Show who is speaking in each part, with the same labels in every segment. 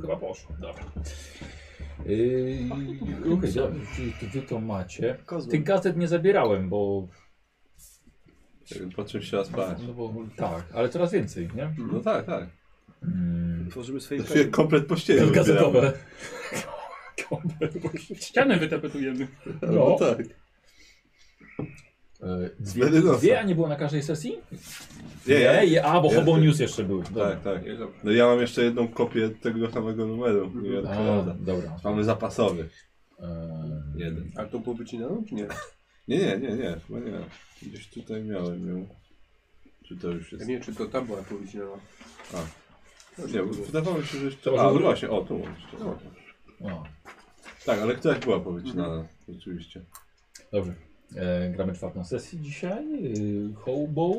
Speaker 1: Chyba poszło, dobra.
Speaker 2: Yy, Okej, dobra, czyli to wy to macie. Tych
Speaker 3: Kozłem.
Speaker 2: gazet nie zabierałem, bo,
Speaker 4: Y, Po czym się raz spać.
Speaker 2: no bo tak, ale coraz więcej, nie?
Speaker 4: No tak, tak.
Speaker 2: Mm.
Speaker 3: Tworzymy swoje
Speaker 4: Znaczy,
Speaker 3: karty.
Speaker 4: komplet pościeli.
Speaker 2: Gazetowe.
Speaker 1: Ścianę wytapetujemy.
Speaker 2: No.
Speaker 4: No, no tak.
Speaker 2: E, Dwie,
Speaker 4: Medynosa.
Speaker 2: dwie, a nie było na każdej sesji?
Speaker 4: Nie, ja,
Speaker 2: je- a bo
Speaker 4: Jest.
Speaker 2: Hobo News jeszcze był. Dobra. Mhm.
Speaker 4: tak, tak. No ja mam jeszcze jedną kopię tego samego numeru. Nie
Speaker 2: A,
Speaker 4: odkładam.
Speaker 2: dobra.
Speaker 4: tak, Mamy zapasowy.
Speaker 2: E,
Speaker 4: Jeden.
Speaker 3: Ale to było wycinane, czy nie?
Speaker 4: Nie, nie, nie, nie, chyba nie. Gdzieś tutaj miałem ją. Czy to już
Speaker 3: Ja
Speaker 4: jest?
Speaker 3: nie wiem, czy to tam była powycinana.
Speaker 4: A. Nie, bo wydawało mi się, że
Speaker 2: To
Speaker 4: jeszcze...
Speaker 2: może
Speaker 4: A,
Speaker 2: u-
Speaker 4: no właśnie, o, tu mam jeszcze. O.
Speaker 2: Yy, o,
Speaker 4: Tak, ale któraś była powycinana, rzeczywiście.
Speaker 2: dobrze. E, gramy czwartą sesję dzisiaj. E, Hobo.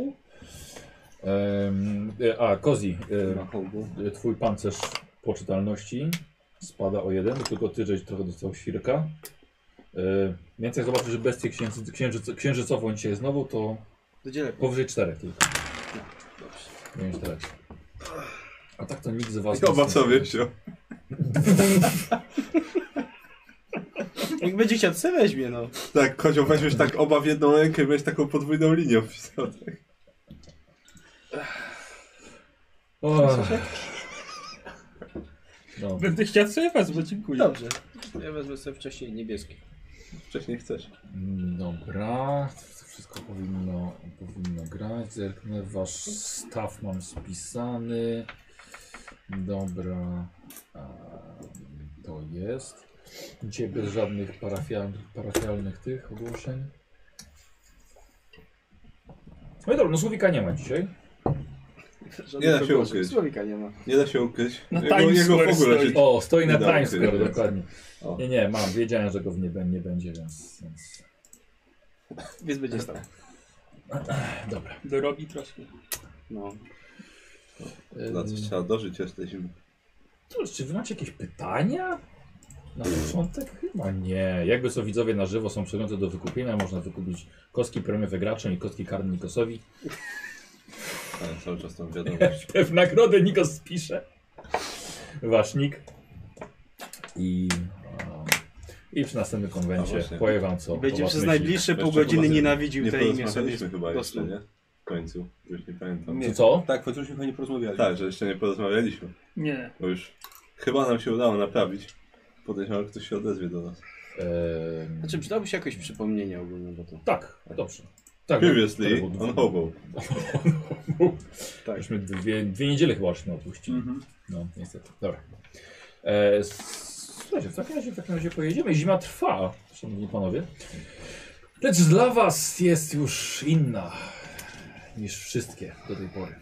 Speaker 2: Em, E, a, Kozi.
Speaker 4: Na hołbu.
Speaker 2: E, twój pancerz poczytalności spada o jeden, tylko ty żeś trochę dostał świrka. E, więc jak zobaczysz, że bestię księżyc, księżyc, księżycową dzisiaj znowu, to
Speaker 3: Wydzielę.
Speaker 2: powyżej czterech tylko.
Speaker 3: Dobrze.
Speaker 2: Powyżej czterech. tak. A tak to nikt z was
Speaker 4: I oba sobie się.
Speaker 5: Jak będzie chciał, to sobie weźmie, no.
Speaker 4: Tak, kozioł weźmiesz tak oba w jedną rękę i będziesz taką podwójną linią wpisał.
Speaker 2: O. No.
Speaker 1: Będę chciał sobie wezmę, dziękuję.
Speaker 5: Dobrze. Ja wezmę sobie wcześniej niebieski.
Speaker 4: Wcześniej chcesz.
Speaker 2: Dobra, to wszystko powinno, powinno grać. Zerknę, wasz staw mam spisany. Dobra, a, to jest. Dzisiaj bez żadnych parafial, parafialnych tych ogłoszeń. No i dobra, no słowika nie ma dzisiaj.
Speaker 3: Żadnych
Speaker 4: da się
Speaker 3: ogłoszeń.
Speaker 4: ukryć.
Speaker 3: Słowika nie ma.
Speaker 4: Nie da się ukryć.
Speaker 1: Na
Speaker 4: jego,
Speaker 1: No Times
Speaker 4: jego
Speaker 1: Square
Speaker 4: w ogóle
Speaker 1: stoi.
Speaker 4: się...
Speaker 2: O, stoi na
Speaker 4: Nie dało
Speaker 2: Times
Speaker 4: się
Speaker 2: Square,
Speaker 4: wygrać.
Speaker 2: dokładnie.
Speaker 4: O.
Speaker 2: Nie, nie, mam, wiedziałem, że go w nie, bę- nie będzie, więc, więc...
Speaker 5: Więc będzie stał.
Speaker 2: Dobra.
Speaker 1: Dorobi troszkę.
Speaker 3: No.
Speaker 4: Na coś trzeba dożyć, jesteśmy.
Speaker 2: Cóż, czy wy macie jakieś pytania? Na początek chyba nie. Jakby co widzowie na żywo są przedmioty do wykupienia, można wykupić kostki premiowe graczem i kostki karne Nikosowi.
Speaker 4: Ale cały czas tą wiadomość.
Speaker 2: W nagrodę Nikos spisze. Wasznik. I, um, i przy następnym
Speaker 4: A
Speaker 2: konwencie
Speaker 4: właśnie.
Speaker 2: powiem wam co. o
Speaker 5: Będzie
Speaker 2: was
Speaker 5: przez
Speaker 2: myśli.
Speaker 5: najbliższe pół
Speaker 4: Jeszcze
Speaker 5: godziny
Speaker 4: chyba nie-
Speaker 5: nienawidził
Speaker 4: Nie
Speaker 5: te imię sobie.
Speaker 4: porozmawialiśmy chyba
Speaker 5: po
Speaker 4: jeszcze,
Speaker 5: prostu.
Speaker 4: nie? W końcu. Już nie pamiętam.
Speaker 3: Nie.
Speaker 2: Co, co?
Speaker 3: Tak, chociaż chyba nie porozmawiali.
Speaker 4: Tak, że jeszcze nie porozmawialiśmy.
Speaker 1: Nie.
Speaker 4: Bo już chyba nam się udało naprawić. Podejrzewam, że ktoś się odezwie do nas.
Speaker 2: Ehm,
Speaker 5: Znaczy, przydałoby się jakieś przypomnienie ogólne, bo to...
Speaker 2: tak, dobrze. Tak,
Speaker 4: Previously
Speaker 2: to było-
Speaker 4: on Hobo.
Speaker 2: Tak. Myśmy dwie, dwie niedziele chyba żeśmy opuścili.
Speaker 1: Mhm.
Speaker 2: No, niestety. Dobra. E, s- słuchajcie, w takim razie, w takim razie pojedziemy. Zima trwa, szanowni panowie. Lecz dla was jest już inna niż wszystkie do tej pory.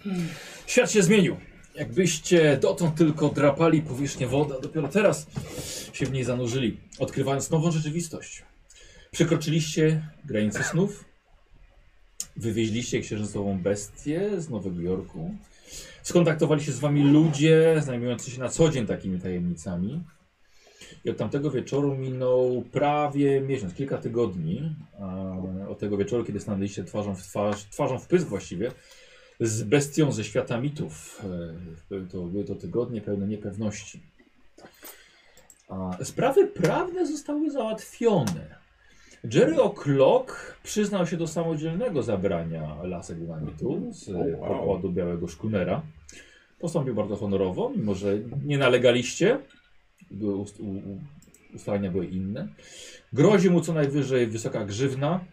Speaker 2: Świat się zmienił. Jakbyście dotąd tylko drapali powierzchnię wody, a dopiero teraz się w niej zanurzyli, odkrywając nową rzeczywistość. Przekroczyliście granice snów, wywieźliście księżycową bestię z Nowego Jorku, skontaktowali się z wami ludzie zajmujący się na co dzień takimi tajemnicami. I od tamtego wieczoru minął prawie miesiąc, kilka tygodni. e, Od tego wieczoru, kiedy stanęliście twarzą w twarz, twarzą w pysk właściwie, z bestią ze świata mitów. E, To były to tygodnie pełne niepewności. A Sprawy prawne zostały załatwione. Jerry O'Clock przyznał się do samodzielnego zabrania lasek dynamitu z
Speaker 4: O, wow.
Speaker 2: pokładu Białego Szkunera. Postąpił bardzo honorowo, mimo że nie nalegaliście. Były ust, u, u, ustalenia były inne. Grozi mu co najwyżej wysoka grzywna.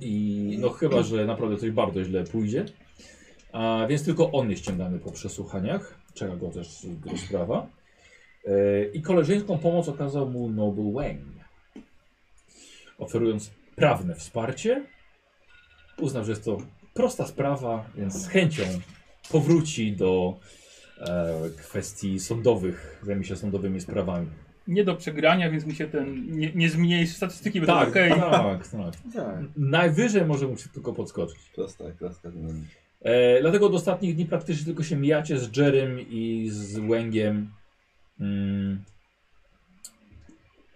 Speaker 2: I no chyba, że naprawdę coś bardzo źle pójdzie. A więc tylko on jest ściągany po przesłuchaniach. Czeka go też rozprawa. E, I koleżeńską pomoc okazał mu Noble Wang. Oferując prawne wsparcie, uznał, że jest to prosta sprawa, więc z chęcią powróci do e, kwestii sądowych, zajmie się sądowymi sprawami.
Speaker 1: Nie do przegrania, więc mi się ten nie, nie zmniejszy statystyki, będą
Speaker 2: Tak,
Speaker 1: okej.
Speaker 2: tak, tak.
Speaker 3: Tak.
Speaker 2: Najwyżej może mu się tylko podskoczyć.
Speaker 4: Prosta, klaska dynamika.
Speaker 2: E, dlatego od ostatnich dni praktycznie tylko się mijacie z Jerem i z Łęgiem. Mm.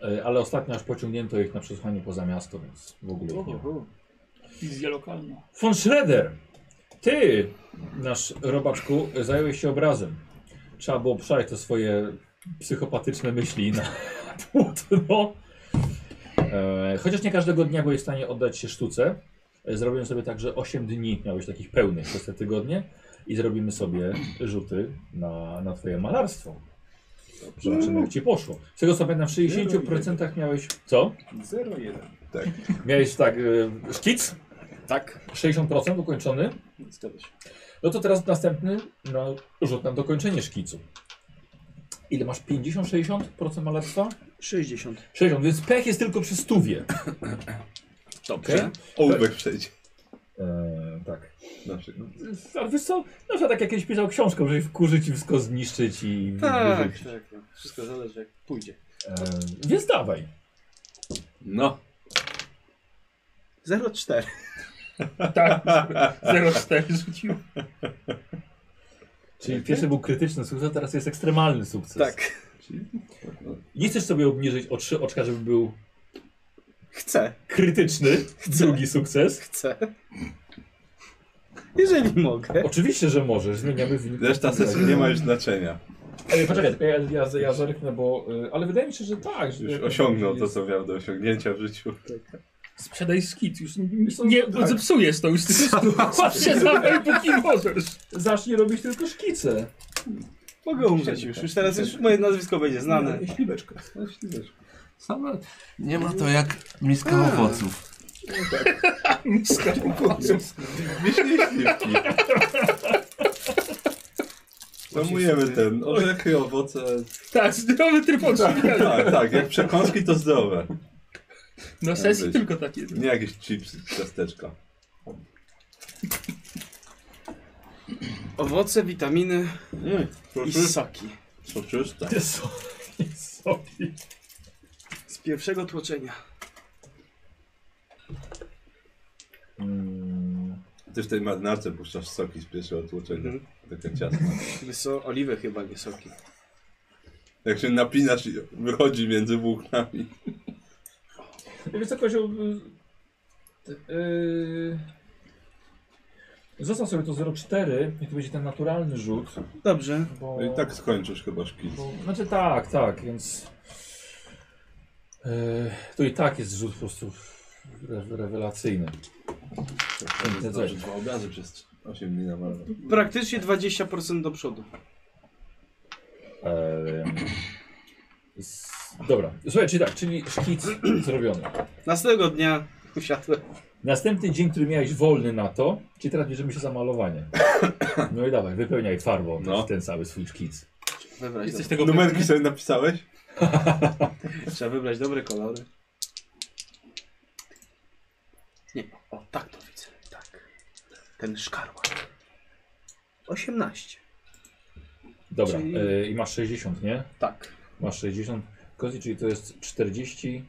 Speaker 2: E, ale ostatnio aż pociągnięto ich na przesłuchanie poza miasto, więc w ogóle ich nie ma.
Speaker 3: Oho.
Speaker 1: Wizja lokalna.
Speaker 2: Von Schroeder, ty, nasz robaczku, zająłeś się obrazem. Trzeba było przejść te swoje psychopatyczne myśli na płótno. E, chociaż nie każdego dnia byłeś w stanie oddać się sztuce. E, Zrobiłem sobie także 8 dni, miałeś takich pełnych przez te tygodnie. I zrobimy sobie rzuty na, na twoje malarstwo. Zobaczymy jak ci poszło. Z tego co pamiętam, w 60% miałeś... Co?
Speaker 3: 0,1.
Speaker 2: Miałeś tak, e, szkic,
Speaker 5: Tak.
Speaker 2: 60% ukończony.
Speaker 3: Zgadza się.
Speaker 2: No to teraz następny no, rzut na dokończenie szkicu. Ile masz? 50-60% malarstwa?
Speaker 5: 60.
Speaker 2: 60, więc pech jest tylko przy stówie.
Speaker 5: Dobrze.
Speaker 2: Okej.
Speaker 4: Ołówek przejdzie.
Speaker 2: Eee, tak.
Speaker 4: Tak. Na przykład.
Speaker 2: A wiesz co? Na przykład tak jak kiedyś pisał książkę, żeby wkurzyć i wszystko zniszczyć i
Speaker 5: Tak.
Speaker 2: wyrzucić.
Speaker 3: Tak, no.
Speaker 5: Wszystko zależy jak pójdzie.
Speaker 2: Eee, więc dawaj.
Speaker 4: No.
Speaker 5: 0,4.
Speaker 6: Tak, 0,4 rzuciłem.
Speaker 2: Czyli pierwszy był krytyczny sukces, teraz jest ekstremalny sukces.
Speaker 5: Tak.
Speaker 4: Czyli... no.
Speaker 2: Nie chcesz sobie obniżyć o trzy oczka, żeby był
Speaker 5: Chcę.
Speaker 2: krytyczny drugi sukces?
Speaker 5: Chcę. Jeżeli mogę.
Speaker 2: Oczywiście, że możesz. Zmieniamy wynik.
Speaker 4: Reszta sesji nie ma już znaczenia.
Speaker 7: Ale poczekaj, tylko ja, ja, ja zerknę, bo. y, Ale wydaje mi się, że tak. Że
Speaker 4: Już osiągnął to, co miał do osiągnięcia w życiu.
Speaker 6: Sprzedaj skit, już nie
Speaker 7: tak.
Speaker 6: bo zepsujesz to, już Patrz się dawaj, póki możesz.
Speaker 7: Zacznie robić tylko szkice.
Speaker 5: Mogę umrzeć już. Już teraz już moje nazwisko będzie znane.
Speaker 4: Śliweczka. No, śliweczka.
Speaker 8: Sama... Nie ma to jak miska
Speaker 4: Tak.
Speaker 8: owoców.
Speaker 6: Miska owoców.
Speaker 4: Wiśnie śliwki. Zamujemy ten. Orzechy, owoce.
Speaker 6: Tak, zdrowy tryb odżywiania.
Speaker 4: Tak, tak. Jak przekąski to zdrowe.
Speaker 6: Na sesji tylko tak takie.
Speaker 4: Nie jakieś chipsy, ciasteczka.
Speaker 5: Owoce, witaminy
Speaker 4: Mm,
Speaker 5: i
Speaker 4: Proszę,
Speaker 5: soki.
Speaker 4: proszę, tak.
Speaker 2: Jezu, Jezu.
Speaker 5: Z pierwszego tłoczenia.
Speaker 4: Hmm.
Speaker 2: Mm,
Speaker 4: Ty w tej marynarce puszczasz soki z pierwszego tłoczenia.
Speaker 5: Mhm.
Speaker 4: Takie ciasto.
Speaker 5: Wyso oliwy chyba, nie soki.
Speaker 4: Jak się napinasz i wychodzi między włóknami.
Speaker 7: Wiesz co, Kozioł... y, ty, y, Zostaw sobie to 0,4 i to będzie ten naturalny rzut,
Speaker 5: Dobrze.
Speaker 7: bo...
Speaker 4: No i tak skończysz chyba szkic.
Speaker 7: Bo, znaczy tak, tak, więc... y, to i tak jest rzut po prostu re, rewelacyjny.
Speaker 4: To jest dobrze, dwa No obrazy przez 8 dni namalować.
Speaker 5: Praktycznie 20% do przodu.
Speaker 7: E,
Speaker 2: Em, s- dobra, słuchaj, czyli tak, czyli szkic zrobiony.
Speaker 5: Następnego dnia usiadłem.
Speaker 2: Następny dzień, który miałeś wolny na to, czyli teraz bierzemy się za malowanie. No i dawaj, wypełniaj farbą
Speaker 4: No.
Speaker 2: ten cały swój szkic.
Speaker 5: Wybrać
Speaker 6: Jesteś
Speaker 5: dobre-
Speaker 6: tego
Speaker 4: Numerki sobie napisałeś?
Speaker 5: Trzeba wybrać dobre kolory. Nie, o tak to widzę. Tak. Ten szkarłat. 18.
Speaker 2: Dobra,
Speaker 5: Czyli-
Speaker 2: y, i masz 60, nie?
Speaker 5: Tak.
Speaker 2: Masz 60 kości, czyli to jest 42%.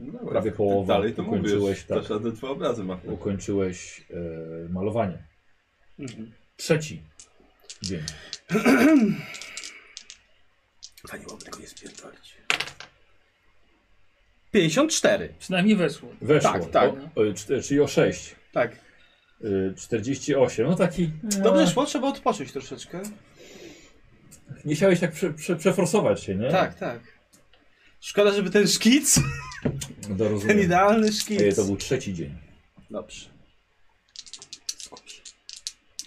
Speaker 4: No dobra,
Speaker 2: Prawie
Speaker 4: ty
Speaker 2: połowa.
Speaker 4: Dalej to
Speaker 2: Ukończyłeś,
Speaker 4: mówisz.
Speaker 2: tak.
Speaker 4: Tak. Te dwa obrazy ma.
Speaker 2: Ukończyłeś y, malowanie.
Speaker 5: Mhm.
Speaker 2: Trzeci dzień.
Speaker 5: Fajnie byłoby tego nie spierdolić. 54.
Speaker 6: Przynajmniej weszło.
Speaker 2: Weszło.
Speaker 5: Tak, tak.
Speaker 2: O, y, czte- czyli o 6.
Speaker 5: Tak.
Speaker 2: Y, 48. No taki.
Speaker 5: Dobrze szło, trzeba odpocząć troszeczkę.
Speaker 2: Nie chciałeś tak prze, prze, przeforsować się, nie?
Speaker 5: Tak, tak. Szkoda, żeby ten szkic,
Speaker 2: No, to
Speaker 5: ten
Speaker 2: rozumiem.
Speaker 5: idealny
Speaker 2: Ej,
Speaker 5: szkic.
Speaker 2: to był trzeci dzień.
Speaker 5: Dobrze.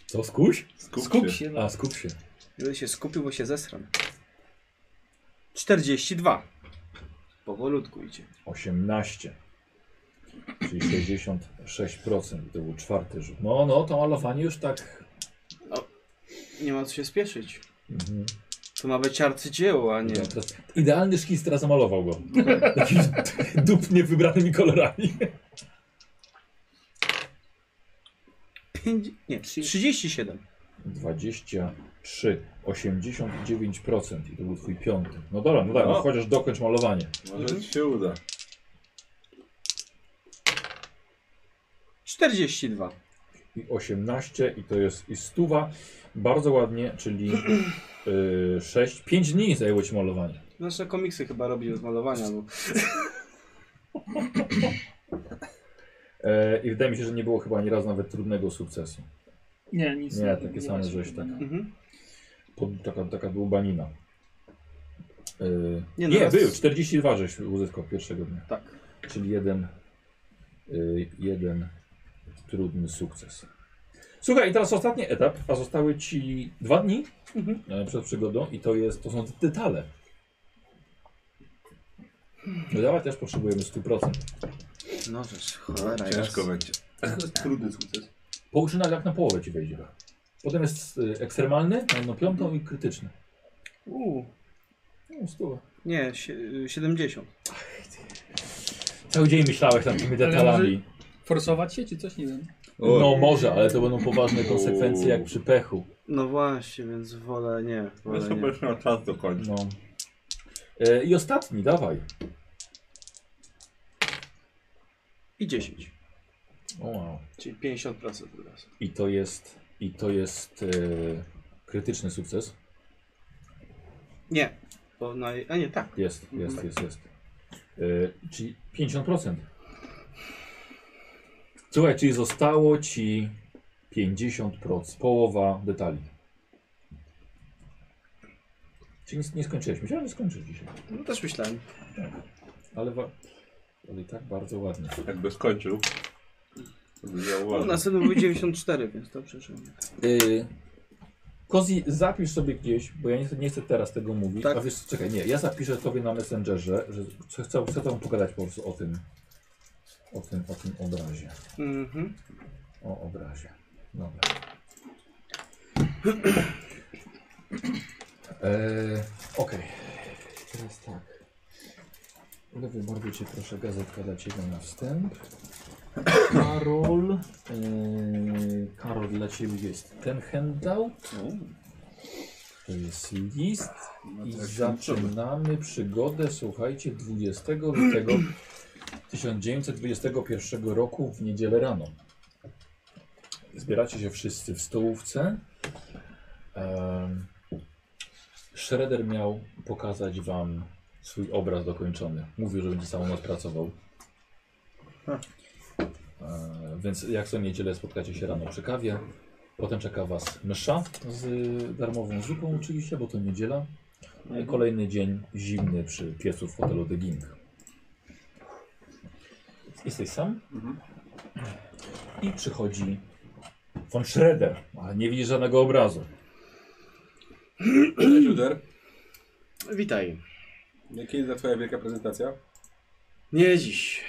Speaker 2: Co, skuś?
Speaker 4: Skup,
Speaker 6: Skup
Speaker 4: się.
Speaker 6: się.
Speaker 2: A, skup się.
Speaker 5: Będę się skupił, bo się zesram. 42. Powolutku idzie.
Speaker 2: 18. Czyli 66%. To był czwarty rzut. No, no, to malowanie już tak.
Speaker 5: Nie ma co się spieszyć.
Speaker 2: Mhm.
Speaker 5: To ma być arcydzieło, a nie.
Speaker 2: Nie, teraz, idealny szkic teraz zamalował go. Jakimś dupnie wybranymi kolorami.
Speaker 5: Pięć... Nie, 37.
Speaker 2: 23, 89% i to był twój piąty. No dobra, no dobra, no.
Speaker 4: No.
Speaker 2: chociaż dokończ malowanie.
Speaker 4: Może ci się uda.
Speaker 5: 42.
Speaker 2: I 18 i to jest i stuwa. Bardzo ładnie, czyli y, 6, 5 dni zajęło ci malowanie.
Speaker 5: Nasze komiksy chyba robił od malowania, bo
Speaker 2: E, I wydaje mi się, że nie było chyba ani razu nawet trudnego sukcesu.
Speaker 9: Nie, nic
Speaker 2: Nie,
Speaker 9: na-
Speaker 2: takie
Speaker 9: ma
Speaker 2: same
Speaker 9: się
Speaker 2: żeś,
Speaker 9: chyba,
Speaker 2: tak.
Speaker 9: no.
Speaker 5: Mhm.
Speaker 2: Pod, taka, taka dłubanina. Yy,
Speaker 5: Nie,
Speaker 2: nie,
Speaker 5: no raz-
Speaker 2: był, 42 żeś uzyskał pierwszego dnia.
Speaker 5: Tak.
Speaker 2: Czyli jeden, yy, jeden trudny sukces. Słuchaj, i teraz ostatni etap, a zostały ci dwa dni e, przed przygodą i to jest, to są detale. Wydawać też potrzebujemy 100%.
Speaker 5: No rzecz,
Speaker 4: No,
Speaker 5: cholera
Speaker 4: ciężko
Speaker 5: jasna.
Speaker 4: będzie.
Speaker 3: Trudny sukces.
Speaker 2: Połuczyna jak na połowę ci wejdzie. Potem jest y, ekstremalny na jedną piątą i krytyczny.
Speaker 5: U,
Speaker 2: No, stuwa.
Speaker 5: nie, sie- 70.
Speaker 2: Cały dzień myślałeś nad tymi detalami.
Speaker 9: Forsować się czy coś? Nie wiem.
Speaker 4: O,
Speaker 2: No może, ale to będą poważne konsekwencje jak przy pechu.
Speaker 5: No właśnie, więc wolę nie. Wolę
Speaker 4: to
Speaker 5: nie.
Speaker 4: będziesz miał czas do końca.
Speaker 2: No. E, I ostatni, dawaj.
Speaker 5: I 10.
Speaker 2: O, wow.
Speaker 3: Czyli 50% teraz.
Speaker 2: I to jest, i to jest e, krytyczny sukces.
Speaker 5: Nie. Bo na, a nie, tak.
Speaker 2: Jest, jest, jest, jest. E, czyli 50%. Słuchaj, czyli zostało ci 50%, połowa detali. Czyli nie, nie skończyłeś. Myślałem, że skończysz dzisiaj.
Speaker 5: No też myślałem.
Speaker 2: Ale, wa- ale i tak bardzo ładnie.
Speaker 4: Jakby skończył, to by
Speaker 5: No,
Speaker 4: zauważył.
Speaker 5: następny był 94, więc dobrze, że nie.
Speaker 2: Y, Kozi, zapisz sobie gdzieś, bo ja nie chcę, nie chcę teraz tego mówić.
Speaker 5: Tak.
Speaker 2: A wiesz, czekaj, nie, ja zapiszę tobie na Messengerze, że chcę, chcę, chcę tam pogadać po prostu o tym, o tym, o tym obrazie.
Speaker 5: Mhm.
Speaker 2: O obrazie. Dobra. Eee, Okej. Teraz tak. Lewy bardzo cię proszę, gazetka dla ciebie na wstęp. Karol. eee, Karol dla ciebie jest ten handout. To jest list. I zaczynamy przygodę, słuchajcie, 20 lutego 1921 roku w niedzielę rano. Zbieracie się wszyscy w stołówce. Em, Shredder miał pokazać wam swój obraz dokończony. Mówił, że będzie całą noc pracował. E, Więc jak co niedzielę spotkacie się rano przy kawie. Potem czeka was msza z darmową zupą oczywiście, bo to niedziela. No i kolejny dzień zimny przy piecu w hotelu The Ging. Jesteś sam? I przychodzi von Schroeder, ale nie widzi żadnego obrazu.
Speaker 4: Cześć, Juder.
Speaker 5: Witaj.
Speaker 4: Kiedy za twoja wielka prezentacja?
Speaker 5: Nie dziś.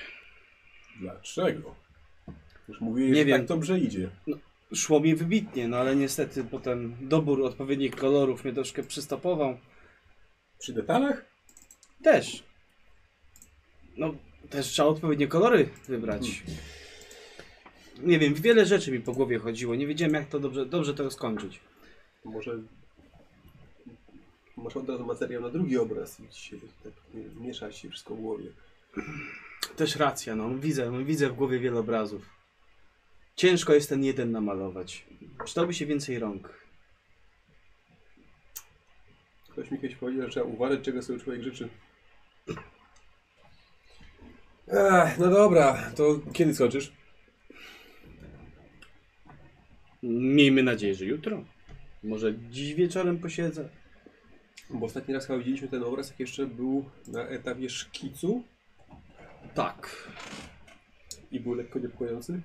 Speaker 4: Dlaczego? Już mówiłeś,
Speaker 5: Nie
Speaker 4: że
Speaker 5: wiem.
Speaker 4: tak dobrze idzie.
Speaker 5: Szło mi wybitnie, no ale niestety potem dobór odpowiednich kolorów mnie troszkę przystopował.
Speaker 4: Przy detalach?
Speaker 5: Też. No, też trzeba odpowiednie kolory wybrać. Nie wiem, wiele rzeczy mi po głowie chodziło. Nie wiedziałem, jak to dobrze, dobrze to skończyć.
Speaker 3: Może... Może od razu materiał na drugi obraz i ci się tak nie wiem, miesza ci się wszystko w głowie.
Speaker 5: Też racja, no. Widzę, no, widzę w głowie wiele obrazów. Ciężko jest ten jeden namalować. Przydałby się więcej rąk.
Speaker 3: Ktoś mi kiedyś powiedział, że trzeba uważać, czego sobie człowiek życzy.
Speaker 4: Ech, no dobra, to kiedy skoczysz?
Speaker 5: Miejmy nadzieję, że jutro. Może dziś wieczorem posiedzę.
Speaker 3: Bo ostatni raz chyba widzieliśmy ten obraz, jak jeszcze był na etapie szkicu
Speaker 5: Tak.
Speaker 3: i był lekko niepokojący.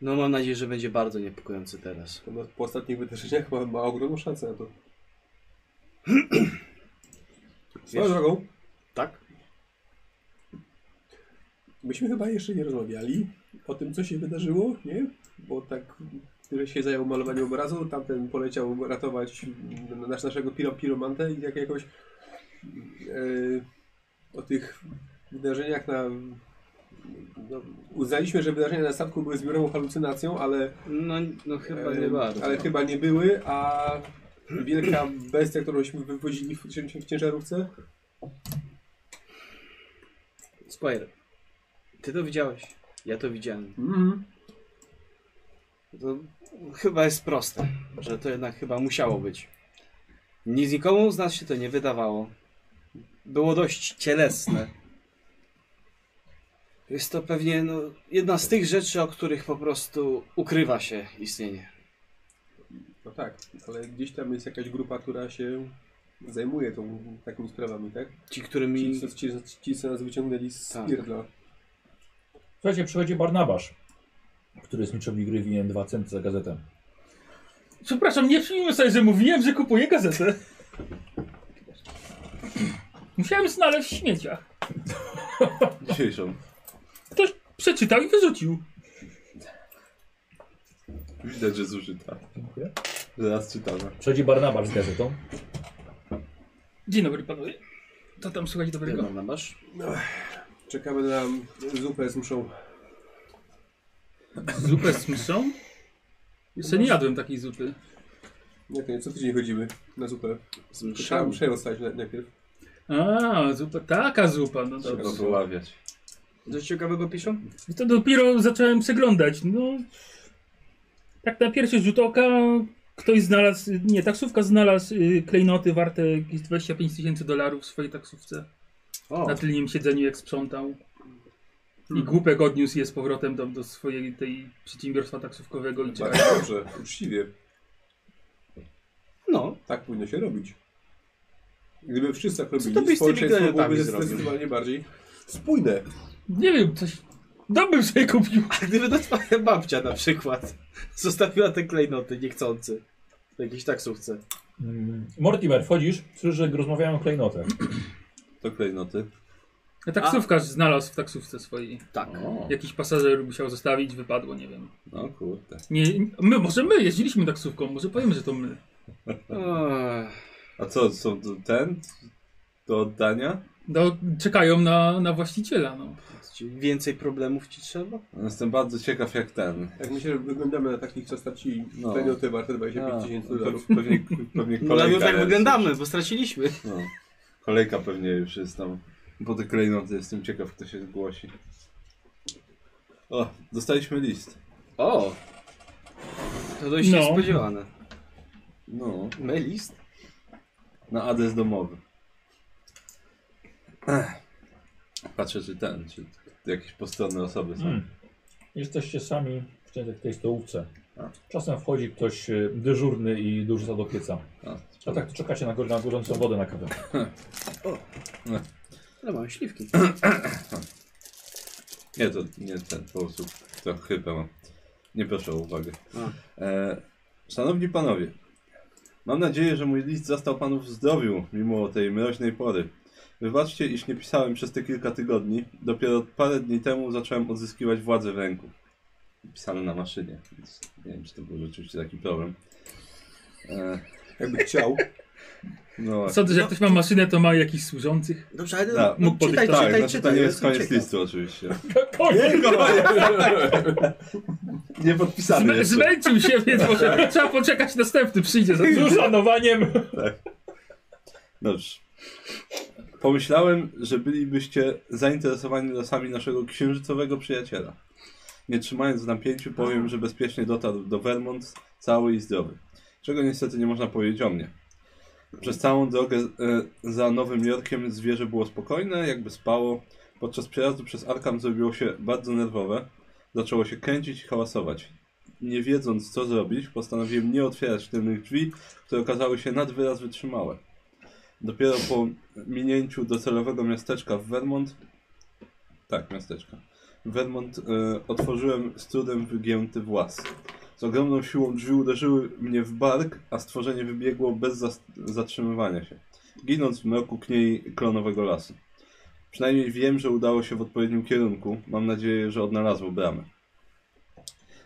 Speaker 5: No mam nadzieję, że będzie bardzo niepokojący teraz.
Speaker 3: To na- po ostatnich wydarzeniach ma, ma ogromną szansę na to. Swoją
Speaker 5: Wiesz-
Speaker 3: drogą,
Speaker 5: Tak?
Speaker 3: myśmy chyba jeszcze nie rozmawiali o tym, co się wydarzyło, nie? Bo tak, który się zajął malowaniem obrazu, tamten poleciał ratować mm, nasz, naszego piro, piromantę i jak jakoś yy, o tych wydarzeniach na... No, uznaliśmy, że wydarzenia na statku były zbiorową halucynacją, ale
Speaker 5: No, no chyba nie
Speaker 3: Em,
Speaker 5: bardzo.
Speaker 3: Ale chyba nie były, a wielka bestia, którąśmy wywozili w, cię- w ciężarówce.
Speaker 5: Spider, ty to widziałeś. Ja to widziałem.
Speaker 3: Mhm.
Speaker 5: To chyba jest proste, że to jednak chyba musiało być. Nic nikomu z nas się to nie wydawało. Było dość cielesne. Jest to pewnie no, jedna z tych rzeczy, o których po prostu ukrywa się istnienie.
Speaker 3: No tak, ale gdzieś tam jest jakaś grupa, która się zajmuje tą, takimi sprawami, tak?
Speaker 5: Ci,
Speaker 3: Ci,
Speaker 5: którymi...
Speaker 3: co- ci, ci, ci co nas wyciągnęli z
Speaker 5: Mm. Tak.
Speaker 3: pierdla.
Speaker 10: Słuchajcie, przychodzi Barnabasz, który jest niczym gry winien 2 centy za gazetę.
Speaker 9: Przepraszam, nie przyjmijmy sobie, że mówiłem, że kupuję gazetę. Musiałem znaleźć w śmieciach.
Speaker 4: Dzisiejszą.
Speaker 9: Ktoś przeczytał i wyrzucił.
Speaker 4: Widać, że zużyta.
Speaker 10: Dziękuję.
Speaker 4: Zaraz czytamy.
Speaker 10: Przychodzi Barnabasz z gazetą.
Speaker 9: Dzień dobry panowie. To tam słuchać
Speaker 5: Ty,
Speaker 9: dobrego.
Speaker 5: Barnabasz?
Speaker 3: Czekamy na zupę z muszą.
Speaker 9: Zupę z myszą? Jeszcze nie jadłem takiej zupy.
Speaker 3: Jak to nie, co tydzień chodzimy na zupę.
Speaker 5: Z
Speaker 3: Trzeba
Speaker 5: mszami.
Speaker 3: przerostać na- najpierw.
Speaker 9: A, zupa, taka zupa, no
Speaker 4: Trzeba
Speaker 9: dobrze.
Speaker 4: wyławiać.
Speaker 5: Coś ciekawego piszą?
Speaker 9: I to dopiero zacząłem przeglądać. No, tak na pierwszy rzut oka ktoś znalazł, nie, taksówka znalazł y, klejnoty warte jakieś 25 tysięcy dolarów w swojej taksówce.
Speaker 5: O,
Speaker 9: Na
Speaker 3: Znaczy-
Speaker 9: tylnym siedzeniu jak sprzątał. I głupek odniósł je z powrotem do, do swojej tej przedsiębiorstwa taksówkowego i czeka.
Speaker 3: Bardzo dobrze, uczciwie.
Speaker 5: no.
Speaker 3: Tak powinno się robić. Gdyby wszyscy tak
Speaker 5: to byś z
Speaker 3: robili,
Speaker 5: tymi
Speaker 3: społeczeństwo
Speaker 5: granatami
Speaker 3: byłoby
Speaker 5: zrobił?
Speaker 3: zdecydowanie bardziej spójne.
Speaker 9: Nie wiem, coś... Dobry sobie kupił.
Speaker 5: A gdyby to Tak twoja babcia na przykład zostawiła te klejnoty niechcący tak w jakiejś taksówce.
Speaker 10: Mm, Mortimer, wchodzisz, słyszysz, że rozmawiają o klejnotach.
Speaker 4: To klejnoty.
Speaker 9: A taksówkarz znalazł w taksówce swojej.
Speaker 5: Tak.
Speaker 4: O,
Speaker 9: Jakiś pasażer musiał zostawić, wypadło, nie wiem.
Speaker 4: no kurde.
Speaker 9: Nie, my, może my jeździliśmy taksówką, może powiemy, że to my.
Speaker 5: Ech,
Speaker 4: A co, są tu ten? Do oddania?
Speaker 9: No, czekają na, na właściciela, no.
Speaker 5: ci więcej problemów ci trzeba?
Speaker 4: Jestem bardzo ciekaw jak ten.
Speaker 3: Jak myślę, że wyglądamy na takich, co stracili
Speaker 4: No.
Speaker 3: klejnoty warte 25
Speaker 4: A,
Speaker 3: tysięcy
Speaker 4: to
Speaker 3: dolarów.
Speaker 4: Pewnie, pewnie
Speaker 5: No ale już
Speaker 4: kolejka
Speaker 5: tak
Speaker 4: jest.
Speaker 5: wyglądamy, bo straciliśmy.
Speaker 4: No. Kolejka pewnie już jest tam. Po te klejnoty jestem ciekaw, kto się zgłosi. O, dostaliśmy list.
Speaker 5: O! To dość
Speaker 9: No.
Speaker 5: niespodziewane.
Speaker 4: No,
Speaker 5: My list?
Speaker 4: na adres domowy. Ech. Patrzę, czy ten, czy jakieś postronne osoby są.
Speaker 2: Hmm.
Speaker 10: Mm. Jesteście sami w tej, tej stołówce. Czasem wchodzi ktoś e, dyżurny i dużo do pieca.
Speaker 4: A,
Speaker 10: A tak to czekacie na, gór, na gorącą wodę na kawę.
Speaker 5: Ale No, mamy śliwki.
Speaker 4: Nie, to nie ten, po prostu to chyba mam. Nie proszę o uwagę.
Speaker 5: A.
Speaker 4: E, szanowni panowie, mam nadzieję, że mój list zastał panów w zdrowiu, mimo tej mroźnej pory. Wybaczcie, iż nie pisałem przez te kilka tygodni. Dopiero parę dni temu zacząłem odzyskiwać władzę w ręku. Pisane na maszynie, więc nie wiem, czy to był rzeczywiście taki problem. E,
Speaker 3: Jakby chciał.
Speaker 4: no,
Speaker 9: Sądzę, że jak ktoś ma maszynę, to ma jakichś służących.
Speaker 5: Dobrze, ale
Speaker 4: Da,
Speaker 5: no,
Speaker 9: mógł
Speaker 5: czytaj,
Speaker 9: podejść-
Speaker 4: tak,
Speaker 5: czytaj,
Speaker 4: znaczy
Speaker 5: czytaj.
Speaker 4: to nie
Speaker 5: ja
Speaker 4: jest
Speaker 5: jestem
Speaker 4: koniec
Speaker 5: ciekaw.
Speaker 4: listu oczywiście. no.
Speaker 10: Koniec!
Speaker 4: Nie podpisany
Speaker 9: Zmę,
Speaker 4: jeszcze.
Speaker 9: zmęczył się, więc może trzeba poczekać, następny przyjdzie za
Speaker 10: Z uszanowaniem!
Speaker 4: Dobrze. Pomyślałem, że bylibyście zainteresowani losami naszego księżycowego przyjaciela. Nie trzymając w napięciu, powiem, że bezpiecznie dotarł do Vermont cały i zdrowy. Czego niestety nie można powiedzieć o mnie. Przez całą drogę e, za Nowym Jorkiem zwierzę było spokojne, jakby spało. Podczas przejazdu przez Arkham zrobiło się bardzo nerwowe. Zaczęło się kręcić i hałasować. Nie wiedząc co zrobić, postanowiłem nie otwierać tylnych drzwi, które okazały się nad wyraz wytrzymałe. Dopiero po minięciu docelowego miasteczka w Vermont. Tak, miasteczka. W Vermont e, otworzyłem z trudem wygięty włas. Z ogromną siłą drzwi uderzyły mnie w bark, a stworzenie wybiegło bez zas- zatrzymywania się, ginąc w mroku kniei klonowego lasu. Przynajmniej wiem, że udało się w odpowiednim kierunku. Mam nadzieję, że odnalazło bramę.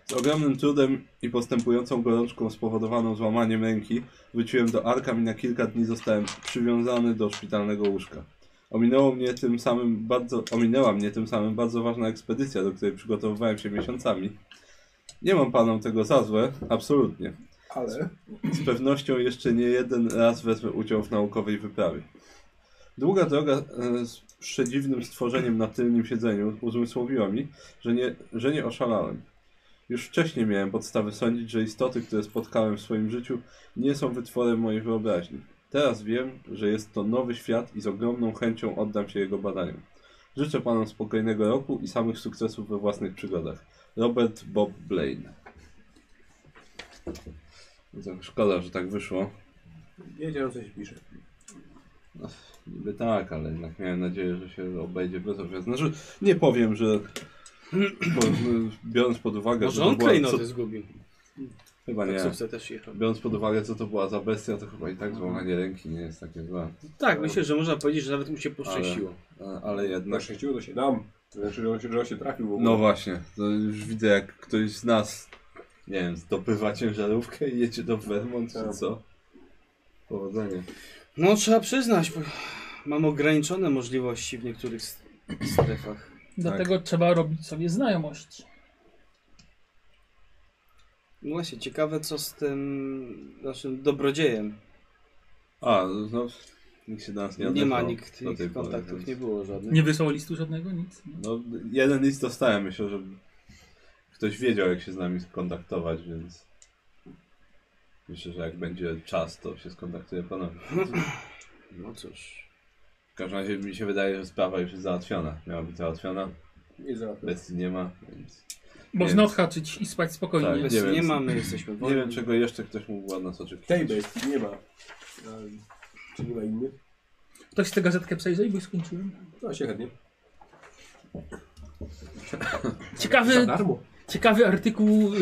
Speaker 4: Z ogromnym trudem i postępującą gorączką spowodowaną złamaniem ręki Wróciłem do Arkam i na kilka dni zostałem przywiązany do szpitalnego łóżka. Ominęło mnie tym samym bardzo, ominęła mnie tym samym bardzo ważna ekspedycja, do której przygotowywałem się miesiącami. Nie mam panom tego za złe, absolutnie.
Speaker 3: Ale
Speaker 4: Z pewnością jeszcze nie jeden raz wezmę udział w naukowej wyprawie. Długa droga e, z przedziwnym stworzeniem na tylnym siedzeniu uzmysłowiła mi, że nie, że nie oszalałem. Już wcześniej miałem podstawy sądzić, że istoty, które spotkałem w swoim życiu, nie są wytworem mojej wyobraźni. Teraz wiem, że jest to nowy świat i z ogromną chęcią oddam się jego badaniom. Życzę panom spokojnego roku i samych sukcesów we własnych przygodach. Robert Bob Blaine. No to Szkoda, że tak wyszło.
Speaker 3: Wiedziałem, coś pisze.
Speaker 4: Niby tak, ale jednak miałem nadzieję, że się obejdzie bez ofiar. Znaczy, nie powiem, że bo, no, biorąc pod uwagę,
Speaker 5: Może
Speaker 4: że to
Speaker 5: on Tak
Speaker 4: była-
Speaker 5: klejnoty
Speaker 4: co,
Speaker 5: zgubił.
Speaker 4: Chyba nie.
Speaker 5: Taksówce też jechał.
Speaker 4: Biorąc pod uwagę, co to była za bestia, to chyba i tak złamanie ręki nie jest takie złe.
Speaker 5: Tak, myślę, że można powiedzieć, że nawet mu się poszczęściło.
Speaker 4: A- No. Ale
Speaker 3: Na
Speaker 4: jednak...
Speaker 3: szczęściu to się dam. Znaczy, że on się, że on się trafił. w ogóle.
Speaker 4: No właśnie, to już widzę jak ktoś z nas, nie wiem, zdobywa ciężarówkę i jedzie do Vermont czy co. Powodzenia.
Speaker 5: No trzeba przyznać, bo mam ograniczone możliwości w niektórych s- strefach.
Speaker 9: Dlatego
Speaker 4: Tak.
Speaker 9: trzeba robić sobie znajomość.
Speaker 5: No właśnie, ciekawe co z tym naszym dobrodziejem.
Speaker 4: A, no, nikt się do nas nie
Speaker 5: Nie,
Speaker 4: odezwał.
Speaker 5: ma nikt,
Speaker 4: do tej
Speaker 5: nikt
Speaker 4: pory,
Speaker 5: kontaktów
Speaker 4: więc-
Speaker 5: nie było żadnych.
Speaker 9: Nie wysłał listu żadnego, nic. nie?
Speaker 4: No, jeden list dostałem, myślę, że ktoś wiedział, jak się z nami skontaktować, więc myślę, że jak będzie czas, to się skontaktuję ponownie.
Speaker 5: No cóż.
Speaker 4: W każdym razie mi się wydaje, że sprawa już jest załatwiona. Miała być załatwiona,
Speaker 3: Nie załatwił.
Speaker 4: bestii nie ma, więc Nie.
Speaker 9: Można odhaczyć i spać spokojnie.
Speaker 4: Tak.
Speaker 5: Nie,
Speaker 4: nie wiem,
Speaker 5: nie
Speaker 4: co-
Speaker 5: mamy, jesteśmy
Speaker 4: nie
Speaker 5: wolni.
Speaker 4: wiem, czego jeszcze ktoś mógł od nas oczekiwać.
Speaker 3: Tej bestii nie ma. A, czy nie ma innych?
Speaker 9: Ktoś tę gazetkę przejrzał i by skończyłem.
Speaker 3: No się chętnie. Za
Speaker 9: Ciekawy,
Speaker 3: darmo.
Speaker 9: ciekawy artykuł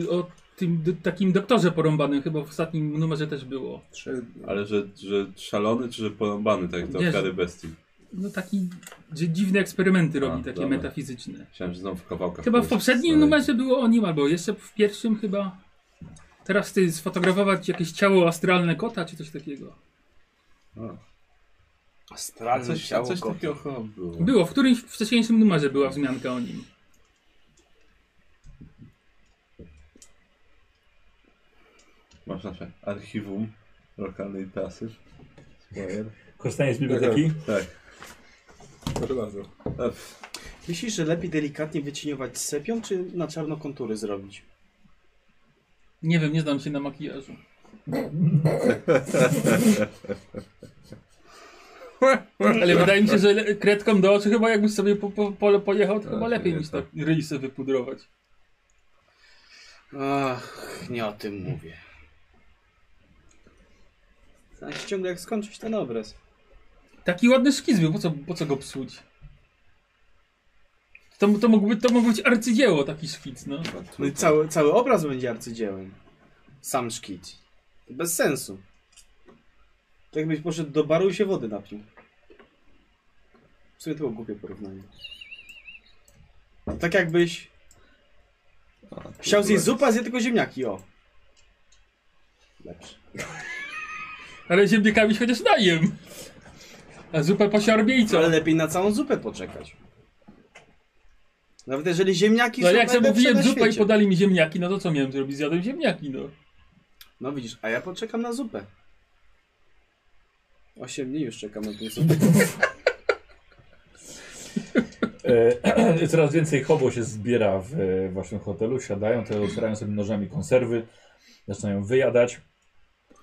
Speaker 9: y, o tym do, takim doktorze porąbanym, chyba w ostatnim numerze też było.
Speaker 3: Trzech...
Speaker 4: Ale że, że szalony, czy że porąbany, tak jak do
Speaker 9: Nie,
Speaker 4: ofiary bestii?
Speaker 9: No taki, że dziwne eksperymenty robi,
Speaker 4: A,
Speaker 9: takie
Speaker 4: dobra.
Speaker 9: metafizyczne.
Speaker 4: Chciałem, że znowu w kawałkach.
Speaker 9: Chyba w
Speaker 4: kogoś
Speaker 9: poprzednim
Speaker 4: znaleźć.
Speaker 9: numerze było o nim, albo jeszcze w pierwszym chyba. Teraz ty sfotografować jakieś ciało astralne kota, czy coś takiego.
Speaker 4: A
Speaker 5: Astralne
Speaker 4: coś, a
Speaker 5: ciało
Speaker 4: coś
Speaker 5: kota.
Speaker 4: takiego chyba było.
Speaker 9: Było, w którymś wcześniejszym numerze była wzmianka o nim.
Speaker 4: Masz nasze archiwum lokalnej prasy. Spoiler.
Speaker 2: Korzystanie z biblioteki.
Speaker 4: Tak.
Speaker 3: Proszę bardzo.
Speaker 4: E,
Speaker 5: Myślisz, że lepiej delikatnie wyciniować sepią, czy na czarno kontury zrobić?
Speaker 9: Nie wiem, nie znam się na makijażu. Ale wydaje mi się, że le- kredką do oczu chyba jakbyś sobie po, po, po, pojechał, to chyba
Speaker 4: Tak,
Speaker 9: lepiej
Speaker 4: nie,
Speaker 9: niż
Speaker 4: tak.
Speaker 9: tak ryj sobie wypudrować.
Speaker 5: Ach, nie o tym mówię. Zastanawiam się Znaczy, ciągle jak skończyć ten obraz.
Speaker 9: Taki ładny szkic był, po co, po co go psuć? To, to, mógłby, to mógł być arcydzieło, taki szkic, no.
Speaker 5: No i cały, cały obraz będzie arcydziełem. Sam szkic. Bez sensu. Tak jakbyś poszedł do baru i się wody napił. W sumie to było głupie porównanie. Tak jakbyś chciał zjeść zupę, a zje tylko ziemniaki, o. Lepsze.
Speaker 9: Ale ziemniakami się chociaż najem. A zupę posiarbie i co?
Speaker 5: Ale lepiej na całą zupę poczekać. Nawet jeżeli ziemniaki
Speaker 9: No
Speaker 5: są
Speaker 9: jak
Speaker 5: najlepsze
Speaker 9: zamówiłem
Speaker 5: na
Speaker 9: zupę i
Speaker 5: świecie.
Speaker 9: podali mi ziemniaki, no to co miałem zrobić? Zjadłem ziemniaki, no.
Speaker 5: No widzisz, a ja poczekam na zupę. Osiem dni już czekam na tę zupę.
Speaker 2: E, coraz więcej hobo się zbiera w e, waszym hotelu. Siadają, te otwierają sobie nożami konserwy. Zaczynają wyjadać.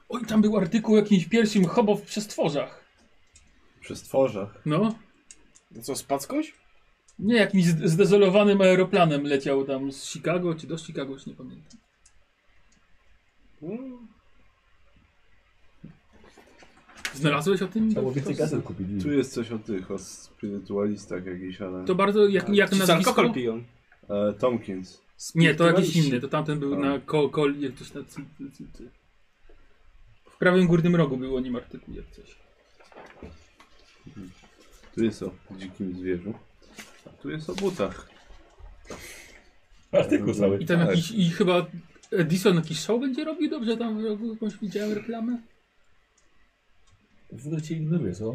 Speaker 9: Oj, tam był artykuł o jakimś pierwszym hobo w przestworzach.
Speaker 4: Przy stworzach.
Speaker 9: No.
Speaker 5: No co, z packąś?
Speaker 9: Nie, jakimś zd- zdezolowanym aeroplanem leciał tam z Chicago, czy do Chicago, już nie pamiętam.
Speaker 5: Mm.
Speaker 9: Znalazłeś o tym?
Speaker 2: Trzeba było więcej gazet kupić.
Speaker 4: Tu jest coś o tych, o spirytualistach jakichś, ale...
Speaker 9: To bardzo, jak, jak
Speaker 5: Ci z
Speaker 9: nazwisko?
Speaker 5: alkohol piją.
Speaker 4: E, Tomkins.
Speaker 9: Nie, to jakiś
Speaker 5: Spirytualiści.
Speaker 9: inny, to tamten był
Speaker 4: A.
Speaker 9: na ko, kol, jak coś na... cy- cy- cy- W prawym górnym rogu był o nim artykuł, jak coś.
Speaker 4: Tu jest o dzikim zwierzu. A tu jest o butach.
Speaker 2: Artykuł cały.
Speaker 9: I tam
Speaker 4: Tak.
Speaker 9: jakiś, i chyba Edison jakiś show będzie robił dobrze, tam w rogu jakąś widziałem reklamę.
Speaker 2: W ogóle cię ignoruje, co? On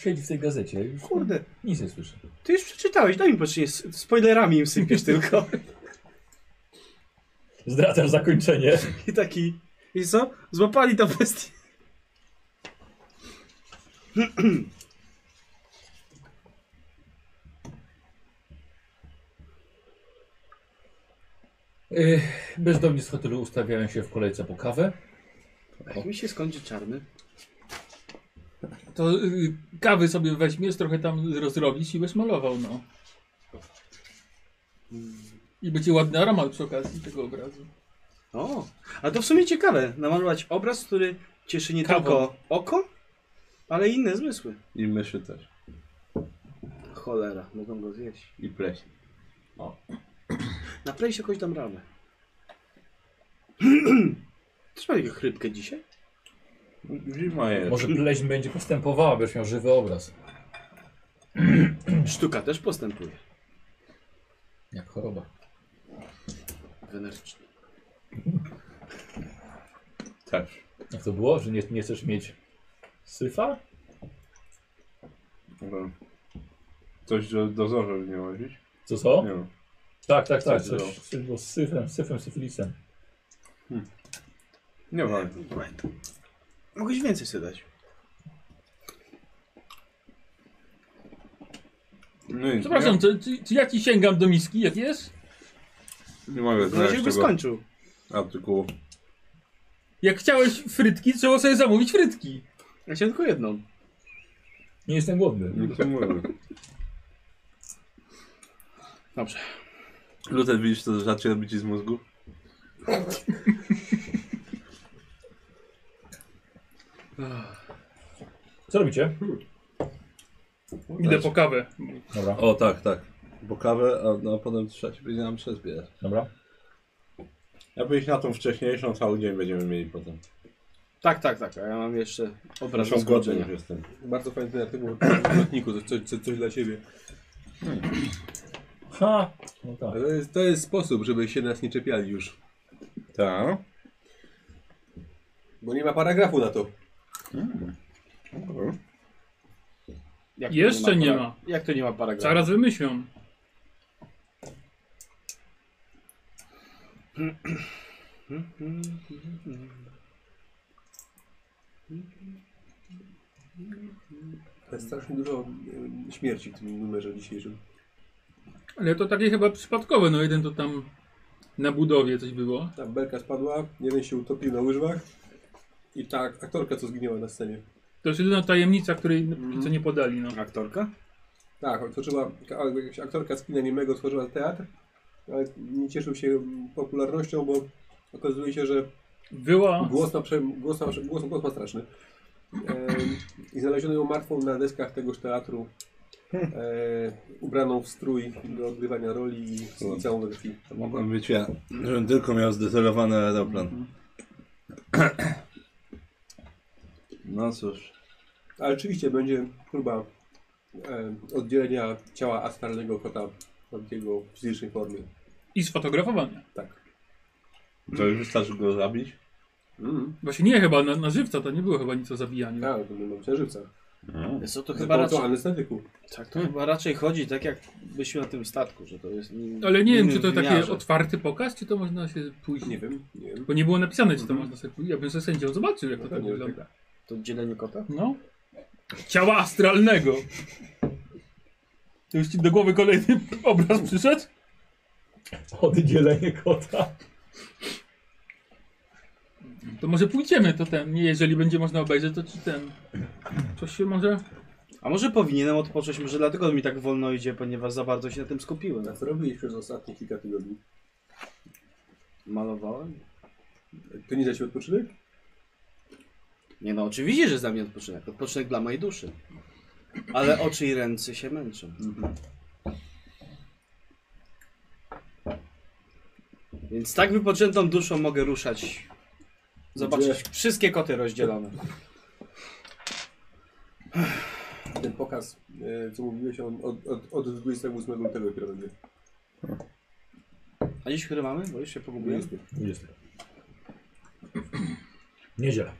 Speaker 2: siedzi w tej gazecie. Już
Speaker 5: Kurde,
Speaker 2: Nic nie słyszę.
Speaker 5: ty już przeczytałeś, daj mi patrzeć, s- spoilerami im sypiesz tylko.
Speaker 2: Zdradzasz zakończenie.
Speaker 5: I taki, i co? Złapali to bestię.
Speaker 2: E, bezdomni z hotelu ustawiają się w kolejce po kawę.
Speaker 5: Jak mi się skończy czarny?
Speaker 9: To y, kawy sobie weźmiesz, trochę tam rozrobisz i byś malował, no. I będzie ładny aromat przy okazji tego obrazu.
Speaker 5: O, a to w sumie ciekawe, namalować obraz, który cieszy nie
Speaker 9: Kawą.
Speaker 5: tylko oko, ale i inne zmysły.
Speaker 4: I myszy też.
Speaker 5: Cholera, mogą go zjeść.
Speaker 4: I pleśń.
Speaker 5: Na play się jakoś dam radę. Trzeba jego chrypkę dzisiaj?
Speaker 4: Zima jest.
Speaker 2: Może pleśń będzie postępowała, będziesz miał żywy obraz.
Speaker 5: Sztuka też postępuje.
Speaker 2: Jak choroba.
Speaker 5: Weneryczny.
Speaker 4: Też.
Speaker 2: Jak to było? Że nie, nie chcesz mieć syfa?
Speaker 4: Dobra. Coś do dozorze nie łazić?
Speaker 2: Co co?
Speaker 4: Nie wiem.
Speaker 2: Tak, tak, tak.
Speaker 4: Coś było.
Speaker 2: Coś, coś było z syfem, syfem, syfilisem.
Speaker 4: Nie warto.
Speaker 5: Mogłeś więcej sobie dać.
Speaker 4: No nic,
Speaker 9: Przepraszam, czy, czy, czy ja ci sięgam do miski, jak jest?
Speaker 4: Nie, nie mogę
Speaker 5: No się
Speaker 4: znaleźć
Speaker 5: by
Speaker 4: tego
Speaker 5: skończył.
Speaker 4: artykułu.
Speaker 9: Jak chciałeś frytki, trzeba sobie zamówić frytki.
Speaker 5: Ja chciałem tylko jedną.
Speaker 2: Nie jestem głodny.
Speaker 4: Nikt nie mówił.
Speaker 5: Dobrze.
Speaker 4: Luther, widzisz to zaczęcie robić z mózgu?
Speaker 2: Co robicie?
Speaker 9: Idę po kawę.
Speaker 2: Dobra,
Speaker 4: O tak, tak. Bo kawę, a, no, a potem trzeba się będzie nam przezbierać.
Speaker 2: dobra.
Speaker 4: Ja bym iść na tą wcześniejszą, cały dzień będziemy mieli potem.
Speaker 5: Tak, tak, tak. A ja mam jeszcze obraz do
Speaker 4: Zresztą głodny
Speaker 5: skończenia.
Speaker 4: już jestem.
Speaker 3: Bardzo fajny ten artykuł w lotniku, to coś, coś, coś dla ciebie.
Speaker 2: Ha! No tak.
Speaker 3: Ale To jest, to jest sposób, żeby się nas nie czepiali już.
Speaker 4: Tak.
Speaker 3: Bo nie ma paragrafu na to.
Speaker 4: Mhm.
Speaker 5: Jak
Speaker 9: Jeszcze nie ma.
Speaker 5: para- Jak to nie ma paragrafu?
Speaker 9: Zaraz wymyślą.
Speaker 3: Jest strasznie dużo e, śmierci w tym numerze dzisiejszym.
Speaker 9: Ale to takie chyba przypadkowe, no jeden to tam na budowie coś było.
Speaker 3: Ta belka spadła, jeden się utopił na łyżwach i ta aktorka, co zginęła na scenie.
Speaker 9: To jest jedyna tajemnica, której póki co nie podali, no.
Speaker 5: Aktorka?
Speaker 3: Tak, to trzeba, jakaś aktorka z kina niemego tworzyła teatr, ale nie cieszył się popularnością, bo okazuje się, że
Speaker 9: Była...
Speaker 3: głos ma, prze, głos ma, głos, głos ma straszny. E, I znaleziono ją martwą na deskach tegoż teatru, e, ubraną w strój do odgrywania roli i, i całą we krwi.
Speaker 4: To mogłem być ja, żebym tylko miał zdecelowany aeroplan. No cóż.
Speaker 3: Ale oczywiście będzie próba e, oddzielenia ciała astralnego kota od jego fizycznej formy.
Speaker 9: I sfotografowania.
Speaker 3: Tak.
Speaker 4: To już wystarczy go zabić?
Speaker 3: Mm.
Speaker 9: Właśnie nie chyba, na, na żywca to nie było chyba nic o zabijaniu.
Speaker 3: A, to mam ciężywca.
Speaker 5: Co to chyba
Speaker 3: Chyba to
Speaker 5: raczej...
Speaker 3: anestetyku.
Speaker 5: Tak, to chyba raczej chodzi tak jakbyśmy na tym statku, że to jest... in-
Speaker 9: Ale nie wiem,
Speaker 5: innym
Speaker 9: czy to taki
Speaker 5: wymiarze.
Speaker 9: otwarty pokaz, czy to można się później.
Speaker 3: Nie wiem, nie wiem.
Speaker 9: Bo nie było napisane, czy to można sobie pójść. Ja bym ze sędzią zobaczył, jak to
Speaker 3: No
Speaker 9: tak
Speaker 3: pewnie, że
Speaker 9: wygląda.
Speaker 5: To dzielenie kota?
Speaker 9: No. Ciała astralnego. To już ci do głowy kolejny obraz przyszedł?
Speaker 2: Oddzielenie kota.
Speaker 9: To może pójdziemy, to ten. Nie, jeżeli będzie można obejrzeć, to ci ten. Coś się może.
Speaker 5: A może powinienem odpocząć, może dlatego mi tak wolno idzie, ponieważ za bardzo się na tym skupiłem.
Speaker 3: Na co robiliście przez ostatnie kilka tygodni?
Speaker 5: Malowałem?
Speaker 3: To nie da się odpoczynek?
Speaker 5: Nie no, oczywiście, że za mnie odpoczynek. Odpoczynek dla mojej duszy. Ale oczy i ręce się męczą. Więc tak wypoczętą duszą mogę ruszać. Zobaczyć wszystkie koty rozdzielone.
Speaker 3: Ten pokaz, e, co mówiłeś, on od, od, od 28 lutego dopiero będzie.
Speaker 5: A dziś który mamy? Bo już się pogubiłem.
Speaker 3: 20.
Speaker 2: 20. Niedziela.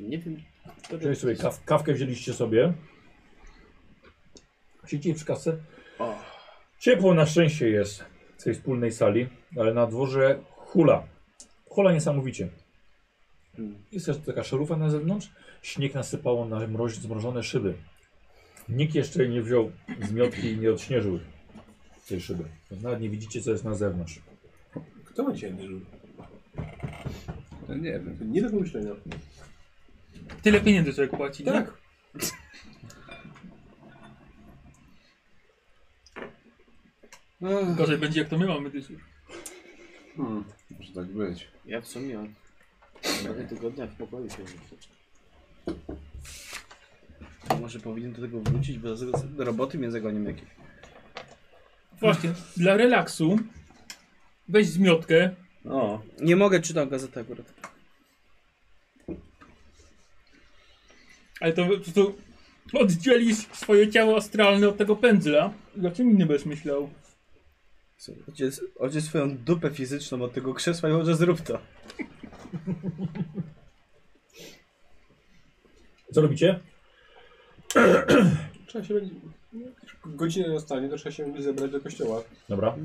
Speaker 5: Nie wiem.
Speaker 2: Wziąłeś sobie kaw, kawkę, wzięliście sobie. Siedzicie przy kasce.
Speaker 5: O.
Speaker 2: Ciepło na szczęście jest w tej wspólnej sali, ale na dworze hula. Hula niesamowicie.
Speaker 5: Hmm.
Speaker 2: Jest też taka szarufa na zewnątrz. Śnieg nasypało na mroź, zmrożone szyby. Nikt jeszcze nie wziął zmiotki i nie odśnieżył tej szyby. Nawet nie widzicie, co jest na zewnątrz.
Speaker 3: Kto ma dzisiaj dyżur?
Speaker 4: No nie wiem.
Speaker 3: To Nie do pomyślenia.
Speaker 9: Tyle pieniędzy człowiek płaci. nie?
Speaker 3: Tak.
Speaker 5: Ech,
Speaker 9: Gorzej będzie jak to my mamy dyszy.
Speaker 4: Hmm, może tak być.
Speaker 5: Ja w sumie od prawie tygodnia w pokoju siedzę. To Może powinien do tego wrócić, bo z- roboty mnie zagonią jakieś.
Speaker 9: Właśnie, dla relaksu weź zmiotkę.
Speaker 4: O,
Speaker 5: Nie mogę czytać gazety akurat.
Speaker 9: Ale to, to, to oddzielisz swoje ciało astralne od tego pędzla. I o czym innym będziesz myślał?
Speaker 5: Ojciec, ojciec swoją dupę fizyczną od tego krzesła i może zrób to.
Speaker 2: Co robicie?
Speaker 3: Trzeba się będzie... Godzinę zostanie, to trzeba się zebrać do kościoła.
Speaker 2: Dobra.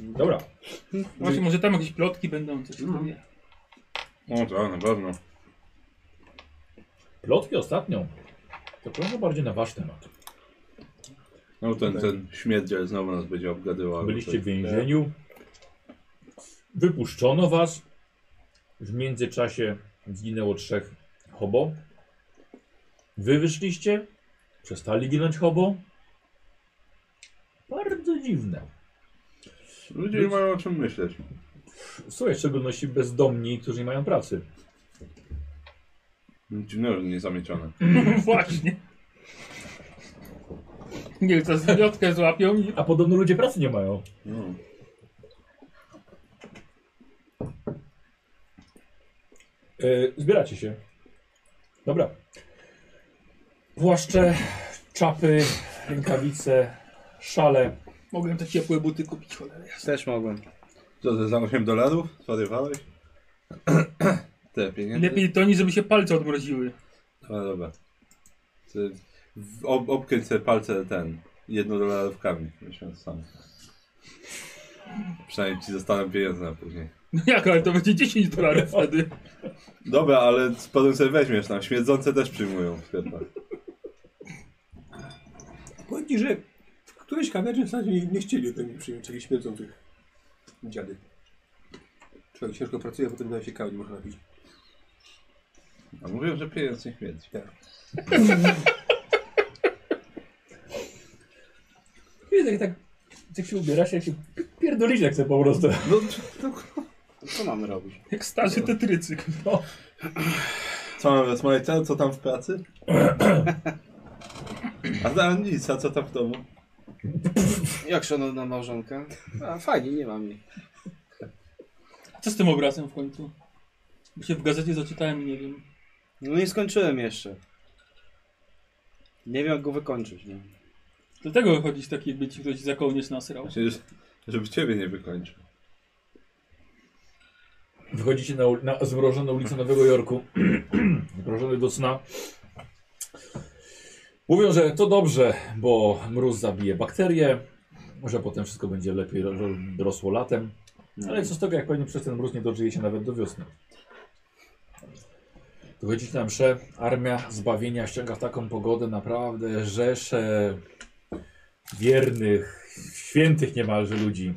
Speaker 2: Dobra.
Speaker 9: Właśnie, może tam jakieś plotki będą, coś tam wie.
Speaker 4: o tak, na pewno.
Speaker 2: Plotki ostatnią. To proszę bardziej na wasz temat.
Speaker 4: No ten, ten śmierdziel znowu nas będzie obgadywał.
Speaker 2: Byliście w więzieniu. Wypuszczono was. W międzyczasie zginęło trzech hobo. Wy wyszliście. Przestali ginąć hobo. Bardzo dziwne.
Speaker 4: Ludzie nie mają o czym myśleć.
Speaker 2: Słuchaj, w szczególności bezdomni, którzy nie mają pracy.
Speaker 4: Dziwne, że nie zamiecione.
Speaker 2: No.
Speaker 9: Właśnie. Nie, to zmiotkę złapią i...
Speaker 2: A podobno ludzie pracy nie mają.
Speaker 4: No.
Speaker 2: E, zbieracie się. Dobra. Płaszcze, czapy, rękawice, szale.
Speaker 9: Mogłem te ciepłe buty kupić, cholera jasna.
Speaker 5: Też mogłem.
Speaker 4: Co, to za 8 dolarów? Zwariowałeś? Te pieniądze?
Speaker 9: Lepiej to niż żeby się palce odmroziły.
Speaker 4: A, No dobra. Ty w- ob, obkręć sobie palce ten, jednodolarówkami, myśląc sam. Przynajmniej ci zostaną pieniądze na później.
Speaker 9: No jak, ale to będzie 10 dolarów wtedy.
Speaker 4: Dobra, ale z- potem sobie weźmiesz tam, śmierdzące też przyjmują w sklepach.
Speaker 3: Powiem ci, że w którejś kamerze w zasadzie nie, nie chcieli ode mnie przyjąć jakichś śmierdzących dziady. Człowiek ciężko pracuje, a potem nawet się kawa nie można napić.
Speaker 4: A mówią, że pieniądz nie śmierdzi.
Speaker 2: Widzę, jak tak jak się ubierasz, jak się pierdolisz jak sobie po prostu.
Speaker 4: No, to,
Speaker 5: To co mamy robić?
Speaker 9: Jak starzy tetrycyk.
Speaker 4: co mam rozmawiać, a co tam w pracy? A tam nic, a co tam w domu?
Speaker 5: Jak szanowna małżonka? A fajnie, nie mam jej.
Speaker 9: Co z tym obrazem w końcu? Bo się w gazecie zaczytałem i nie wiem.
Speaker 5: No nie skończyłem jeszcze. Nie wiem jak go wykończyć, nie?
Speaker 9: Dlatego wychodzisz taki, jakby ci ktoś za kołnierz nasrał.
Speaker 4: Właśnie, że- żeby ciebie nie wykończył.
Speaker 2: Wychodzicie na, ul- na zmrożoną ulicę Nowego Jorku, zmrożony do sna. Mówią, że to dobrze, bo mróz zabije bakterie, że potem wszystko będzie lepiej ro- ro- rosło latem. Ale co z tego, jak pewnie przez ten mróz nie dożyje się nawet do wiosny. Wychodzicie na mszę, armia zbawienia ściąga w taką pogodę naprawdę rzesze wiernych, świętych niemalże ludzi.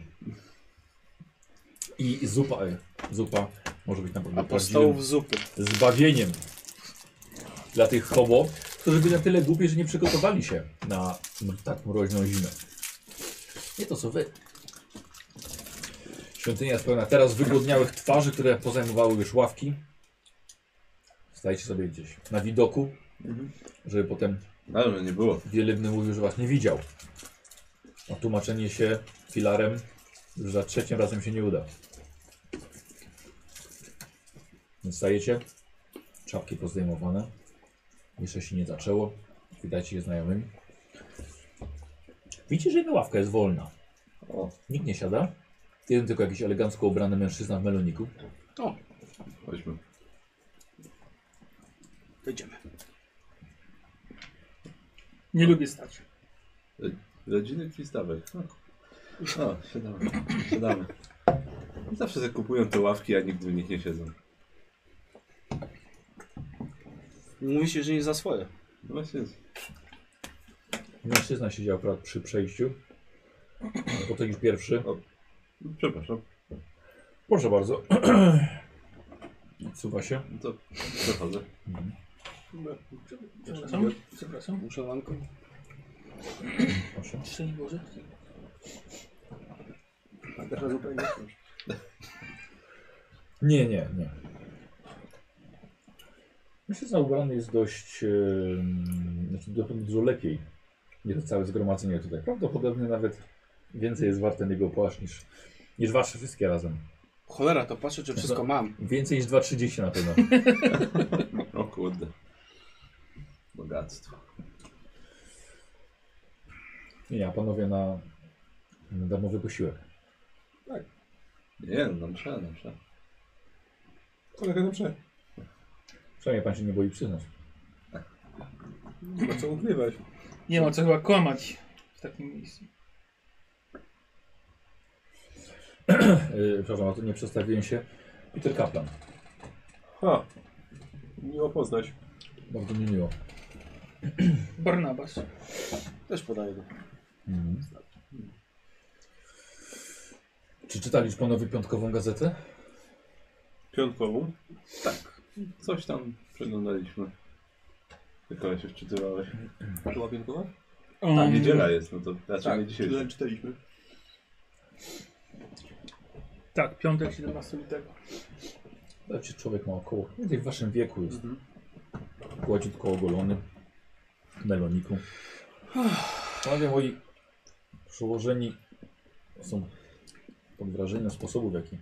Speaker 2: I zupa, e, zupa może być na pewno prawdziwym
Speaker 5: Apostołów zupy.
Speaker 2: zbawieniem dla tych hobo, którzy byli na tyle głupi, że nie przygotowali się na m- tak mroźną zimę. Nie to co wy. Świątynia jest pełna teraz wygodniałych twarzy, które pozajmowały już ławki. Stajcie sobie gdzieś na widoku, żeby potem
Speaker 4: No, że nie było.
Speaker 2: wielebny mówił, że was nie widział. A tłumaczenie się filarem już za trzecim razem się nie uda. Więc stajecie, czapki pozdejmowane, jeszcze się nie zaczęło, widać je znajomymi. Widzicie, że jedna ławka jest wolna.
Speaker 4: O.
Speaker 2: Nikt nie siada, jeden tylko jakiś elegancko ubrany mężczyzna w meloniku.
Speaker 4: Chodźmy.
Speaker 5: Wyjdziemy.
Speaker 9: Nie lubię stać.
Speaker 4: Rodziny Kristawek. No, no siadamy. siadamy. Zawsze sobie kupują te ławki, a nigdy w nich nie siedzą.
Speaker 5: Mówi się, że nie za swoje.
Speaker 4: No właśnie,
Speaker 2: Mężczyzna siedział akurat przy przejściu, potem już pierwszy.
Speaker 4: no, przepraszam,
Speaker 2: Proszę bardzo. Odsuwa się.
Speaker 4: no to przechodzę.
Speaker 9: Przepraszam. Przepraszam.
Speaker 5: Muszę lanką.
Speaker 2: Proszę.
Speaker 9: Szczęść Boże.
Speaker 3: Pantera zupełnie.
Speaker 2: Nie, nie, nie. Mężczyzna ubrany jest dość, em, znaczy do- dużo lepiej niż to całe zgromadzenie tutaj. Prawdopodobnie nawet więcej jest warte jego płaszcz niż, niż wasze wszystkie razem.
Speaker 5: Cholera, to patrzę, czy wszystko mam.
Speaker 2: Więcej niż 2,30 na pewno.
Speaker 4: O kurde. Bogactwo.
Speaker 2: Nie, a panowie na, na darmowy posiłek.
Speaker 4: Nie, no mszę, no mszę.
Speaker 3: Kolega dobrze.
Speaker 2: Przynajmniej pan się nie boi przyznać.
Speaker 3: Nie ma co ukrywać.
Speaker 9: Nie ma co chyba kłamać w takim miejscu.
Speaker 2: Yy, przepraszam, a to nie przedstawiłem się. Peter Kaplan.
Speaker 3: Ha. Miło poznać.
Speaker 2: Bardzo mi miło.
Speaker 9: Barnabas.
Speaker 5: Też podaję go.
Speaker 2: Mhm. Czy czytali już panowie piątkową gazetę?
Speaker 4: Piątkową? Tak. Coś tam przeglądaliśmy. Tylko się wczytywałeś.
Speaker 3: Była piętkowa?
Speaker 4: A,
Speaker 9: Um,
Speaker 4: niedziela jest, no to raczej nie
Speaker 3: Mm. Tak,
Speaker 4: dzisiaj.
Speaker 3: czyta- Tak, czytaliśmy.
Speaker 9: Tak, piątek 17 lutego.
Speaker 2: Znaczy człowiek ma około, mniej więcej w waszym wieku jest. Gładziutko ogolony, w meloniku. Panowie moi przełożeni są pod wrażeniem sposobu, w jaki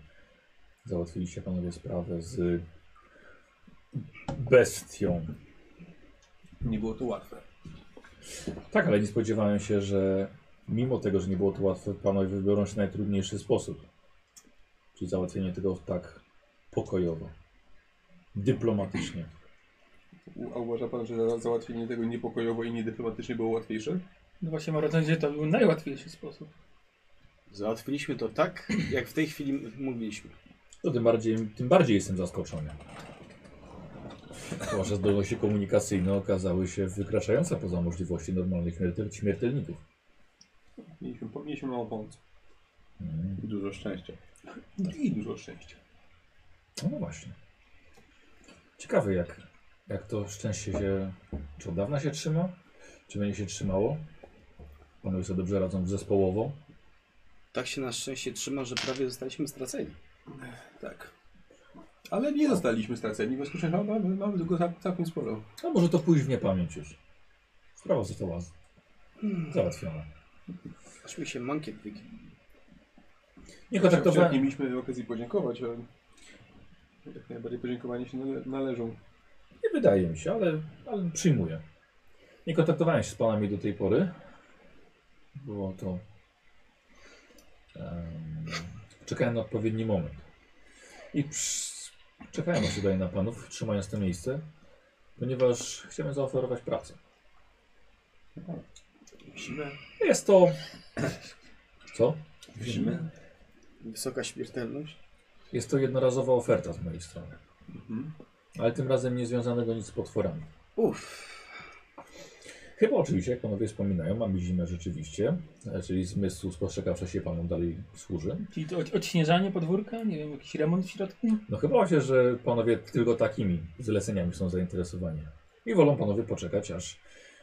Speaker 2: załatwiliście panowie sprawę z bestią.
Speaker 3: Nie było to łatwe.
Speaker 2: Tak, ale nie spodziewałem się, że mimo tego, że nie było to łatwe, panowie wybiorą się najtrudniejszy sposób. Czyli załatwienie tego tak pokojowo, dyplomatycznie.
Speaker 3: U- A uważa pan, że za- załatwienie tego niepokojowo i niedyplomatycznie było łatwiejsze?
Speaker 9: No właśnie, Marodzendzie to był najłatwiejszy sposób.
Speaker 5: Załatwiliśmy to tak, jak w tej chwili mówiliśmy.
Speaker 2: To tym bardziej, tym bardziej jestem zaskoczony. Wasze zdolności komunikacyjne okazały się wykraczające poza możliwości normalnych śmiertel śmiertelników.
Speaker 3: Mieliśmy, mieliśmy mało pomocy.
Speaker 2: Mm.
Speaker 4: I dużo szczęścia.
Speaker 3: I dużo szczęścia.
Speaker 2: No, no właśnie. Ciekawe jak, jak to szczęście się, czy od dawna się trzyma, czy będzie się trzymało. Panowie sobie dobrze radzą zespołowo.
Speaker 5: Tak się na szczęście trzyma, że prawie zostaliśmy straceni.
Speaker 3: Tak. Ale nie zostaliśmy straceni, w związku z czym mamy, mamy tylko cał- całkiem sporo.
Speaker 2: A może to pójść w niepamięć już. Sprawa została z- załatwiona.
Speaker 5: Aż mi się mankiet wygiął.
Speaker 2: Nie
Speaker 3: Wczoraj
Speaker 2: kontaktowałem,
Speaker 3: Nie mieliśmy okazji podziękować, ale jak najbardziej podziękowanie się nale- należą.
Speaker 2: Nie wydaje mi się, ale, ale przyjmuję. Nie kontaktowałem się z panami do tej pory. Było to. em, czekałem na odpowiedni moment. I przy, czekałem aż tutaj na panów, trzymając to miejsce, ponieważ chciałem zaoferować pracę.
Speaker 5: Zimę.
Speaker 2: Jest to. Co?
Speaker 4: Zimę?
Speaker 5: Wysoka śmiertelność.
Speaker 2: Jest to jednorazowa oferta z mojej strony. Ale tym razem nie związanego nic z potworami.
Speaker 5: Uff.
Speaker 2: Chyba oczywiście, jak panowie wspominają, mamy zimę rzeczywiście, e, czyli zmysł spostrzegawczy się panu dalej służy.
Speaker 9: Czyli to od- odśnieżanie podwórka, nie wiem, jakiś remont w środku?
Speaker 2: No chyba się, że panowie tylko takimi zleceniami są zainteresowani. I wolą panowie poczekać, aż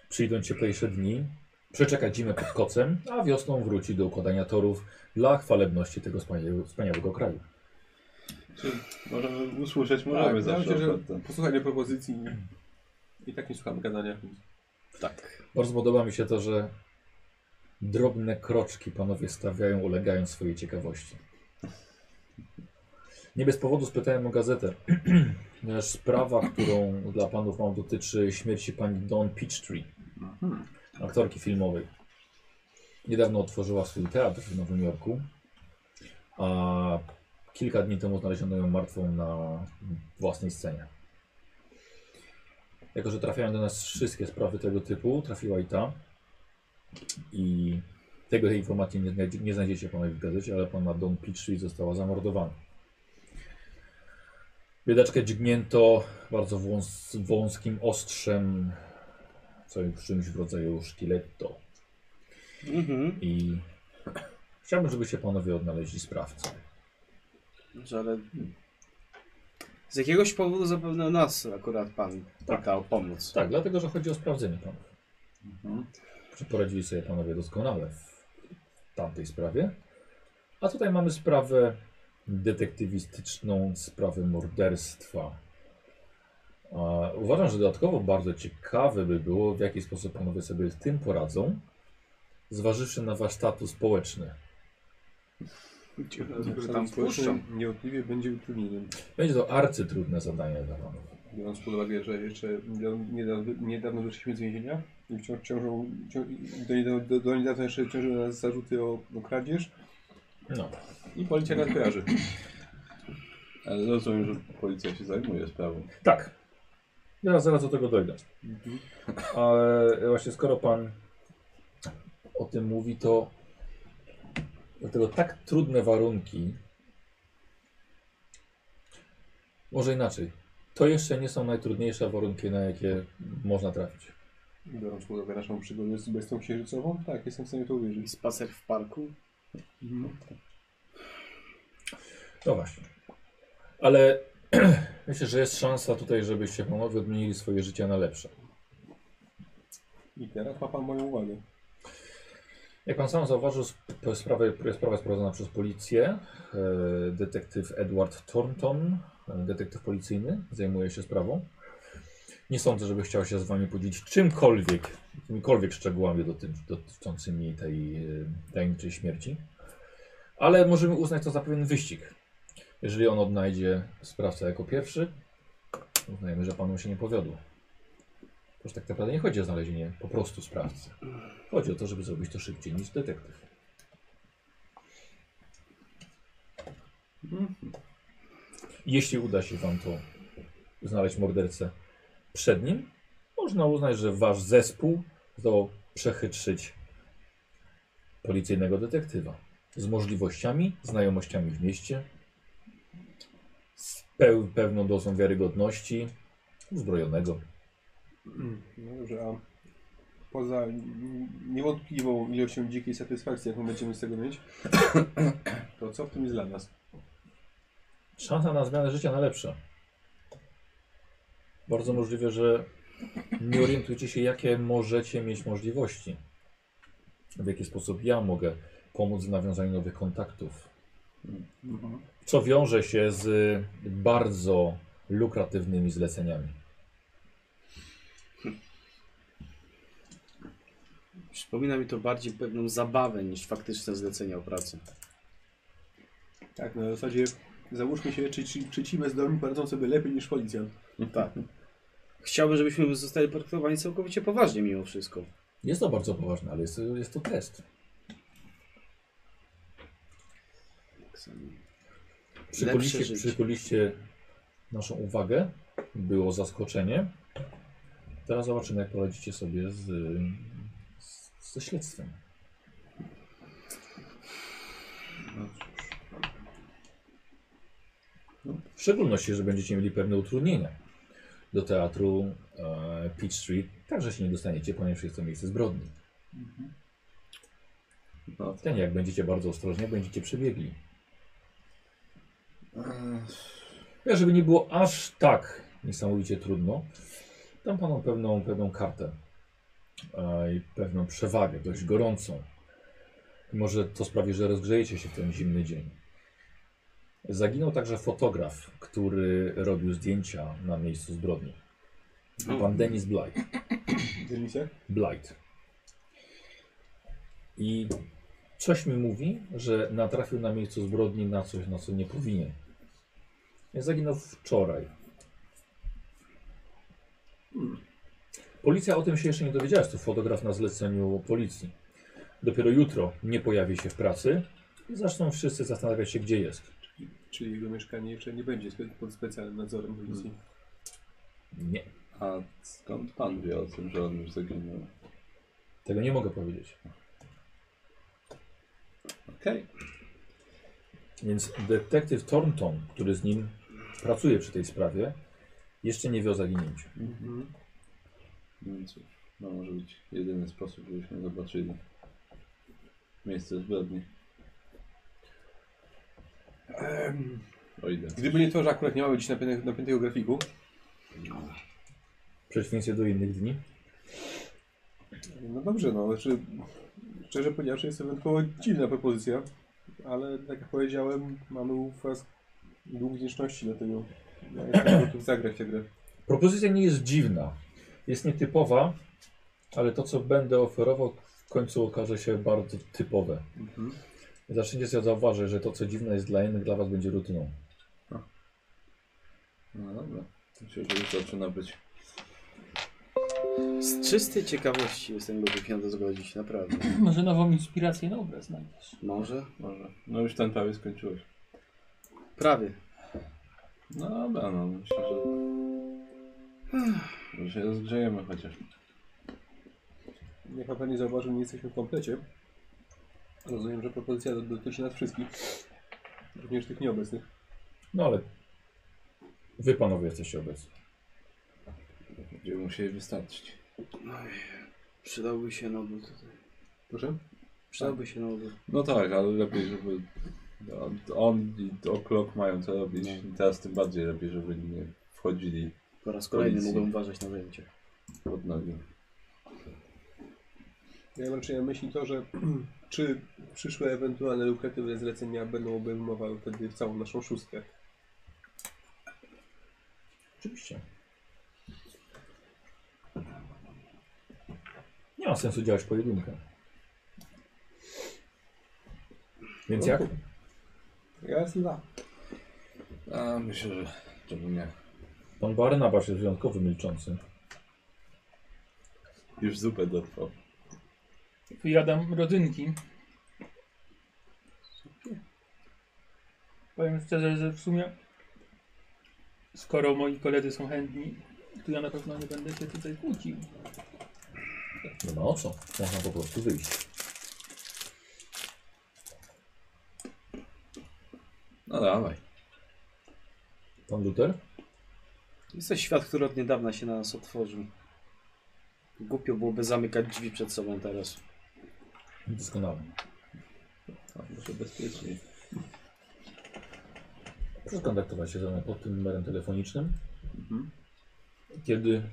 Speaker 2: przyjdą cieplejsze dni, przeczekać zimę pod kocem, a wiosną wróci do układania torów dla chwalebności tego wspaniałego, wspaniałego kraju.
Speaker 4: Czy możemy usłyszeć, możemy
Speaker 3: Tak,
Speaker 4: zawsze
Speaker 3: myślę, że-
Speaker 4: ofertę.
Speaker 3: Posłuchanie propozycji i tak nie słuchamy gadania. więc
Speaker 5: Tak.
Speaker 2: Bardzo podoba mi się to, że drobne kroczki panowie stawiają, ulegając swojej ciekawości. Nie bez powodu spytałem o gazetę, ponieważ sprawa, którą dla panów mam, dotyczy śmierci pani Dawn Peachtree, aktorki filmowej. Niedawno otworzyła swój teatr w Nowym Jorku, a kilka dni temu znaleziono ją martwą na własnej scenie. Jako, że trafiają do nas wszystkie sprawy tego typu, trafiła i ta. I tego tej informacji nie, znajdzie- nie znajdziecie panowie w gazecie, ale panna Don Peachtree została zamordowana. Biedaczkę dźgnięto bardzo wąs wąskim ostrzem, co czymś w rodzaju szkiletto.
Speaker 5: Mhm.
Speaker 2: I chciałbym, żebyście panowie odnaleźli sprawcę.
Speaker 5: Że Ale z jakiegoś powodu zapewne nas akurat pan pytał o pomoc.
Speaker 2: Tak, dlatego, że chodzi o sprawdzenie panów. Czy poradzili sobie panowie doskonale w tamtej sprawie. A tutaj mamy sprawę detektywistyczną, sprawę morderstwa. A uważam, że dodatkowo bardzo ciekawe by było, w jaki sposób panowie sobie z tym poradzą, zważywszy na wasz status społeczny.
Speaker 5: Tak. Że tam puszczą.
Speaker 3: Niewątpliwie będzie utrudnieniem.
Speaker 2: Będzie to arcytrudne zadanie dla panów.
Speaker 3: Biorąc pod uwagę, że jeszcze niedawno- niedawno, niedawno wyszliśmy z więzienia i wciąż ciążą, cią, do, niedawna- do, do niedawna jeszcze ciążyły na nas zarzuty o, o kradzież
Speaker 2: No.
Speaker 3: i policja nas kojarzy.
Speaker 4: Ale rozumiem, że policja się zajmuje sprawą.
Speaker 2: Tak. Ja zaraz do tego dojdę.
Speaker 3: Mhm.
Speaker 2: Ale właśnie skoro pan o tym mówi, to dlatego tak trudne warunki. Może inaczej. To jeszcze nie są najtrudniejsze warunki, na jakie można trafić.
Speaker 3: Biorąc pod uwagę naszą przygodę z bestią księżycową, tak, jestem w stanie to uwierzyć.
Speaker 5: Spacer w parku.
Speaker 2: No właśnie. Ale myślę, że jest szansa tutaj, żebyście panowie odmienili swoje życie na lepsze.
Speaker 3: I teraz ma pan moją uwagę.
Speaker 2: Jak pan sam zauważył, sp- sprawę, sprawa jest prowadzona przez policję. E, Detektyw Edward Thornton, e, detektyw policyjny, zajmuje się sprawą. Nie sądzę, żeby chciał się z wami podzielić czymkolwiek, jakimikolwiek szczegółami doty- dotyczącymi tej e, tajemniczej śmierci. Ale możemy uznać to za pewien wyścig. Jeżeli on odnajdzie sprawcę jako pierwszy, uznajemy, że panu się nie powiodło. Toż tak naprawdę nie chodzi o znalezienie po prostu sprawcy. Chodzi o to, żeby zrobić to szybciej niż detektyw. Jeśli uda się Wam to znaleźć mordercę przed nim, można uznać, że Wasz zespół zdołał przechytrzyć policyjnego detektywa z możliwościami, znajomościami w mieście, z peł- pewną dozą wiarygodności, uzbrojonego.
Speaker 3: No dobrze, a poza n- niewątpliwą ilością dzikiej satysfakcji, jaką będziemy z tego mieć, to co w tym jest dla nas?
Speaker 2: Szansa na zmianę życia na lepsze. Bardzo możliwe, że nie orientujecie się, jakie możecie mieć możliwości. W jaki sposób ja mogę pomóc w nawiązaniu nowych kontaktów. Co wiąże się z bardzo lukratywnymi zleceniami.
Speaker 5: Przypomina mi to bardziej pewną zabawę niż faktyczne zlecenie o pracę.
Speaker 3: Tak, na zasadzie załóżmy się, czy, czy, czy ci bezdomni poradzą sobie lepiej niż policjant.
Speaker 5: Tak. Chciałbym, żebyśmy zostali traktowani całkowicie poważnie mimo wszystko.
Speaker 2: Jest to bardzo poważne, ale jest, jest to test. Przykuliście,
Speaker 5: Tak życie.
Speaker 2: przykuliście naszą uwagę. Było zaskoczenie. Teraz zobaczymy, jak poradzicie sobie z, z, ze śledztwem. No, W szczególności, że będziecie mieli pewne utrudnienia. Do teatru e, Peach Street także się nie dostaniecie, ponieważ jest to miejsce zbrodni.
Speaker 4: No,
Speaker 2: Ten, jak będziecie bardzo ostrożnie, będziecie przebiegli. Ja, żeby nie było aż tak niesamowicie trudno, dam panu pewną, pewną kartę e, i pewną przewagę, dość gorącą. Może to sprawi, że rozgrzejecie się w ten zimny dzień. Zaginął także fotograf, który robił zdjęcia na miejscu zbrodni. Pan Denis Blight.
Speaker 3: Dzielnice?
Speaker 2: Blight. I coś mi mówi, że natrafił na miejscu zbrodni na coś, na co nie powinien. Ja zaginął wczoraj. Policja o tym się jeszcze nie dowiedziała, jest to fotograf na zleceniu policji. Dopiero jutro nie pojawi się w pracy i zaczną wszyscy zastanawiać się, gdzie jest.
Speaker 3: Czyli jego mieszkanie jeszcze nie będzie spe- pod specjalnym nadzorem policji.
Speaker 2: Nie,
Speaker 4: A skąd pan wie o tym, że on już zaginął?
Speaker 2: tego nie mogę powiedzieć.
Speaker 4: Okej.
Speaker 2: Więc detektyw Thornton, który z nim pracuje przy tej sprawie, jeszcze nie wie o zaginięciu.
Speaker 4: No i cóż, to może być jedyny sposób, żebyśmy zobaczyli miejsce zbrodni. O ile.
Speaker 3: Gdyby nie to, że akurat nie mamy dziś napię- napiętego grafiku,
Speaker 2: przeciwieństwie do innych dni.
Speaker 3: no dobrze, no, czy Szczerze powiedziawszy, jest ewentualnie dziwna propozycja, ale tak jak powiedziałem, mamy u was dług wdzięczności do tego. Ja jestem gotów zagrać tę grę.
Speaker 2: Propozycja nie jest dziwna. Jest nietypowa, ale to, co będę oferował, w końcu okaże się bardzo typowe. Zaczniecie sobie zauważyć, że to, co dziwne jest dla innych, dla was będzie rutyną.
Speaker 4: No dobra. To się już zaczyna być.
Speaker 5: Z czystej ciekawości jestem gotów się na to zgodzić, naprawdę.
Speaker 9: Może nową inspirację na obraz znajdziesz.
Speaker 5: Może?
Speaker 4: Może. No już ten prawie skończyłeś.
Speaker 5: Prawie.
Speaker 4: No dobra, no myślę, że... Że się rozgrzejemy chociaż.
Speaker 3: Jak pan nie zauważył, nie jesteśmy w komplecie. Rozumiem, że propozycja do- dotyczy nas wszystkich. Również tych nieobecnych.
Speaker 2: No ale wy panowie jesteście obecni.
Speaker 4: Będziemy musieli wystarczyć.
Speaker 5: Oj, przydałby się nowy tutaj.
Speaker 3: Proszę?
Speaker 5: Przydałby się nowy.
Speaker 4: No tak, ale lepiej, żeby... On, on i O'Clock mają co robić. I teraz tym bardziej lepiej, żeby nie wchodzili
Speaker 5: Po raz kolejny
Speaker 4: Policji.
Speaker 5: mogłem uważać na zajęcie.
Speaker 4: pod nogi.
Speaker 3: Ja mam raczej na myśli to, że czy przyszłe ewentualne lukratywne zlecenia będą obejmowały wtedy całą naszą szóstkę.
Speaker 2: Oczywiście. Nie ma sensu działać pojedynkę. Więc jak?
Speaker 3: Ja jestem za.
Speaker 4: A myślę, że czemu nie.
Speaker 2: Pan Barnabasz jest wyjątkowo milczący.
Speaker 4: Już zupę dotrwał.
Speaker 9: Wyjadam rodzynki. Powiem szczerze, że w sumie skoro moi koledzy są chętni, to ja na pewno nie będę się tutaj kłócił.
Speaker 2: Nie ma o co. Można po prostu wyjść.
Speaker 4: No dawaj.
Speaker 2: Pan Luther?
Speaker 5: Jest to świat, który od niedawna się na nas otworzył. Głupio byłoby zamykać drzwi przed sobą teraz.
Speaker 2: Doskonale.
Speaker 4: A, może bezpieczniej.
Speaker 2: Proszę kontaktować się ze mną pod tym numerem telefonicznym. Kiedy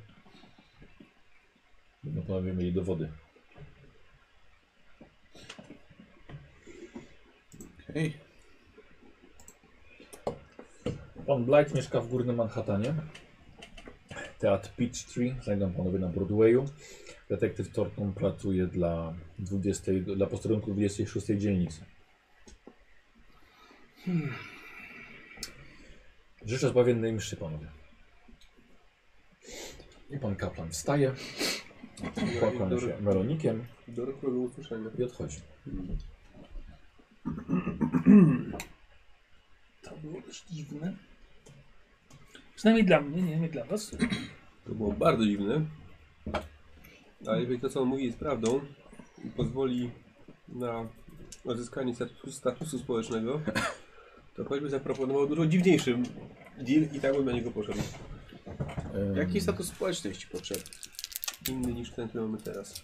Speaker 2: będą panowie mieli dowody.
Speaker 4: Okej.
Speaker 2: Pan Blight mieszka w górnym Manhattanie. Teatr Peachtree znajdą panowie na Broadwayu. Detektyw Thornton pracuje dla, 20, dla posterunku 26 dzielnicy. Hmm. Życzę zbawiennej mszy panowie. I pan kaplan wstaje, kłania się Weronikiem
Speaker 3: Do rokowe usłyszenia.
Speaker 2: i odchodzi.
Speaker 9: To było też dziwne. Przynajmniej dla mnie, nie wiem jak dla was.
Speaker 3: To było bardzo dziwne. Ale jeżeli to, co on mówi, jest prawdą i pozwoli na odzyskanie statusu, statusu społecznego, to choćby zaproponował dużo dziwniejszy deal i tak bym na niego poszedł.
Speaker 2: Ym,
Speaker 5: Jaki status społeczny jest ci potrzebny?
Speaker 3: Inny niż ten, który mamy teraz.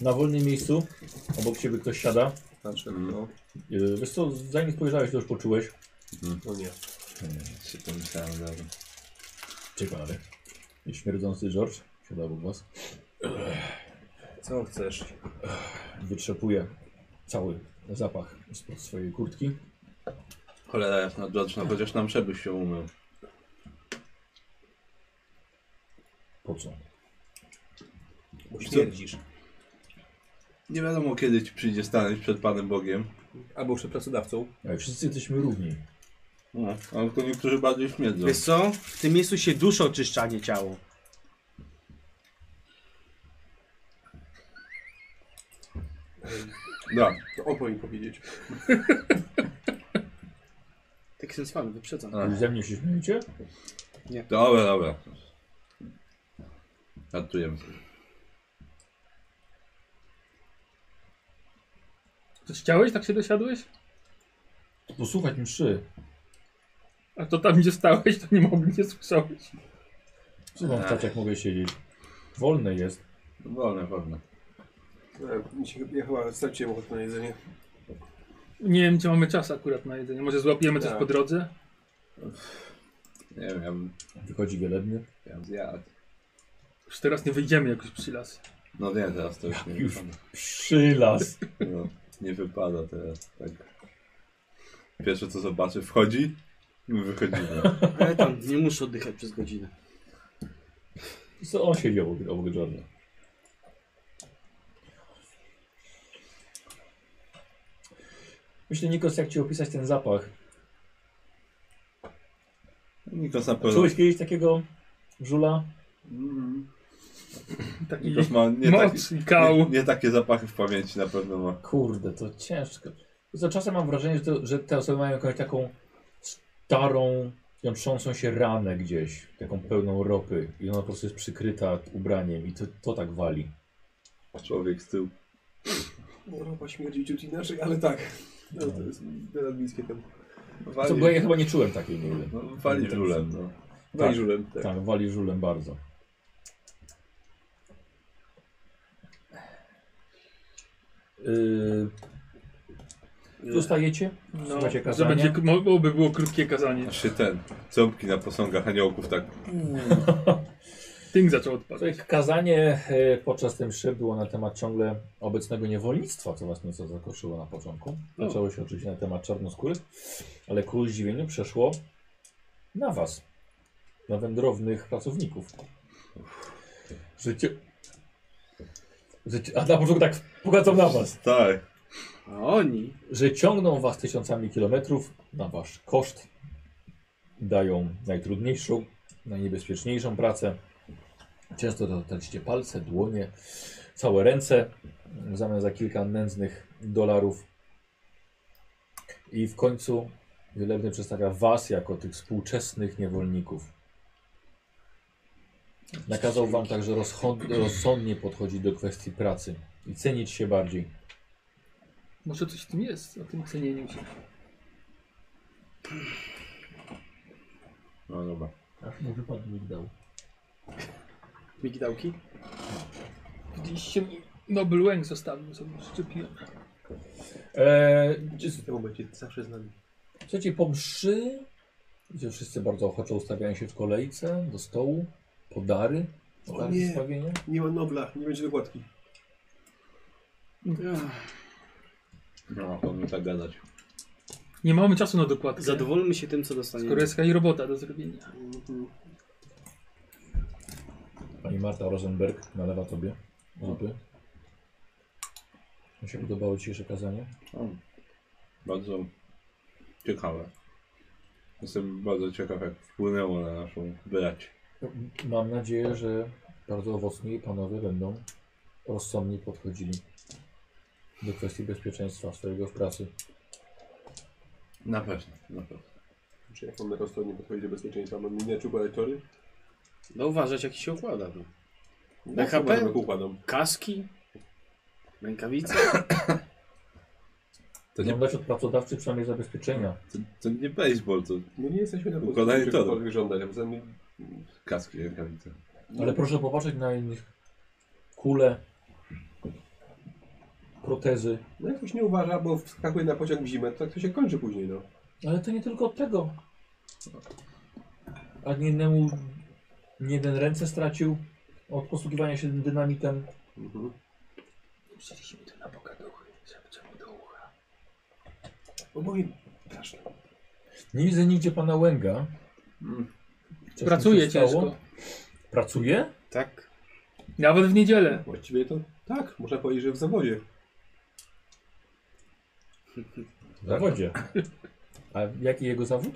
Speaker 2: Na wolnym miejscu obok ciebie ktoś siada.
Speaker 3: Patrzę, no,
Speaker 2: Yy, Wiesz co, zanim spojrzałeś, to już poczułeś.
Speaker 3: no nie.
Speaker 4: Się pomyślałem zaraz.
Speaker 2: Ciekawe. I śmierdzący George siada obok was.
Speaker 3: Co chcesz?
Speaker 2: Wytrzepuje cały zapach spod swojej kurtki.
Speaker 4: Cholera jasna, George, no chociaż nam przebyś się umył.
Speaker 2: Po co?
Speaker 3: Bo
Speaker 4: Co?
Speaker 3: śmierdzisz.
Speaker 4: Nie wiadomo kiedy ci przyjdzie stanąć przed Panem Bogiem.
Speaker 3: Albo przed pracodawcą.
Speaker 2: Ale wszyscy jesteśmy równi.
Speaker 4: No, ale tylko niektórzy bardziej śmierdzą.
Speaker 5: Wiesz co? W tym miejscu się dusza oczyszcza, a nie ciało.
Speaker 4: No,
Speaker 3: To obo im powiedzieć.
Speaker 5: Tak sensualny, wyprzedzam.
Speaker 4: A.
Speaker 2: Ze mnie się śmiejecie?
Speaker 4: dobra, dobra. Ratujemy.
Speaker 9: Coś chciałeś, tak się dosiadłeś?
Speaker 2: Posłuchać mszy.
Speaker 9: A to tam gdzie stałeś, to nie mogłem, nie słyszałeś.
Speaker 2: Co wam stać, jak mogę siedzieć? Wolne jest.
Speaker 4: No, Wolne, wolne.
Speaker 3: E, mi się- Ja chyba straciłem ochotę na jedzenie.
Speaker 9: Nie wiem, czy mamy czas akurat na jedzenie. Może złapiemy coś
Speaker 3: Tak.
Speaker 9: po drodze?
Speaker 4: Nie wiem, ja bym,
Speaker 2: Wychodzi wielebny.
Speaker 4: ja bym zjadł.
Speaker 9: Już teraz nie wyjdziemy jakoś przy las.
Speaker 4: No nie, teraz to już nie
Speaker 2: Już.
Speaker 4: wypada.
Speaker 2: Przylas.
Speaker 4: No, nie wypada teraz, tak. Pierwsze co zobaczy, wchodzi i wychodzimy.
Speaker 5: Ale tam nie muszę oddychać przez godzinę.
Speaker 2: Co on siedzi obok, obok Jordana. Myślę, Nikos, jak ci opisać ten zapach.
Speaker 4: Nikos na pewno.
Speaker 2: Czułeś kiedyś takiego żula?
Speaker 9: Taki
Speaker 4: Nikos ma nie, taki,
Speaker 9: moc i
Speaker 4: nie,
Speaker 9: kał.
Speaker 4: nie takie zapachy w pamięci na pewno ma.
Speaker 2: Kurde, to ciężko. Za czasem mam wrażenie, że, to, że te osoby mają jakąś taką starą, jątrzącą się ranę gdzieś, taką pełną ropy i ona po prostu jest przykryta ubraniem i to, to tak wali.
Speaker 4: Człowiek z tyłu.
Speaker 3: No, ropa śmierdzi ciut inaczej, ale tak. No, to jest teraz bliskie temu.
Speaker 2: Co,
Speaker 4: Wali,
Speaker 2: bo ja chyba nie czułem takiej nigdy.
Speaker 4: no, wali żulem, no.
Speaker 3: Wali żulem, tak.
Speaker 2: Tak, wali żulem bardzo. Yy, zostajecie?
Speaker 9: No,
Speaker 2: Słuchajcie
Speaker 9: że
Speaker 2: kazania?
Speaker 9: będzie, mogłoby było krótkie kazanie.
Speaker 4: Aż się ten, ząbki na posągach aniołków tak.
Speaker 9: Ting zaczął odpadać.
Speaker 2: Słuchaj, Kazanie e, podczas tej mszy było na temat ciągle obecnego niewolnictwa, co was nieco zakończyło na początku. Zaczęło się oczywiście na temat czarnoskórych, ale ku zdziwieniu przeszło na was, na wędrownych pracowników. Życie... Życie... A na początku tak pokazał na was,
Speaker 4: Tak.
Speaker 5: A oni
Speaker 2: że ciągną was tysiącami kilometrów na wasz koszt, dają najtrudniejszą, najniebezpieczniejszą pracę. Często dotarliście palce, dłonie, całe ręce w zamian za kilka nędznych dolarów. I w końcu Wielebny przedstawia was jako tych współczesnych niewolników. Nakazał wam także rozchod- rozsądnie podchodzić do kwestii pracy i cenić się bardziej.
Speaker 9: Może coś w tym jest, o tym cenieniu się.
Speaker 4: No dobra.
Speaker 2: Aż mu wypadł migdał.
Speaker 5: migdałki.
Speaker 9: Widzieliście, Nobel Łęk zostawił sobie, szczepiłem.
Speaker 2: Eee,
Speaker 3: W tym momencie zawsze z nami.
Speaker 2: Słuchajcie, po mszy, gdzie wszyscy bardzo ochoczo ustawiają się w kolejce do stołu, podary, podary
Speaker 3: nie.
Speaker 2: do stawienia.
Speaker 3: Nie ma nobla, nie będzie dokładki.
Speaker 5: Hmm.
Speaker 4: No, on mi tak gadać.
Speaker 9: Nie mamy czasu na dokładkę.
Speaker 5: Zadowolmy się tym, co dostaniemy.
Speaker 9: Skoro jest jakaś robota do zrobienia.
Speaker 3: Mhm.
Speaker 2: Pani Marta Rosenberg nalewa tobie zupy. Mi się podobało dzisiejsze kazanie.
Speaker 4: O, bardzo ciekawe. Jestem bardzo ciekaw, jak wpłynęło na naszą brać.
Speaker 2: Mam nadzieję, że bardzo owocni panowie będą rozsądnie podchodzili do kwestii bezpieczeństwa swojego w pracy.
Speaker 4: Na pewno, na pewno.
Speaker 3: Czy jak mamy rozsądnie podchodzić do bezpieczeństwa? Mamy nie czy układać tory?
Speaker 5: No uważać, jak się układa. No.
Speaker 3: No,
Speaker 5: Na HP?
Speaker 3: chyba, że układam.
Speaker 5: Kaski, rękawice.
Speaker 4: To nie,
Speaker 2: Żądać od pracodawcy przynajmniej zabezpieczenia.
Speaker 4: to, to nie baseball, to
Speaker 3: No nie jesteśmy na
Speaker 4: Układanie
Speaker 3: pozycji,
Speaker 4: toru.
Speaker 3: cokolwiek żądać, a poza tym...
Speaker 4: kaski, rękawice.
Speaker 2: Ale proszę popatrzeć na innych. Kule, protezy.
Speaker 3: No jak ktoś nie uważa, bo wskakuje na pociąg w zimę, to tak to się kończy później, no.
Speaker 2: Ale to nie tylko od tego. A nie innemu nie jeden ręce stracił od posługiwania się dynamitem.
Speaker 3: Mhm.
Speaker 9: Wzięliśmy to na pogaduchy, szepczemy do ucha.
Speaker 3: Oboje straszne.
Speaker 2: Nie widzę nigdzie pana Łęga.
Speaker 4: Mm.
Speaker 2: Coś mu
Speaker 9: Pracuje
Speaker 2: się stało?
Speaker 9: ciężko.
Speaker 2: Pracuje?
Speaker 5: Tak.
Speaker 9: Nawet w niedzielę.
Speaker 3: Właściwie to tak, można powiedzieć, że w zawodzie.
Speaker 2: W zawodzie. A jaki jego zawód?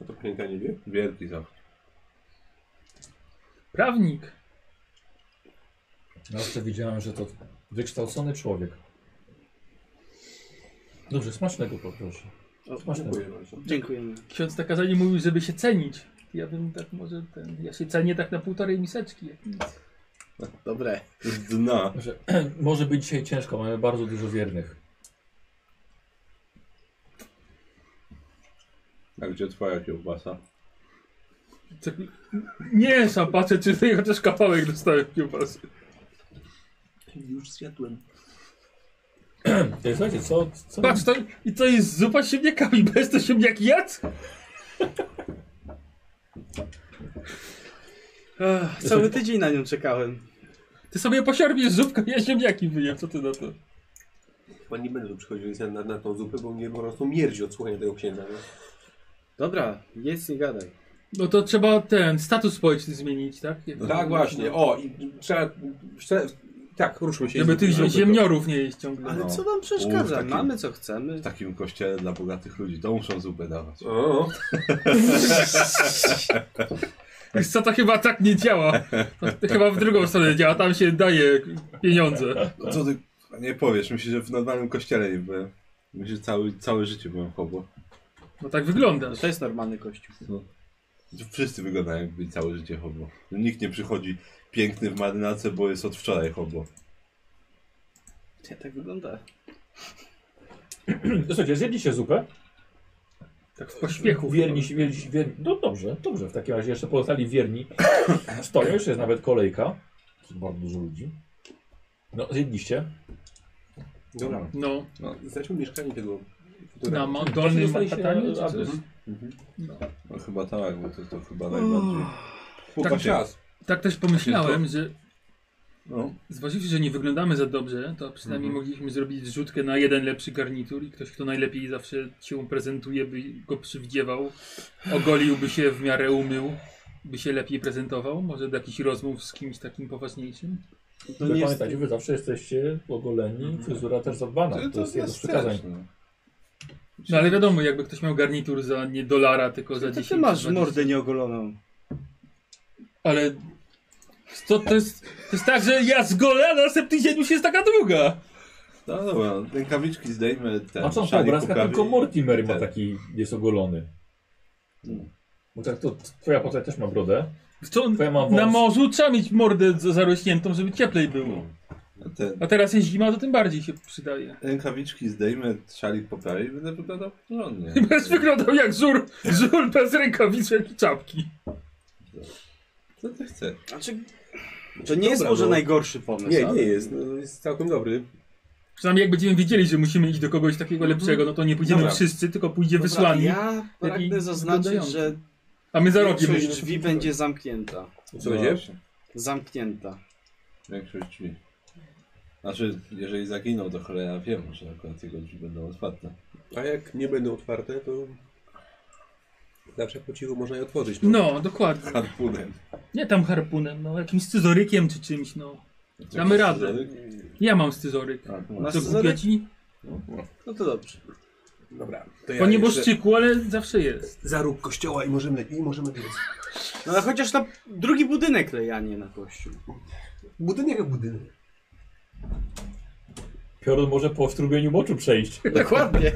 Speaker 3: A to panienka nie wie.
Speaker 4: Wielki zawód.
Speaker 9: Prawnik.
Speaker 2: Zawsze No, widziałem, że to wykształcony człowiek. Dobrze, smacznego poproszę.
Speaker 5: O,
Speaker 2: Smacznego.
Speaker 3: Dziękuję bardzo.
Speaker 5: dziękujemy.
Speaker 9: Ksiądz na kazaniu mówił, żeby się cenić. Ja bym tak może ten. Ja się cenię tak na półtorej miseczki. Jak nic.
Speaker 5: Dobre.
Speaker 4: Z dna.
Speaker 2: Że, może być dzisiaj ciężko, mamy bardzo dużo wiernych.
Speaker 4: A gdzie twoja kiełbasa?
Speaker 9: Co- Nie, sam patrzę, czy ty chociaż kawałek dostałem kiełbasy.
Speaker 3: Już zjadłem.
Speaker 2: Ej, Słuchajcie, co, co
Speaker 9: Patrz, to, i to jest zupa z ziemniakami. Bez to ziemniak jadł?
Speaker 5: Ech, cały tydzień na nią czekałem.
Speaker 9: Ty sobie posiarbiesz zupkę, ja ziemniaki wyjem, co ty na to?
Speaker 3: Chyba nie będę tu przychodził więc na, na, na tą zupę, bo mnie po prostu mierdzi od słuchania tego księdza. Nie?
Speaker 5: Dobra, jedz nie gadaj.
Speaker 9: No to trzeba ten status społeczny zmienić, tak?
Speaker 3: Tak właśnie, o i trzeba, trzeba, tak, ruszmy się.
Speaker 9: Żeby
Speaker 3: i-
Speaker 9: tych
Speaker 3: zróbmy
Speaker 9: zie-
Speaker 3: to.
Speaker 9: ziemniorów nie jeść ciągle.
Speaker 5: Ale
Speaker 4: No.
Speaker 5: co nam
Speaker 4: U, w
Speaker 5: przeszkadza?
Speaker 4: takim-
Speaker 5: Mamy co chcemy.
Speaker 4: W takim kościele dla bogatych ludzi to muszą zupę dawać.
Speaker 3: O,
Speaker 9: Wiesz co, to chyba tak nie działa. To chyba w drugą stronę działa, tam się daje pieniądze.
Speaker 4: No co ty nie powiesz, myślisz, że w normalnym kościele nie byłem. Myślę, że całe, całe życie byłem hobo.
Speaker 9: No tak wygląda.
Speaker 5: No to jest normalny kościół.
Speaker 4: Wszyscy wyglądają jakby byli całe życie hobo. Nikt nie przychodzi piękny w marynarce, bo jest od wczoraj hobo.
Speaker 5: Ja tak wygląda.
Speaker 2: To Słuchajcie, zjedliście zupę.
Speaker 9: Tak w pośpiechu.
Speaker 2: Wierni, się- wierni, się- wierni. No dobrze, dobrze. W takim razie jeszcze pozostali wierni. Stoją, jeszcze jest nawet kolejka. Jest bardzo dużo ludzi. No, zjedliście.
Speaker 3: dobra.
Speaker 9: No,
Speaker 3: Znajdźmy mieszkanie tego...
Speaker 9: na ma-
Speaker 2: Właśnie
Speaker 9: dolnym
Speaker 2: dostaliście
Speaker 9: Manhattanie. czy
Speaker 2: adres.
Speaker 9: coś?
Speaker 4: No chyba tak, bo to, to chyba najbardziej... Chyba
Speaker 9: Tak.
Speaker 4: czas.
Speaker 9: Tak też pomyślałem, że
Speaker 4: No.
Speaker 9: zważywszy, że nie wyglądamy za dobrze, to przynajmniej mogliśmy zrobić zrzutkę na jeden lepszy garnitur i ktoś, kto najlepiej zawsze się prezentuje, by go przywdziewał, ogoliłby się w miarę umył, by się lepiej prezentował, może do jakichś rozmów z kimś takim poważniejszym.
Speaker 5: To
Speaker 2: Wy
Speaker 5: nie jest... tak-
Speaker 2: pamiętajcie, wy zawsze jesteście ogoleni, fryzura też zadbana. Tak, To, jest jedno z przykazań.
Speaker 4: też, no.
Speaker 9: No ale wiadomo, jakby ktoś miał garnitur za nie dolara, tylko za
Speaker 5: To
Speaker 9: 10
Speaker 5: ty masz
Speaker 9: 20.
Speaker 5: mordę nieogoloną.
Speaker 9: Ale to, to, jest, to jest tak, że ja z gola, a na następny dzień już jest taka długa.
Speaker 4: No dobra, rękawiczki zdejmę, ten
Speaker 2: A co to
Speaker 4: szalik
Speaker 2: obrazka?
Speaker 4: poprawię
Speaker 2: Tylko
Speaker 4: i-
Speaker 2: Mortimer ma
Speaker 4: ten.
Speaker 2: taki, jest ogolony. Bo tak to twoja postać też ma brodę.
Speaker 9: Co,
Speaker 2: Twoja ma wąs.
Speaker 9: na morzu trzeba mieć mordę za- zarośniętą, żeby cieplej było.
Speaker 4: A No, Ten,
Speaker 9: A teraz jest zima, to tym bardziej się przydaje.
Speaker 4: rękawiczki zdejmę, szalik poprawię i będę wyglądał porządnie.
Speaker 9: Bez wyglądał jak żur, żur bez rękawiczek i czapki.
Speaker 4: Co ty chcesz?
Speaker 5: Znaczy, to nie jest
Speaker 3: Dobra,
Speaker 5: może
Speaker 3: no.
Speaker 5: najgorszy pomysł,
Speaker 3: Nie,
Speaker 5: ale-
Speaker 3: nie jest, no, jest całkiem dobry.
Speaker 9: Przynajmniej jak będziemy wiedzieli, że musimy iść do kogoś takiego lepszego, no to nie pójdziemy
Speaker 3: Dobra.
Speaker 9: wszyscy, tylko pójdzie
Speaker 5: Mhm. Dobra,
Speaker 9: wysłani,
Speaker 5: Ja pragnę zaznaczyć,
Speaker 9: wyglądający.
Speaker 5: że
Speaker 9: a my za rokiem
Speaker 5: większość
Speaker 9: będziemy.
Speaker 5: drzwi będzie zamknięta.
Speaker 4: Co
Speaker 3: będzie?
Speaker 5: Zamknięta.
Speaker 4: No Większość drzwi. Znaczy, jeżeli zaginął, to cholera wiem, że akurat jego drzwi będą otwarte.
Speaker 3: A jak nie będą otwarte, to zawsze po cichu można je otworzyć.
Speaker 9: No, dokładnie.
Speaker 4: Harpunem.
Speaker 9: Nie tam harpunem, no jakimś scyzorykiem czy czymś, no. Damy radę. Ja mam scyzoryk.
Speaker 4: Tak, no.
Speaker 5: Masz
Speaker 9: Co
Speaker 5: scyzoryk?
Speaker 9: kupię ci?
Speaker 5: No to dobrze.
Speaker 3: Dobra, to ja
Speaker 9: Po
Speaker 3: jeszcze
Speaker 9: nieboszczyku, ale zawsze jest.
Speaker 3: za róg kościoła i możemy lepiej, i możemy więcej.
Speaker 5: No ale chociaż na drugi budynek lejanie na kościół.
Speaker 3: Budynek jak budynek.
Speaker 2: Piorun może po strumieniu moczu przejść.
Speaker 5: Dokładnie.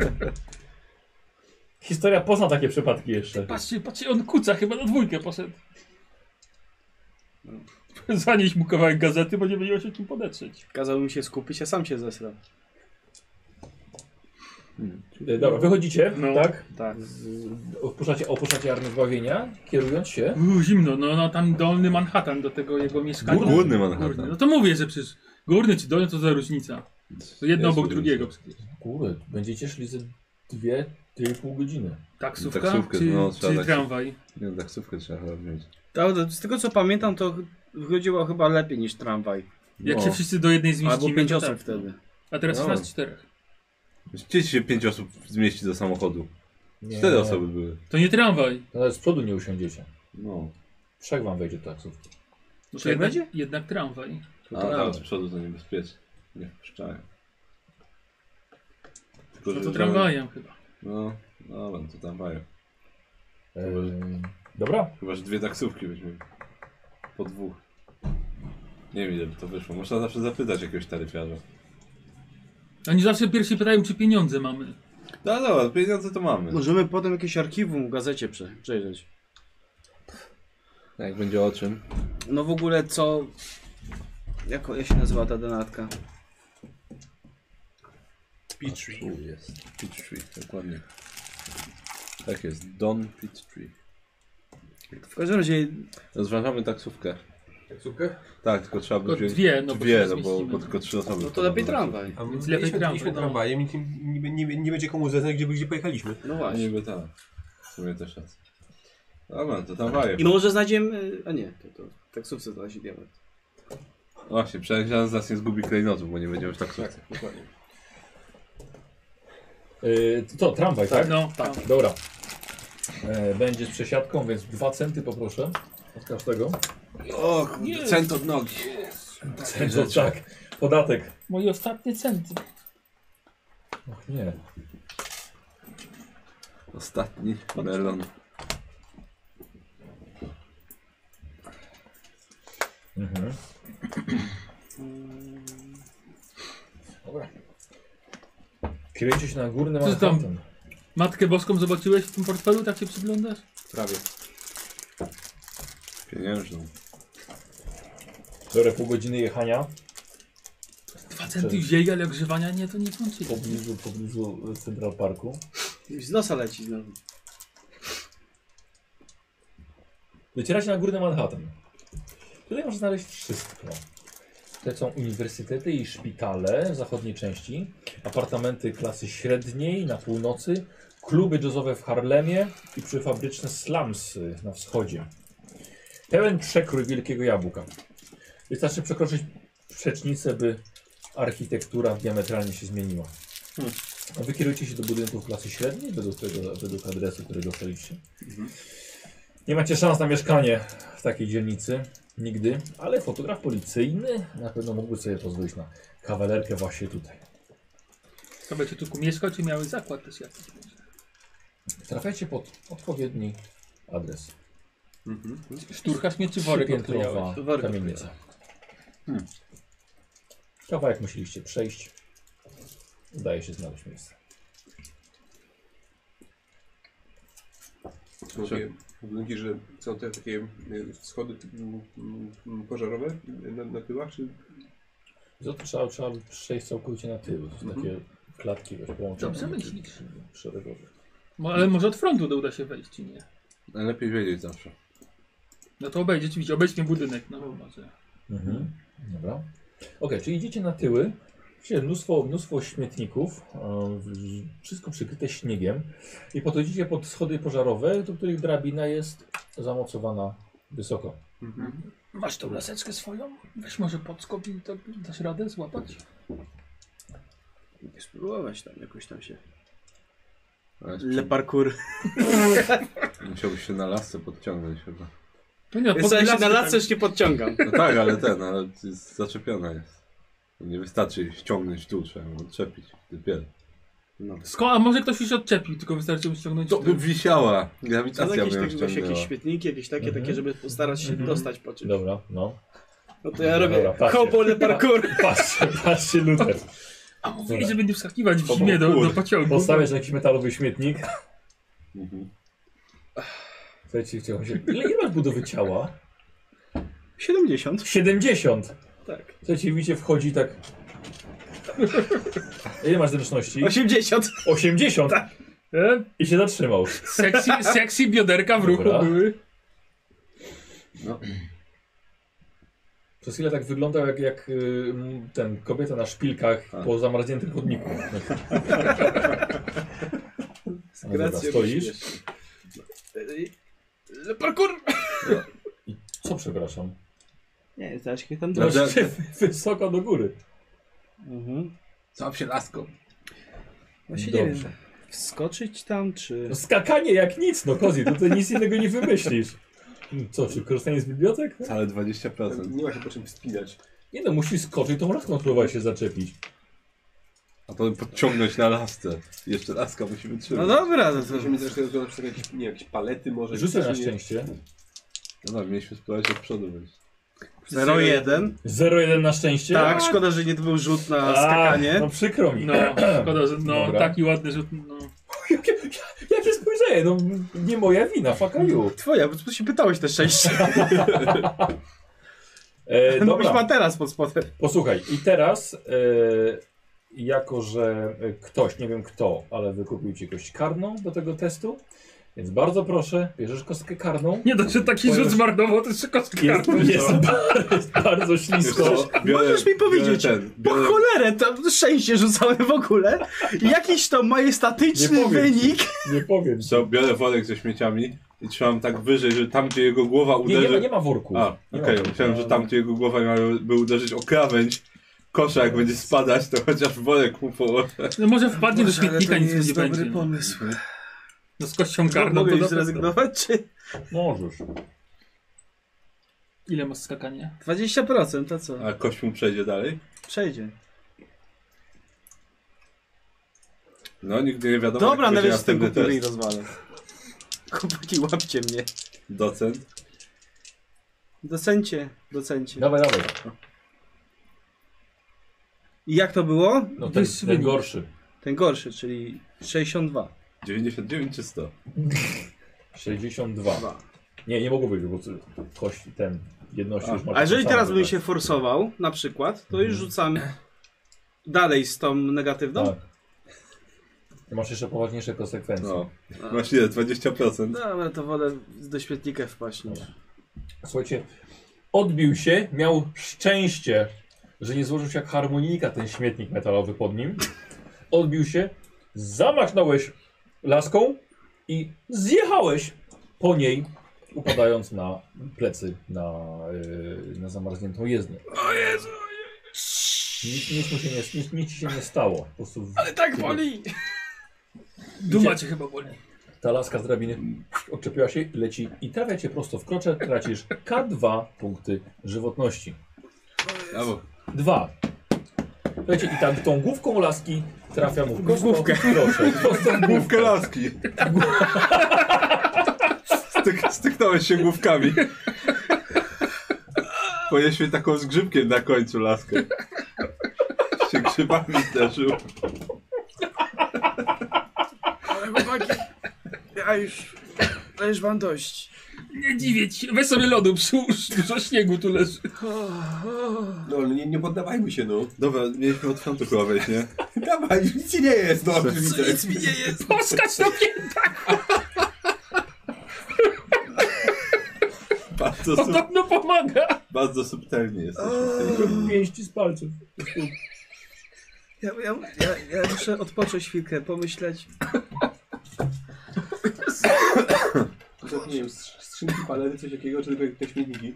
Speaker 2: Historia pozna takie przypadki jeszcze.
Speaker 9: Patrzcie, patrzcie, on kuca, chyba na dwójkę poszedł. Zanieś No. mu kawałek gazety, bo nie będzie miał się kim podetrzeć.
Speaker 5: Kazał mi się skupić, a sam się zesrał.
Speaker 2: E, Dobra, wychodzicie,
Speaker 9: No.
Speaker 2: tak?
Speaker 5: Tak.
Speaker 2: Z, opuszczacie, opuszczacie Armię Zbawienia, kierując się.
Speaker 9: Uuu, zimno, no, no tam dolny Manhattan do tego jego mieszkania.
Speaker 4: Górny. Górny Manhattan.
Speaker 9: Górny. No to mówię, że przecież górny czy dolny to za różnica. To jedno
Speaker 4: Jest
Speaker 9: obok
Speaker 4: różnica.
Speaker 9: drugiego przecież.
Speaker 2: Kurde, będziecie szli ze dwie, dwie i pół godziny.
Speaker 9: Taksówka,
Speaker 4: Taksówkę,
Speaker 9: czy,
Speaker 4: no, trzeba
Speaker 9: czy
Speaker 4: tak-
Speaker 9: tramwaj.
Speaker 4: Nie, taksówkę trzeba chyba wziąć.
Speaker 5: To, z tego co pamiętam, to wychodziło chyba lepiej niż tramwaj.
Speaker 9: Jak
Speaker 4: No.
Speaker 9: się wszyscy do jednej zmieścimy.
Speaker 5: Albo pięć
Speaker 9: to
Speaker 5: osób
Speaker 9: tak.
Speaker 5: wtedy.
Speaker 9: A teraz jest
Speaker 4: No.
Speaker 9: nas czterech.
Speaker 4: Gdzie się pięć osób zmieści do samochodu?
Speaker 2: Nie.
Speaker 4: Cztery osoby były.
Speaker 9: To nie tramwaj.
Speaker 2: To Nawet z przodu nie usiądziecie.
Speaker 4: No.
Speaker 2: Trzech wam wejdzie do taksówki.
Speaker 9: No to
Speaker 5: Trzech
Speaker 9: jednak,
Speaker 5: tak będzie?
Speaker 9: jednak tramwaj.
Speaker 4: A tam z przodu to niebezpiecznie. Nie wpuszczają. Tylko,
Speaker 9: No
Speaker 4: że
Speaker 9: to
Speaker 4: żaden-
Speaker 9: tramwajem chyba.
Speaker 4: No, dobra, to tramwajem.
Speaker 2: Ehm, dobra,
Speaker 4: Chyba, że dwie taksówki weźmiemy. Po dwóch. Nie wiem, ile by to wyszło. Można zawsze zapytać jakiegoś taryfiarza.
Speaker 9: Oni zawsze pierwsi pytają, czy pieniądze mamy.
Speaker 4: No dobra, pieniądze to mamy.
Speaker 5: Możemy potem jakieś archiwum w gazecie prze, przejrzeć.
Speaker 4: Jak będzie o czym?
Speaker 5: No w ogóle co... Jak, jak się nazywa ta donatka?
Speaker 4: Peachtree. Tu jest. Peachtree, dokładnie. Tak jest, Don Peachtree.
Speaker 5: W każdym razie
Speaker 4: Rozważamy taksówkę.
Speaker 3: Taksówkę?
Speaker 4: Tak, tylko trzeba by
Speaker 9: Tylko
Speaker 4: wziąć
Speaker 9: dwie, no bo
Speaker 4: dwie,
Speaker 9: się
Speaker 4: no bo,
Speaker 9: zmieścimy.
Speaker 4: bo tylko trzy osoby.
Speaker 5: No to lepiej
Speaker 4: wpadną.
Speaker 5: tramwaj.
Speaker 3: A my
Speaker 9: Więc lepiej
Speaker 3: idźmy-
Speaker 9: tramwaj,
Speaker 3: idźmy
Speaker 9: no.
Speaker 3: tramwajem i nie, nie, nie, nie będzie komu zeznać, gdzie, gdzie pojechaliśmy.
Speaker 5: No
Speaker 4: A
Speaker 5: właśnie.
Speaker 4: niby tak. W sumie też racja. Dobra, to tramwajem.
Speaker 5: I może znajdziemy... A nie, to, to w taksówce znaleźli diament.
Speaker 4: Właśnie, przynajmniej żaden z nas nie zgubi klejnotów, bo nie będziemy tak w taksówce.
Speaker 3: dokładnie.
Speaker 2: Yy, to tramwaj, tak?
Speaker 9: No, tak.
Speaker 2: Dobra. E, będzie z przesiadką, więc dwa centy poproszę od każdego.
Speaker 4: O, cent od nogi.
Speaker 2: Centy, tak. Podatek.
Speaker 9: Mój ostatni cent.
Speaker 2: Och nie.
Speaker 4: Ostatni melon.
Speaker 2: Mhm. Dobra. Kierujcie się na górny
Speaker 9: Co tam?
Speaker 2: Manhattan.
Speaker 9: Matkę Boską zobaczyłeś w tym portfelu, tak się przyglądasz?
Speaker 3: Prawie.
Speaker 4: Pieniężną.
Speaker 2: Dobra, pół godziny jechania.
Speaker 9: Dwa centy wzięli, ale ogrzewania nie, to nie znaczy. kończy.
Speaker 2: W pobliżu, pobliżu e, Central Parku.
Speaker 5: Z nosa leci no. znowu.
Speaker 2: Docieracie na górny Manhattan. Tutaj można znaleźć wszystko. Te są uniwersytety i szpitale w zachodniej części, apartamenty klasy średniej na północy, kluby jazzowe w Harlemie i przyfabryczne slumsy na wschodzie. Pełen przekrój wielkiego jabłka. Wystarczy przekroczyć przecznicę, by architektura diametralnie się zmieniła. A Wy kierujecie się do budynków klasy średniej, według, tego, według adresu, którego dostaliście. Nie macie szans na mieszkanie w takiej dzielnicy. Nigdy. Ale fotograf policyjny na pewno mógłby sobie pozwolić na kawalerkę właśnie tutaj.
Speaker 9: Chyba czy tu mieszkał, czy miały zakład też jakiś?
Speaker 2: Trafiacie pod odpowiedni adres.
Speaker 9: Szturkasz mnie czy worek odklejałeś?
Speaker 2: Trzypiętrowa
Speaker 5: Worek
Speaker 2: kamienica.
Speaker 9: Hmm.
Speaker 2: Kawałek musieliście przejść. Udaje się znaleźć miejsce.
Speaker 3: Są takie budynki, że są te takie y, schody typu, mm, mm, pożarowe y, na, na tyłach, czy
Speaker 2: Za to trzeba, trzeba przejść całkowicie na tył. To są takie klatki wiesz, połączone.
Speaker 9: Mhm. Dobrze myślisz.
Speaker 2: Szeregowe.
Speaker 9: Mo- Ale może od frontu to uda się wejść, czy nie?
Speaker 4: Najlepiej wiedzieć zawsze.
Speaker 9: No to obejdzie, oczywiście, obejdźmy budynek, no bo może.
Speaker 2: Mhm. Dobra. Okej, czyli idziecie na tyły. Widzicie mnóstwo, mnóstwo śmietników, em, w- wszystko przykryte śniegiem. I podchodzicie pod schody pożarowe, do których drabina jest zamocowana wysoko.
Speaker 9: Masz tą laseczkę swoją? Weź może podskok i to dasz radę złapać?
Speaker 5: Mogę spróbować tam jakoś tam się.
Speaker 4: Ale
Speaker 5: Le parkour.
Speaker 4: musiałbyś się na lasce podciągnąć chyba.
Speaker 9: No nie,
Speaker 5: Ja sobie się na
Speaker 9: laskę
Speaker 5: lasce już nie podciągam.
Speaker 4: No tak, ale ten, ale jest zaczepiona jest. Nie wystarczy ściągnąć tu, trzeba ją odczepić. Dopiero.
Speaker 5: No.
Speaker 9: tak- Sko- a może ktoś już odczepił, tylko wystarczy mu ściągnąć.
Speaker 4: To by
Speaker 9: tu.
Speaker 4: wisiała.
Speaker 5: Ale
Speaker 4: Grawitacja
Speaker 5: jakieś,
Speaker 4: by ją
Speaker 5: tak, właśnie jakieś
Speaker 4: ściągnęła.
Speaker 5: świetniki, jakieś takie,
Speaker 2: Mhm.
Speaker 5: takie, żeby postarać się
Speaker 2: Mhm.
Speaker 5: dostać po czymś.
Speaker 2: Dobra, no.
Speaker 5: No to ja
Speaker 2: Dobra,
Speaker 5: robię
Speaker 2: patrzcie.
Speaker 5: hopo le parkour.
Speaker 2: Patrzcie, patrzcie Luther.
Speaker 9: A mówili, żeby nie wskakiwać w zimie do,
Speaker 4: Kurde.
Speaker 9: do pociągu.
Speaker 2: Postawiasz jakiś metalowy śmietnik.
Speaker 4: Mhm.
Speaker 2: Słuchajcie, chciałem się... Ile ile masz budowy ciała?
Speaker 5: 70.
Speaker 2: 70.
Speaker 5: Tak.
Speaker 2: Słuchajcie, widzicie, wchodzi tak... Ile masz zręczności?
Speaker 5: 80.
Speaker 2: 80.
Speaker 9: E,
Speaker 2: I się zatrzymał.
Speaker 9: Sexy, sexy bioderka w ruchu
Speaker 2: Dobra.
Speaker 9: były.
Speaker 2: Przez chwilę tak wyglądał jak, jak y, m, ten kobieta na szpilkach
Speaker 4: A.
Speaker 2: po zamarzniętym chodniku. No dobra,
Speaker 5: Grację
Speaker 2: stoisz?
Speaker 5: No. Y, Le parkour!
Speaker 2: Co przepraszam?
Speaker 5: Nie, zaraz się tam
Speaker 4: Dobra.
Speaker 5: drogi.
Speaker 2: Masz się wysoko do góry.
Speaker 5: Mhm.
Speaker 4: Złap się laską.
Speaker 11: No
Speaker 5: Właśnie nie
Speaker 2: Dobrze.
Speaker 5: wiem. Wskoczyć tam, czy...
Speaker 2: No skakanie jak nic, no Kozi, tutaj nic innego nie wymyślisz. Hmm, Co, czy korzystanie z bibliotek?
Speaker 4: Całe 20%.
Speaker 3: nie ma się po czym wspinać.
Speaker 2: Nie no, musisz skoczyć, to laską spróbować się zaczepić.
Speaker 4: A potem podciągnąć na lasce. Jeszcze laska musi
Speaker 5: No
Speaker 4: wytrzymać.
Speaker 5: dobra, no to...
Speaker 3: Musimy mieć zresztą na przykład jakieś, nie, jakieś palety może.
Speaker 2: Rzucę na
Speaker 3: czy nie.
Speaker 2: szczęście.
Speaker 4: No dobra, mieliśmy spróbować od przodu wyjść.
Speaker 5: 0-1.
Speaker 2: 0-1 na szczęście.
Speaker 5: Tak, szkoda, że nie był rzut na skakanie.
Speaker 2: No. A, No przykro mi.
Speaker 9: No, szkoda, że no,
Speaker 2: Dobra.
Speaker 9: taki ładny rzut. No.
Speaker 2: Ja, ja, ja się spojrzeję, no nie moja wina, fuck you.
Speaker 5: Twoja, bo się pytałeś te szczęście.
Speaker 2: E,
Speaker 5: No byś
Speaker 2: dobra.
Speaker 5: ma teraz pod spodem.
Speaker 2: Posłuchaj, i teraz e, jako, że e, ktoś, nie wiem kto, ale wykupił ci kogoś karną do tego testu, więc bardzo proszę, bierzesz kostkę karną.
Speaker 9: Nie dość, że taki
Speaker 2: Powiem-
Speaker 9: rzut zmarnował, to jeszcze kostki
Speaker 2: Jest,
Speaker 9: kartą.
Speaker 2: jest, bar- jest bardzo ślisko.
Speaker 5: Możesz mi powiedzieć,
Speaker 4: biorę ten,
Speaker 5: po
Speaker 4: biorę,
Speaker 5: cholerę to szczęście rzucałem w ogóle. Jakiś to
Speaker 2: Nie
Speaker 5: majestatyczny
Speaker 2: powiem ci.
Speaker 5: wynik.
Speaker 2: Nie powiem.
Speaker 4: co, biorę worek ze śmieciami i I trzymam tak wyżej, że tam gdzie jego głowa
Speaker 2: Nie, nie, ma,
Speaker 4: uderzy...
Speaker 2: nie ma worku.
Speaker 4: A,
Speaker 2: Nie ma
Speaker 4: okej,
Speaker 2: worku.
Speaker 4: myślałem, że tam gdzie jego głowa miałaby uderzyć o krawędź kosza, jak będzie spadać, to chociaż worek mu położę.
Speaker 9: No może wpadnie do
Speaker 11: Boże, ale
Speaker 9: śmietnika,
Speaker 11: to nie
Speaker 9: nic tu nie
Speaker 11: jest dobry
Speaker 9: będzie. No,
Speaker 11: pomysł.
Speaker 9: no z kością karną
Speaker 5: Mogę
Speaker 9: to
Speaker 5: już
Speaker 9: na pewno.
Speaker 5: zrezygnować? Czy...
Speaker 2: Możesz.
Speaker 9: Ile masz skakania?
Speaker 5: 20% to co?
Speaker 4: A kość mu przejdzie dalej?
Speaker 5: Przejdzie.
Speaker 4: No, nigdy nie wiadomo,
Speaker 5: Dobra,
Speaker 4: jak
Speaker 5: nawet
Speaker 4: będzie
Speaker 5: z tym
Speaker 4: następny
Speaker 5: kupię i
Speaker 4: test.
Speaker 5: rozwalę. Chłopaki, łapcie mnie.
Speaker 4: Docent.
Speaker 5: Docencie, docencie.
Speaker 2: Dawaj, dawaj.
Speaker 5: I jak to było?
Speaker 2: No ten,
Speaker 9: Wyższy
Speaker 2: ten
Speaker 9: wynik.
Speaker 2: gorszy.
Speaker 5: Ten gorszy, czyli 62.
Speaker 4: 99 czy 100?
Speaker 2: 62. Nie, nie mogło być, bo kość ten jedności
Speaker 4: A,
Speaker 2: już ma.
Speaker 5: A jeżeli
Speaker 2: taką
Speaker 5: teraz
Speaker 2: samą,
Speaker 5: bym
Speaker 2: tak. Mhm.
Speaker 5: się forsował, na przykład, to już rzucam dalej z tą negatywną.
Speaker 2: Tak. Masz jeszcze poważniejsze konsekwencje.
Speaker 4: No. Właśnie, 20%.
Speaker 5: No, ale to wolę do śmietnika wpaść no. niż.
Speaker 2: Słuchajcie, odbił się, miał szczęście, że nie złożył się jak harmonika ten śmietnik metalowy pod nim. Odbił się, zamachnąłeś laską i zjechałeś po niej, upadając na plecy, na, yy, na zamarzniętą jezdnię. O Jezu! Nic, nic, mu się nie, nic, nic ci się nie stało. Po prostu
Speaker 9: E,
Speaker 2: Ale tak
Speaker 5: Boli!
Speaker 9: Duma cię chyba boli.
Speaker 2: Ta laska z drabiny odczepiła się, leci i trafia cię prosto w krocze. Tracisz K2 punkty żywotności.
Speaker 4: Brawo.
Speaker 2: Dwa. Słuchajcie, i tam tą główką laski trafia mu w prosto, główkę. Proszę, prosto w
Speaker 4: Główkę
Speaker 2: główkę.
Speaker 4: laski. Styk, styknąłeś się główkami. Pojeźdźmy taką z grzybkiem na końcu laskę. Się grzybami zderzył.
Speaker 11: Ale chłopaki, ja już, ja już mam dość.
Speaker 9: Nie dziwię ci. Weź sobie lodu przyłóż, dużo śniegu tu leży.
Speaker 3: No ale nie, nie poddawajmy się, no.
Speaker 4: Dobra, mieliśmy od frontu chyba wejść, nie?
Speaker 3: Dawaj, nic ci nie jest, no.
Speaker 11: Co
Speaker 3: oczywiście.
Speaker 11: nic mi nie jest.
Speaker 9: Poskacz na piętach,
Speaker 4: Bardzo, sub,
Speaker 9: podobno pomaga.
Speaker 4: bardzo subtelnie jesteśmy w tej
Speaker 2: Pięści z palców.
Speaker 5: Ja, ja, ja, ja muszę odpocząć chwilkę, pomyśleć.
Speaker 3: To, nie wiem, strz- skrzynki, palery, coś takiego, czy tylko te śmietniki.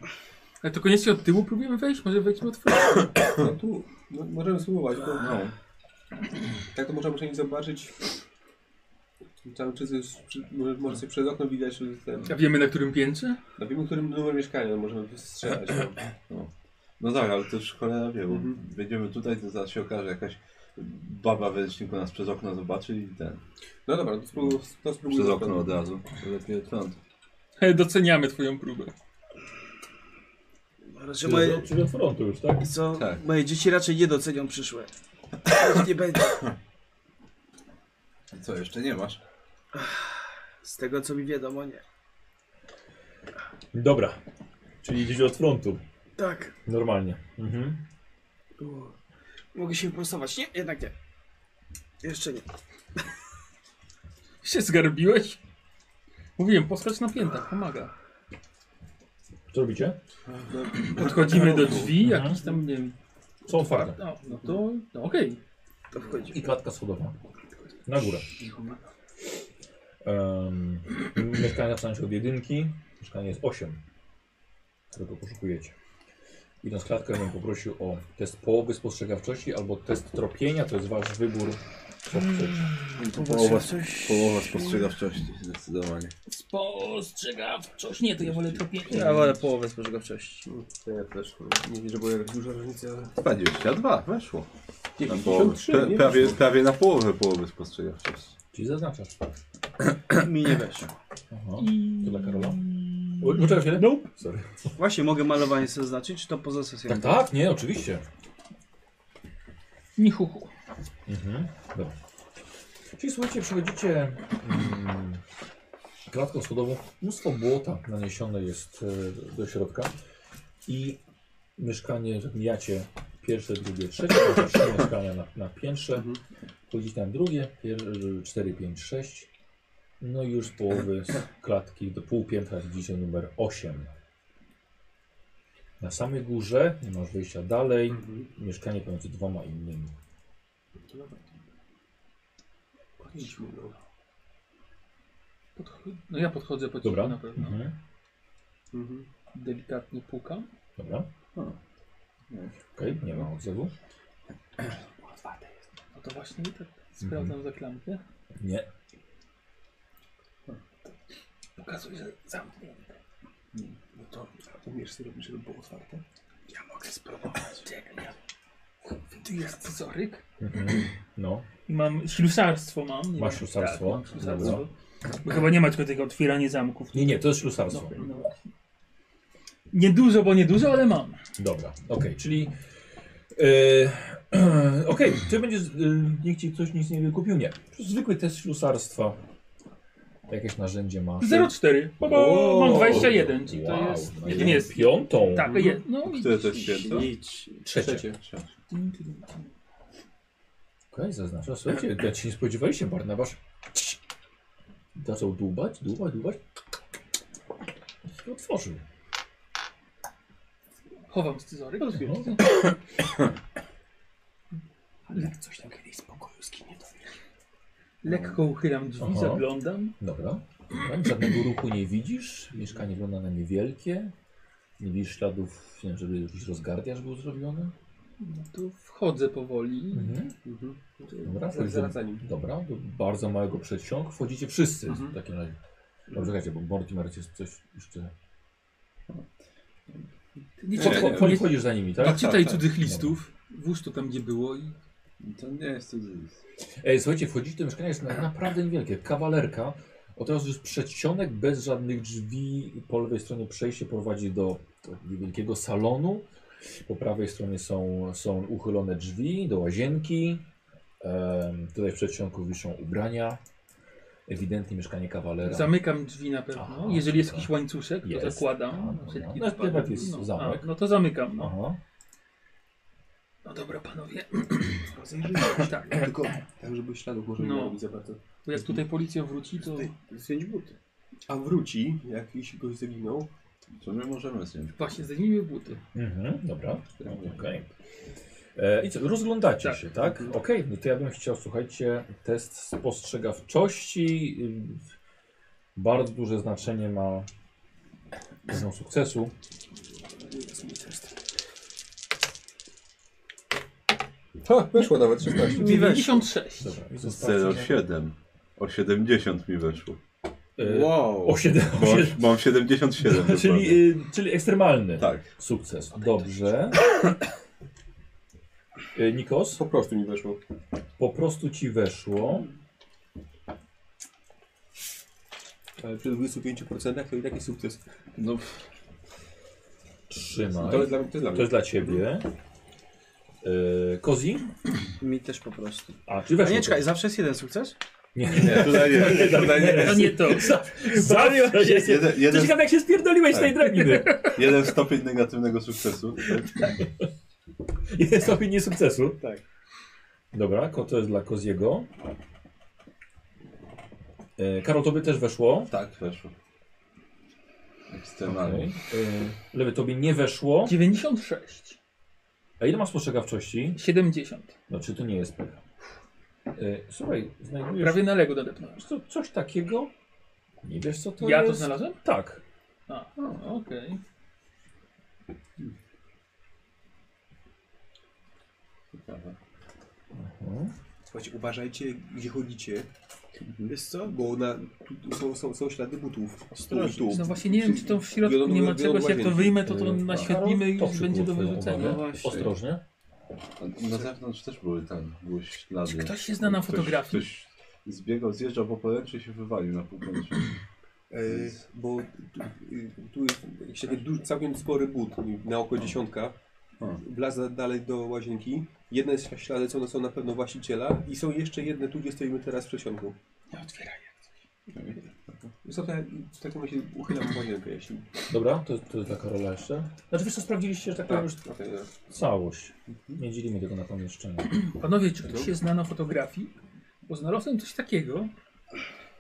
Speaker 9: Ale to koniecznie od tyłu próbujemy wejść, może wejdźmy od frontu.
Speaker 3: No tu, no, możemy spróbować, bo tak to można przynajmniej zobaczyć. Tam, czy coś, czy, może, może coś przez okno widać, czy ten...
Speaker 9: A wiemy na którym piętrze?
Speaker 3: No wiemy, którym numer mieszkania możemy strzelać. No.
Speaker 4: No tak, ale też cholera wie, bo będziemy tutaj, to zaraz się okaże jakaś baba w ręczniku nas przez okno zobaczy i ten.
Speaker 3: No dobra, to spróbuj. To spróbuj
Speaker 4: Przez okno od razu. Lepiej od frontu.
Speaker 9: E, Doceniamy twoją próbę.
Speaker 5: Raczej
Speaker 2: Czyli,
Speaker 5: moje,
Speaker 2: moje... czyli od frontu już, tak?
Speaker 5: co,
Speaker 4: Tak.
Speaker 5: moje dzieci raczej nie docenią przyszłe. Już Nie będzie.
Speaker 4: Co, jeszcze nie masz?
Speaker 5: Z tego co mi wiadomo, nie.
Speaker 2: Dobra. Czyli idziecie od frontu.
Speaker 5: Tak.
Speaker 2: Normalnie. Mhm.
Speaker 5: U. Mogę się wyprostować. Nie, jednak nie. Jeszcze nie.
Speaker 9: Się zgarbiłeś? Mówiłem, poskacz na piętach, pomaga.
Speaker 2: Co robicie?
Speaker 9: Podchodzimy do drzwi,
Speaker 2: Mhm.
Speaker 9: jakiś tam, nie wiem.
Speaker 2: Są otwarte.
Speaker 9: No, no to, no okej.
Speaker 5: To wchodzi.
Speaker 2: I klatka schodowa. Na górę. Um, mieszkanie zaczyna się od jedynki. Mieszkanie jest 8, którego poszukujecie. Idąc klatkę, bym poprosił o test połowy spostrzegawczości albo test tropienia. To jest wasz wybór, co chcecie.
Speaker 4: Połowa, połowa spostrzegawczości, zdecydowanie.
Speaker 9: Spostrzegawczość. Nie, to ja wolę tropienie.
Speaker 5: Ja wolę połowę spożywczości.
Speaker 3: Ja też. Nie wiem, że była jakaś duża różnica, ale...
Speaker 4: 22, weszło. Na połowę.
Speaker 3: 93,
Speaker 4: Pra-
Speaker 3: nie?
Speaker 4: No prawie, prawie na połowę połowy spostrzegawczości.
Speaker 2: Czyli zaznaczasz.
Speaker 5: Mi nie weszło.
Speaker 2: Aha. To dla Karola. U- Uczyłeś się?
Speaker 9: Nope.
Speaker 2: Sorry.
Speaker 5: Właśnie, mogę malowanie sobie zaznaczyć, czy to poza sesją?
Speaker 2: Tak, tak, nie, oczywiście.
Speaker 9: Nie huchu.
Speaker 2: Mhm. Dobra. Czyli słuchajcie, przechodzicie mm, klatką schodową. Mnóstwo błota naniesione jest e, do środka i mieszkanie, że mijacie pierwsze, drugie, trzecie, to są trzy mieszkania na, na piętrze,
Speaker 9: Mhm.
Speaker 2: chodzicie na drugie, pier, cztery, pięć, sześć. No i już z połowy z klatki do półpiętra widzicie numer 8. Na samej górze, nie masz wyjścia dalej,
Speaker 9: Mhm.
Speaker 2: mieszkanie pomiędzy dwoma innymi.
Speaker 3: Idźmy, no.
Speaker 9: Podch- no ja podchodzę po cichu
Speaker 2: Dobra.
Speaker 9: na pewno.
Speaker 2: Mhm.
Speaker 3: Mhm.
Speaker 9: Delikatnie pukam.
Speaker 2: Dobra. Okej, nie ma odzewu.
Speaker 9: No to właśnie i tak sprawdzam za klamkę.
Speaker 2: Nie.
Speaker 9: Pokazuję, że zamknięte.
Speaker 3: No to umiesz sobie robić, żeby było otwarte? Ja mogę spróbować.
Speaker 9: Czekaj, ja... Ty jest scyzoryk.
Speaker 2: Mhm. No,
Speaker 9: I mam ślusarstwo mam. nie
Speaker 2: Masz
Speaker 9: wiem.
Speaker 2: ślusarstwo?
Speaker 9: Tak, mam ślusarstwo. Bo chyba nie ma tylko tego otwierania zamków.
Speaker 2: nie, nie, to jest
Speaker 9: No,
Speaker 2: ślusarstwo.
Speaker 9: no właśnie. Niedużo, bo niedużo, ale mam.
Speaker 2: Dobra, okej, czyli... Yy, okej, czy będziesz... Yy, niech ci ktoś nic nie wykupił? Nie. Zwykły test ślusarstwa. Jakieś narzędzie masz.
Speaker 9: 0,4. Bo bo mam 21, czyli
Speaker 2: wow,
Speaker 9: to jest...
Speaker 2: no
Speaker 9: Nie, nie jest.
Speaker 2: Piątą?
Speaker 9: Tak, jest. No i...
Speaker 4: Które to jest święto?
Speaker 2: Trzecie. Okej,
Speaker 3: Trzecie.
Speaker 2: zaznaczam. Słuchajcie, ja ci nie spodziewaliście, Barnabasz. Zaczął dłubać, dłubać, dłubać. I Otworzył.
Speaker 9: Chowam scyzoryk.
Speaker 2: No,
Speaker 9: Lekko uchylam drzwi,
Speaker 2: Aha.
Speaker 9: zaglądam.
Speaker 2: Dobra. Dobra, Żadnego ruchu nie widzisz. Mieszkanie wygląda na niewielkie. Nie widzisz śladów, nie wiem, żeby jakiś rozgardiaż był zrobiony.
Speaker 9: No to wchodzę powoli.
Speaker 3: Mhm.
Speaker 2: Dobra,
Speaker 3: Zaraz, zaraz za nim.
Speaker 2: Dobra, do bardzo małego przedsionku. Wchodzicie wszyscy
Speaker 3: Mhm.
Speaker 2: w takim razie. Dobrze, czekajcie, bo Mortimer jest coś jeszcze...
Speaker 9: Nie
Speaker 4: Nie,
Speaker 9: czytaj,
Speaker 4: nie,
Speaker 2: Wchodzi- Wchodzisz za nimi,
Speaker 9: nie
Speaker 2: tak?
Speaker 9: czytaj
Speaker 4: tak,
Speaker 9: cudzych listów. Włóż to tam, gdzie było i...
Speaker 4: To nie jest cudzy list.
Speaker 2: E, słuchajcie, wchodzicie, to mieszkanie jest na, naprawdę niewielkie. Kawalerka. Od razu jest przedsionek bez żadnych drzwi. Po lewej stronie przejście prowadzi do, do niewielkiego salonu. Po prawej stronie są, są uchylone drzwi do łazienki. Em, tutaj w przedsionku wiszą ubrania. Ewidentnie mieszkanie kawalera.
Speaker 9: Zamykam drzwi na pewno.
Speaker 2: Aha,
Speaker 9: Jeżeli jest
Speaker 2: dobra.
Speaker 9: jakiś łańcuszek, to
Speaker 2: Jest.
Speaker 9: zakładam.
Speaker 2: A,
Speaker 9: Wszelki
Speaker 2: no,
Speaker 9: wypadek.
Speaker 2: chyba jest zamek.
Speaker 9: A, no to zamykam. No,
Speaker 2: Aha.
Speaker 9: no dobra panowie,
Speaker 3: Rozejrzyjmy.
Speaker 9: tak.
Speaker 3: Tylko tak, żeby śladów może
Speaker 9: No.
Speaker 3: nie robić za bardzo.
Speaker 9: Bo jak tutaj policja wróci, to
Speaker 3: Tutaj zdjąć buty. A wróci, jak jeśli goś zaginął.
Speaker 4: To my możemy zdjąć.
Speaker 9: właśnie zdejmijmy buty.
Speaker 2: Mhm, dobra. Okej. E, I co, rozglądacie
Speaker 9: Tak.
Speaker 2: się, tak? Okej, no to ja bym chciał, słuchajcie, test spostrzegawczości. Ym, Bardzo duże znaczenie ma poziom sukcesu.
Speaker 3: Ha, weszło nawet 16.
Speaker 9: 96.
Speaker 2: Dobra, i
Speaker 4: Zero
Speaker 2: zostawcie.
Speaker 4: siedem. O 70 mi weszło.
Speaker 2: E,
Speaker 5: Wow.
Speaker 2: O 7.
Speaker 4: Bo mam 77.
Speaker 2: Czyli,
Speaker 4: dokładnie.
Speaker 2: y, czyli ekstremalny
Speaker 4: Tak.
Speaker 2: sukces. Dobrze. E, Nikos,
Speaker 3: Po prostu mi weszło.
Speaker 2: po prostu ci weszło.
Speaker 3: Ale przy 25% to i taki sukces.
Speaker 4: No,
Speaker 2: Trzymaj.
Speaker 3: To jest dla, No to jest dla mnie.
Speaker 2: To jest dla ciebie. E, Kozi?
Speaker 5: Mi też po prostu.
Speaker 2: A, czy
Speaker 5: A
Speaker 2: weszło?
Speaker 5: nie,
Speaker 2: to?
Speaker 5: czekaj, zawsze jest jeden sukces?
Speaker 4: nie, tutaj nie. Tutaj nie.
Speaker 9: To nie to.
Speaker 2: Zawiódł się.
Speaker 4: Jeden, jeden,
Speaker 2: ciekawe, jak się spierdoliłeś z tej drabiny.
Speaker 4: jeden stopień negatywnego sukcesu.
Speaker 2: Jest stopień niesukcesu.
Speaker 5: Tak.
Speaker 2: Dobra, ko- to jest dla Koziego. E, Karol, tobie też weszło.
Speaker 4: Tak, weszło. Ekstremalnie.
Speaker 2: Okay. E, lewy, tobie nie weszło.
Speaker 9: 96.
Speaker 2: A ile masz spostrzegawczości?
Speaker 9: 70.
Speaker 2: No, czy to nie jest pech? E, słuchaj, znajdujesz
Speaker 9: Prawie na Lego dodepnąłem.
Speaker 2: co, coś takiego? Nie wiesz, co to
Speaker 9: Ja
Speaker 2: jest?
Speaker 9: to znalazłem?
Speaker 2: Tak.
Speaker 9: A, o, okej.
Speaker 2: Mhm.
Speaker 3: Słuchajcie, uważajcie gdzie chodzicie, Mhm.
Speaker 5: Wiesz co?
Speaker 3: bo na, tu są, są, są ślady butów. Ostrożnie. Tu,
Speaker 9: No właśnie nie wiem, czy to w środku nie ma czegoś, jak to wyjmę, to to
Speaker 2: E,
Speaker 9: naświetlimy i
Speaker 2: Karol,
Speaker 9: już
Speaker 2: to
Speaker 9: będzie
Speaker 2: przykuło
Speaker 9: do
Speaker 2: twoją
Speaker 9: wyrzucenia.
Speaker 2: uwagę.
Speaker 5: No właśnie.
Speaker 2: Ostrożnie.
Speaker 4: Na zewnątrz też były tam, były ślady.
Speaker 9: Czy ktoś się zna na
Speaker 4: Ktoś-
Speaker 9: fotografii?
Speaker 4: Ktoś zbiegał, zjeżdżał po poręczy i się wywalił na półkącie.
Speaker 3: Y, bo tu, y, tu jest jakiś taki duży, całkiem spory but, na oko dziesiątka.
Speaker 4: O.
Speaker 3: Blaza dalej do łazienki. Jedne z ślady są, są na pewno właściciela i są jeszcze jedne tu, gdzie stoimy teraz w przesiągu.
Speaker 9: Nie otwieraj.
Speaker 3: Co no to ja w takim razie uchylam łazienkę, jeśli...
Speaker 2: Dobra, to, to jest dla Karola jeszcze. Znaczy, wiesz co, sprawdziliście, że tak
Speaker 3: Tak,
Speaker 2: powiem, już
Speaker 3: okej, no.
Speaker 2: Całość. Nie dzielimy tego na pomieszczenie.
Speaker 9: Panowie, czy ktoś się zna na fotografii? Bo znalazłem coś takiego,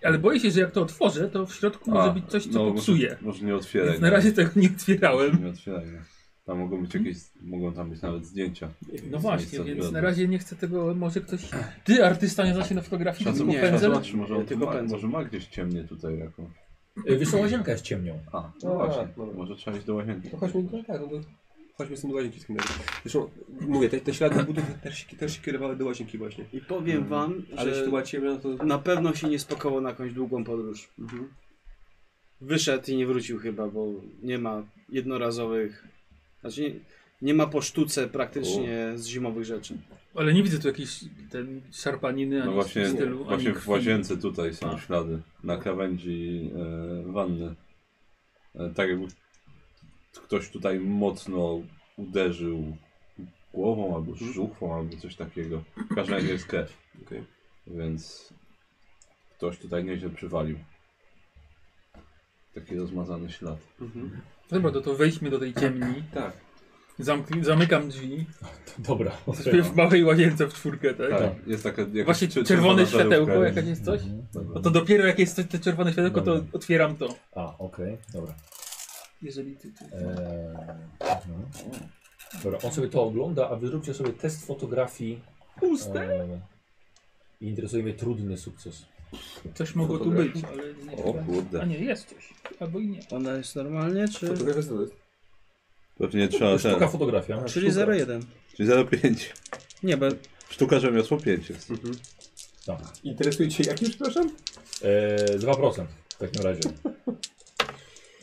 Speaker 9: ale boję się, że jak to otworzę, to w środku może
Speaker 4: A,
Speaker 9: być coś, co
Speaker 4: no,
Speaker 9: popsuje.
Speaker 4: Może, może nie otwieraj. no.
Speaker 9: Więc na razie tego nie otwierałem.
Speaker 4: Nie otwieraj. no. Tam mogą być jakieś, mogą tam być nawet zdjęcia.
Speaker 9: No
Speaker 4: Z
Speaker 9: właśnie,
Speaker 4: miejsca
Speaker 9: więc
Speaker 4: zbrodni.
Speaker 9: na razie nie chcę tego, może ktoś... Ty, artysta, nie zna się na fotografii,
Speaker 4: Trzeba sobie
Speaker 9: tylko
Speaker 5: nie,
Speaker 9: pędzem?
Speaker 4: zobaczyć, może, on
Speaker 5: Tylko
Speaker 4: tu ma,
Speaker 5: pędzem.
Speaker 4: może ma gdzieś ciemnie tutaj jako.
Speaker 2: E, Wiesz co, łazienka jest ciemnią.
Speaker 4: A, no
Speaker 3: A,
Speaker 4: właśnie,
Speaker 3: dobra.
Speaker 4: może trzeba iść do łazienki.
Speaker 3: No chodźmy, no tak, no to chodźmy z tym do łazienki z kimś. Zresztą, mówię, te, te ślady butów też, się- też się kierowały do łazienki właśnie.
Speaker 5: I powiem
Speaker 3: Mm.
Speaker 5: wam,
Speaker 3: Ale jeśli
Speaker 5: że
Speaker 3: to była ciemna, to...
Speaker 5: na pewno się nie spokoło na jakąś długą podróż.
Speaker 3: Mhm.
Speaker 5: Wyszedł i nie wrócił chyba, bo nie ma jednorazowych... Znaczy nie, nie ma po sztuce praktycznie z zimowych rzeczy.
Speaker 9: Ale nie widzę tu jakiejś ten szarpaniny,
Speaker 4: No
Speaker 9: ani
Speaker 4: właśnie,
Speaker 9: stylu, ani
Speaker 4: właśnie w
Speaker 9: krwi.
Speaker 4: łazience tutaj są ślady. Na krawędzi e, wanny. E, tak jakby ktoś tutaj mocno uderzył głową albo
Speaker 9: Mhm.
Speaker 4: żuchwą albo coś takiego. W każdym razie jest krew.
Speaker 3: Okej.
Speaker 4: Więc ktoś tutaj nieźle przywalił. Taki rozmazany ślad.
Speaker 3: Mhm.
Speaker 9: No Dobra, to, to wejdźmy do tej ciemni.
Speaker 3: Tak.
Speaker 9: Zamk- zamykam dźwi.
Speaker 2: Dobra.
Speaker 9: Jesteśmy w małej łazience w czwórkę, tak?
Speaker 4: Tak, jest taka jakaś
Speaker 9: Właśnie
Speaker 4: cie-
Speaker 9: czerwone
Speaker 4: czerwona
Speaker 9: światełko,
Speaker 4: żarówka.
Speaker 9: jakaś jest coś? No
Speaker 2: Mhm.
Speaker 4: Dobra.
Speaker 9: to dopiero jak jest to, to czerwone światełko, to
Speaker 2: Dobra.
Speaker 9: otwieram to.
Speaker 2: A, okej, dobra.
Speaker 9: Jeżeli ty, ty.
Speaker 4: E,
Speaker 2: Eee, mhm. Dobra, on sobie to ogląda, a wy zróbcie sobie test fotografii.
Speaker 9: Puste?
Speaker 2: Eee, I interesuje mnie trudny sukces.
Speaker 9: Coś mogło tu być, ale nie
Speaker 4: e, O kurde.
Speaker 9: A nie, jest coś. Albo i nie.
Speaker 5: Ona jest normalnie, czy...
Speaker 3: Fotografia jest to jest.
Speaker 4: Pewnie trzeba
Speaker 2: Sztuka
Speaker 4: ten.
Speaker 2: fotografia.
Speaker 5: Czyli 0,1.
Speaker 4: Czyli 0,5.
Speaker 5: Nie, bo
Speaker 4: Sztuka rzemiosło 5 jest.
Speaker 2: Dobra.
Speaker 3: Interesuje Cię jak już, przepraszam?
Speaker 2: Eee, 2% w takim razie.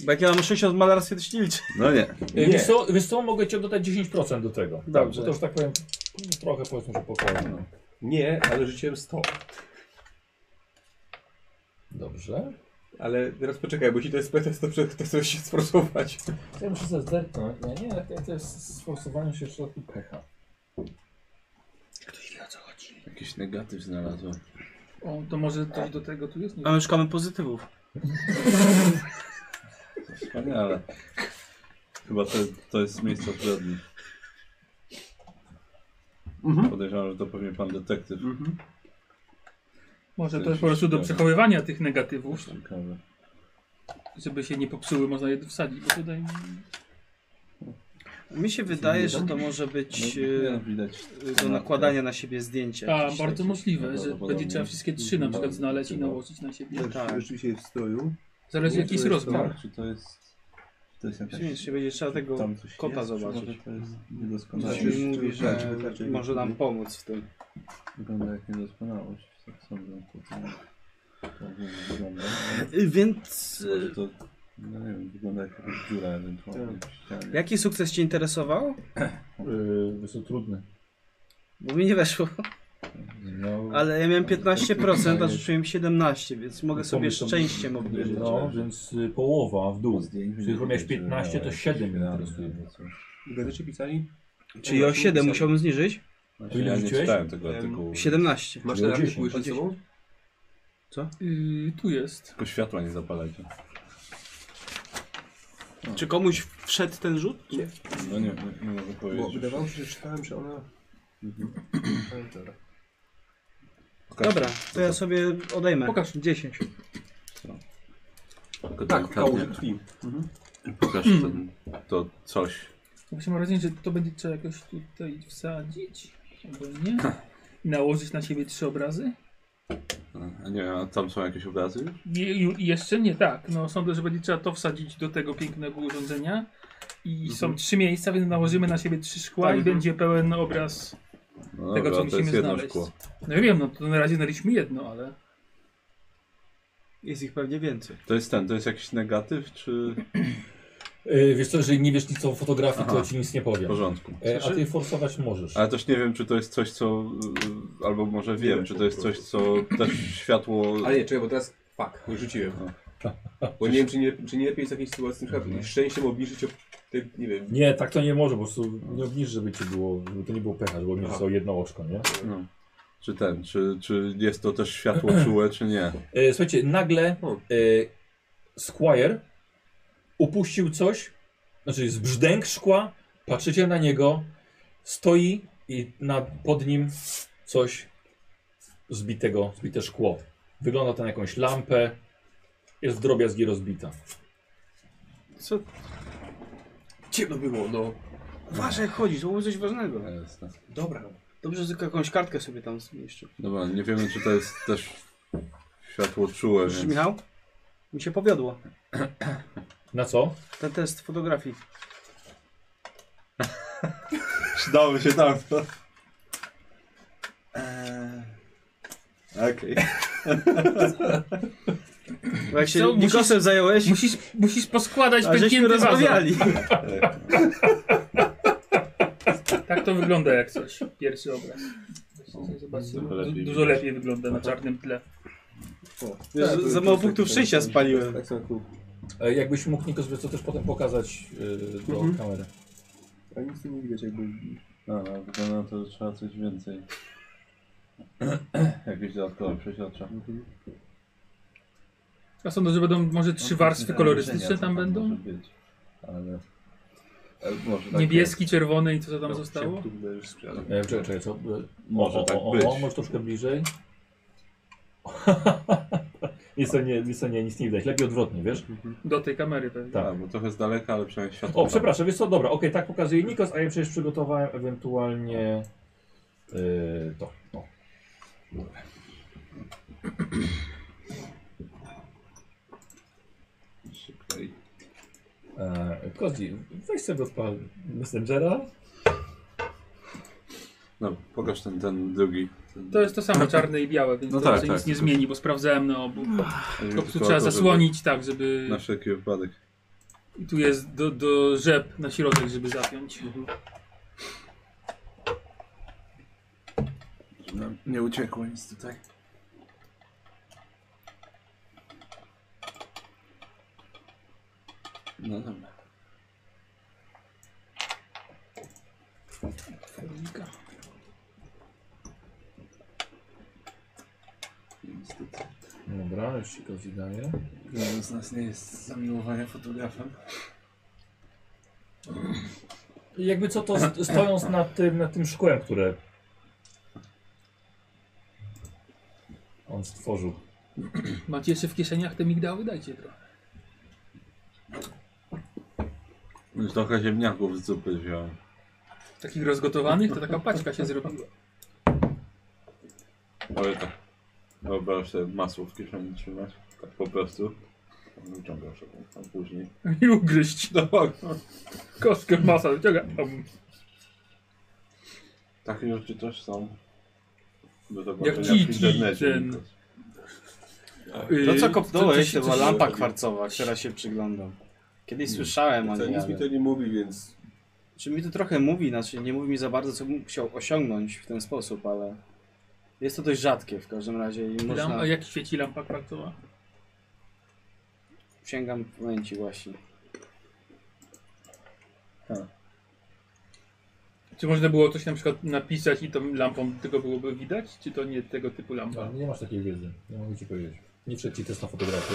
Speaker 5: Bo jak ja mam 6 od malarstwa, to się nie liczy.
Speaker 4: No nie.
Speaker 2: E, Wiesz co, wiesz co, mogę ci dodać 10% do tego.
Speaker 5: Dobrze.
Speaker 2: Bo to już tak powiem, trochę powiedzmy, że pokoju. No.
Speaker 3: Nie, ale rzuciłem 100.
Speaker 2: Dobrze.
Speaker 3: Ale teraz poczekaj, bo jeśli to jest pretest, to, prze- to chcę się sforsować.
Speaker 2: Ja muszę sobie zerknąć. Nie, nie, ja to jest sforsowanie się w środku pecha.
Speaker 4: Jakiś negatyw znalazłem.
Speaker 9: O, to może coś do tego tu jest? Nie
Speaker 5: A my szukamy pozytywów.
Speaker 4: Wspaniale. Chyba to, to jest miejsce zbrodni. Podejrzewam, że to pewnie pan detektyw.
Speaker 9: Może to jest po prostu do przechowywania tych negatywów,
Speaker 4: Ciekawe.
Speaker 9: żeby się nie popsuły, można je wsadzić, bo tutaj...
Speaker 5: Mi się wydaje, że to może być
Speaker 4: No, nie,
Speaker 5: e,
Speaker 4: widać.
Speaker 5: do nakładania na siebie zdjęcia.
Speaker 9: A,
Speaker 5: jakieś
Speaker 9: bardzo
Speaker 5: takie.
Speaker 9: możliwe, że
Speaker 4: Prawdopodobnie. Mhm.
Speaker 9: będzie trzeba wszystkie trzy na przykład znaleźć i nałożyć na siebie.
Speaker 5: Tak.
Speaker 4: Rzeczywiście jest w stroju.
Speaker 9: Zależy jaki jest rozmiar.
Speaker 4: Czy to jest... Czy to jest jakaś...
Speaker 5: Przyjmie się, będzie trzeba tego
Speaker 4: tam coś
Speaker 5: kota
Speaker 4: jest, czy
Speaker 5: zobaczyć.
Speaker 4: może
Speaker 5: Znaczy-
Speaker 4: To jest Znaczy- niedoskonałe.
Speaker 5: Coś mi mówi, że
Speaker 4: Raczej
Speaker 5: może nam pomóc w tym.
Speaker 4: Wygląda jak niedoskonałość. Tak sądzę. po tym, jak wygląda.
Speaker 5: Y, Więc y,
Speaker 4: Może to... No nie wiem, wygląda jak jakaś dziura ewentualnie w ścianie.
Speaker 5: jaki sukces Cię interesował?
Speaker 2: Yy, są trudne.
Speaker 5: Bo mi nie weszło.
Speaker 4: No,
Speaker 5: Ale ja miałem 15%, a
Speaker 4: Wydaje-
Speaker 5: rzuciłem 17, więc
Speaker 4: No
Speaker 5: mogę
Speaker 2: Pomysł
Speaker 5: sobie
Speaker 2: to-
Speaker 5: szczęściem obniżyć.
Speaker 2: No, więc y, połowa w dół. Czyli jak miałeś 15, to 7 mnie interesuje.
Speaker 4: no
Speaker 3: Gazecie pisali?
Speaker 5: Czyli o 7 musiałbym zniżyć?
Speaker 4: Znaczy, ja nie
Speaker 2: Rzuciłeś?
Speaker 4: czytałem tego
Speaker 3: Em,
Speaker 4: artykułu.
Speaker 5: 17.
Speaker 3: Masz te
Speaker 2: 10,
Speaker 3: artykuły jeszcze ze sobą?
Speaker 9: Yy, tu jest.
Speaker 4: Tylko światła nie zapalajcie.
Speaker 5: Czy komuś wszedł ten rzut?
Speaker 4: No nie, nie, nie
Speaker 3: Bo
Speaker 4: mogę powiedzieć.
Speaker 3: wydawało się, że czytałem, że ona...
Speaker 5: Mhm.
Speaker 3: Ale dobra.
Speaker 4: Pokaż-
Speaker 5: Dobra, to ja sobie odejmę.
Speaker 9: Pokaż.
Speaker 5: 10.
Speaker 4: Tylko
Speaker 3: Tak, kałuży
Speaker 4: delikatnie
Speaker 3: krwi.
Speaker 4: Pokaż ten, to coś.
Speaker 9: Właśnie mam wrażenie, że to będzie trzeba jakoś tutaj wsadzić, albo nie. I nałożyć na siebie trzy obrazy.
Speaker 4: A nie, a tam są jakieś obrazy już?
Speaker 9: Nie, ju- jeszcze nie tak. No, sądzę, że będzie trzeba to wsadzić do tego pięknego urządzenia. I
Speaker 4: Mhm.
Speaker 9: są trzy miejsca, więc nałożymy na siebie trzy szkła i będzie pełen obraz
Speaker 4: No
Speaker 9: tego, co
Speaker 4: Tak. dobra, to
Speaker 9: musimy
Speaker 4: jest jedno
Speaker 9: znaleźć.
Speaker 4: szkło.
Speaker 9: No ja wiem, no to na razie znaleźliśmy jedno, ale
Speaker 5: Jest ich pewnie więcej.
Speaker 4: To jest ten, to jest jakiś negatyw, czy
Speaker 2: Yy, wiesz co, jeżeli nie wiesz nic o fotografii, to
Speaker 4: Aha.
Speaker 2: ci nic nie
Speaker 4: w
Speaker 2: powiem.
Speaker 4: porządku?
Speaker 2: E, a ty forsować możesz.
Speaker 4: Ale też nie wiem, czy to jest coś, co... y, Albo może wiem, czy to jest coś, co też światło...
Speaker 3: Ale nie, czekaj, bo teraz fuck, bo rzuciłem.
Speaker 5: No.
Speaker 3: Bo nie wiem, czy nie, czy nie lepiej jest w takiej sytuacji na
Speaker 5: Mhm.
Speaker 3: przykład szczęściem obniżyć o... Te, nie wiem,
Speaker 2: Nie, tak to nie może, po prostu nie obniż, żeby ci było, żeby to nie było pecha, żeby obniżyć
Speaker 3: Aha.
Speaker 2: sobie jedno oczko, nie?
Speaker 4: No. Czy ten, czy, czy jest to też światło czułe, czy nie?
Speaker 2: E, słuchajcie, nagle e,
Speaker 3: O.
Speaker 2: Squire upuścił coś, znaczy z brzdęk szkła, patrzycie na niego, stoi i na, pod nim coś zbitego, zbite szkło. Wygląda to na jakąś lampę, jest w drobiazgi rozbita.
Speaker 5: Co?
Speaker 3: gdzie to było, no.
Speaker 5: Uważaj jak chodzisz, to było coś ważnego.
Speaker 4: Jasne.
Speaker 5: Dobra. Dobrze, że tylko jakąś kartkę sobie tam zmieszczę.
Speaker 4: Dobra, nie wiemy czy to jest też światło czułe,
Speaker 5: Słyszysz,
Speaker 4: więc...
Speaker 5: Michał? Mi się powiodło.
Speaker 2: Na co?
Speaker 5: Ten test fotografii.
Speaker 4: Przydało się tam to. Eee, Okej.
Speaker 5: Bo jak się
Speaker 9: Co,
Speaker 5: Co,
Speaker 9: musisz-
Speaker 5: Nikosem zająłeś,
Speaker 9: Musisz, musisz poskładać
Speaker 5: a żeśmy
Speaker 9: pęknięty wazon.
Speaker 5: rozmawiali.
Speaker 9: Tak to wygląda jak coś. Pierwszy obraz. Zobaczcie,
Speaker 4: Dużo
Speaker 9: Zobaczcie, du-
Speaker 4: lepiej
Speaker 9: dużo
Speaker 4: widać.
Speaker 9: lepiej wygląda na czarnym tle.
Speaker 5: Wiesz,
Speaker 4: Tak,
Speaker 5: za
Speaker 4: tak,
Speaker 5: mało
Speaker 4: tak,
Speaker 5: punktów
Speaker 4: tak,
Speaker 5: szczęścia
Speaker 4: tak,
Speaker 5: spaliłem.
Speaker 4: Tak, tak, tak.
Speaker 2: E, jakbyś mógł Nikos, wiesz co też potem pokazać y, do
Speaker 3: Mhm.
Speaker 2: kamery.
Speaker 4: A nic nie widać jakby... No, no, wygląda na to, że trzeba coś więcej. Jakieś dodatkowe przeświadcza.
Speaker 2: Mhm.
Speaker 9: A sądzę, że będą może trzy
Speaker 4: No,
Speaker 9: warstwy kolorystyczne
Speaker 4: Wrażenia, co
Speaker 9: tam
Speaker 4: może
Speaker 9: będą?
Speaker 4: być, Ale... ale Może tak
Speaker 9: Niebieski, czerwony i co to tam
Speaker 3: No,
Speaker 9: zostało?
Speaker 3: Tu będę już sprzedał.
Speaker 2: E, czekaj, czekaj, co? E,
Speaker 4: Może
Speaker 2: o,
Speaker 4: tak
Speaker 2: o, o,
Speaker 4: być.
Speaker 2: O, może troszkę bliżej. nic, to nie, nic, to nie, nic nie widać. Lepiej odwrotnie, wiesz?
Speaker 9: Do tej kamery pewnie.
Speaker 4: Tak, bo trochę z daleka, ale przynajmniej światło.
Speaker 2: O, przepraszam, wiesz co? Dobra, okej, tak pokazuje Nikos, a ja przecież przygotowałem ewentualnie y, to. No.
Speaker 4: Szybciej.
Speaker 2: E, Kozi, weź sobie odpal Messengera.
Speaker 4: No, pokaż ten, ten drugi. Ten...
Speaker 9: To jest to samo czarne i białe, więc
Speaker 4: No
Speaker 9: to
Speaker 4: tak,
Speaker 9: raczej
Speaker 4: tak,
Speaker 9: nic nie
Speaker 4: tylko-
Speaker 9: zmieni, bo sprawdzałem na obu.
Speaker 4: Tylko
Speaker 9: Po prostu
Speaker 4: o
Speaker 9: trzeba
Speaker 4: to, żeby-
Speaker 9: zasłonić tak, żeby...
Speaker 4: Na wszelki wypadek.
Speaker 9: I tu jest do, do rzep na środek, żeby zapiąć.
Speaker 4: nie uciekło nic tutaj. No dobra. Niestety.
Speaker 2: Dobra, już ci Kozi daję.
Speaker 4: Wielu z nas nie jest z zamiłowania fotografem.
Speaker 2: Jakby co, to st- stojąc nad tym, nad tym szkłem, które on stworzył.
Speaker 9: Macie jeszcze w kieszeniach te migdały? Dajcie trochę.
Speaker 4: Już trochę ziemniaków z zupy wziąłem.
Speaker 9: Takich rozgotowanych to taka paćka się zrobiła.
Speaker 4: Ale tak. Wyobraź sobie masło w kieszeni trzymać. Tak po prostu. Wyciągasz ją tam później.
Speaker 9: I ugryźć.
Speaker 4: No,
Speaker 9: Kostkę masa wyciąga. Am.
Speaker 4: takie rzeczy też są. Do
Speaker 9: Kiki,
Speaker 4: zobaczenia w internecie.
Speaker 9: ten-
Speaker 4: Nikos.
Speaker 5: To
Speaker 9: Yy,
Speaker 5: No co kopnąłeś,
Speaker 9: się-
Speaker 5: to była
Speaker 9: się-
Speaker 5: lampa kwarcowa, która się przyglądam. Kiedyś słyszałem,
Speaker 3: To
Speaker 5: ale No, nie
Speaker 3: nic mi to
Speaker 5: wiem.
Speaker 3: nie mówi, więc
Speaker 5: Czy mi to trochę mówi, znaczy nie mówi mi za bardzo, co bym chciał osiągnąć w ten sposób, ale... Jest to dość rzadkie w każdym razie i można...
Speaker 9: Lampa, jak świeci lampa kwarcowa?
Speaker 5: Sięgam w pamięci właśnie.
Speaker 9: Czy można było coś na przykład napisać i tą lampą tego byłoby widać? Czy to nie tego typu lampa?
Speaker 2: Ale nie masz takiej wiedzy, nie mogę ci powiedzieć. Nie przeczytaj test na fotografię.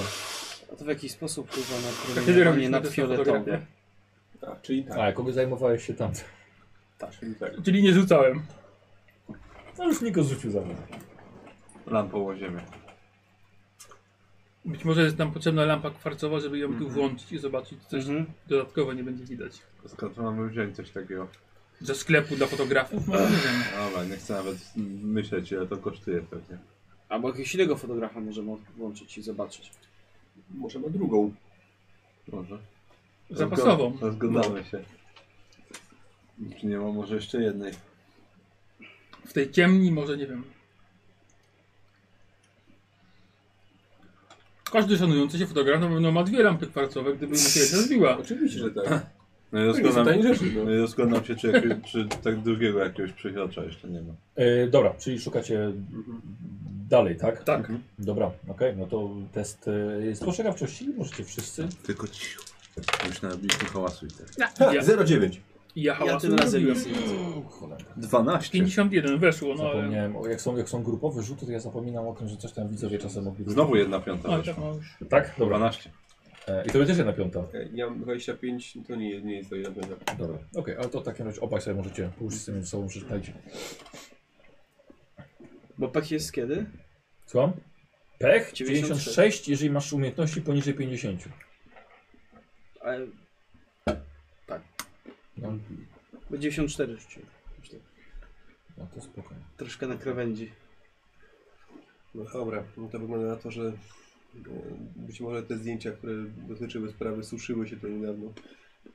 Speaker 5: A to w jakiś sposób wpływa na
Speaker 9: Kiedy
Speaker 5: promieniowanie
Speaker 9: robiliśmy test na
Speaker 5: nadfioletowe.
Speaker 9: fotografię?
Speaker 3: tak, czyli tak.
Speaker 2: A, jak kogo zajmowałeś się tam?
Speaker 3: Czyli tak.
Speaker 9: Czyli nie rzucałem.
Speaker 2: No już Nikos rzucił za mnie.
Speaker 4: Lampą o ziemię.
Speaker 9: Być może jest nam potrzebna lampa kwarcowa, żeby ją tu włączyć i zobaczyć coś
Speaker 5: Mhm.
Speaker 9: dodatkowo nie będzie widać.
Speaker 4: Skąd mamy wziąć coś takiego?
Speaker 9: Ze sklepu dla fotografów? Może nie wiem.
Speaker 4: Dobra, nie chcę nawet myśleć ile to kosztuje pewnie.
Speaker 5: Albo jakiegoś innego fotografa możemy włączyć i zobaczyć.
Speaker 3: Może ma drugą.
Speaker 4: Może.
Speaker 9: Zapasową.
Speaker 4: Rozgo- Rozglądamy się. Czy nie ma może jeszcze jednej?
Speaker 9: W tej ciemni może nie wiem. Każdy szanujący się fotograf na pewno ma dwie lampy kwarcowe, gdyby mu się jedna zbiła.
Speaker 3: Oczywiście, że tak.
Speaker 4: No i
Speaker 3: To nie są
Speaker 4: rozglądam,
Speaker 3: tanie rzeczy, no.
Speaker 4: no i rozglądam się, czy, jakie- czy tak drugiego jakiegoś przychylacza jeszcze nie ma.
Speaker 2: E, dobra, czyli szukacie dalej, tak?
Speaker 9: Tak.
Speaker 4: Mhm.
Speaker 2: Dobra, okej, no to test e, spostrzegawczości możecie wszyscy.
Speaker 4: Tylko cicho. Już nabiliśmy hałasu i tak.
Speaker 9: Ja,
Speaker 3: 0,9.
Speaker 9: ja
Speaker 5: Ja
Speaker 9: hałasu
Speaker 5: tym razem
Speaker 9: zrobiłem.
Speaker 5: nic nie widzę.
Speaker 2: O, cholera.
Speaker 4: 12.
Speaker 9: 51 weszło, no ale...
Speaker 2: Zapomniałem, o, jak, są, jak są grupowe rzuty, to ja zapominam o tym, że coś tam widzowie czasem mogli
Speaker 4: Znowu jedna piąta
Speaker 9: A,
Speaker 4: weszła.
Speaker 9: tak, no już.
Speaker 2: Tak? Dobra.
Speaker 4: 12.
Speaker 2: E, I to będzie też jedna piąta.
Speaker 3: Ja mam 25, to nie, nie jest to jedna piąta.
Speaker 2: Dobra. Okej, ale to w takim razie obaj sobie możecie pójść z tym ze sobą przeczytać.
Speaker 5: Bo pech jest kiedy?
Speaker 2: Słucham? Pech
Speaker 5: 96.
Speaker 2: 96, jeżeli masz umiejętności poniżej 50.
Speaker 5: Ale
Speaker 2: No.
Speaker 5: Bo 94 rzuciłem.
Speaker 2: No to spokojnie.
Speaker 5: Troszkę na krawędzi.
Speaker 3: No dobra, no to wygląda na to, że e, być może te zdjęcia, które dotyczyły sprawy, suszyły się to niedawno.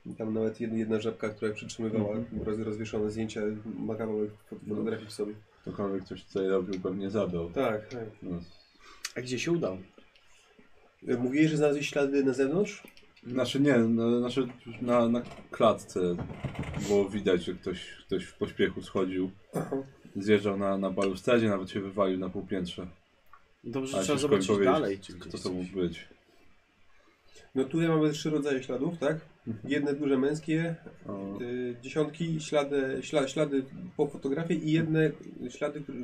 Speaker 3: I Tam nawet jed- jedna żabka, która przytrzymywała roz, rozwieszone zdjęcia, ma kawałek fot- fotografii w sobie.
Speaker 4: Ktokolwiek coś tutaj robił, pewnie zabrał.
Speaker 3: Tak, tak.
Speaker 4: No,
Speaker 5: A gdzie się udał?
Speaker 3: E, Mówiłeś, że znalazłeś ślady na zewnątrz?
Speaker 4: Znaczy nie, no, znaczy na, na klatce było widać, że ktoś, ktoś w pośpiechu schodził. Zjeżdżał na, na balustradzie, nawet się wywalił na półpiętrze.
Speaker 5: Dobrze,
Speaker 4: Ale
Speaker 5: trzeba
Speaker 4: ciężko mi
Speaker 5: zobaczyć
Speaker 4: powiedzieć,
Speaker 5: dalej. Czy
Speaker 4: Kto
Speaker 5: gdzieś
Speaker 4: to
Speaker 5: coś.
Speaker 4: mógł być?
Speaker 3: No tutaj mamy trzy rodzaje śladów, tak? Jedne duże męskie,
Speaker 4: O,
Speaker 3: y, dziesiątki, ślady, śla, ślady po fotografii i jedne ślady, które-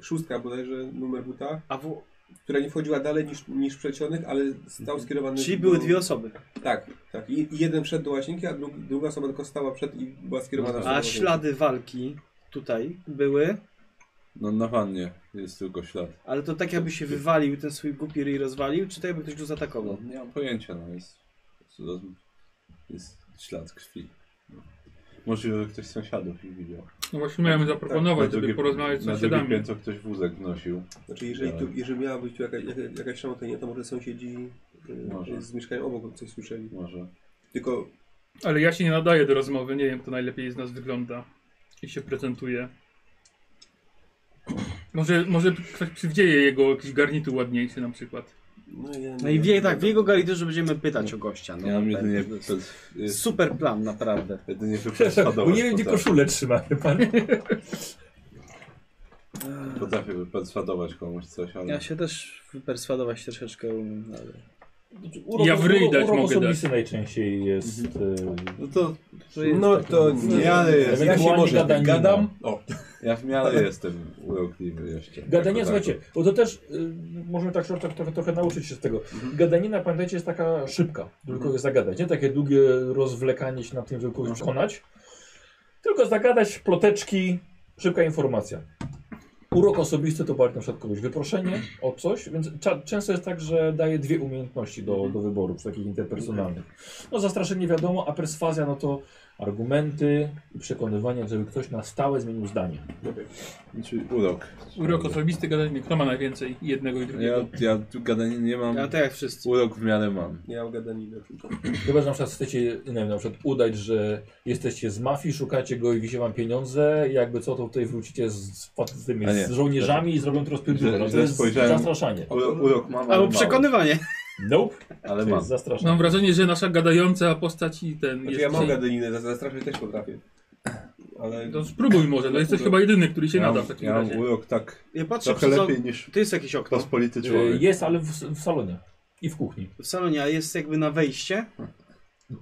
Speaker 3: szóstka bodajże, numer buta,
Speaker 5: A w...
Speaker 3: która nie wchodziła dalej niż, niż przecionek, ale stał skierowany...
Speaker 5: Czyli
Speaker 3: do-
Speaker 5: Mhm. były dwie osoby.
Speaker 3: Tak, tak. I i jeden wszedł do łazienki, a drugi, druga osoba tylko stała przed i była skierowana do
Speaker 5: A
Speaker 3: łazienki.
Speaker 5: ślady walki tutaj były,
Speaker 4: No na wannie jest tylko ślad.
Speaker 5: ale to tak jakby się wywalił ten swój głupi ryj rozwalił, czy tak jakby ktoś go
Speaker 4: No,
Speaker 5: zaatakował?
Speaker 4: nie mam pojęcia, no jest, jest, jest ślad krwi. No. Możliwe, że ktoś z sąsiadów ich widział.
Speaker 9: No właśnie miałem zaproponować, żeby
Speaker 4: drugie-
Speaker 9: porozmawiać z
Speaker 4: Na drugie
Speaker 9: sąsiadami.
Speaker 4: piętro ktoś wózek wnosił.
Speaker 3: Znaczy, jeżeli, tu, jeżeli miała być tu jaka, jaka, jakaś szamotania, to może sąsiedzi
Speaker 4: Może.
Speaker 3: y, z mieszkania obok coś słyszeli.
Speaker 4: Może.
Speaker 3: Tylko
Speaker 9: Ale ja się nie nadaję do rozmowy, nie wiem kto najlepiej z nas wygląda i się prezentuje. Może, może ktoś przywdzieje jego jakiś garnitur ładniejszy na przykład.
Speaker 3: no, ja,
Speaker 5: No i wie, tak, w jego galiturze będziemy pytać o gościa. No,
Speaker 4: Ja mam
Speaker 5: tak.
Speaker 4: jedynie, przez- jest-
Speaker 5: Super plan, naprawdę.
Speaker 4: jedynie wypas
Speaker 2: Przepraszam, Tak, bo
Speaker 4: spadowe
Speaker 2: nie wiem gdzie
Speaker 9: tak.
Speaker 4: potrafię.
Speaker 2: koszulę trzyma, wie pan.
Speaker 4: Potrafię wyperswadować komuś coś, ale...
Speaker 5: Ja się też wyperswadować troszeczkę umiem, ale...
Speaker 2: Urok,
Speaker 9: Ja w ryj dać Mhm.
Speaker 2: urok
Speaker 9: mogę
Speaker 2: osobisty najczęściej jest...
Speaker 4: No to
Speaker 5: To jest
Speaker 3: No
Speaker 5: taki-
Speaker 3: to nie.
Speaker 4: ja,
Speaker 2: Y,
Speaker 4: jest,
Speaker 2: ewentualnie
Speaker 3: może
Speaker 2: gadanina.
Speaker 3: gadam. O,
Speaker 4: ja w miarę jestem urokliwy jeszcze. Tak
Speaker 2: Gadanina,
Speaker 4: Jako tako.
Speaker 2: słuchajcie, bo to też y, możemy tak trochę, trochę, trochę nauczyć się z tego. Gadanina, pamiętajcie, jest taka szybka, żeby kogoś zagadać. Nie takie długie rozwlekanie się na tym, żeby kogoś przekonać. Tylko zagadać, ploteczki, szybka informacja. Urok osobisty to bardziej na przykład kogoś wyproszenie o coś, więc cza- często jest tak, że daje dwie umiejętności do, do wyboru, przy takich interpersonalnych. No zastraszenie wiadomo, a perswazja no to argumenty i przekonywanie, żeby ktoś na stałe zmienił zdanie.
Speaker 4: Znaczy urok.
Speaker 9: Urok osobisty gadajmy, kto ma najwięcej jednego i drugiego.
Speaker 4: Ja, ja tu gadaniny nie mam,
Speaker 5: Ja tak jak wszyscy.
Speaker 4: urok w miarę mam.
Speaker 3: nie mam gadaninę Znaczy, tylko.
Speaker 2: Chyba, że na przykład chcecie nie wiem, na przykład udać, że jesteście z mafii, szukacie go i wisi wam pieniądze, i jakby co to tutaj wrócicie z, z, z tymi
Speaker 4: A nie.
Speaker 2: z żołnierzami i zrobią to rozpierdolę.
Speaker 4: Źle-
Speaker 2: No, to
Speaker 4: źle
Speaker 2: jest
Speaker 4: spojrzałem.
Speaker 2: zastraszanie.
Speaker 4: Uro, urok mam, ale
Speaker 5: Albo
Speaker 4: mało.
Speaker 5: przekonywanie.
Speaker 2: Nope,
Speaker 4: Ale
Speaker 2: to
Speaker 4: mam.
Speaker 2: jest zastraszanie.
Speaker 9: Mam wrażenie, że nasza gadająca postać i ten
Speaker 3: Znaczy
Speaker 9: jest...
Speaker 3: ja mam
Speaker 9: dzisiaj-
Speaker 3: gadaninę, za- zastraszać też potrafię. Ale
Speaker 9: To No, spróbuj może, to jesteś chyba jedyny, który się
Speaker 4: Ja
Speaker 9: nada
Speaker 4: mam,
Speaker 9: w takim
Speaker 4: ja mam
Speaker 9: razie.
Speaker 4: urok tak
Speaker 5: Ja patrzę
Speaker 4: trochę
Speaker 5: przez...
Speaker 4: lepiej niż
Speaker 5: To jest jakieś okno
Speaker 4: pospolity
Speaker 2: Y,
Speaker 4: człowiek.
Speaker 2: Jest, ale w, w salonie i w kuchni.
Speaker 5: w salonie, a jest jakby na wejście.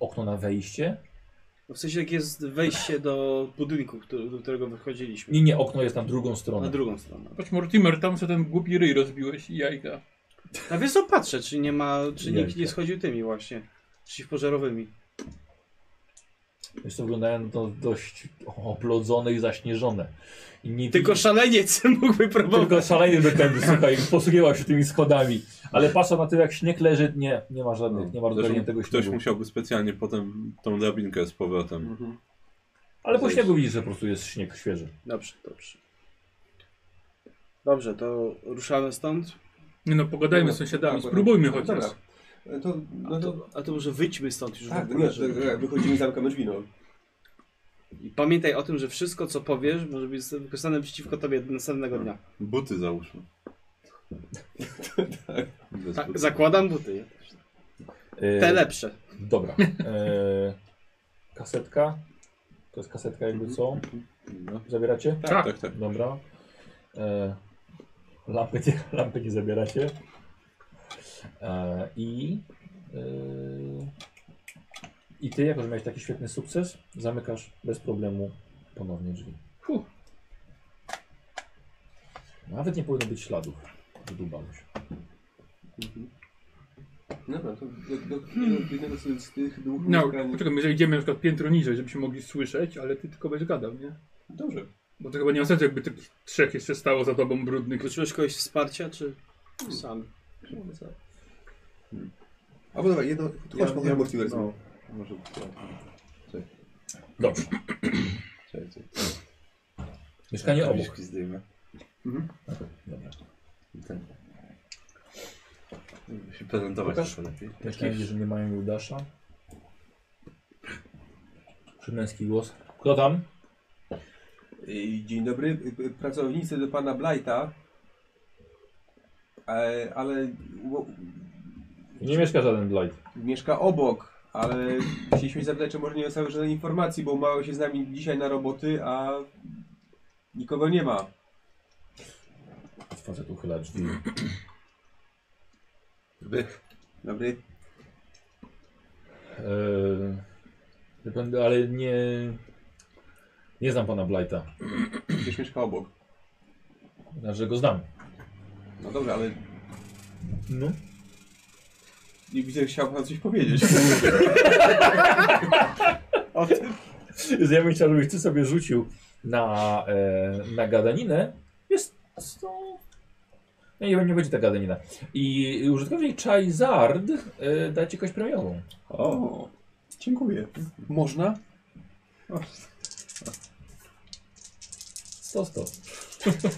Speaker 2: Okno na wejście.
Speaker 5: No W sensie jak jest wejście do budynku, który, do którego wychodziliśmy.
Speaker 2: Nie, nie, okno jest na drugą
Speaker 5: Na
Speaker 2: stronę.
Speaker 5: drugą stronę.
Speaker 9: Patrz Mortimer, tam co ten głupi ryj rozbiłeś i jajka.
Speaker 5: A Tak więc to patrzę, czy nie ma, czy nikt
Speaker 2: Jajka.
Speaker 5: nie schodził tymi właśnie. Przeciwpożarowymi.
Speaker 2: Jest to wyglądają to dość oplodzone i zaśnieżone. I nie,
Speaker 5: Tylko szaleniec mógłby próbować.
Speaker 2: Tylko szalenie by tędy, słuchaj, posługiwał się tymi schodami. Ale patrzę na to, jak śnieg leży, nie, nie ma żadnych, nie ma
Speaker 4: No. Zresztą
Speaker 2: rozgarniętego tego
Speaker 4: ktoś
Speaker 2: śniegu.
Speaker 4: musiałby specjalnie potem tą drabinkę z powrotem.
Speaker 5: Mhm.
Speaker 2: Ale po śniegu widzisz, że po prostu jest śnieg świeży.
Speaker 5: Dobrze, dobrze. Dobrze, to ruszamy stąd.
Speaker 9: Nie no, pogadajmy z
Speaker 3: Dobra,
Speaker 4: Tak,
Speaker 9: sąsiadami,
Speaker 3: dobra.
Speaker 9: spróbujmy
Speaker 3: Dobra.
Speaker 9: chociaż.
Speaker 3: E, To,
Speaker 5: A
Speaker 3: no to,
Speaker 5: to, a to może wyjdźmy stąd już
Speaker 3: tak, no
Speaker 5: w
Speaker 3: nie,
Speaker 5: ogóle.
Speaker 3: to,
Speaker 5: Żeby...
Speaker 3: tak, wychodzimy, zamkamy drzwi, no.
Speaker 5: I pamiętaj o tym, że wszystko co powiesz może być wykorzystane przeciwko tobie
Speaker 4: No.
Speaker 5: następnego dnia.
Speaker 4: Buty załóżmy. Bez
Speaker 5: Tak,
Speaker 4: butów.
Speaker 5: zakładam buty.
Speaker 2: Yy,
Speaker 5: Te lepsze.
Speaker 2: Dobra. Yy, kasetka. To jest kasetka jakby co?
Speaker 4: No,
Speaker 2: Zabieracie?
Speaker 9: Tak.
Speaker 4: tak, tak.
Speaker 2: Dobra. Yy, lampy, nie, lampy nie zabieracie. Yy, I... Yy, I ty, jako że miałeś taki świetny sukces, zamykasz bez problemu ponownie drzwi.
Speaker 9: Fuh.
Speaker 2: Nawet nie powinno być śladów. Wydubałeś.
Speaker 3: Dobra, to do, do, do, do jednego z- z tych dwóch
Speaker 9: No,
Speaker 4: Tak.
Speaker 3: mieszkań-
Speaker 9: poczekaj, jeżeli idziemy na przykład piętro niżej, żebyśmy mogli słyszeć, ale ty tylko będziesz gadał, nie?
Speaker 3: Dobrze.
Speaker 9: Bo to chyba nie ma sensu, jakby tych trzech jeszcze stało za tobą brudnych.
Speaker 5: Potrzebujesz kogoś wsparcia, czy sam?
Speaker 3: A bo dobra, jedno, chodź, ja, no.
Speaker 5: No,
Speaker 4: Ja- ja-
Speaker 3: możemy ja,
Speaker 4: no, może tak.
Speaker 2: Dobrze.
Speaker 4: Czekajcie.
Speaker 2: Mieszkanie obok.
Speaker 4: Tabliczki zdejmę.
Speaker 3: Mhm.
Speaker 2: Dobra.
Speaker 4: I Ten. Żeby się prezentować
Speaker 2: Pokaż.
Speaker 4: trochę lepiej.
Speaker 2: Myślałem, że nie mają Judasza. Przymęski głos. Kto tam?
Speaker 3: Y, Dzień dobry, y, y, pracownicy do pana Blighta. E, Ale u-
Speaker 2: Nie mieszka żaden Blight.
Speaker 3: mieszka obok, ale chcieliśmy zapytać, czy może nie dostały żadnej informacji, bo umały się z nami dzisiaj na roboty, a nikogo nie ma.
Speaker 2: Facet uchyla drzwi.
Speaker 4: Wych.
Speaker 3: Dobry.
Speaker 2: Eee, nie będę- ale nie... Nie znam pana Blighta.
Speaker 3: Przecież mieszka obok.
Speaker 2: Znaczy go znam.
Speaker 3: No dobrze, ale
Speaker 2: No.
Speaker 3: nie widzę, że chciałbym nam coś powiedzieć.
Speaker 5: O tym.
Speaker 2: Ja bym chciał, żebyś ty sobie rzucił na, e, na gadaninę. Jest to... No nie, nie będzie ta gadanina. I użytkownik Charizard e, da ci kość premiową.
Speaker 4: O,
Speaker 3: Dziękuję. Można?
Speaker 2: 100, 100.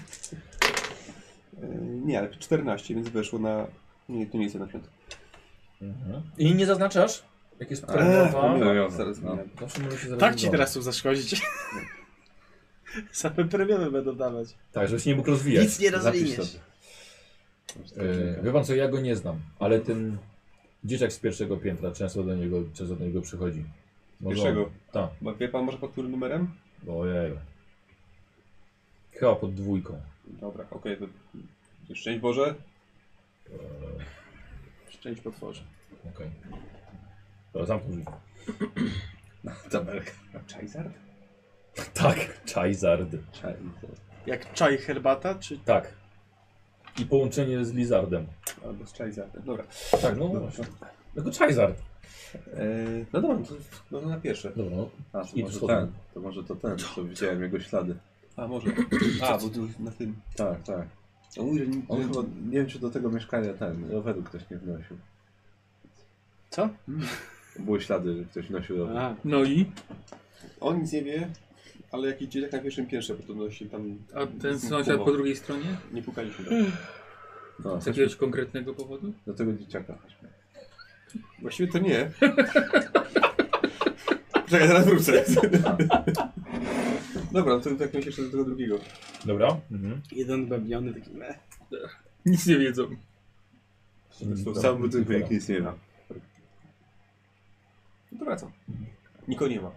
Speaker 3: E, nie, ale 14, więc weszło na... Nie, to nie jest na piątkę.
Speaker 2: I nie zaznaczasz? Jak jest premiowa?
Speaker 4: premiowa.
Speaker 3: Eee, Pomyliłem, zaraz
Speaker 4: Tak. No.
Speaker 3: zmieniam.
Speaker 2: Zawsze może się
Speaker 5: Eee, Tak ci
Speaker 2: zaraz
Speaker 5: teraz tu zaszkodzić. Same premiumy będą dawać.
Speaker 2: Tak, żebyś nie mógł rozwijać.
Speaker 5: Nic nie
Speaker 4: zapisz
Speaker 5: rozwiniesz.
Speaker 4: sobie. Masz
Speaker 2: E,
Speaker 4: takiego.
Speaker 2: wie pan co, ja go nie znam, ale ten dzieciak z pierwszego piętra często do niego, często do niego przychodzi. Może
Speaker 3: Pierwszego?
Speaker 2: on- Tak.
Speaker 3: Bo wie pan może pod którym numerem?
Speaker 2: Ojej. Chyba pod dwójką.
Speaker 3: Dobra, okej. to- Szczęść Boże.
Speaker 5: Szczęść potworze.
Speaker 2: Okej. Dobra, zamknij drzwi.
Speaker 4: Tabelka.
Speaker 3: Charizard?
Speaker 2: Tak, Charizard.
Speaker 4: Charizard.
Speaker 5: Jak czaj herbata, czy
Speaker 2: Tak. I połączenie z Lizardem.
Speaker 3: Albo z Charizardem. Dobra.
Speaker 2: Tak, no właśnie. Tylko Charizard.
Speaker 3: E, no dobra, to, no to na pierwsze.
Speaker 2: Dobra, no.
Speaker 4: A, to
Speaker 2: I
Speaker 4: może
Speaker 2: wschodem.
Speaker 4: ten. To może to ten, co widziałem jego ślady.
Speaker 3: A może. A, bo tu na tym.
Speaker 4: Tak, tak.
Speaker 3: O, mój, że nie,
Speaker 4: On chyba, nie wiem czy do tego mieszkania ten, roweru ktoś nie wnosił.
Speaker 5: co?
Speaker 4: Były ślady, że ktoś nosił rower.
Speaker 5: A,
Speaker 9: No i?
Speaker 3: on nic nie wie, ale jakiś dzieciak na pierwszym piętrze podobności tam.
Speaker 9: A ten
Speaker 3: nic nie
Speaker 9: sąsiad
Speaker 3: kupował.
Speaker 9: po drugiej stronie?
Speaker 3: Nie pukaliśmy tam.
Speaker 4: No,
Speaker 9: Z
Speaker 4: chodźmy
Speaker 9: jakiegoś konkretnego powodu?
Speaker 4: do tego dzieciaka. chodźmy.
Speaker 3: Właściwie to nie. Czekaj, zaraz wrócę. dobra, no to tak myślę jeszcze do tego drugiego.
Speaker 2: Dobra. Mhm.
Speaker 5: jeden bębniony taki meh.
Speaker 9: Nic nie wiedzą.
Speaker 4: W całym budynku nikt nic nie ma.
Speaker 3: No to wracam. Nikogo nie ma.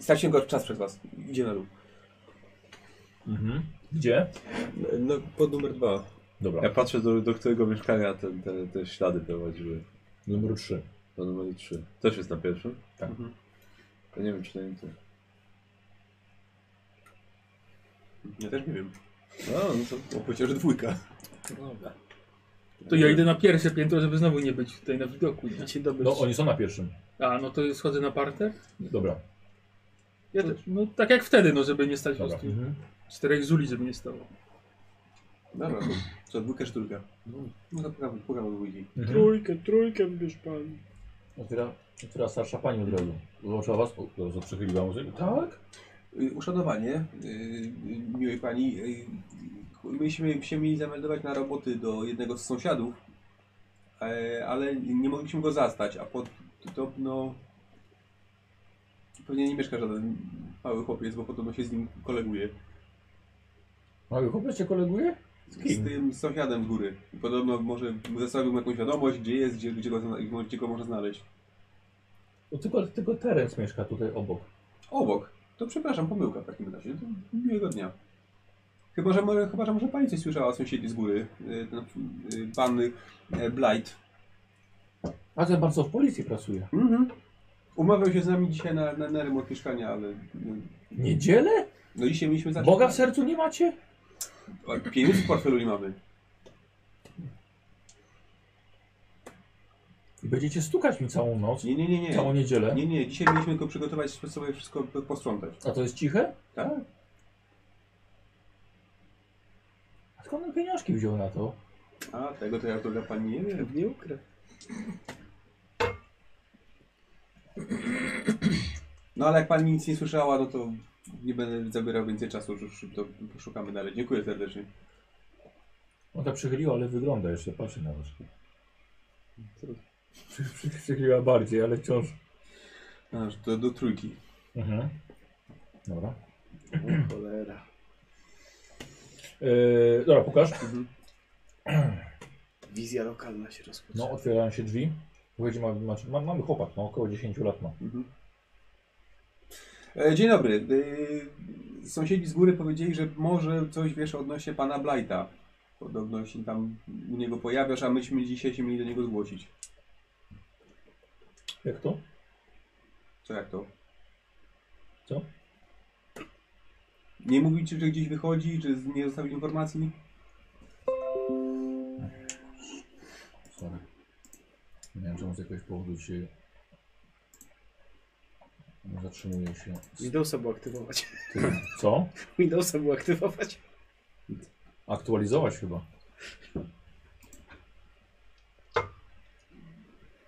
Speaker 3: Straciłem go czas przez was. Idzie na dół.
Speaker 2: Mhm. Gdzie?
Speaker 3: No, pod numer dwa.
Speaker 2: Dobra.
Speaker 4: Ja patrzę do, do którego mieszkania ten, te, te ślady prowadziły.
Speaker 2: Numer 3.
Speaker 4: Do numeru 3. Też jest na pierwszym?
Speaker 2: Tak.
Speaker 4: Mhm. Ja nie wiem czy na nim tu.
Speaker 3: Ja też nie wiem.
Speaker 4: No, no to...
Speaker 3: Bo powiedział, że dwójka.
Speaker 9: To ja idę na pierwsze piętro, żeby znowu nie być tutaj na widoku. Nie?
Speaker 5: Dzień dobry.
Speaker 2: No oni są na pierwszym.
Speaker 9: A, no to schodzę na parter?
Speaker 2: Dobra.
Speaker 5: Ja
Speaker 9: To-
Speaker 5: też.
Speaker 9: No tak jak wtedy, no żeby nie stać po
Speaker 2: Dobra.
Speaker 9: prostu.
Speaker 2: Mhm.
Speaker 9: Czterech zuli, żeby nie stało.
Speaker 3: Dobra, to co, dwójka czy trójka? No to pukam, pukam do dwójki.
Speaker 2: Mhm.
Speaker 5: Trójkę, trójkę bierz pan.
Speaker 2: Otwiera, otwiera starsza pani od razu. Zobaczyła was? O, dobrze, przychyliła muzykę. Tak?
Speaker 3: Y, Uszanowanie, y, y, miłej pani. y, y, Myśmy się mieli zameldować na roboty do jednego z sąsiadów, e, ale nie mogliśmy go zastać, a podobno... Pewnie nie mieszka żaden mały chłopiec, bo podobno się z nim koleguje.
Speaker 2: Mały chłopiec cię koleguje?
Speaker 3: Z, z tym sąsiadem z góry. I Podobno może zostawił mu jakąś wiadomość, gdzie jest, gdzie, gdzie, go, zna- gdzie go można znaleźć.
Speaker 2: No, tylko, tylko Terence mieszka tutaj obok.
Speaker 3: Obok. To przepraszam, pomyłka w takim razie. To miłego dnia. Chyba, że może, chyba, że może pani coś słyszała o sąsiedzi z góry. Y, Ten y, pan y, Blight.
Speaker 2: A ten pan co w policji pracuje?
Speaker 3: Mhm. Umawiał się z nami dzisiaj na, na, na remont mieszkania, ale... y,
Speaker 2: Niedzielę?
Speaker 3: No dzisiaj mieliśmy zacząć...
Speaker 2: Boga w sercu nie macie?
Speaker 3: A, Pieniędzy w portfelu nie mamy.
Speaker 2: I będziecie stukać mi całą noc?
Speaker 3: Nie, nie, nie, nie.
Speaker 2: Całą niedzielę?
Speaker 3: Nie, nie, dzisiaj mieliśmy tylko przygotować, sobie wszystko posprzątać.
Speaker 2: A to jest ciche?
Speaker 3: Tak?
Speaker 2: A skąd on pieniążki wziął na to?
Speaker 3: A, tego to ja droga pani nie wiem.
Speaker 5: Pewnie ukrył.
Speaker 3: No ale jak pani nic nie słyszała, no to Nie będę zabierał więcej czasu, już to poszukamy dalej. Dziękuję serdecznie.
Speaker 2: Ona przychyliła, tak ale wygląda jeszcze, patrzy na was. Przy- przy- Przychyliła bardziej, ale wciąż.
Speaker 3: A, że to do trójki.
Speaker 2: Mhm. Dobra.
Speaker 5: O, cholera.
Speaker 2: Yy, dobra, pokaż.
Speaker 5: Wizja lokalna się rozpoczyna.
Speaker 2: No, otwierają się drzwi. Słuchajcie, ma, ma, ma, mamy chłopak, no, około 10 lat ma.
Speaker 3: E, Dzień dobry. E, Sąsiedzi z góry powiedzieli, że może coś wiesz odnośnie pana Blighta. Podobno się tam u niego pojawiasz, a myśmy dzisiaj się mieli do niego zgłosić.
Speaker 2: Jak to?
Speaker 3: Co jak to?
Speaker 2: Co?
Speaker 3: Nie mówi ci, że gdzieś wychodzi, czy z- nie zostawił informacji?
Speaker 2: Sorry. Nie wiem, czemu z jakiegoś powodu się... Zatrzymuję się.
Speaker 5: Windowsa było aktywować.
Speaker 2: Co?
Speaker 5: Windowsa było aktywować.
Speaker 2: Aktualizować chyba.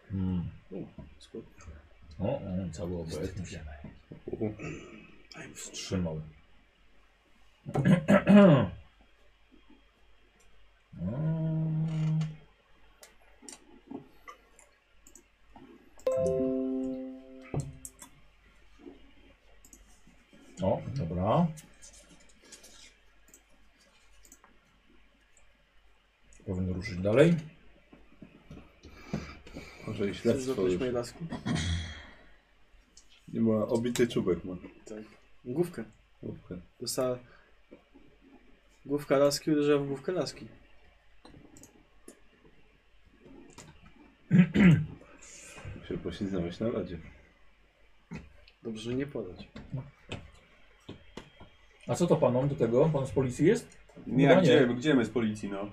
Speaker 2: Hmm. O, mm, o, cały obecny się Mm. wstrzymał. Mm. O, dobra. Powinno ruszyć dalej.
Speaker 4: Może i śledztwo
Speaker 5: Złapałeś
Speaker 4: już.
Speaker 5: moje lasku.
Speaker 4: Nie ma obity czubek ma.
Speaker 5: Tak. Główkę.
Speaker 4: Łupkę.
Speaker 5: Dostała... Główka laski uderzyła w główkę laski.
Speaker 4: Się poślizgnąłeś na lodzie.
Speaker 5: Dobrze, że nie podać.
Speaker 2: A co to panom do tego? Pan z policji jest?
Speaker 3: No Nie,
Speaker 2: Chyba
Speaker 3: gdzie,
Speaker 2: nie.
Speaker 3: gdzie my z policji, no?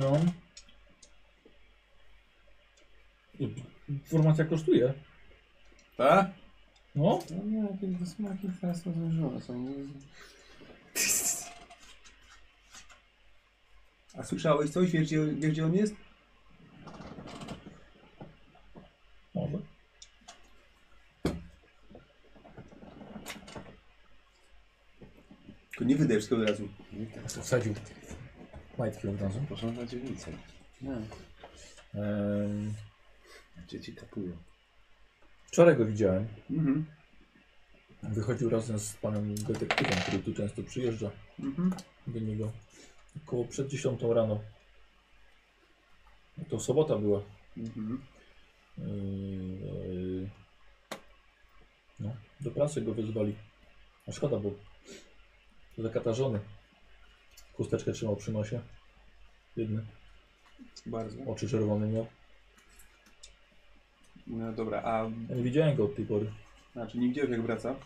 Speaker 2: No. I- Informacja kosztuje.
Speaker 3: Tak?
Speaker 2: No,
Speaker 3: No nie, jakieś smaki teraz są złożone. Są... A słyszałeś coś? Wiesz gdzie, wiesz, gdzie on jest?
Speaker 2: może.
Speaker 3: To nie wydaj wszystkiego od razu.
Speaker 2: Wsadził majtki od razu.
Speaker 4: Proszę na dzielnicę.
Speaker 2: Ehm,
Speaker 4: Dzieci kapują.
Speaker 2: wczoraj go widziałem.
Speaker 3: Mhm.
Speaker 2: Wychodził razem z panem detektywem, który tu często przyjeżdża
Speaker 3: Mhm.
Speaker 2: do niego. Około przed 10 rano. To sobota była.
Speaker 3: Mhm.
Speaker 2: Yy, No, do pracy go wezwali. A szkoda, bo zakatarzony. Chusteczkę trzymał przy nosie. Jedny.
Speaker 3: Bardzo.
Speaker 2: Oczy czerwone miał.
Speaker 3: No dobra, a
Speaker 2: Ja nie widziałem go od tej pory.
Speaker 3: znaczy nie widziałeś jak wraca?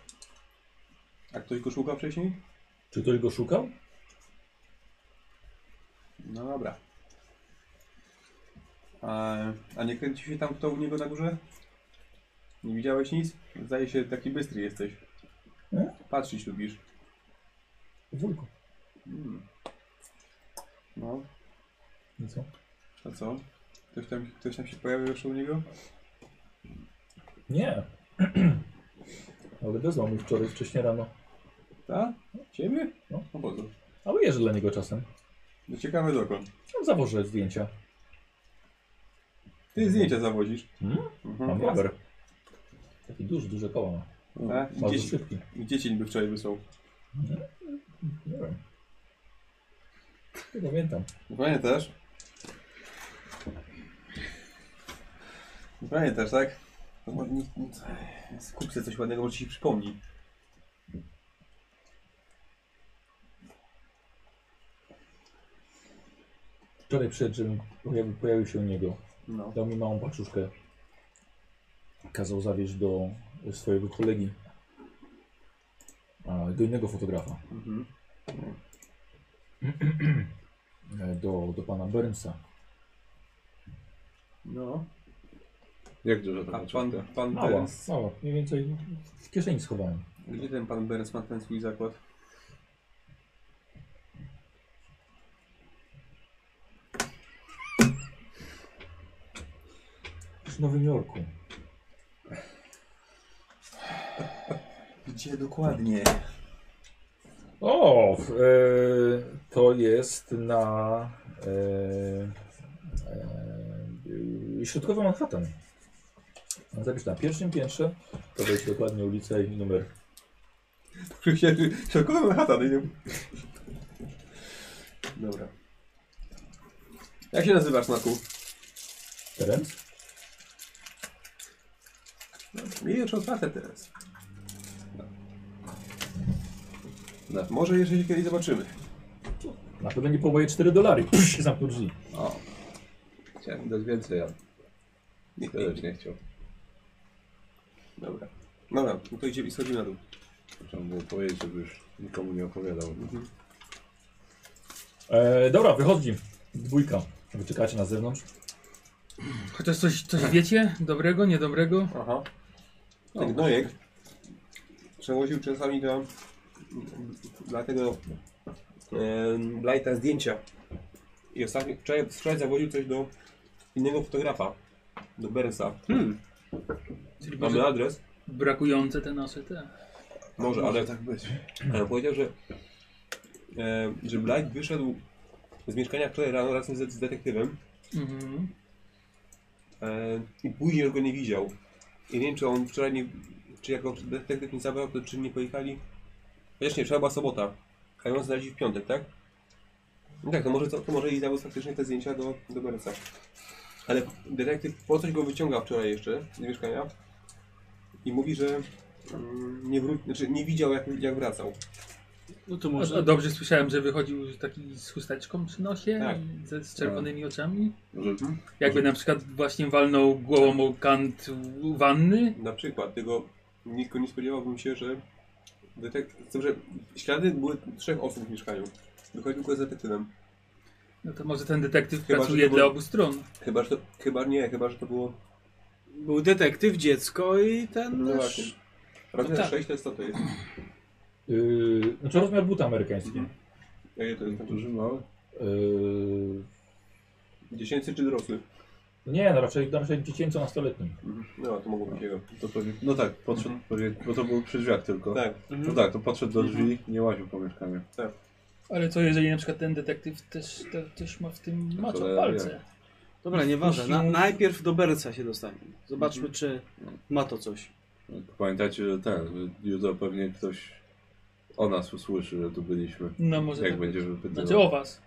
Speaker 3: A ktoś go szuka wcześniej?
Speaker 2: Czy ktoś go szukał?
Speaker 3: No dobra. A, a nie kręci się tam kto u niego na górze? Nie widziałeś nic? Zdaje się taki bystry jesteś.
Speaker 2: Nie?
Speaker 3: Patrzeć lubisz.
Speaker 2: Wujku.
Speaker 3: Mm. No,
Speaker 2: No co?
Speaker 3: a co? Ktoś tam, ktoś tam się pojawił jeszcze u niego?
Speaker 2: Nie. Ale wezwał mi wczoraj, wcześniej rano.
Speaker 3: Tak? Ciebie?
Speaker 2: No.
Speaker 3: No po co?
Speaker 2: Ale jeżdżę dla niego czasem.
Speaker 3: No ciekawe dokąd.
Speaker 2: No, zawożę zdjęcia.
Speaker 3: Ty zdjęcia zawozisz.
Speaker 2: Hmm?
Speaker 3: Mhm.
Speaker 2: Mam rower. Taki duży, duże koło ma.
Speaker 3: A,
Speaker 2: Bardzo
Speaker 3: gdzie,
Speaker 2: szybki.
Speaker 3: gdzie ci niby wczoraj wysłał?
Speaker 2: Nie wiem. Nie pamiętam.
Speaker 3: Pamiętasz? Pamiętasz, tak? No, bo nie- nie- Kup sobie coś ładnego, może ci się przypomni.
Speaker 2: Wczoraj przed, żebym pojawił, pojawił się u niego.
Speaker 3: No.
Speaker 2: Dał mi małą paczuszkę. Kazał zawieźć do swojego kolegi. A, Do innego fotografa.
Speaker 3: Mhm.
Speaker 2: E, Do, do pana Burnsa.
Speaker 3: No.
Speaker 4: Jak dużo
Speaker 3: A
Speaker 4: tam
Speaker 3: pan,
Speaker 4: czubka?
Speaker 3: pan
Speaker 2: Mała,
Speaker 3: Berens,
Speaker 2: mała. Mniej więcej w kieszeni schowałem.
Speaker 3: gdzie ten pan Berens ma ten swój zakład?
Speaker 2: W Nowym Jorku.
Speaker 12: Gdzie dokładnie?
Speaker 2: O, w- e, to jest na e, e, środkowy Manhattan. Mam zapis na pierwszym piętrze, to będzie dokładnie ulica i numer.
Speaker 4: Środkowa Manhattan, nie?
Speaker 3: Dobra.
Speaker 4: Jak się nazywasz, Naku?
Speaker 2: Terence?
Speaker 3: Miejesz otwarte teraz.
Speaker 4: No.
Speaker 3: Może jeszcze się kiedyś zobaczymy.
Speaker 2: Na pewno nie połowie 4 dolary. Psz, i zamknął drzwi.
Speaker 4: O. Chciałem dać więcej, ale nikt też nie chciał.
Speaker 3: Dobra. Dobra, no to idziemy i schodzimy na dół.
Speaker 4: Chciałem było powiedzieć, żeby już nikomu nie opowiadał.
Speaker 2: E, dobra, wychodzi. Dwójka. Wy czekacie na zewnątrz.
Speaker 9: Chociaż coś, coś wiecie? Dobrego, niedobrego?
Speaker 3: Aha. Ten gnojek przewoził czasami dla, dla tego em, Blighta zdjęcia. I ostatnio, wczoraj, wczoraj zawoził coś do innego fotografa, do Bernsa.
Speaker 9: Czyli
Speaker 3: Mamy
Speaker 9: może
Speaker 3: adres?
Speaker 9: brakujące te nasze te.
Speaker 3: Może, ale
Speaker 4: tak być.
Speaker 3: Ale powiedział, że, e, że Blight wyszedł z mieszkania wczoraj rano razem z, z detektywem
Speaker 9: Mhm.
Speaker 3: e, i później już go nie widział. I nie wiem, czy on wczoraj nie, czy jako detektyw nie zabrał, to czy nie pojechali. Chociaż nie, wczoraj była sobota, a ją znaleźli w piątek, tak? No tak, to może, to, to może i zabrał faktycznie te zdjęcia do, do Berca. Ale detektyw po coś go wyciąga wczoraj jeszcze z mieszkania i mówi, że mm, nie, wró- znaczy, nie widział jak, jak wracał.
Speaker 11: No to
Speaker 9: A, a
Speaker 11: może.
Speaker 9: dobrze słyszałem, że wychodził taki z chusteczką przy nosie,
Speaker 3: Tak.
Speaker 9: i ze, z czerwonymi oczami.
Speaker 4: Może
Speaker 9: Mhm. Jakby na przykład właśnie walnął głową o kant wanny.
Speaker 3: Na przykład, tego niko nie spodziewałbym się, że detektyw. Chcę, że ślady były trzech osób w mieszkaniu. Wychodzi tylko z detektywem.
Speaker 9: No to może ten detektyw
Speaker 3: Chyba, że
Speaker 9: pracuje
Speaker 3: to
Speaker 9: dla
Speaker 3: był-
Speaker 9: obu stron.
Speaker 3: Chyba, że to. Chyba nie, chyba, że to było.
Speaker 5: Był detektyw, dziecko i ten
Speaker 3: No
Speaker 5: nasz...
Speaker 3: właśnie. Raz
Speaker 9: No
Speaker 3: na
Speaker 9: tak.
Speaker 3: sześć to jest co to jest.
Speaker 2: Yy, znaczy rozmiar buta E, amerykańskiego.
Speaker 3: Ja je to jest
Speaker 4: duży, mały?
Speaker 2: Yy,
Speaker 3: dziecięcy czy dorosły?
Speaker 2: nie, no raczej, raczej dziecięco-nastoletnim.
Speaker 3: No, to mogło być jego.
Speaker 4: To pewnie, no tak, podszedł,
Speaker 9: Mhm.
Speaker 4: pewnie, bo to był przy drzwiach tylko.
Speaker 3: Tak.
Speaker 5: Mhm.
Speaker 4: No tak, to podszedł do drzwi,
Speaker 9: Mhm.
Speaker 4: nie łaził po mieszkaniu.
Speaker 9: Ale co jeżeli na przykład ten detektyw też, te, też ma w tym maczo
Speaker 4: cholera
Speaker 9: palce?
Speaker 5: Dobra, nieważne. Na,
Speaker 3: Mhm.
Speaker 5: najpierw do Berca się dostaniemy. Zobaczmy, czy ma to coś.
Speaker 4: Pamiętajcie, że ten, jutro pewnie ktoś o nas usłyszy, że tu byliśmy.
Speaker 9: No może
Speaker 4: Jak
Speaker 9: tak
Speaker 4: będzie
Speaker 9: być.
Speaker 4: wypytywał.
Speaker 9: Znaczy o was.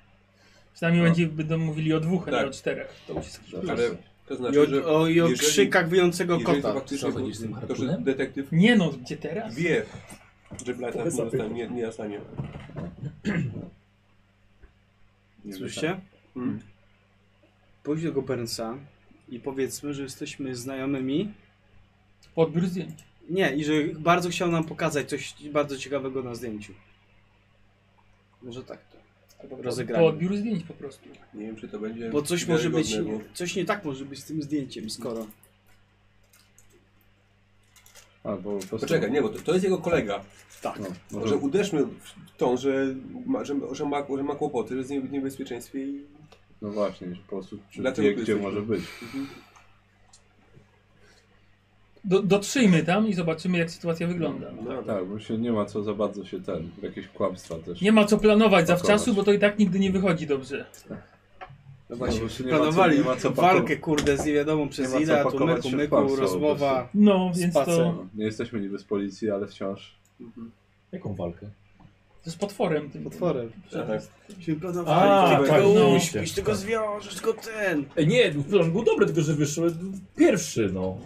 Speaker 9: Przynajmniej
Speaker 4: No.
Speaker 9: będzie będą mówili o dwóch, a
Speaker 3: Tak.
Speaker 9: nie o czterech. To już jest jakiś
Speaker 4: Tak.
Speaker 9: plus.
Speaker 3: Ale to
Speaker 5: I
Speaker 3: znaczy, że.
Speaker 5: o, o, i o
Speaker 3: jeżeli-
Speaker 5: krzykach wyjącego
Speaker 3: Jeżeli to
Speaker 5: kota.
Speaker 3: faktycznie
Speaker 2: Co, będziesz z tym
Speaker 3: był- to, że
Speaker 2: harpunem?
Speaker 3: detektyw
Speaker 9: Nie no, gdzie teraz?
Speaker 3: wie, że Blight tam nie
Speaker 2: Zapytam.
Speaker 3: zostanie, nie, nie zostanie.
Speaker 4: Nie
Speaker 5: Słyszycie?
Speaker 3: Mm.
Speaker 5: Pójdź do tego Bernsa i powiedzmy, że jesteśmy znajomymi.
Speaker 9: Odbiór zdjęć.
Speaker 5: Nie, i że bardzo chciał nam pokazać coś bardzo ciekawego na zdjęciu. Może tak to.
Speaker 3: Albo
Speaker 5: Rozegramy.
Speaker 9: Po odbiór zdjęć po prostu.
Speaker 3: Nie wiem, czy to będzie.
Speaker 5: Bo coś może być.
Speaker 3: wiarygodne,
Speaker 5: Coś nie tak może być z tym zdjęciem, skoro.
Speaker 4: Albo po prostu...
Speaker 3: Bo... Poczekaj, nie, bo to, to jest jego kolega. Tak.
Speaker 4: No,
Speaker 3: Może
Speaker 4: może...
Speaker 3: uderzmy w tą, że ma, że, że ma, że ma kłopoty, że jest nie- w niebezpieczeństwie i
Speaker 4: No właśnie, że po prostu czy
Speaker 3: Dlaczego
Speaker 4: wie,
Speaker 3: tu
Speaker 4: gdzie
Speaker 3: jesteśmy?
Speaker 4: może być.
Speaker 9: Do, dotrzyjmy tam i zobaczymy jak sytuacja wygląda.
Speaker 3: no,
Speaker 4: Tak, bo się nie ma co za bardzo się ten, jakieś kłamstwa też.
Speaker 9: Nie ma co planować
Speaker 4: Pakować.
Speaker 9: zawczasu, bo to i tak nigdy nie wychodzi dobrze.
Speaker 4: no
Speaker 5: właśnie,
Speaker 4: bo się nie ma co-
Speaker 5: Planowali
Speaker 4: nie ma co
Speaker 5: walkę, kurde, z nie wiadomo
Speaker 4: Nie
Speaker 5: przez
Speaker 4: ma co
Speaker 5: ile, a tu
Speaker 4: pakować
Speaker 5: myku,
Speaker 4: się w
Speaker 5: myku,
Speaker 4: kłamstwo po
Speaker 5: rozmowa.
Speaker 4: prostu.
Speaker 9: No, więc
Speaker 5: Spacer.
Speaker 9: to,
Speaker 4: No, nie jesteśmy niby z policji, ale wciąż.
Speaker 3: Mhm.
Speaker 2: Jaką walkę?
Speaker 9: to z potworem tym.
Speaker 5: Potworem.
Speaker 3: tak.
Speaker 5: Myśmy
Speaker 2: A,
Speaker 5: planowali,
Speaker 2: tak,
Speaker 5: gdzie go
Speaker 2: no.
Speaker 5: uśpisz, ty go zwiążesz, go ten.
Speaker 2: E, nie, plan był dobry, tylko że wyszły pierwszy, no.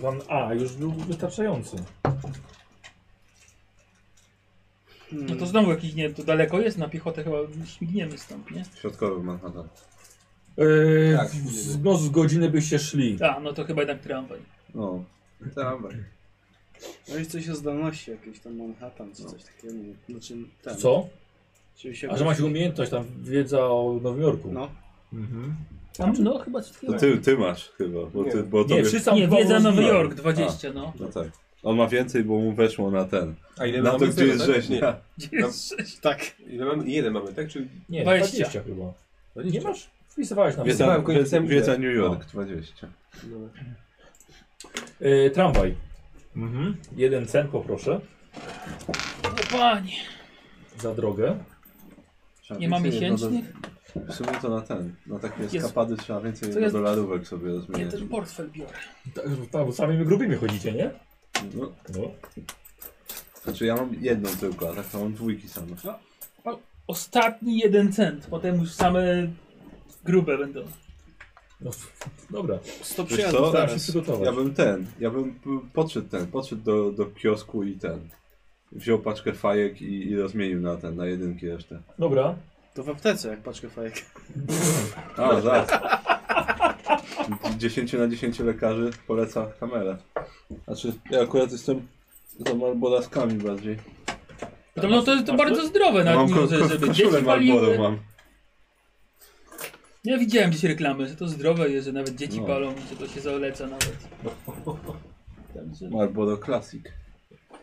Speaker 2: Plan A już był wystarczający.
Speaker 5: Hmm,
Speaker 9: No to znowu jakiś, nie to daleko jest, na piechotę chyba śmigniemy stąd, nie?
Speaker 4: Środkowy Manhattan.
Speaker 2: E,
Speaker 3: Tak,
Speaker 2: z, no z godziny byście szli.
Speaker 9: Tak, no to chyba jednak tramwaj.
Speaker 4: No. Dawaj.
Speaker 5: No jest coś o zdolności jakieś tam Manhattan,
Speaker 4: No.
Speaker 5: czy coś takiego. nie wiem. Znaczy, ten.
Speaker 2: Co?
Speaker 5: Czyli się
Speaker 2: A że macie umiejętność, tam wiedza o Nowym Jorku.
Speaker 5: No.
Speaker 2: Mhm.
Speaker 9: Tam, no chyba coś
Speaker 4: To
Speaker 9: takiego.
Speaker 4: ty, ty masz chyba, bo ty,
Speaker 3: Nie.
Speaker 4: bo to
Speaker 2: Nie, wszyscy tam
Speaker 9: Nie,
Speaker 2: chyba
Speaker 9: wiedza Nowy
Speaker 2: rozmawiali.
Speaker 9: Jork 20, no.
Speaker 4: No tak. On ma więcej, bo mu weszło na ten.
Speaker 3: A ile
Speaker 4: Na to,
Speaker 3: mamy
Speaker 4: gdzie jest
Speaker 3: zero, tak?
Speaker 4: rzeźnia.
Speaker 5: Tak.
Speaker 3: Nie. Ile mamy? Jeden mamy, tak? Czy
Speaker 2: Nie,
Speaker 9: 20.
Speaker 2: 20, chyba. Nie masz? Wpisywałeś na
Speaker 4: Wiedza,
Speaker 3: Pisałem końcem,
Speaker 4: wiedza New York 20.
Speaker 2: E, Y, tramwaj. Mhm. Jeden cent poproszę
Speaker 9: O panie,
Speaker 2: za drogę.
Speaker 4: Trzeba
Speaker 9: nie ma
Speaker 4: więcej
Speaker 9: miesięcznych?
Speaker 5: no
Speaker 4: dolar- W sumie to na ten. Na takie
Speaker 9: Jest-
Speaker 4: skapady trzeba więcej
Speaker 9: to jest-
Speaker 4: dolarówek sobie
Speaker 9: Ja
Speaker 4: rozmieniać.
Speaker 9: ten portfel biorę.
Speaker 2: Tak, tak, bo samymi grubymi chodzicie, nie?
Speaker 4: No,
Speaker 2: No.
Speaker 4: znaczy ja mam jedną tylko, a tak to mam dwójki same.
Speaker 5: No.
Speaker 9: Ostatni jeden cent, potem już same grube będą.
Speaker 2: no. Dobra,
Speaker 5: 100
Speaker 4: Wiesz
Speaker 5: przyjazdów
Speaker 4: co?
Speaker 2: staram się
Speaker 5: zaraz.
Speaker 2: przygotować.
Speaker 4: Ja bym ten, ja bym p- podszedł ten, podszedł do, do kiosku i ten. Wziął paczkę fajek i, i rozmienił na ten, na jedynki resztę.
Speaker 2: Dobra,
Speaker 5: To w aptece, jak paczkę fajek.
Speaker 4: A, żart. 10 na 10 lekarzy poleca kamerę. Znaczy, ja akurat jestem za malboraskami bardziej.
Speaker 9: To, no to, to
Speaker 2: masz
Speaker 9: bardzo zdrowe na
Speaker 4: mam
Speaker 9: dniu,
Speaker 4: ko-
Speaker 9: że-
Speaker 4: ko-
Speaker 9: żeby
Speaker 4: koszulę
Speaker 9: dzieci
Speaker 4: Marlboro
Speaker 9: paliły.
Speaker 4: mam.
Speaker 9: Ja widziałem gdzieś reklamy, że to zdrowe jest, że nawet dzieci
Speaker 4: No.
Speaker 9: palą, że to się zaleca nawet. Także...
Speaker 4: Marlboro Classic.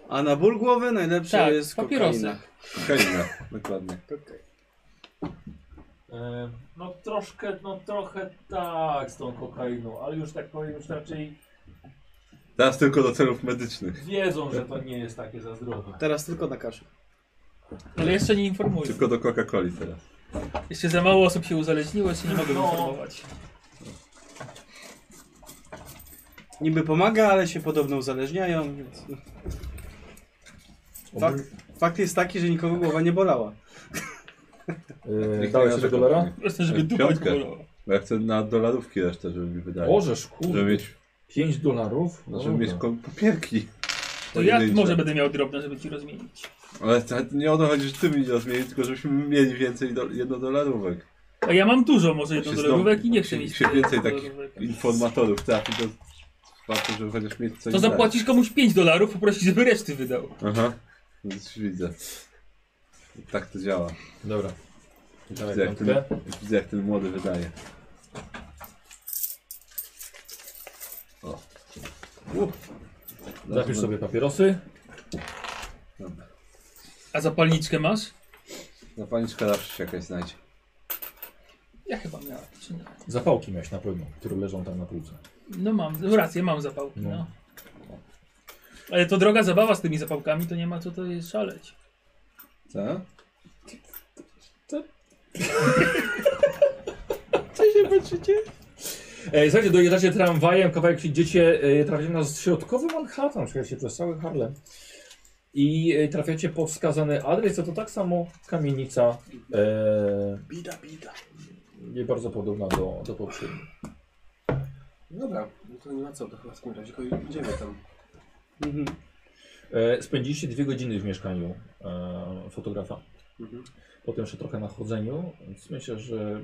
Speaker 5: A na ból głowy najlepsze
Speaker 9: Tak,
Speaker 5: jest
Speaker 9: papierosy.
Speaker 5: kokaina.
Speaker 4: Kokaina, dokładnie.
Speaker 2: E, No troszkę, no trochę tak z tą kokainą, ale już tak powiem, już raczej
Speaker 4: Teraz tylko do celów medycznych.
Speaker 2: wiedzą, że to nie jest takie za zdrowe.
Speaker 5: Teraz tylko na kaszę.
Speaker 9: Ale jeszcze nie informuję.
Speaker 4: Tylko do Coca-Coli teraz.
Speaker 9: Jeszcze za mało osób się uzależniło, jeszcze nie mogę
Speaker 2: No.
Speaker 9: informować.
Speaker 5: Niby pomaga, ale się podobno uzależniają, więc...
Speaker 4: Tak.
Speaker 2: Y,
Speaker 5: Fakt, fakt jest taki, że nikogo głowa nie bolała.
Speaker 2: E,
Speaker 4: Niech
Speaker 2: dałeś sobie
Speaker 4: nie narzekam.
Speaker 2: dolara?
Speaker 9: Proszę,
Speaker 4: E,
Speaker 9: żeby dupać
Speaker 4: Piątkę.
Speaker 9: było.
Speaker 4: Bo ja chcę na dolarówki resztę, żeby mi wydali.
Speaker 2: Możesz,
Speaker 4: Żeby
Speaker 2: kurde,
Speaker 4: mieć,
Speaker 2: 5 dolarów? No
Speaker 4: żeby mieć
Speaker 2: dobra.
Speaker 4: ko- Znaczy, papierki.
Speaker 9: To ja
Speaker 4: Pojedyncze.
Speaker 9: może będę miał drobne, żeby ci rozmienić.
Speaker 4: Ale to nie o to chodzi, że ty mi rozmienisz, tylko żebyśmy mieli więcej do, jednodolarówek.
Speaker 9: A ja mam dużo, może jedną
Speaker 4: Się
Speaker 9: do lodówek
Speaker 4: Znaczy, znowu-
Speaker 9: i nie chcę
Speaker 4: się-
Speaker 9: mieć
Speaker 4: się więcej
Speaker 9: dolarówek.
Speaker 4: Informatorów trafi do... Warto, żeby chociaż mieć coś
Speaker 9: To zapłacisz komuś 5 dolarów, poprosić, żeby reszty wydał.
Speaker 4: dać. Aha, już widzę. Tak to działa.
Speaker 2: Dobra. Dawaj
Speaker 4: Widzę jak, ten,
Speaker 2: piątkę.
Speaker 4: już widzę jak ten młody wydaje. O. Uff.
Speaker 2: Zapisz sobie papierosy.
Speaker 4: Dobra. No
Speaker 9: A zapalniczkę masz?
Speaker 4: Zapalniczka zawsze się jakaś znajdzie.
Speaker 9: Ja chyba miałem. Czy nie?
Speaker 2: Zapałki miałeś na pewno, które leżą tam na półce.
Speaker 9: No mam, no rację, mam zapałki.
Speaker 2: No.
Speaker 9: No. Ale to droga zabawa z tymi zapałkami, to nie ma co to jest szaleć.
Speaker 4: Co?
Speaker 2: E, słuchajcie, dojeżdżacie tramwajem, kawałek przyjdziecie, e, trafiacie na środkowy Manhattan, słuchajcie, przez cały Harlem. I e, trafiacie pod wskazany adres, to, to tak samo kamienica, e,
Speaker 11: Bida, bida.
Speaker 2: nie bardzo podobna do, do poprzedniej.
Speaker 3: Dobra, no to nie ma co, to chyba w takim razie tylko idziemy tam.
Speaker 5: Mhm.
Speaker 2: E, spędziliście dwie godziny w mieszkaniu e, fotografa.
Speaker 3: Mhm.
Speaker 2: Potem jeszcze trochę na chodzeniu, więc myślę, że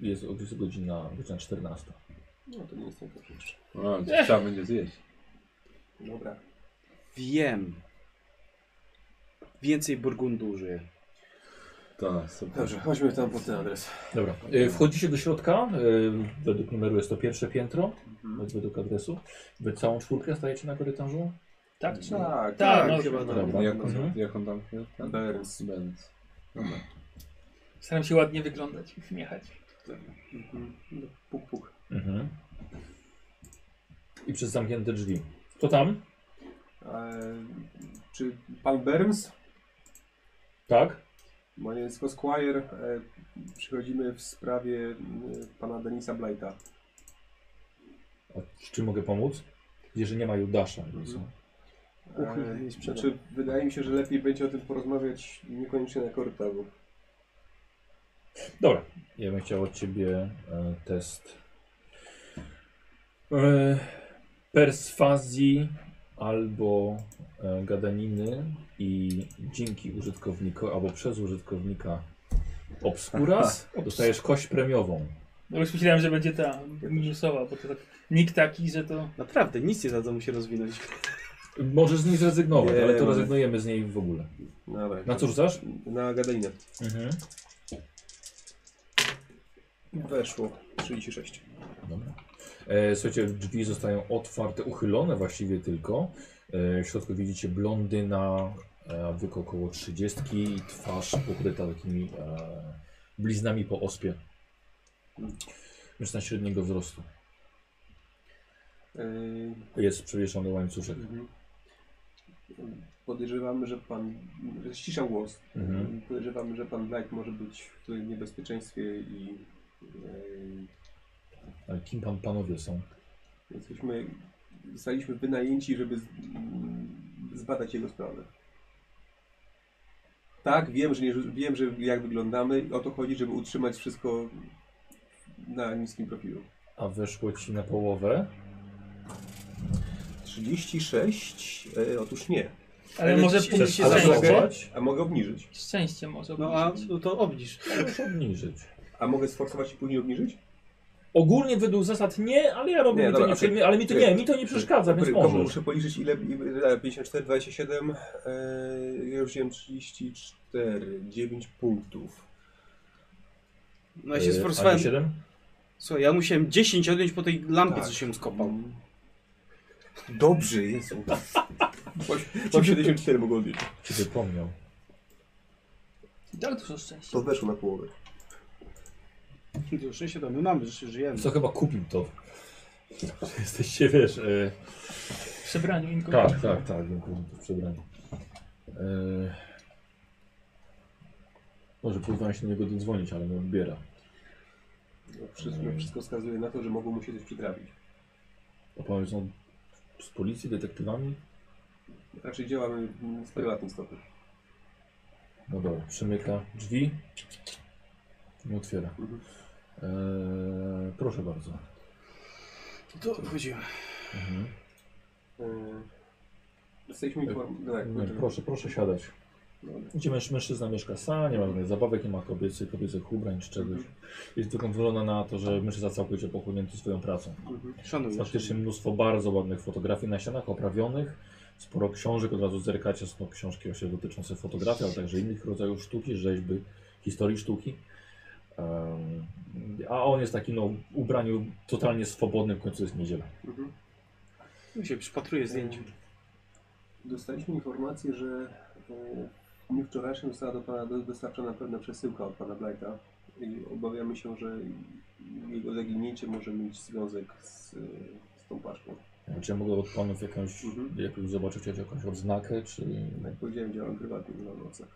Speaker 2: jest, jest godzina, godzina 14.
Speaker 3: No to nie jest najgorsze jeszcze.
Speaker 4: No, trzeba będzie zjeść.
Speaker 3: Dobra.
Speaker 5: Wiem. Więcej burgundu użyję.
Speaker 4: To nas super.
Speaker 3: Dobrze, chodźmy tam pod ten adres.
Speaker 2: Dobra. E, Wchodzicie do środka, e, według numeru jest to pierwsze piętro,
Speaker 3: Mhm.
Speaker 2: według adresu. Wy całą czwórkę stajecie na korytarzu?
Speaker 9: Tak?
Speaker 3: Tak,
Speaker 9: Tak, no,
Speaker 5: chyba
Speaker 2: dobra.
Speaker 4: Dobra. Jak,
Speaker 2: Mhm.
Speaker 4: jak on tam się...
Speaker 3: Burns.
Speaker 4: Burns. Dobra.
Speaker 9: Staram się ładnie wyglądać i śmiechać.
Speaker 3: Mhm. No, Puk, puk.
Speaker 2: Mhm. I przez zamknięte drzwi. To tam?
Speaker 3: Eee, czy pan Burns?
Speaker 2: Tak?
Speaker 3: Bo nie jest tylko Squire. E, przychodzimy w sprawie m, pana Denisa Blighta.
Speaker 2: A z czym mogę pomóc? Jeżeli nie ma Judasza. nie są.
Speaker 5: Uch,
Speaker 3: E,
Speaker 5: nie sprzedam.
Speaker 3: znaczy, wydaje mi się, że lepiej będzie o tym porozmawiać niekoniecznie na korytarzu.
Speaker 2: Dobra. Ja bym chciał od ciebie e, test e, perswazji albo e, gadaniny i dzięki użytkownikowi albo przez użytkownika Obscuras dostajesz kość premiową.
Speaker 9: No już myślałem, że będzie ta minusowa, bo to tak nikt taki, że to...
Speaker 5: Naprawdę, nic nie za to musi rozwinąć.
Speaker 2: Możesz z niej zrezygnować,
Speaker 3: Nie,
Speaker 2: ale to
Speaker 3: mamy.
Speaker 2: rezygnujemy z niej w ogóle.
Speaker 3: Dobra.
Speaker 2: Na co rzucasz?
Speaker 3: Na gadaninę.
Speaker 2: Mhm.
Speaker 3: Weszło. 36.
Speaker 2: Dobra. E, słuchajcie, drzwi zostają otwarte, uchylone właściwie tylko. E, w środku widzicie blondyna, e, wyk około 30 i twarz pokryta takimi e, bliznami po ospie. Mężczyzna średniego wzrostu.
Speaker 3: Eee, E,
Speaker 2: Jest przewieszony łańcuszek.
Speaker 3: mhm. Podejrzewamy, że pan. że Ściszam głos.
Speaker 2: Mhm.
Speaker 3: Podejrzewamy, że pan Black może być w tutaj niebezpieczeństwie i.
Speaker 2: Ale kim pan panowie są?
Speaker 3: e, jesteśmy. zostaliśmy wynajęci, żeby z, m, zbadać jego sprawę. Tak, wiem, że, nie, wiem, że jak wyglądamy. O to chodzi, żeby utrzymać wszystko na niskim profilu.
Speaker 2: A weszło ci na połowę?
Speaker 3: 36? E, otóż nie.
Speaker 9: Ale,
Speaker 5: Ale
Speaker 9: może
Speaker 5: ci-
Speaker 9: punkt
Speaker 5: ci-
Speaker 9: szczęścia.
Speaker 3: mogę-
Speaker 2: Zachować?
Speaker 3: A mogę obniżyć.
Speaker 9: Szczęście może
Speaker 5: No a
Speaker 9: obniżyć.
Speaker 5: no to obniż.
Speaker 2: Możesz obniżyć.
Speaker 3: A mogę sforsować i później obniżyć?
Speaker 2: Ogólnie według zasad nie, ale ja robię,
Speaker 3: Nie,
Speaker 2: mi to
Speaker 3: dobra,
Speaker 2: nie
Speaker 3: okej.
Speaker 2: przyjmie, ale mi to nie, mi to nie przeszkadza, więc
Speaker 3: Dobry, komu
Speaker 2: możesz.
Speaker 3: Muszę policzyć ile, ile 54, 27, yy, ja już wziąłem 34, 9 punktów.
Speaker 5: No ja się
Speaker 2: E,
Speaker 5: sforsowałem.
Speaker 2: a nie siedem?
Speaker 5: Słuchaj, ja musiałem 10 odjąć po tej lampie,
Speaker 3: Tak.
Speaker 5: co się skopał.
Speaker 3: Dobrze, Jezu. Mam 74 mogę odbić.
Speaker 2: Ci wypomniał.
Speaker 9: Tak dużo szczęścia.
Speaker 3: To weszło na połowę.
Speaker 5: To Szczęście to my mamy, że się żyjemy.
Speaker 2: Co chyba kupił to. Jesteście, wiesz... E...
Speaker 9: W przebraniu inko.
Speaker 2: Tak, tak, tak, dziękuję za to przebranie. E... Może próbowałem się do niego dodzwonić, ale nie odbiera.
Speaker 3: No, wszystko, wszystko wskazuje na to, że mogło mu się coś przytrafić.
Speaker 2: Opowiedz, no, z policji, detektywami?
Speaker 3: Raczej działamy mm, z prywatnym stopem.
Speaker 2: No dobra, przymyka drzwi. Nie otwiera.
Speaker 3: Mhm.
Speaker 2: Eee, proszę bardzo.
Speaker 5: To chodziłem.
Speaker 2: Mhm.
Speaker 3: Yy, Jesteśmy
Speaker 2: Tak.
Speaker 3: inform... No, tak,
Speaker 2: Nie,
Speaker 3: znaczy-
Speaker 2: proszę, proszę siadać.
Speaker 3: Dobra.
Speaker 2: Gdzie męż- mężczyzna mieszka sam, nie ma żadnych zabawek, nie ma kobiecych, kobiecych ubrań czy czegoś. Jest tylko wygląda na to, że mężczyzna całkowicie pochłonięty swoją pracą.
Speaker 3: Mhm.
Speaker 5: Szanuję.
Speaker 2: Jest faktycznie mnóstwo bardzo ładnych fotografii na ścianach oprawionych. Sporo książek, od razu zerkacie, są to książki właśnie dotyczące fotografii, ale także innych rodzajów sztuki, rzeźby, historii sztuki. Em, a on jest taki no, w ubraniu totalnie swobodnym, w końcu jest niedziela.
Speaker 3: Mhm.
Speaker 5: Ja się przypatruję zdjęciu.
Speaker 3: E, Dostaliśmy informację, że e, w dniu wczorajszym została do Pana do- dostarczona pewna przesyłka od Pana Blighta i obawiamy się, że jego zaginięcie może mieć związek z, e, z tą paczką.
Speaker 2: Czy ja mogę od panów jakąś,
Speaker 3: Mhm.
Speaker 2: jak już zobaczycie jakąś odznakę, czy
Speaker 3: Jak powiedziałem, działam prywatnie na nocy.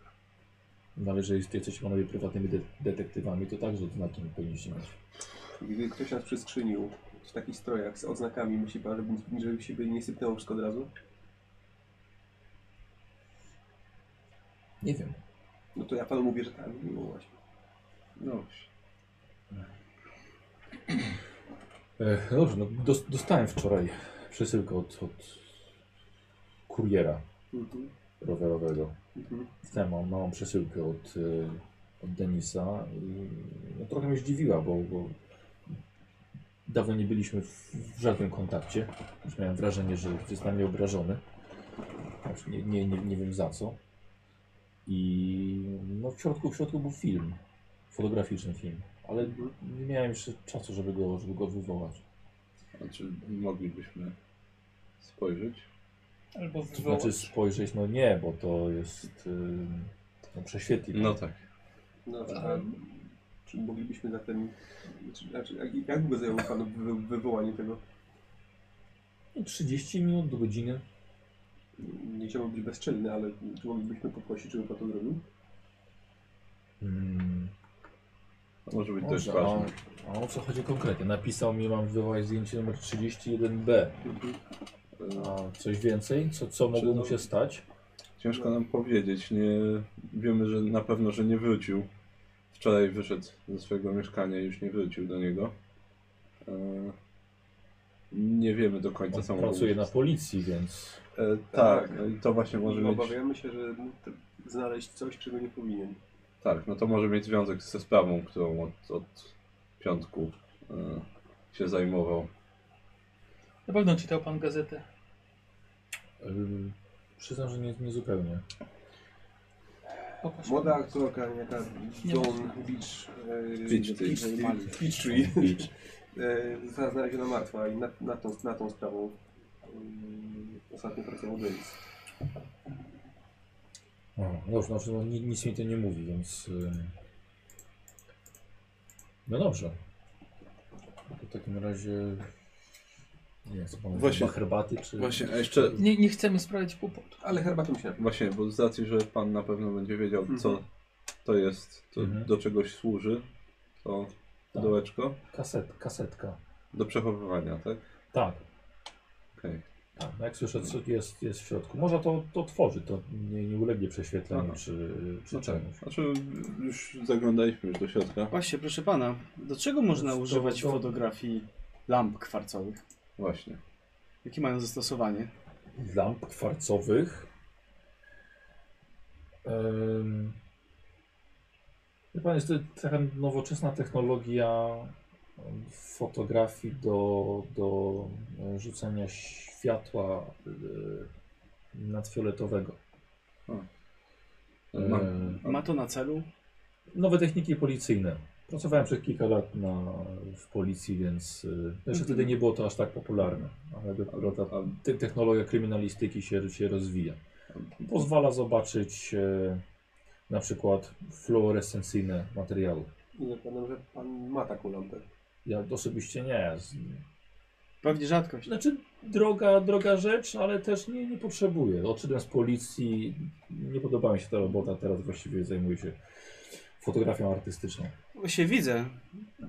Speaker 2: należy, jeśli jesteście panowie prywatnymi de detektywami, to także odznaki powinniście mieć.
Speaker 3: Gdy ktoś nas przyskrzynił w takich strojach z oznakami, myśli Pan, żeby, żeby się by nie sypnęło wszystko od razu?
Speaker 2: Nie wiem.
Speaker 3: No to ja Panu mówię, że tak. No właśnie.
Speaker 2: Ech, dobrze, no, dos dostałem wczoraj przesyłkę od, od kuriera
Speaker 3: Mhm.
Speaker 2: rowerowego.
Speaker 3: Mhm.
Speaker 2: Dostałem małą, małą przesyłkę od, y, od Denisa i no, trochę mnie zdziwiła, bo, bo dawno nie byliśmy w, w żadnym kontakcie. Już miałem wrażenie, że jest na mnie obrażony. Znaczy, Nie, nie, nie, nie wiem za co. I no, w, środku, w środku był film, fotograficzny film, ale
Speaker 3: Mhm.
Speaker 2: nie miałem jeszcze czasu, żeby go, żeby go wywołać.
Speaker 4: Znaczy, moglibyśmy spojrzeć.
Speaker 9: Albo
Speaker 2: To
Speaker 9: wywołać.
Speaker 2: znaczy spojrzeć, no nie, bo to jest ym, no, prześwietlik.
Speaker 4: No tak.
Speaker 3: No, a czy moglibyśmy zatem... Czy, znaczy, jak- jak długo zajęło Panu wy, wywołanie tego?
Speaker 2: 30 minut do godziny.
Speaker 3: Nie chciałbym być bezczelny, ale czy moglibyśmy poprosić, żeby pan to zrobił?
Speaker 2: Mm,
Speaker 4: To może być
Speaker 2: Może,
Speaker 4: dość
Speaker 2: a,
Speaker 4: ważne.
Speaker 2: a o co chodzi konkretnie? Napisał mi, mam wywołać zdjęcie numer 31B.
Speaker 3: Mhm.
Speaker 2: A coś więcej? Co, co mogło mu się stać?
Speaker 4: Ciężko nam powiedzieć. Nie wiemy, że na pewno, że nie wrócił. Wczoraj wyszedł ze swojego mieszkania i już nie wrócił do niego. E, Nie wiemy do końca,
Speaker 2: On
Speaker 4: co mogło
Speaker 2: pracuje na
Speaker 4: być.
Speaker 2: policji, więc
Speaker 4: E, tak, no i to właśnie może
Speaker 3: I
Speaker 4: mieć.
Speaker 3: Obawiamy się, że t- znaleźć coś, czego nie powinien.
Speaker 4: Tak, no to może mieć związek ze sprawą, którą od, od piątku e, się zajmował.
Speaker 9: Na pewno czytał pan gazetę.
Speaker 2: yy, przyznam, że nie, nie zupełnie.
Speaker 9: Pokaż.
Speaker 3: Młoda aktorka, jaka
Speaker 9: Nie.
Speaker 3: John Beach, e,
Speaker 4: Beach Tree.
Speaker 3: Peachtree, e, została znaleziona martwa i nad, nad, tą, nad tą sprawą e, ostatnio pracował Davis.
Speaker 2: No, dobrze, znaczy, no, ni- nic mi to nie mówi, więc. y, No dobrze. To w takim razie Nie, co pan
Speaker 4: Właśnie.
Speaker 2: Właśnie. herbaty czy...
Speaker 4: Właśnie, a jeszcze
Speaker 9: Nie, nie chcemy sprawiać kłopotu.
Speaker 3: Ale herbatą się napiję.
Speaker 4: Właśnie, bo z racji, że pan na pewno będzie wiedział,
Speaker 3: Mhm.
Speaker 4: co to jest, to
Speaker 2: Mhm.
Speaker 4: do czegoś służy, to
Speaker 2: Tak.
Speaker 4: pudełeczko.
Speaker 2: Kaset, kasetka.
Speaker 4: Do przechowywania, tak?
Speaker 2: Tak,
Speaker 4: Okej.
Speaker 2: tak. No jak słyszę, co jest, jest w środku. Można to, to tworzyć, to nie, nie ulegnie prześwietleniu
Speaker 4: Aha.
Speaker 2: czy, y, czy
Speaker 4: No tak.
Speaker 2: czemuś.
Speaker 4: Znaczy, już zaglądaliśmy już do środka.
Speaker 5: Właśnie, proszę pana, do czego można
Speaker 2: To-
Speaker 5: używać
Speaker 2: to-
Speaker 5: w fotografii lamp kwarcowych?
Speaker 4: Właśnie.
Speaker 5: Jakie mają zastosowanie?
Speaker 2: lamp kwarcowych. Ym... Wie pan, jest to taka nowoczesna technologia fotografii do, do e, rzucania światła e, nadfioletowego. E,
Speaker 4: Ma,
Speaker 2: Ym,
Speaker 5: Ma to na celu?
Speaker 2: Nowe techniki policyjne. Pracowałem przez kilka lat na, w policji, więc y, jeszcze wtedy nie było to aż tak popularne, ale dopiero ta,
Speaker 4: a,
Speaker 2: te- technologia kryminalistyki się, się rozwija. Pozwala zobaczyć e, na przykład fluorescencyjne materiały.
Speaker 3: I zakładam, że pan ma taką lampę.
Speaker 2: Ja osobiście nie. Z-
Speaker 5: Pewnie rzadkość.
Speaker 2: Znaczy droga, droga rzecz, ale też nie, nie potrzebuję. Odszedłem z policji, nie podoba mi się ta robota, teraz właściwie zajmuję się fotografią artystyczną.
Speaker 5: Właśnie widzę,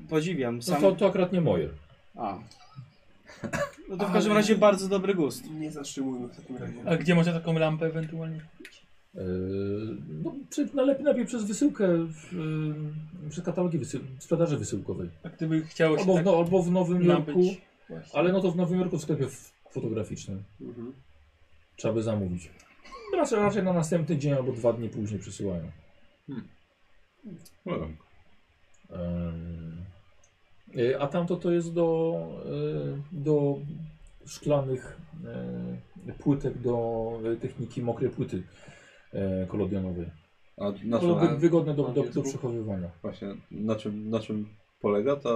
Speaker 5: podziwiam
Speaker 2: No
Speaker 5: sam.
Speaker 2: to, to akurat nie moje.
Speaker 5: A. No to w każdym
Speaker 3: Ale-
Speaker 5: razie bardzo dobry gust.
Speaker 3: Nie zatrzymujmy w takim razie.
Speaker 9: A gdzie można taką lampę ewentualnie?
Speaker 2: Yy, No, czy najlepiej, najlepiej przez wysyłkę, w, yy, przez katalogi wysył sprzedaży wysyłkowej.
Speaker 9: A gdyby chciało się
Speaker 2: Albo w,
Speaker 9: tak
Speaker 2: no, albo w Nowym Jorku,
Speaker 9: nabyć? Właśnie.
Speaker 2: ale no to w Nowym Jorku w sklepie f- fotograficznym.
Speaker 3: Mhm.
Speaker 2: Trzeba by zamówić. Raczej, raczej na następny dzień albo dwa dni później przesyłają.
Speaker 4: no,
Speaker 2: Ym, yy, A tamto to jest do, yy, do szklanych yy, płytek, do yy, techniki mokrej płyty yy, kolodionowej.
Speaker 4: a na
Speaker 3: No,
Speaker 2: To
Speaker 4: czym,
Speaker 2: wy- Wygodne do,
Speaker 3: na
Speaker 2: do, do
Speaker 3: Facebooku?
Speaker 2: przechowywania.
Speaker 4: właśnie, na czym, na czym polega ta...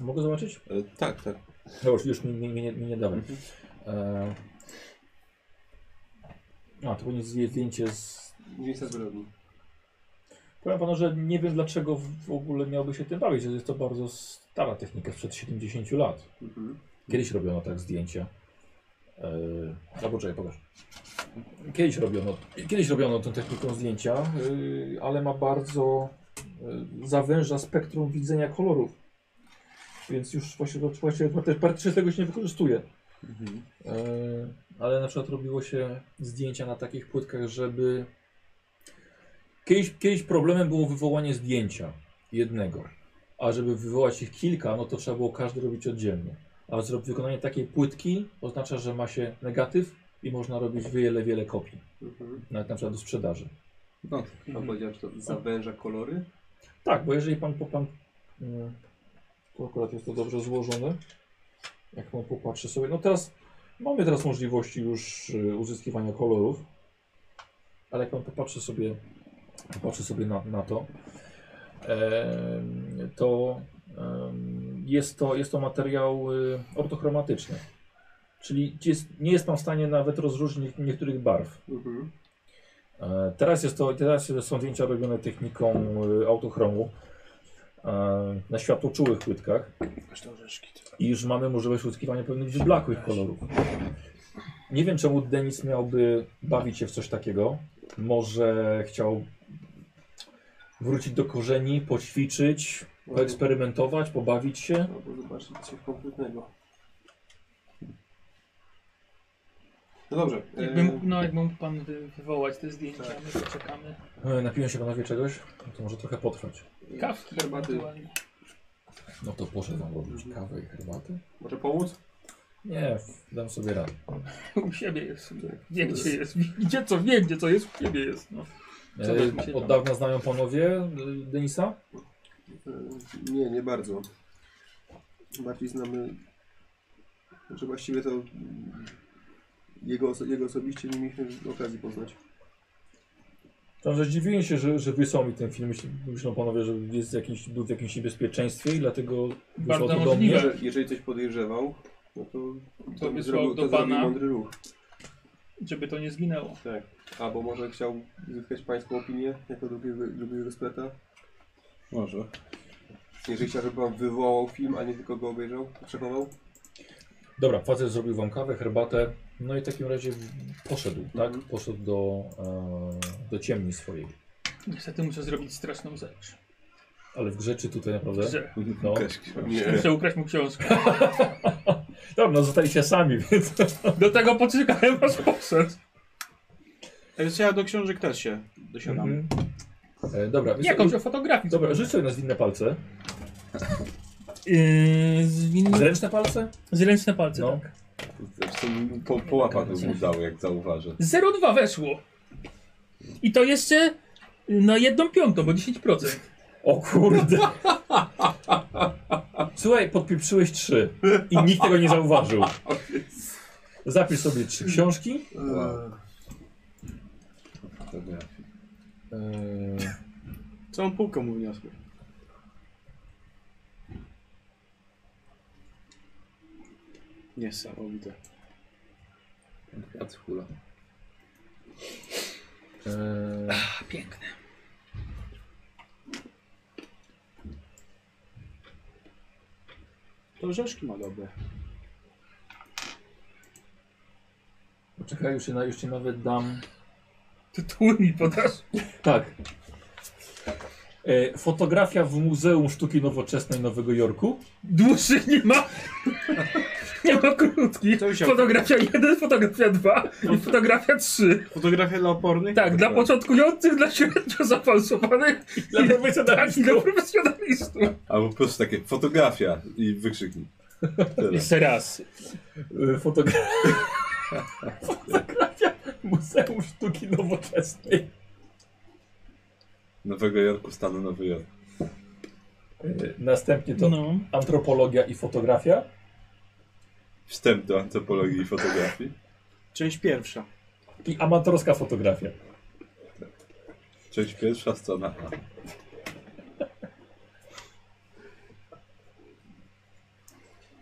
Speaker 2: Mogę zobaczyć?
Speaker 4: E, tak, tak.
Speaker 2: No już, już mi, mi, mi, nie, mi nie dałem. E... A, to będzie zdjęcie z...
Speaker 3: Miejsca zbrodni.
Speaker 2: Powiem panu, że nie wiem dlaczego w ogóle miałby się tym bawić, że jest to bardzo stara technika, sprzed 70 lat.
Speaker 3: Mhm.
Speaker 2: Kiedyś robiono tak zdjęcia. Yy, albo czekaj, pokaż. Kiedyś robiono, kiedyś robiono tą techniką zdjęcia, yy, ale ma bardzo yy, zawęża spektrum widzenia kolorów. Więc już właśnie, właśnie też partia tego się nie wykorzystuje.
Speaker 4: Mhm.
Speaker 2: Yy, ale na przykład robiło się zdjęcia na takich płytkach, żeby. Kiedyś, kiedyś problemem było wywołanie zdjęcia jednego, a żeby wywołać ich kilka, no to trzeba było każdy robić oddzielnie. A zro- wykonanie takiej płytki oznacza, że ma się negatyw i można robić wiele, wiele kopii,
Speaker 3: Mhm.
Speaker 2: nawet na przykład do sprzedaży.
Speaker 4: No,
Speaker 3: Pan powiedział, że to zawęża kolory.
Speaker 2: Tak, bo jeżeli pan, po- pan yy, tu akurat jest to dobrze złożone, jak pan popatrzy sobie, no teraz mamy teraz możliwości już yy, uzyskiwania kolorów, ale jak pan popatrzy sobie, popatrzy sobie na, na to, em, to em, jest to, jest to materiał y, ortochromatyczny, czyli jest, nie jest pan w stanie nawet rozróżnić niektórych barw.
Speaker 3: Mhm.
Speaker 2: E, Teraz, jest to, teraz są zdjęcia robione techniką e, autochromu e, na światłoczułych płytkach
Speaker 11: Zresztą orzeszki. to-
Speaker 2: i już mamy możliwość uzyskiwania pewnych wyblakłych kolorów. Nie wiem czemu Denis miałby bawić się w coś takiego. Może chciał wrócić do korzeni, poćwiczyć, poeksperymentować, pobawić się.
Speaker 3: Albo zobaczyć coś konkretnego. No dobrze.
Speaker 9: Jakby
Speaker 3: e,
Speaker 9: mógł, no, jakby mógł pan wy- wywołać te zdjęcia,
Speaker 3: Tak.
Speaker 9: my to czekamy.
Speaker 2: E, Napiją się panowie czegoś? No To może trochę potrwać.
Speaker 9: Kawki
Speaker 3: Herbaty.
Speaker 9: ewentualnie.
Speaker 2: No to proszę wam robić kawę i herbatę.
Speaker 3: Może pomóc?
Speaker 2: Nie, dam sobie radę.
Speaker 9: U siebie jest.
Speaker 3: Tak,
Speaker 9: Wie gdzie jest. Gdzie co wie, gdzie co jest, u siebie jest. No. Co
Speaker 2: E,
Speaker 9: tak mi się
Speaker 2: Od
Speaker 9: tam-
Speaker 2: dawna znają panowie e, Denisa?
Speaker 3: E, Nie, nie bardzo. Bardziej znamy. Znaczy właściwie to mm, jego, oso- jego osobiście nie mieliśmy okazji poznać.
Speaker 2: Tam, że zdziwiłem się, że, że wysłał mi ten film. Myśl- Myślą panowie, że jest jakiś, był w jakimś niebezpieczeństwie i dlatego
Speaker 9: Bardzo
Speaker 2: wysłał to do
Speaker 9: możliwe.
Speaker 2: mnie.
Speaker 3: Jeżeli, jeżeli coś podejrzewał, no to,
Speaker 9: To wysłał
Speaker 3: zrobił,
Speaker 9: do
Speaker 3: to zrobił
Speaker 9: pana.
Speaker 3: mądry ruch.
Speaker 9: Żeby to nie zginęło.
Speaker 3: Tak. Albo może chciał zyskać pańską opinię jako drugiego, drugiego spleta.
Speaker 4: może.
Speaker 3: Jeżeli chciał, żeby pan wywołał film, a nie tylko go obejrzał, przechował.
Speaker 2: Dobra, facet zrobił wam kawę, herbatę. No i w takim razie poszedł, tak?
Speaker 4: Mhm.
Speaker 2: Poszedł do, e, do ciemni swojej.
Speaker 9: Niestety muszę zrobić straszną rzecz.
Speaker 2: Ale w grzeczy tutaj naprawdę.
Speaker 9: Że
Speaker 2: No.
Speaker 4: Nie.
Speaker 9: muszę ukraść mu książkę.
Speaker 2: Dobra, no zostaliście sami, więc.
Speaker 9: Do tego poczekałem aż poszedł.
Speaker 5: Więc ja do książek też się dosiadam.
Speaker 2: Mhm. E, dobra, więc.
Speaker 9: Jakąś o fotografii.
Speaker 2: Dobra, rzuć sobie na zwinne palce.
Speaker 9: Yy, zwin...
Speaker 2: Zręczne palce?
Speaker 9: Zręczne palce,
Speaker 2: No.
Speaker 9: tak.
Speaker 4: Zresztą po, po łapach
Speaker 2: Tak.
Speaker 4: bym mu dał, jak zauważę.
Speaker 9: 0,2 weszło. I to jeszcze yy, na jedną piątą, bo 10%.
Speaker 2: O kurde. Słuchaj, podpieprzyłeś trzy i nikt tego nie zauważył. Zapisz sobie trzy książki.
Speaker 4: Wow. Fotografii.
Speaker 2: E,
Speaker 5: Całą półkę mu wniosłem. Niesamowite.
Speaker 4: Jad hula.
Speaker 2: e,
Speaker 9: Piękne.
Speaker 5: To orzeszki ma dobre.
Speaker 2: Czekaj, już ci, na- już ci nawet dam.
Speaker 9: Tytuły mi podasz.
Speaker 2: Tak. E, fotografia w Muzeum Sztuki Nowoczesnej Nowego Jorku.
Speaker 9: Dłuższych nie ma. Nie ma krótkich.
Speaker 5: To już jak-
Speaker 9: Fotografia 1, fotografia 2 i fotografia 3.
Speaker 5: Fotografia dla opornych?
Speaker 9: No Tak, dla początkujących, dla średnio zaawansowanych
Speaker 2: Dla
Speaker 9: i tak, i
Speaker 2: profesjonalistów.
Speaker 9: dla profesjonalistów.
Speaker 4: Albo po prostu takie fotografia i wykrzyknik. Tyle.
Speaker 9: Jeszcze raz.
Speaker 2: E, fotogra... fotografia Muzeum Sztuki Nowoczesnej.
Speaker 4: Nowego Jorku, stanu Nowy Jork.
Speaker 2: E, następnie to
Speaker 9: No.
Speaker 2: antropologia i fotografia.
Speaker 4: Wstęp do antropologii i fotografii.
Speaker 5: Część pierwsza.
Speaker 2: I amatorska fotografia.
Speaker 4: Część pierwsza, strona A.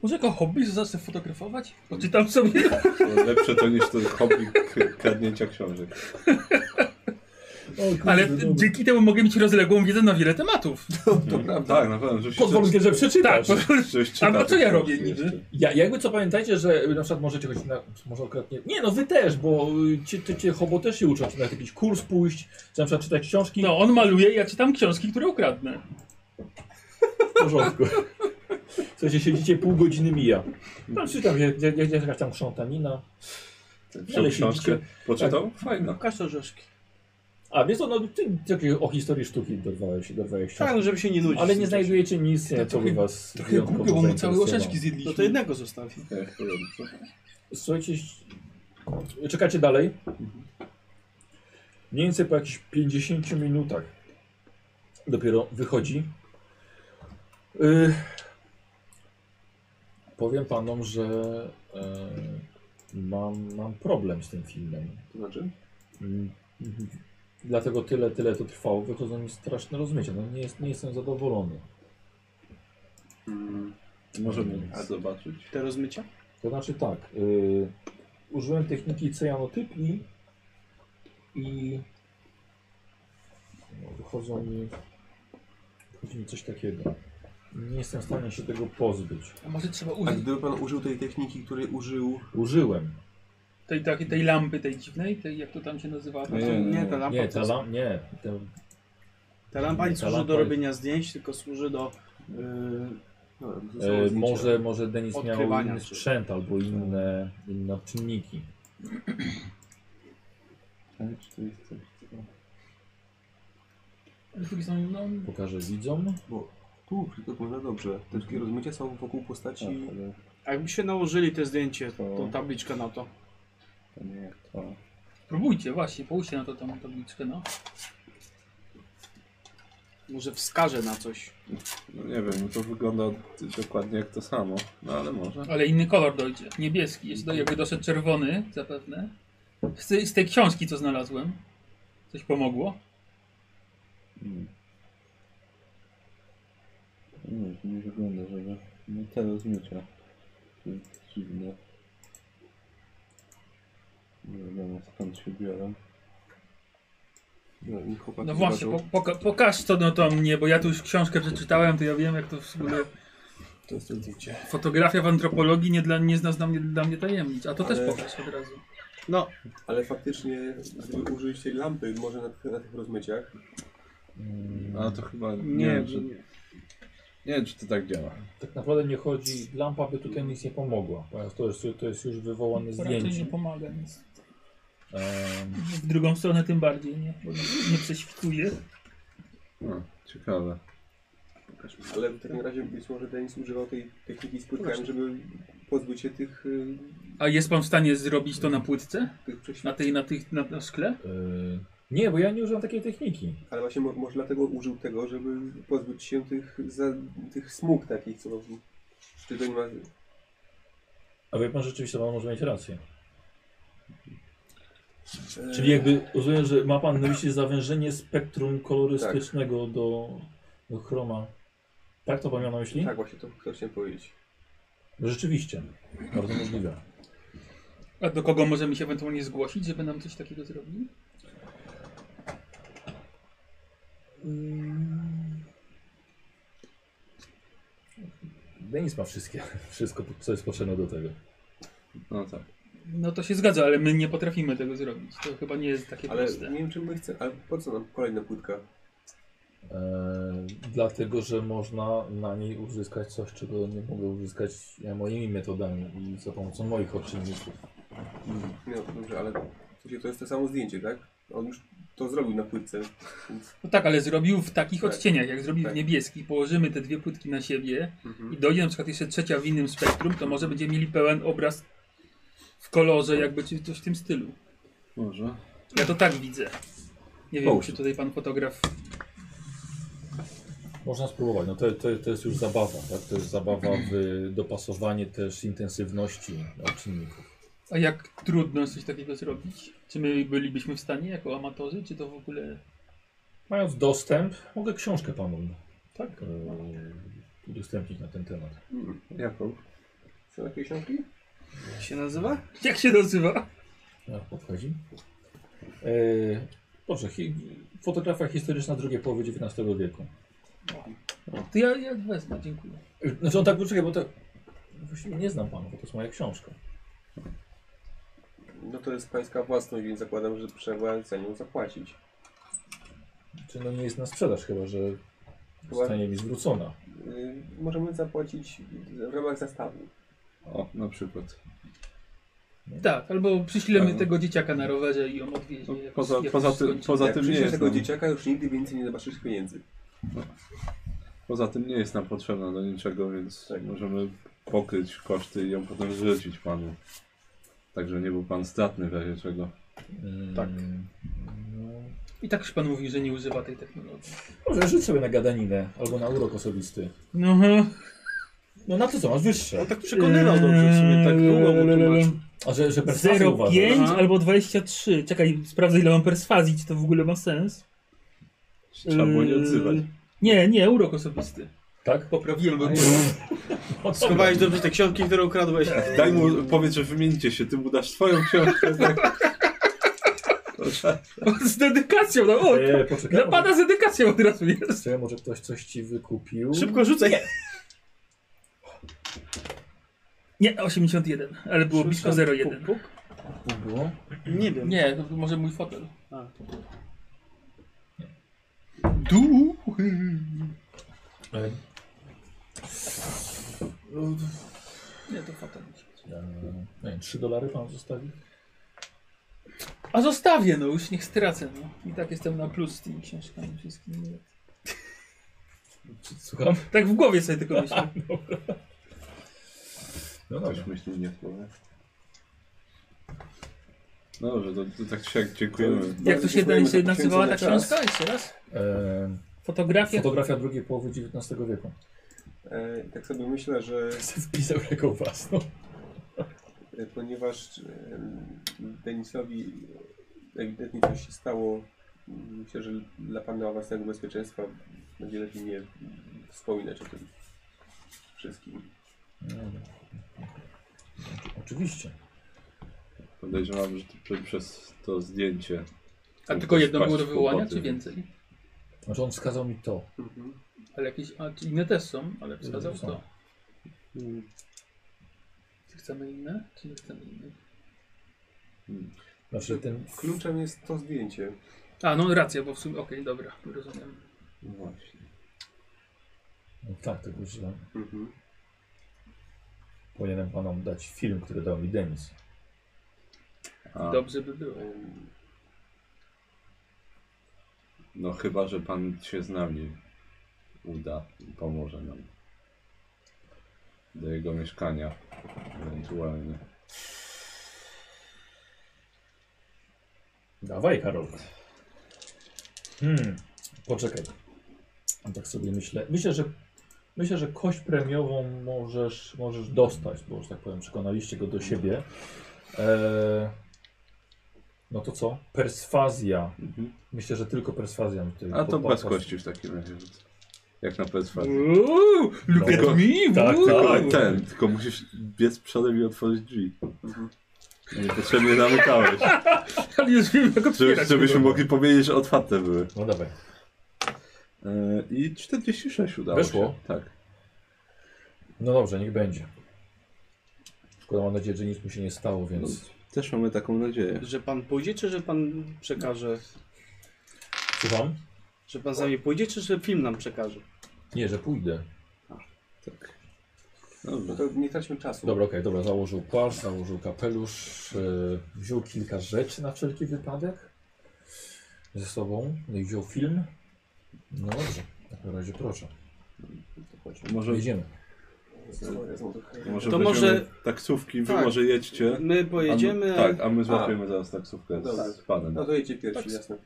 Speaker 9: Może jako hobby że zacznę fotografować? No, Poczytam sobie.
Speaker 4: To Lepsze to niż to hobby k- kradnięcia książek.
Speaker 9: Ale dzięki temu mogę mieć rozległą wiedzę na wiele tematów.
Speaker 4: To prawda. Tak, na pewno. Żeś,
Speaker 2: Pod warunkiem, że przeczytasz.
Speaker 9: Tak,
Speaker 4: żeś, żeś czyta
Speaker 9: A po co
Speaker 4: te
Speaker 9: ja
Speaker 4: książki
Speaker 9: robię niby?
Speaker 4: jeszcze.
Speaker 2: Ja, jakby co pamiętajcie, że na przykład możecie chodzić na. Może akurat nie. Nie, no wy też, bo y, cię, cię, cię hobo też się uczą, czy na jakiś kurs pójść, czy na przykład czytać książki.
Speaker 9: No, on maluje, ja czytam książki, które ukradnę.
Speaker 2: W porządku. W sensie siedzicie pół godziny mija. Tam czytam, jest jak, jak, jakaś tam krzątanina.
Speaker 4: Wziął
Speaker 2: Ale
Speaker 4: książkę,
Speaker 2: siedzicie.
Speaker 4: poczytał? Fajna.
Speaker 5: Pokaż te orzeszki.
Speaker 2: A wiesz co, no ty, ty, jakieś o historii sztuki dorwałeś, dorwałeś
Speaker 5: Tak,
Speaker 2: książki.
Speaker 5: no żeby się nie nudzić.
Speaker 2: Ale nie znajdujecie nic, nie, co by
Speaker 9: trochę-
Speaker 2: was
Speaker 9: Trochę
Speaker 2: wyjątkowo
Speaker 9: głupio, bo mu całe
Speaker 2: zainteresowało.
Speaker 9: orzeszki
Speaker 5: No
Speaker 9: zjedliśmy.
Speaker 5: to jednego zostawi.
Speaker 4: Tak, w porządku.
Speaker 2: Słuchajcie, ś- czekacie dalej. Mniej więcej po jakichś 50 minutach dopiero wychodzi. Y, Powiem panom, że e, mam, mam problem z tym filmem.
Speaker 3: To znaczy?
Speaker 2: Mm, mhm. Dlatego tyle, tyle to trwało. Wychodzą mi straszne rozmycia. No nie, jest, nie jestem zadowolony.
Speaker 4: Mm, Możemy zobaczyć.
Speaker 5: Te rozmycia?
Speaker 2: To znaczy tak, y, użyłem techniki cyjanotypii i no, wychodzą mi, wychodzi mi coś takiego. Nie jestem w stanie się tego pozbyć.
Speaker 9: A może trzeba
Speaker 3: A
Speaker 9: użyć
Speaker 3: gdyby pan użył tej techniki, której użył...
Speaker 2: Użyłem.
Speaker 9: tej, takiej, tej lampy, tej dziwnej, tej, jak to tam się nazywa?
Speaker 4: Nie,
Speaker 5: No Nie,
Speaker 4: nie, nie.
Speaker 5: ta lampa,
Speaker 2: Nie, ta
Speaker 5: to-
Speaker 2: lam, nie. Te,
Speaker 5: ta lampa nie
Speaker 2: ta
Speaker 5: służy
Speaker 2: lampa
Speaker 5: do
Speaker 2: jest-
Speaker 5: robienia zdjęć, tylko służy do... Yy,
Speaker 3: No, to są
Speaker 2: e,
Speaker 4: Eee,
Speaker 3: zdjęcia.
Speaker 2: może, może Denis miał
Speaker 5: Odkrywania
Speaker 2: inny
Speaker 5: czy-
Speaker 2: sprzęt albo inne, inne czynniki.
Speaker 4: Tak, czy to jest coś, co-
Speaker 9: Z drugiej strony, no,
Speaker 2: Pokażę widzom.
Speaker 3: Bo tu wygląda dobrze. Te wszystkie rozmycia są wokół
Speaker 4: Tak,
Speaker 3: postaci...
Speaker 4: ale
Speaker 5: a jakby się nałożyli te zdjęcie,
Speaker 4: To-
Speaker 5: tą tabliczkę na to.
Speaker 4: to nie jak to.
Speaker 9: Próbujcie, właśnie, połóżcie na to tą tabliczkę, no.
Speaker 5: Może wskaże na coś.
Speaker 4: No nie wiem, no to wygląda dokładnie jak to samo. No ale może.
Speaker 9: Ale inny kolor dojdzie, niebieski, jest do, jakby doszedł czerwony, zapewne. Z, tej- z tej książki, co znalazłem, coś pomogło.
Speaker 4: Mm. Nie, to nie wygląda, żeby. No te rozmycia. To jest dziwne. Nie wiadomo skąd się biorą.
Speaker 3: No, i chłopaki
Speaker 9: No właśnie,
Speaker 3: zobaczą.
Speaker 9: po, poka pokaż to no to mnie, bo ja tu już książkę przeczytałem, to ja wiem jak to w ogóle
Speaker 3: To jest to zdjęcie.
Speaker 9: Fotografia w antropologii nie, dla, nie zna dla mnie, dla mnie tajemnic. A to
Speaker 3: Ale-
Speaker 9: też pokaż od razu.
Speaker 5: No,
Speaker 3: Ale faktycznie, gdyby użyć tej lampy, może na, tych- na tych rozmyciach,
Speaker 4: Ale to chyba nie,
Speaker 5: nie,
Speaker 4: wiem, czy, nie.
Speaker 5: nie.
Speaker 4: wiem, czy to tak działa.
Speaker 2: Tak naprawdę nie chodzi, lampa by tutaj nic nie pomogła, ponieważ to jest, to jest już wywołane
Speaker 9: Raczej nie
Speaker 2: zdjęcie.
Speaker 9: pomaga, więc
Speaker 2: Em,
Speaker 9: w drugą stronę tym bardziej, nie? Bo nie, nie prześwituje.
Speaker 4: No, ciekawe.
Speaker 3: ale w takim razie być może Denis używał tej techniki z płytkami, żeby pozbyć się tych, y,
Speaker 9: A jest pan w stanie zrobić to na płytce?
Speaker 3: tych
Speaker 9: Na
Speaker 3: przeświadczeń.
Speaker 9: tej, na tych, na, na szkle?
Speaker 2: y, nie, bo ja nie używam takiej techniki.
Speaker 3: Ale właśnie mo- może dlatego użył tego, żeby pozbyć się tych, za, tych smug takich, co czy to nie ma...
Speaker 2: A wie pan rzeczywiście, pan może mieć rację. Czyli jakby rozumiem, że ma pan na myśli zawężenie spektrum kolorystycznego do, do chroma. Tak to pan miał na myśli?
Speaker 3: Tak, właśnie to, to chciałem powiedzieć.
Speaker 2: No Rzeczywiście. Bardzo możliwe.
Speaker 9: A do kogo możemy się ewentualnie zgłosić, żeby nam coś takiego zrobili?
Speaker 2: Denis No ma wszystkie, wszystko, co jest potrzebne do tego.
Speaker 4: No tak.
Speaker 9: No to się zgadza, ale my nie potrafimy tego zrobić. To chyba nie jest takie
Speaker 3: Ale
Speaker 9: proste.
Speaker 3: nie wiem, czy my chcemy... Ale po co nam kolejna płytka?
Speaker 2: E, dlatego, że można na niej uzyskać coś, czego nie mogę uzyskać ja, moimi metodami i za pomocą moich odczynników.
Speaker 3: Nie no, dobrze, ale w sensie to jest to samo zdjęcie, tak? On już to zrobił na płytce, więc...
Speaker 9: No tak, ale zrobił w takich
Speaker 3: Tak.
Speaker 9: odcieniach, jak zrobił
Speaker 3: Tak.
Speaker 9: w niebieskich. Położymy te dwie płytki na siebie i
Speaker 3: Mhm.
Speaker 9: dojdzie na przykład jeszcze trzecia w innym spektrum, to może będziemy mieli pełen obraz w kolorze, jakby czy coś w tym stylu.
Speaker 4: Może.
Speaker 9: Ja to tak widzę. Nie wiem,
Speaker 4: Połóż.
Speaker 9: czy tutaj pan fotograf.
Speaker 2: Można spróbować. No to, to, to jest już zabawa. Tak? To jest zabawa w dopasowanie też intensywności odczynników.
Speaker 9: A jak trudno jest coś takiego zrobić? Czy my bylibyśmy w stanie jako amatorzy, czy to w ogóle.
Speaker 2: Mając dostęp, mogę książkę panu tak? e, udostępnić na ten temat.
Speaker 3: Hmm.
Speaker 4: Jaką?
Speaker 3: Są takie książki?
Speaker 5: jak się nazywa?
Speaker 9: Jak się nazywa?
Speaker 2: Jak podchodzi? E, dobrze, hi, fotografia historyczna drugiej połowy XIX wieku.
Speaker 9: To ja, ja wezmę, dziękuję.
Speaker 2: Znaczy on tak poczekaj, bo to. Właściwie nie znam pana, bo to jest moja książka.
Speaker 3: No to jest pańska własność, więc zakładam, że trzeba za nią zapłacić.
Speaker 2: Czy no nie jest na sprzedaż chyba, że zostanie mi zwrócona.
Speaker 3: Yy, możemy zapłacić w ramach zastawu.
Speaker 4: O, na przykład.
Speaker 9: Tak, albo przyślemy
Speaker 4: Tak.
Speaker 9: tego dzieciaka na rowerze i on odwiezie.
Speaker 4: No,
Speaker 9: jak-
Speaker 4: poza-
Speaker 9: jak
Speaker 4: poza
Speaker 9: już
Speaker 4: tym-
Speaker 9: skończy.
Speaker 4: poza-
Speaker 3: Jak
Speaker 4: tym nie
Speaker 3: przyjdziesz
Speaker 4: jest no.
Speaker 3: tego
Speaker 4: nam-
Speaker 3: dzieciaka, już nigdy więcej nie zobaczysz pieniędzy.
Speaker 4: Poza tym nie jest nam potrzebna do niczego, więc
Speaker 3: Tak.
Speaker 4: możemy pokryć koszty i ją potem zwrócić panu. Także nie był pan stratny w razie czego.
Speaker 2: Tak.
Speaker 9: I tak już pan mówił, że nie używa tej technologii.
Speaker 2: no. Może rzuć sobie na gadaninę albo na urok osobisty.
Speaker 9: No,
Speaker 2: No na to co masz wyższe?
Speaker 11: On tak przekonywał
Speaker 5: no,
Speaker 11: dobrze w sumie, tak długo mu tłumaczył.
Speaker 2: A że, że perswazję uważasz?
Speaker 9: 0,5
Speaker 11: Aha.
Speaker 9: Eee, albo 23. Czekaj, sprawdzę ile mam perswazji, czy to w ogóle ma sens.
Speaker 4: Trzeba było nie
Speaker 9: Yy,
Speaker 4: odzywać.
Speaker 9: Nie, nie, urok osobisty.
Speaker 2: Tak?
Speaker 9: Poprawiłem go.
Speaker 5: Schowałeś dobrze te książki, które ukradłeś. Tak.
Speaker 4: Daj mu, powiedz, że wymienicie się, ty mu dasz swoją książkę. Tak?
Speaker 9: Z dedykacją, no o!
Speaker 4: Eee.
Speaker 2: E, poczekaj,
Speaker 9: Dla pana z dedykacją od razu jest.
Speaker 2: Może, może ktoś coś ci wykupił?
Speaker 5: Szybko rzucaj.
Speaker 9: Nie, 81, ale było blisko 01.
Speaker 2: Szybko było.
Speaker 5: Nie wiem.
Speaker 9: Nie, to może mój fotel.
Speaker 5: A.
Speaker 9: Duchy.
Speaker 2: E,
Speaker 9: Nie, to fotel. musi być.
Speaker 2: nie wiem, 3 dolary pan zostawił?
Speaker 9: A zostawię, no już niech stracę. No. I tak jestem na plus z tymi książkami wszystkimi.
Speaker 2: Słucham?
Speaker 9: Tak w głowie sobie tylko myślę.
Speaker 2: No dobrze.
Speaker 4: Też myśli nie w głowie. No dobrze, to, to tak się jak
Speaker 3: To
Speaker 4: dziękujemy.
Speaker 3: już-
Speaker 9: Jak to się,
Speaker 3: Dziękujemy za
Speaker 9: się nazywała ta
Speaker 3: poświęcony
Speaker 9: książka? Jeszcze raz?
Speaker 2: E,
Speaker 9: Fotografia?
Speaker 2: Fotografia drugiej połowy XIX wieku.
Speaker 3: E, tak sobie myślę, że
Speaker 2: Wpisał jako własną.
Speaker 3: e, ponieważ e, Denisowi ewidentnie coś się stało, m, myślę, że dla pana własnego bezpieczeństwa będzie lepiej nie wspominać o tym wszystkim.
Speaker 2: No Oczywiście.
Speaker 4: Podejrzewam, że to, prze- przez to zdjęcie.
Speaker 9: A tylko jedno
Speaker 4: Wpaść
Speaker 9: było do
Speaker 4: w
Speaker 9: wywołania,
Speaker 4: kłopoty.
Speaker 9: czy więcej?
Speaker 2: Znaczy on wskazał mi to.
Speaker 3: Mhm.
Speaker 9: Ale jakieś, a, czy inne też są, ale wskazał
Speaker 2: Są.
Speaker 9: to.
Speaker 5: Mm.
Speaker 9: Czy chcemy inne? Czy nie chcemy inne?
Speaker 2: Znaczy ten
Speaker 3: Kluczem jest to zdjęcie.
Speaker 9: A, no racja, bo w sumie. Okej, dobra, rozumiem.
Speaker 4: No właśnie.
Speaker 2: No Tak, tylko że
Speaker 3: Mhm.
Speaker 2: powinienem panom dać film, który dał mi Denis.
Speaker 4: A,
Speaker 9: Dobrze by było.
Speaker 3: Em,
Speaker 4: no chyba, że pan się z nami uda i pomoże nam. Do jego mieszkania ewentualnie.
Speaker 2: Dawaj, Karol. Hmm, poczekaj. A Tak sobie myślę. Myślę, że myślę, że kość premiową możesz, możesz dostać, bo że tak powiem, przekonaliście go do siebie. Eee, no to co? Perswazja.
Speaker 4: Mhm.
Speaker 2: Myślę, że tylko perswazja. mi tutaj
Speaker 4: A to
Speaker 2: po-
Speaker 4: bez
Speaker 2: po-
Speaker 4: kości w takim razie. rzucę. Jak na perswazję.
Speaker 9: Uuu, look
Speaker 4: Tylko-
Speaker 9: at me!
Speaker 2: tak,
Speaker 9: uuu.
Speaker 4: Tylko ten, tylko musisz biec przodem i otworzyć drzwi. Niepotrzebnie zamykałeś.
Speaker 9: Ale już wiem, jak
Speaker 4: Żeby,
Speaker 9: otwierać.
Speaker 4: żebyśmy
Speaker 2: dobra.
Speaker 4: mogli powiedzieć, że otwarte były.
Speaker 2: No dawaj.
Speaker 4: E, I 46 udało
Speaker 2: Weszło?
Speaker 4: się. Tak.
Speaker 2: No dobrze, niech będzie. Szkoda, mam nadzieję, że nic mu się nie stało, więc...
Speaker 4: Też mamy taką nadzieję.
Speaker 5: Że pan pójdzie, czy że pan przekaże?
Speaker 2: Słucham?
Speaker 5: Że pan z nami pójdzie, czy że film nam przekaże?
Speaker 2: Nie, że pójdę.
Speaker 4: Tak.
Speaker 3: No
Speaker 4: Dobrze.
Speaker 3: to nie traćmy czasu.
Speaker 2: Dobra, okej, dobra, założył płaszcz, założył kapelusz, yy, wziął kilka rzeczy na wszelki wypadek ze sobą, no i wziął film. No dobrze, w takim razie proszę,
Speaker 4: Może,
Speaker 2: jedziemy.
Speaker 3: Swoje są trochę-
Speaker 4: może
Speaker 5: To
Speaker 4: weźmiemy
Speaker 5: może-
Speaker 4: taksówki, wy
Speaker 5: Tak.
Speaker 4: może jedźcie.
Speaker 5: My
Speaker 4: a my-
Speaker 5: pojedziemy.
Speaker 4: Tak, a my złapiemy zaraz taksówkę
Speaker 3: Dobra.
Speaker 4: z panem.
Speaker 3: No to jedzie pierwszy,
Speaker 5: Tak.
Speaker 3: jasne.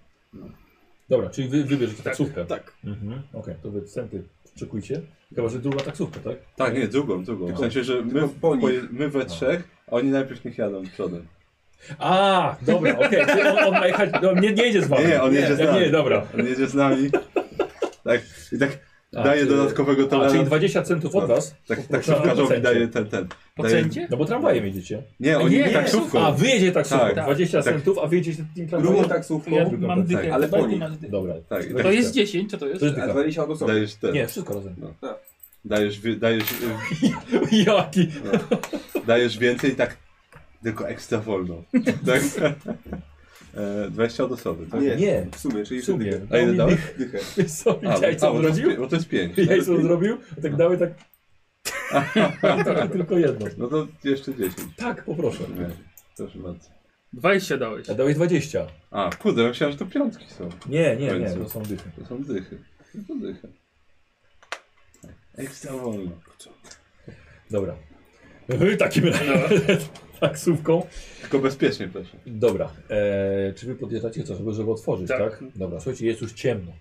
Speaker 2: Dobra, czyli wy wybierzecie taksówkę.
Speaker 5: Tak.
Speaker 2: Mhm, okej, to wy wstępy czekujcie. Chyba, że druga taksówka, tak?
Speaker 4: Tak, nie, drugą, drugą. W
Speaker 3: Tylko-
Speaker 4: sensie, że my,
Speaker 3: tylko po nich.
Speaker 4: poje- my we trzech, a oni najpierw niech jadą przodem.
Speaker 2: A, dobra, okej, czyli on, on ma jechać, no, nie, nie jedzie z wami.
Speaker 4: Nie, on jedzie z
Speaker 2: tak,
Speaker 4: nami.
Speaker 2: Nie, dobra.
Speaker 4: On jedzie z nami. Tak, i tak
Speaker 2: A,
Speaker 4: daje
Speaker 2: czy-
Speaker 4: dodatkowego
Speaker 2: A, czyli
Speaker 4: toleru.
Speaker 2: 20 centów od was?
Speaker 4: Tak,
Speaker 2: Po- po-
Speaker 4: taksówkarzowi
Speaker 2: procencie.
Speaker 4: daje ten, ten.
Speaker 9: Po
Speaker 4: Daje-
Speaker 9: cencie?
Speaker 2: No bo tramwajem jedziecie. Tak,
Speaker 4: Nie, oni
Speaker 9: nie,
Speaker 4: nie, taksówką.
Speaker 2: A, wy jedziecie taksówką,
Speaker 4: Tak.
Speaker 2: 20
Speaker 4: Tak.
Speaker 2: centów, a wy jedziecie
Speaker 3: Drugą
Speaker 2: tym tramwajem.
Speaker 3: taksówką,
Speaker 9: Ja
Speaker 2: Drugą,
Speaker 9: mam
Speaker 2: tak,
Speaker 9: dychę.
Speaker 3: ale
Speaker 9: Bardziej
Speaker 3: po nich.
Speaker 9: masz dychę.
Speaker 2: Dobra.
Speaker 4: Tak, i
Speaker 9: To
Speaker 4: tak,
Speaker 9: jest 10, co to jest?
Speaker 2: To jest
Speaker 3: a
Speaker 2: dycha.
Speaker 3: 20 albo co?
Speaker 4: Dajesz ten.
Speaker 2: Nie, wszystko razem.
Speaker 4: Dajesz, wi- dajesz, y, no,
Speaker 2: Jaki?
Speaker 4: dajesz więcej tak, tylko ekstra wolno. Tak? E, 20 od osoby, tak?
Speaker 3: Nie.
Speaker 2: Nie.
Speaker 3: W sumie, czyli
Speaker 2: W sumie.
Speaker 3: dychę.
Speaker 4: A ile dałeś?
Speaker 3: Dychę.
Speaker 2: Wiesz co,
Speaker 4: A,
Speaker 2: widziałeś
Speaker 4: a,
Speaker 2: co
Speaker 4: bo
Speaker 2: on
Speaker 4: to jest
Speaker 2: zrobił?
Speaker 4: pi- Bo to jest 5.
Speaker 2: Widziałeś co on zrobił? A Tak dały tak... tak tylko jedno.
Speaker 4: No to jeszcze 10.
Speaker 2: Tak, poproszę.
Speaker 4: Nie, proszę bardzo.
Speaker 9: 20 dałeś.
Speaker 2: A dałeś 20.
Speaker 4: A, kurde, ja myślałem, że to piątki są.
Speaker 2: Nie, nie, nie,
Speaker 4: Końcu.
Speaker 2: to są dychy.
Speaker 4: To są dychy. No to dychy. Tak, Ekstra wolno.
Speaker 2: Dobra. Wy takim
Speaker 9: No.
Speaker 2: razie tak, taksówką.
Speaker 4: Tylko bezpiecznie, proszę.
Speaker 2: Dobra. E, czy wy podjeżdżacie co, żeby, żeby otworzyć, tak.
Speaker 9: Tak.
Speaker 2: Dobra, słuchajcie, jest już ciemno.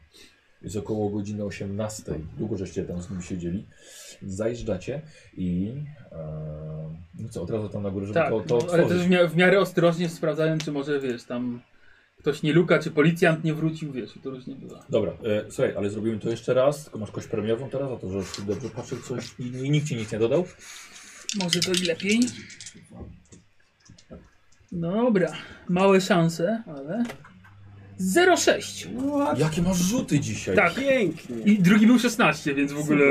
Speaker 2: Jest około godziny 18. Długo żeście tam z nim siedzieli. Zajeżdżacie i... E, no co, od razu tam na górę, żeby
Speaker 9: tak,
Speaker 2: to, to
Speaker 9: no, ale też
Speaker 2: otworzyć.
Speaker 9: w, mia w miarę ostrożnie sprawdzałem, czy może wiesz, tam ktoś nie luka, czy policjant nie wrócił, wiesz, i to różnie bywa.
Speaker 2: Dobra, e, słuchaj, ale zrobimy to jeszcze raz, tylko masz kość premiową teraz, a to, że ty dobrze patrzył coś i, i nikt ci nic nie dodał.
Speaker 9: Może to i lepiej? No dobra, małe szanse, ale... 0,6.
Speaker 2: Jakie masz rzuty dzisiaj?
Speaker 9: Tak.
Speaker 5: Pięknie.
Speaker 9: I drugi był 16, więc w ogóle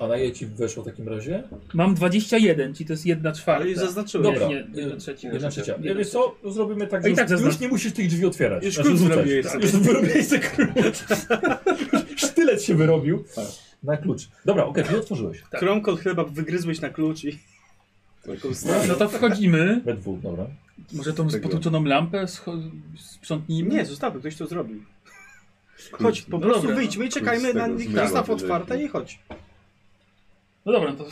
Speaker 2: A na jej ci weszło w takim razie?
Speaker 9: mam 21, czyli to jest 1 czwarta.
Speaker 5: Ale już zaznaczyłem.
Speaker 2: No Dobra.
Speaker 9: Nie, nie, jedna trzecia.
Speaker 2: Jedna trzecia.
Speaker 9: Jedna
Speaker 2: Nie, wiesz co, zrobimy tak,
Speaker 9: A i
Speaker 2: już,
Speaker 9: tak zaznacz.
Speaker 2: już nie musisz tych drzwi otwierać.
Speaker 5: Już
Speaker 2: Znaczy,
Speaker 5: klucz
Speaker 2: rzucać.
Speaker 5: zrobiłeś sobie.
Speaker 2: Już wyrobiłeś sobie klucz. Już Sztylet się wyrobił na klucz. Dobra, okej, ty otworzyłeś.
Speaker 9: tak.
Speaker 5: Kromko od chleba wygryzłeś na klucz i. Taką starą.
Speaker 9: No to wchodzimy.
Speaker 2: We dwóch, dobra.
Speaker 9: Może tą z potłuczoną lampę scho- sprzątnijmy?
Speaker 5: Nie, zostawmy, ktoś to zrobił. Chodź, po
Speaker 9: No
Speaker 5: prostu
Speaker 9: dobra.
Speaker 5: wyjdźmy i czekajmy
Speaker 4: Klucz
Speaker 5: na
Speaker 4: tego
Speaker 5: nich.
Speaker 4: zmywa
Speaker 5: Zostaw
Speaker 4: tutaj.
Speaker 5: otwarte i chodź.
Speaker 9: No dobra, no to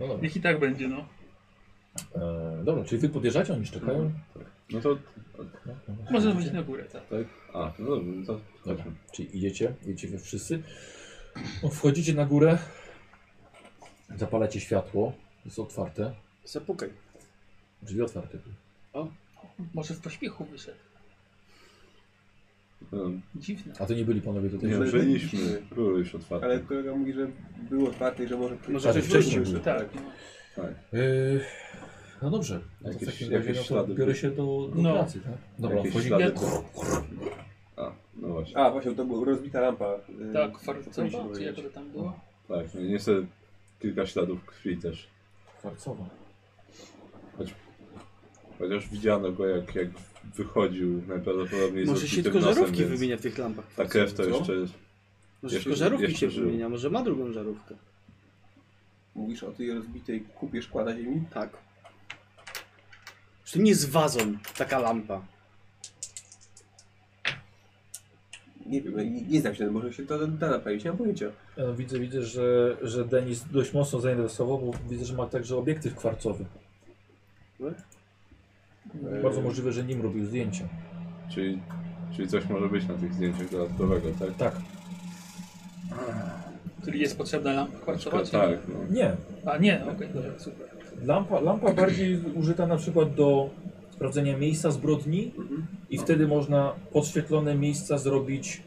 Speaker 2: No dobra.
Speaker 9: niech i tak będzie, no.
Speaker 2: E, dobra, czyli wy podjeżdżacie, oni czekają.
Speaker 4: No to...
Speaker 9: Możemy iść na górę, tak.
Speaker 4: Tak? A, no dobrze, no to...
Speaker 2: Dobra, czyli idziecie, idziecie wy wszyscy. No, wchodzicie na górę, zapalacie światło, jest otwarte,
Speaker 5: Zapukaj.
Speaker 2: drzwi otwarte.
Speaker 9: Może w pośpiechu wyszedł.
Speaker 4: No,
Speaker 9: Dziwne.
Speaker 2: A to nie byli panowie tutaj.
Speaker 4: nie,
Speaker 3: Że-
Speaker 4: byliśmy. Były już otwarte.
Speaker 3: Ale kolega mówi, że było otwarte i że może...
Speaker 5: Może
Speaker 2: Ale
Speaker 5: ktoś
Speaker 2: wcześniej
Speaker 5: wrócił.
Speaker 2: był.
Speaker 9: Tak. no.
Speaker 2: Yy, no dobrze, no to w
Speaker 4: Jakieś-
Speaker 2: takim
Speaker 4: jakieś
Speaker 2: razie no to
Speaker 4: ślady
Speaker 2: biorę
Speaker 4: były.
Speaker 2: się do, do
Speaker 9: No.
Speaker 2: pracy. Tak? Dobra,
Speaker 4: Jakieś
Speaker 2: wchodzi...
Speaker 4: ślady
Speaker 9: Ja-
Speaker 4: były. A, no właśnie.
Speaker 3: A, właśnie, to była rozbita lampa. y,
Speaker 9: Tak,
Speaker 3: powinniśmy
Speaker 9: kwarcowa, czy
Speaker 3: powiedzieć.
Speaker 9: jak to tam było?
Speaker 4: Tak, no niestety kilka śladów krwi też.
Speaker 2: Kwarcowa.
Speaker 4: Chociaż widziano go jak, jak wychodził najprawdopodobniej z
Speaker 5: Może się
Speaker 4: odbitym
Speaker 5: tylko
Speaker 4: nosem,
Speaker 5: żarówki
Speaker 4: więc
Speaker 5: wymienia w tych lampach.
Speaker 4: Ta krew to
Speaker 5: Co?
Speaker 4: jeszcze
Speaker 5: Może
Speaker 4: jeszcze-
Speaker 5: tylko żarówki
Speaker 4: jeszcze
Speaker 5: się
Speaker 4: żył.
Speaker 5: wymienia, może ma drugą żarówkę.
Speaker 3: Mówisz o tej rozbitej kupie szkła na ziemi?
Speaker 5: Tak. Przecież to nie jest wazon taka lampa.
Speaker 3: Nie wiem, nie, nie znam się, no może się to da naprawić, nie mam pojęcia.
Speaker 2: Ja no widzę, widzę, że, że Denis dość mocno zainteresował, bo widzę, że ma także obiektyw kwarcowy.
Speaker 4: E,
Speaker 2: Bardzo możliwe, że nim robił zdjęcia.
Speaker 4: Czyli, czyli coś może być na tych zdjęciach dodatkowego, tak?
Speaker 2: Tak.
Speaker 9: Czyli jest potrzebna lampa kwarcowa? czy nie?
Speaker 4: tak, no.
Speaker 2: Nie.
Speaker 9: A nie, okej, dobra, super.
Speaker 2: Lampa, lampa bardziej użyta na przykład do sprawdzenia miejsca zbrodni
Speaker 4: Mhm.
Speaker 2: i wtedy można podświetlone miejsca zrobić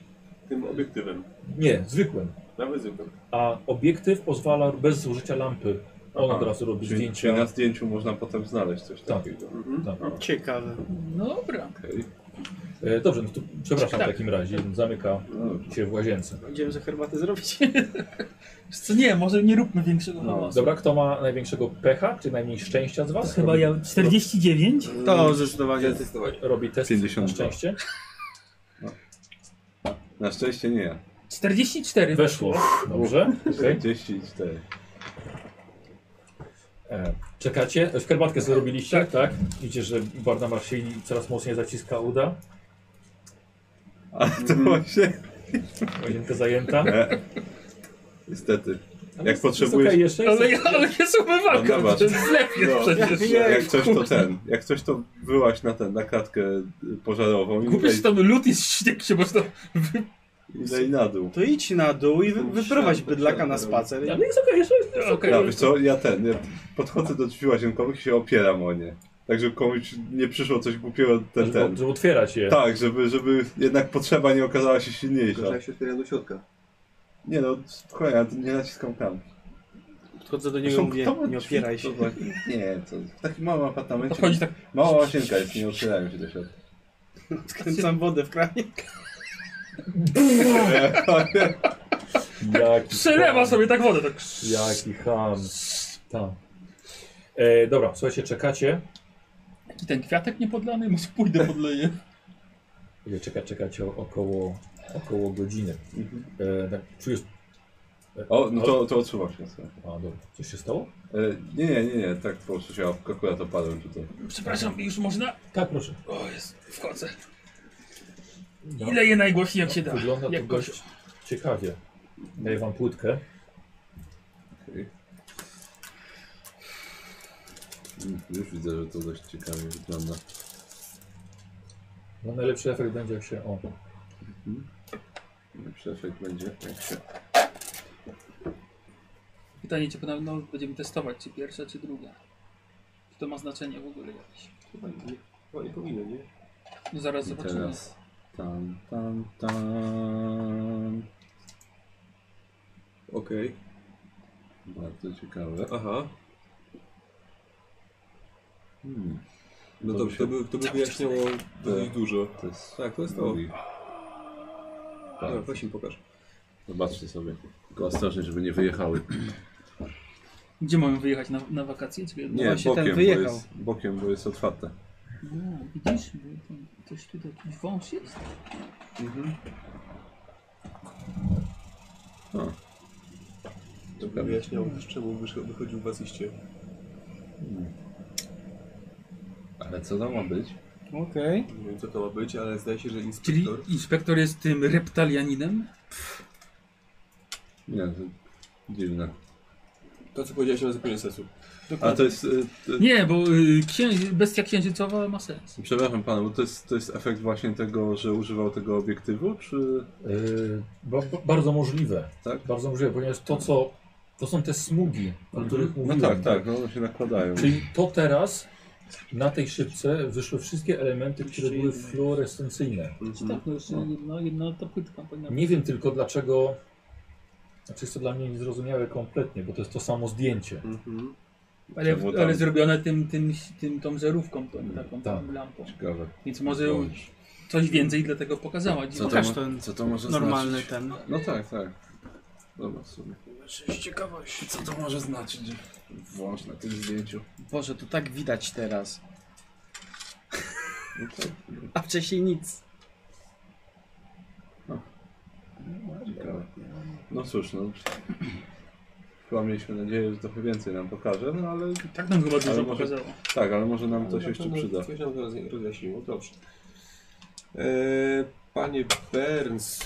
Speaker 3: Tym obiektywem.
Speaker 2: nie, zwykłym.
Speaker 3: Nawet zwykłym.
Speaker 2: A obiektyw pozwala bez użycia lampy. On
Speaker 4: Aha,
Speaker 2: od razu robi
Speaker 4: Czyli,
Speaker 2: zdjęcia.
Speaker 4: czyli na zdjęciu można potem znaleźć coś
Speaker 2: Tak.
Speaker 4: takiego.
Speaker 3: Mhm.
Speaker 2: Tak.
Speaker 5: Ciekawe.
Speaker 9: No Dobra.
Speaker 4: Okej.
Speaker 2: E, dobrze, no to przepraszam
Speaker 9: Tak.
Speaker 2: w takim razie. Zamyka
Speaker 4: No dobrze.
Speaker 2: się w łazience.
Speaker 5: Idziemy za herbatę zrobić.
Speaker 9: Wiesz Co nie, może nie róbmy większego
Speaker 5: No,
Speaker 9: hałasu.
Speaker 2: Dobra, kto ma największego pecha, czy najmniej szczęścia z was?
Speaker 9: Chyba
Speaker 2: robi,
Speaker 9: ja 49?
Speaker 2: Tak.
Speaker 5: To zdecydowanie.
Speaker 3: Zdecydowanie.
Speaker 2: robi test
Speaker 4: 52.
Speaker 2: na szczęście.
Speaker 4: Na szczęście nie ja.
Speaker 9: 44.
Speaker 2: Weszło. Dobrze. okej.
Speaker 4: 44.
Speaker 2: E, Czekacie? Herbatkę zrobiliście,
Speaker 9: Tak.
Speaker 2: tak? Widzicie, że Barnabas się coraz mocniej zaciska uda.
Speaker 4: A to
Speaker 5: Mhm.
Speaker 4: właśnie.
Speaker 2: Łazienka zajęta.
Speaker 4: E, niestety.
Speaker 2: Ale jest-
Speaker 4: potrzebujesz-
Speaker 2: Jest okej jeszcze, jest
Speaker 9: Ale, ja- ale jest umywalka,
Speaker 4: Barnabas.
Speaker 9: to jest zlep jest
Speaker 4: No.
Speaker 9: przecież.
Speaker 4: Jak coś to ten. Jak coś to wyłaś na ten, na kratkę y, pożarową i
Speaker 9: Kupisz
Speaker 4: lej,
Speaker 9: tam lód i śnieg się można... wy-
Speaker 4: i lej na dół.
Speaker 5: To idź na dół i wy, wyprowadź
Speaker 3: Siadam,
Speaker 5: bydlaka na
Speaker 3: siadam.
Speaker 5: spacer.
Speaker 2: Ale no jest okej, jeszcze jest
Speaker 9: Okej.
Speaker 4: Ja wiesz co, ja ten, ja podchodzę do drzwi łazienkowych i się opieram o nie. Tak, żeby komuś nie przyszło coś głupiego ten,
Speaker 2: Żeby,
Speaker 4: ten.
Speaker 2: żeby otwierać je.
Speaker 4: Tak, żeby, żeby jednak potrzeba nie okazała się silniejsza.
Speaker 3: Tylko, że jak się otwiera do środka.
Speaker 4: Nie no, spokojnie, ja nie naciskam tam.
Speaker 5: Podchodzę do niego i
Speaker 4: Zresztą
Speaker 5: mówię,
Speaker 4: kto ma
Speaker 5: nie
Speaker 4: drzwi
Speaker 5: opieraj się.
Speaker 4: tutaj? Nie, to w takim małym apartamencie.
Speaker 9: Podchodzi tak,
Speaker 4: Mała łazienka jest, nie otwierają się do środka.
Speaker 5: Skręcam wodę w kranie.
Speaker 2: Jaki
Speaker 9: przelewa
Speaker 2: ham.
Speaker 9: sobie tak wodę, tak...
Speaker 2: Jaki ham. Tam. E, dobra, słuchajcie, czekacie.
Speaker 9: I ten kwiatek niepodlany, może pójdę podleję.
Speaker 2: Mówię, Czeka, czekacie o- około, około godziny.
Speaker 4: Mhm.
Speaker 2: E, tak, czujesz...
Speaker 4: O, no to, to odsuwam się. co?
Speaker 2: A, dobra. Coś się stało?
Speaker 4: E, nie, nie, nie, nie, tak po prostu się akurat opadłem tutaj.
Speaker 9: Przepraszam, już można?
Speaker 2: Tak, proszę.
Speaker 9: O, jest, wchodzę.
Speaker 2: No.
Speaker 9: I leję najgłośniej jak się da.
Speaker 2: Wygląda to
Speaker 9: Jak
Speaker 2: dość ciekawie. Daję wam płytkę.
Speaker 4: Mm, Już widzę, że to dość ciekawie wygląda.
Speaker 2: No najlepszy efekt będzie jak się... O,
Speaker 4: Przefekt będzie. jak się-
Speaker 9: Pytanie cię podobno będziemy testować, czy pierwsza, czy druga. Czy to ma znaczenie w ogóle jakieś?
Speaker 3: Chyba nie, chyba nie powinno, nie?
Speaker 9: No zaraz
Speaker 4: I
Speaker 9: zobaczymy.
Speaker 4: teraz. Tam, tam, tam.
Speaker 3: Okej.
Speaker 4: Bardzo ciekawe.
Speaker 3: Aha.
Speaker 4: Hmm,
Speaker 3: No
Speaker 4: To
Speaker 3: to,
Speaker 4: by się-
Speaker 3: to, by, to by wyjaśniało dość
Speaker 4: Tak.
Speaker 3: dużo.
Speaker 4: to jest.
Speaker 3: Tak, to jest to.
Speaker 4: Mówi.
Speaker 3: Dobra,
Speaker 4: Tak.
Speaker 3: weź mi pokaż.
Speaker 4: Zobaczcie sobie. Tylko ostrożnie, żeby nie wyjechały.
Speaker 9: Gdzie mamy wyjechać? Na, na wakacje? No Czy...
Speaker 4: Nie,
Speaker 5: właśnie, ten
Speaker 4: bokiem, bo
Speaker 5: wyjechał.
Speaker 4: jest, bokiem, bo jest otwarte.
Speaker 9: No, widzisz? Bo tam Coś tutaj, jakiś wąs jest?
Speaker 4: O,
Speaker 3: To by wyjaśniało, z czemu wyszło- wychodził was iście.
Speaker 4: ale co to ma być?
Speaker 5: Okej.
Speaker 3: Nie wiem co to ma być, ale zdaje się, że
Speaker 9: Czyli
Speaker 3: inspektor...
Speaker 9: inspektor jest tym reptalianinem?
Speaker 4: Nie, to dziwne.
Speaker 3: To co powiedziałeś na zakończeniu sensu.
Speaker 4: A to jest. y, y,
Speaker 9: Nie, bo y, księ... bestia księżycowa ma sens.
Speaker 4: Przepraszam pana, bo to jest, to jest efekt właśnie tego, że używał tego obiektywu, czy.
Speaker 2: Yy, ba- ba- bardzo możliwe.
Speaker 4: Tak?
Speaker 2: Bardzo możliwe, ponieważ to, co. To są te smugi,
Speaker 3: Mhm.
Speaker 2: o których
Speaker 4: No
Speaker 2: mówiłem.
Speaker 4: tak, tak, no one się nakładają.
Speaker 2: Czyli to teraz na tej szybce wyszły wszystkie elementy, które były fluorescencyjne.
Speaker 4: Mhm.
Speaker 9: Tak, no jeszcze jedna, jedna ta płytka powinna
Speaker 2: Nie wiem tylko dlaczego. Znaczy jest to dla mnie niezrozumiałe kompletnie, bo to jest to samo zdjęcie.
Speaker 3: Mhm.
Speaker 9: Ale,
Speaker 4: Czemu tam?
Speaker 9: ale zrobione tym, tym, tym, tą żerówką, tą, taką
Speaker 2: Tak.
Speaker 9: lampą.
Speaker 4: Ciekawe.
Speaker 9: Więc może coś więcej dlatego pokazała.
Speaker 4: Co to,
Speaker 5: Pokaż
Speaker 4: ma,
Speaker 5: ten
Speaker 4: co to może
Speaker 5: Normalny
Speaker 4: znaczyć?
Speaker 5: ten.
Speaker 4: No tak, tak. Dobra, w sumie.
Speaker 11: Znaczy, z ciekawości.
Speaker 4: Co to może znaczyć? że- Włącz na tym zdjęciu.
Speaker 5: Boże, to tak widać teraz.
Speaker 4: No tak.
Speaker 5: A wcześniej nic.
Speaker 4: Ciekawe. No cóż, no. Chyba mieliśmy nadzieję, że trochę więcej nam pokaże, no ale
Speaker 9: Tak nam chyba dużo
Speaker 4: Ale może-
Speaker 9: pokazało.
Speaker 4: tak, ale może nam
Speaker 3: No,
Speaker 4: coś
Speaker 3: na
Speaker 4: jeszcze
Speaker 3: pewno
Speaker 4: przyda.
Speaker 3: Coś nam to rozja- rozjaśniło, dobrze. E, panie Burns,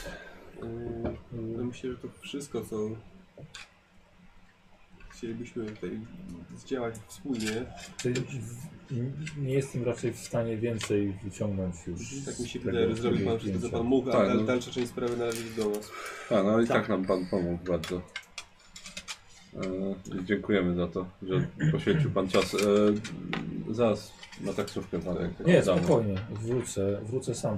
Speaker 3: e, no myślę, że to wszystko, co chcielibyśmy tutaj zdziałać wspólnie.
Speaker 2: Czyli w- nie jestem raczej w stanie więcej wyciągnąć już.
Speaker 3: Tak mi się
Speaker 2: z tego-
Speaker 3: wydaje, że
Speaker 2: z
Speaker 3: zrobił
Speaker 2: tego
Speaker 3: pan wszystko, co
Speaker 2: zdjęcia.
Speaker 3: pan mógł, a
Speaker 4: Tak,
Speaker 3: dal-
Speaker 4: no.
Speaker 3: dalsza część sprawy należy do nas.
Speaker 4: A, no i tak nam pan pomógł bardzo. E, i dziękujemy za to, że poświęcił pan czas. E, zaraz na taksówkę pan.
Speaker 2: Nie,
Speaker 4: damy.
Speaker 2: spokojnie, wrócę, wrócę sam.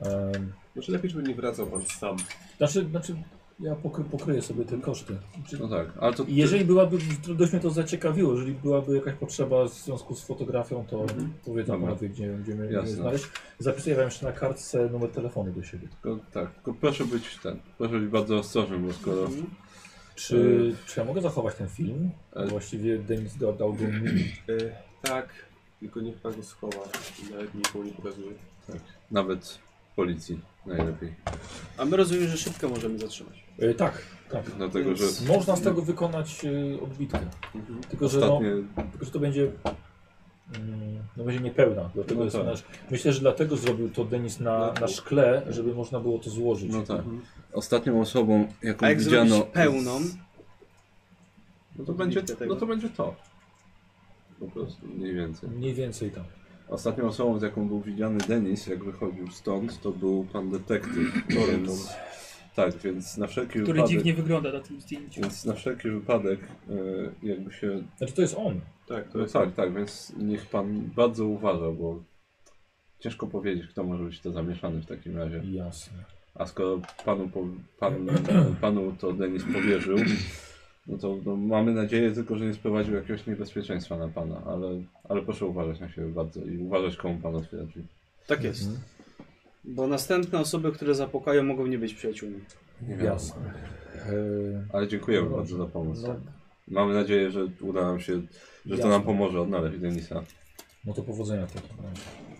Speaker 2: Em,
Speaker 3: Znaczy lepiej, żeby nie wracał pan sam.
Speaker 2: Znaczy, znaczy ja pokry, pokryję sobie te koszty. Czy,
Speaker 4: No tak, ale to.
Speaker 2: jeżeli byłaby, dość mnie to zaciekawiło, jeżeli byłaby jakaś potrzeba w związku z fotografią, to powiedzą
Speaker 4: Mhm. Dobra.
Speaker 2: panowie, gdzie, gdzie mnie
Speaker 4: Jasne.
Speaker 2: mnie znaleźć. Zapisuję wam jeszcze na kartce numer telefonu do siebie.
Speaker 4: Tylko, tak, tylko proszę być ten. Proszę być bardzo ostrożnym, bo skoro.
Speaker 2: Czy, E, czy ja mogę zachować ten film?
Speaker 4: E.
Speaker 2: Właściwie Denis do- dał go mi.
Speaker 3: E, tak, tylko niech pan go schowa. Nawet nikomu nie pokazuje.
Speaker 4: Tak, nawet policji najlepiej.
Speaker 5: A my rozumiem, że szybko możemy zatrzymać.
Speaker 2: E, tak, tak.
Speaker 4: Dlatego, że
Speaker 2: Można z tego wykonać e, odbitkę.
Speaker 3: Mhm.
Speaker 2: Tylko, że no,
Speaker 4: ostatnie.
Speaker 2: Tylko, że to będzie. mm, No będzie niepełna. Dlatego
Speaker 4: No
Speaker 2: jest
Speaker 4: tak.
Speaker 2: nasz, myślę, że dlatego zrobił to Denis na, na szkle, żeby można było to złożyć.
Speaker 4: No tak. Ostatnią osobą, jaką
Speaker 5: A jak
Speaker 4: widziano.
Speaker 5: zrobić pełną,
Speaker 4: No to będzie
Speaker 5: Liczbę tego.
Speaker 4: no to. Będzie to. Po prostu, mniej więcej.
Speaker 2: Mniej więcej tak. tam.
Speaker 4: Ostatnią osobą, z jaką był widziany Denis, jak wychodził stąd, to był pan detektyw. więc, tak, więc na wszelki
Speaker 9: Który
Speaker 4: wypadek.
Speaker 9: dziwnie wygląda na tym zdjęciu.
Speaker 4: Więc na wszelki wypadek, e, jakby się.
Speaker 2: Znaczy to jest on.
Speaker 3: Tak, to
Speaker 4: No
Speaker 3: jest
Speaker 4: tak, tak, więc niech pan bardzo uważa, bo ciężko powiedzieć, kto może być to zamieszany w takim razie.
Speaker 2: Jasne.
Speaker 4: A skoro panu, po, pan, panu to Denis powierzył, no to no, mamy nadzieję tylko, że nie sprowadził jakiegoś niebezpieczeństwa na pana, ale, ale proszę uważać na siebie bardzo i uważać, komu pan otwiera drzwi.
Speaker 5: tak jest.
Speaker 4: Mhm.
Speaker 2: Mhm.
Speaker 5: Bo następne osoby, które zapukają, mogą nie być przyjaciółmi.
Speaker 4: wiadomo.
Speaker 2: Jasne. E,
Speaker 4: Ale dziękujemy
Speaker 2: No
Speaker 4: bardzo za pomoc.
Speaker 2: no,
Speaker 4: Mamy nadzieję, że uda nam się, że to
Speaker 2: Jasne.
Speaker 4: nam pomoże odnaleźć Denisa.
Speaker 2: no to powodzenia to.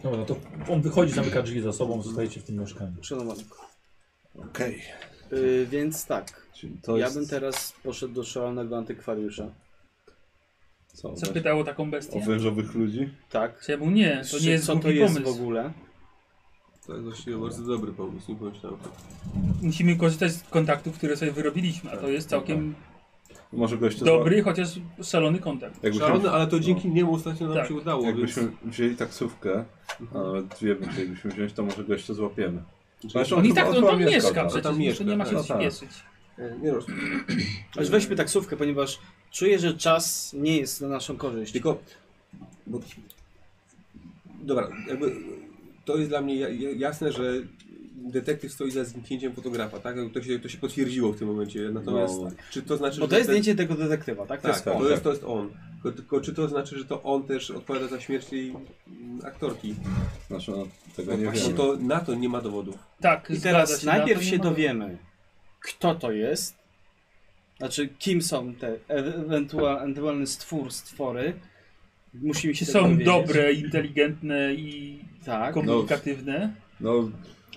Speaker 2: No, no to on wychodzi, zamyka drzwi za sobą, zostajecie w tym mieszkaniu.
Speaker 5: Szanowanko.
Speaker 4: Okej.
Speaker 5: Yy, więc tak,
Speaker 4: Czyli to
Speaker 5: ja
Speaker 4: jest...
Speaker 5: bym teraz poszedł do szalonego antykwariusza.
Speaker 4: Co,
Speaker 9: Co pytało taką
Speaker 4: o
Speaker 9: bestię?
Speaker 4: wężowych ludzi?
Speaker 5: Tak.
Speaker 9: Czemu nie? To nie jest
Speaker 5: Co to
Speaker 9: głupi
Speaker 5: jest w
Speaker 9: pomysł.
Speaker 5: ogóle?
Speaker 3: tak, właściwie bardzo dobry pomysł, nie pomyślałem. tak.
Speaker 9: Musimy korzystać z kontaktów, które sobie wyrobiliśmy, a to jest całkiem
Speaker 4: Może gość to
Speaker 9: dobry, chociaż szalony kontakt.
Speaker 4: Jakbyśmy, No.
Speaker 3: Szalony, ale to dzięki niemu ostatnio nam
Speaker 9: Tak.
Speaker 3: się udało,
Speaker 4: jakbyśmy
Speaker 3: więc...
Speaker 4: wzięli taksówkę, a nawet dwie musielibyśmy wziąć, to może gościa złapiemy. Zresztą
Speaker 9: On i
Speaker 4: chyba-
Speaker 9: tak,
Speaker 4: on
Speaker 9: on
Speaker 4: chyba
Speaker 9: tam mieszka
Speaker 4: tak?
Speaker 9: przecież,
Speaker 3: tam
Speaker 9: to nie
Speaker 3: mieszka,
Speaker 9: ma
Speaker 4: tak.
Speaker 9: się
Speaker 4: No tak.
Speaker 9: śpieszyć.
Speaker 3: E, Nie roz...
Speaker 5: Aż weźmy taksówkę, ponieważ czuję, że czas nie jest na naszą korzyść.
Speaker 3: Tylko. Bo, dobra, jakby to jest dla mnie ja- ja- jasne, że detektyw stoi za zniknięciem fotografa, tak? To się, to się potwierdziło w tym momencie. Natomiast
Speaker 4: No.
Speaker 3: czy to znaczy,
Speaker 5: Bo
Speaker 3: że
Speaker 5: to jest
Speaker 3: ten-
Speaker 5: zdjęcie tego detektywa, tak? To
Speaker 3: Tak,
Speaker 5: jest on.
Speaker 3: to jest, to jest on. Tylko, tylko czy to znaczy, że to on też odpowiada za śmierć tej mm, aktorki?
Speaker 4: Znaczy, no, tego
Speaker 3: Bo
Speaker 4: nie wiemy.
Speaker 3: to na to nie ma dowodów.
Speaker 9: Tak,
Speaker 5: I
Speaker 9: zgadza
Speaker 5: teraz
Speaker 9: się, na
Speaker 5: najpierw
Speaker 9: to nie
Speaker 5: się
Speaker 9: ma-
Speaker 5: dowiemy, kto to jest, znaczy kim są te e- ewentua- ewentualne stwór, stwory. Musimy się
Speaker 9: Czy
Speaker 5: tego
Speaker 9: są
Speaker 5: dowiedzieć.
Speaker 9: dobre, inteligentne i
Speaker 5: Tak,
Speaker 9: komunikatywne?
Speaker 4: No,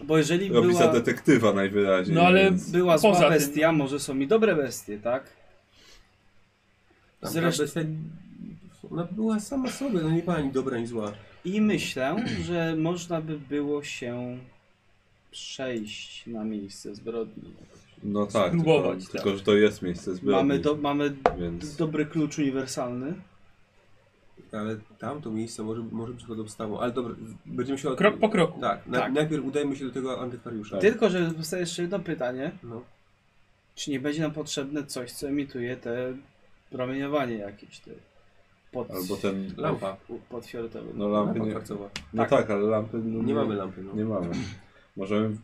Speaker 5: bo jeżeli
Speaker 4: robi za
Speaker 5: była,
Speaker 4: detektywa najwyraźniej.
Speaker 9: No ale
Speaker 4: więc-
Speaker 5: była zła
Speaker 9: poza tym-
Speaker 5: bestia, może są i dobre bestie, tak?
Speaker 3: Tam
Speaker 5: Zresztą-
Speaker 3: Zresztą... Ona była sama sobie, no nie była ani dobra, ani zła.
Speaker 5: I myślę, że można by było się przejść na miejsce zbrodni.
Speaker 4: No tak,
Speaker 9: Spróbować,
Speaker 4: tylko,
Speaker 9: tak.
Speaker 4: tylko, że to jest miejsce zbrodni.
Speaker 5: Mamy, do, mamy
Speaker 4: Więc
Speaker 5: dobry klucz uniwersalny.
Speaker 3: Ale tamto miejsce może, może być pod obstawą. Ale dobra, będziemy się... Od...
Speaker 9: Krok po kroku.
Speaker 3: Tak, na,
Speaker 5: Tak.
Speaker 3: najpierw udajmy się do tego antykwariusza.
Speaker 4: Tak.
Speaker 5: Tylko, że powstaje jeszcze jedno pytanie.
Speaker 3: No.
Speaker 5: Czy nie będzie nam potrzebne coś, co emituje te promieniowanie jakieś te pod,
Speaker 4: albo ten...
Speaker 3: Lampa.
Speaker 5: podfioletowe?
Speaker 4: No lampy
Speaker 3: Lampa
Speaker 4: nie...
Speaker 3: kwarcowa.
Speaker 4: No
Speaker 5: Tak.
Speaker 4: tak, ale lampy... No,
Speaker 3: Nie mamy lampy, no.
Speaker 4: Nie mamy. Możemy...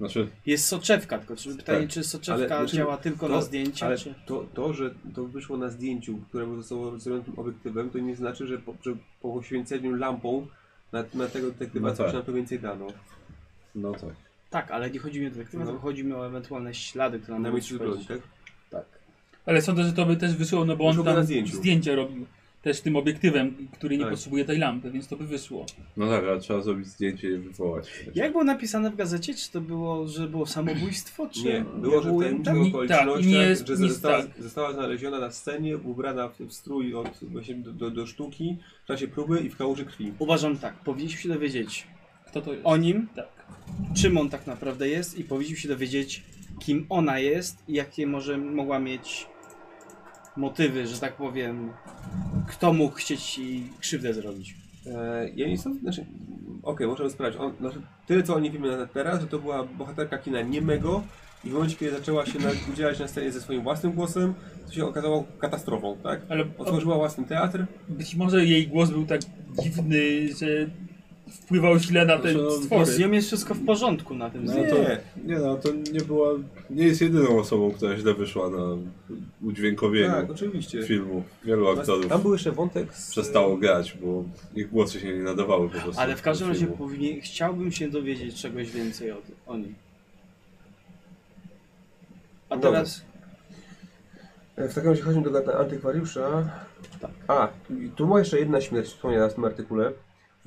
Speaker 4: Znaczy,
Speaker 5: Jest soczewka, tylko czy pytanie, czy soczewka
Speaker 3: Ale-
Speaker 5: działa tylko
Speaker 3: to-
Speaker 5: na zdjęcia,
Speaker 3: Ale
Speaker 5: czy...
Speaker 3: to, to, że to wyszło na zdjęciu, któremu zostało zrobionym obiektywem, to nie znaczy, że po, że po poświęceniu lampą na, na tego detektywa
Speaker 4: No
Speaker 3: coś
Speaker 4: tak.
Speaker 3: nam to więcej dano.
Speaker 4: no tak.
Speaker 5: Tak, ale nie chodzi mi o detektywa,
Speaker 3: No.
Speaker 5: tylko chodzi mi o ewentualne ślady, które nam
Speaker 3: Na
Speaker 5: mogą
Speaker 9: No
Speaker 3: miejscu zbrodni,
Speaker 5: przychodzić.
Speaker 3: tak?
Speaker 9: Ale sądzę, że to by też wyszło, no bo on
Speaker 3: Wyszło by na
Speaker 9: tam
Speaker 3: zdjęciu.
Speaker 9: zdjęcia robił też tym obiektywem, który nie
Speaker 3: Tak.
Speaker 9: potrzebuje tej lampy, więc to by wyszło.
Speaker 4: No tak, ale trzeba zrobić zdjęcie i je wywołać.
Speaker 5: Jak było napisane w gazecie? Czy to było, że było samobójstwo, czy...
Speaker 3: Nie, było, że
Speaker 5: było
Speaker 3: ten
Speaker 5: tam-
Speaker 9: Ni- tak,
Speaker 3: okoliczność,
Speaker 9: i nie
Speaker 3: tak,
Speaker 9: jest
Speaker 3: że
Speaker 9: nic
Speaker 3: została,
Speaker 9: tak.
Speaker 3: została znaleziona na scenie, ubrana w, w strój od, właśnie do, do, do sztuki, w czasie próby i w kałuży krwi.
Speaker 5: Uważam tak, powinniśmy się dowiedzieć
Speaker 9: Kto to jest?
Speaker 5: o nim,
Speaker 9: Tak.
Speaker 5: czym on tak naprawdę jest i powinniśmy się dowiedzieć, kim ona jest i jakie może mogła mieć motywy, że tak powiem, kto mógł chcieć jej krzywdę zrobić.
Speaker 3: E, ja nie sądzę, znaczy, okej, możemy sprawdzić. On, znaczy, tyle co o niej wiemy na teraz, że to była bohaterka kina niemego i w momencie, kiedy zaczęła się na, udzielać na scenie ze swoim własnym głosem, to się okazało katastrofą, tak?
Speaker 9: Ale o,
Speaker 3: Otworzyła własny teatr,
Speaker 9: być może jej głos był tak dziwny, że wpływał źle na te
Speaker 4: Znaczy, no,
Speaker 5: Bo
Speaker 9: stwory.
Speaker 5: z nią jest wszystko w porządku na tym
Speaker 4: No
Speaker 5: zdjęciu.
Speaker 4: to,
Speaker 3: Nie.
Speaker 4: nie no, to nie była, nie jest jedyną osobą, która źle wyszła na udźwiękowieniu
Speaker 3: tak, oczywiście.
Speaker 4: filmu. Wielu aktorów
Speaker 3: Tam był jeszcze wątek z...
Speaker 4: przestało grać, bo ich głosy się nie nadawały po prostu.
Speaker 5: Ale w każdym
Speaker 4: do
Speaker 5: razie
Speaker 4: filmu.
Speaker 5: powinien, chciałbym się dowiedzieć czegoś więcej o, tym- o nim. A
Speaker 3: Dobra.
Speaker 5: teraz
Speaker 11: E, W takim razie chodźmy do gata- antykwariusza.
Speaker 5: Tak.
Speaker 11: A, i tu była jeszcze jedna śmierć wspomniana w tym artykule.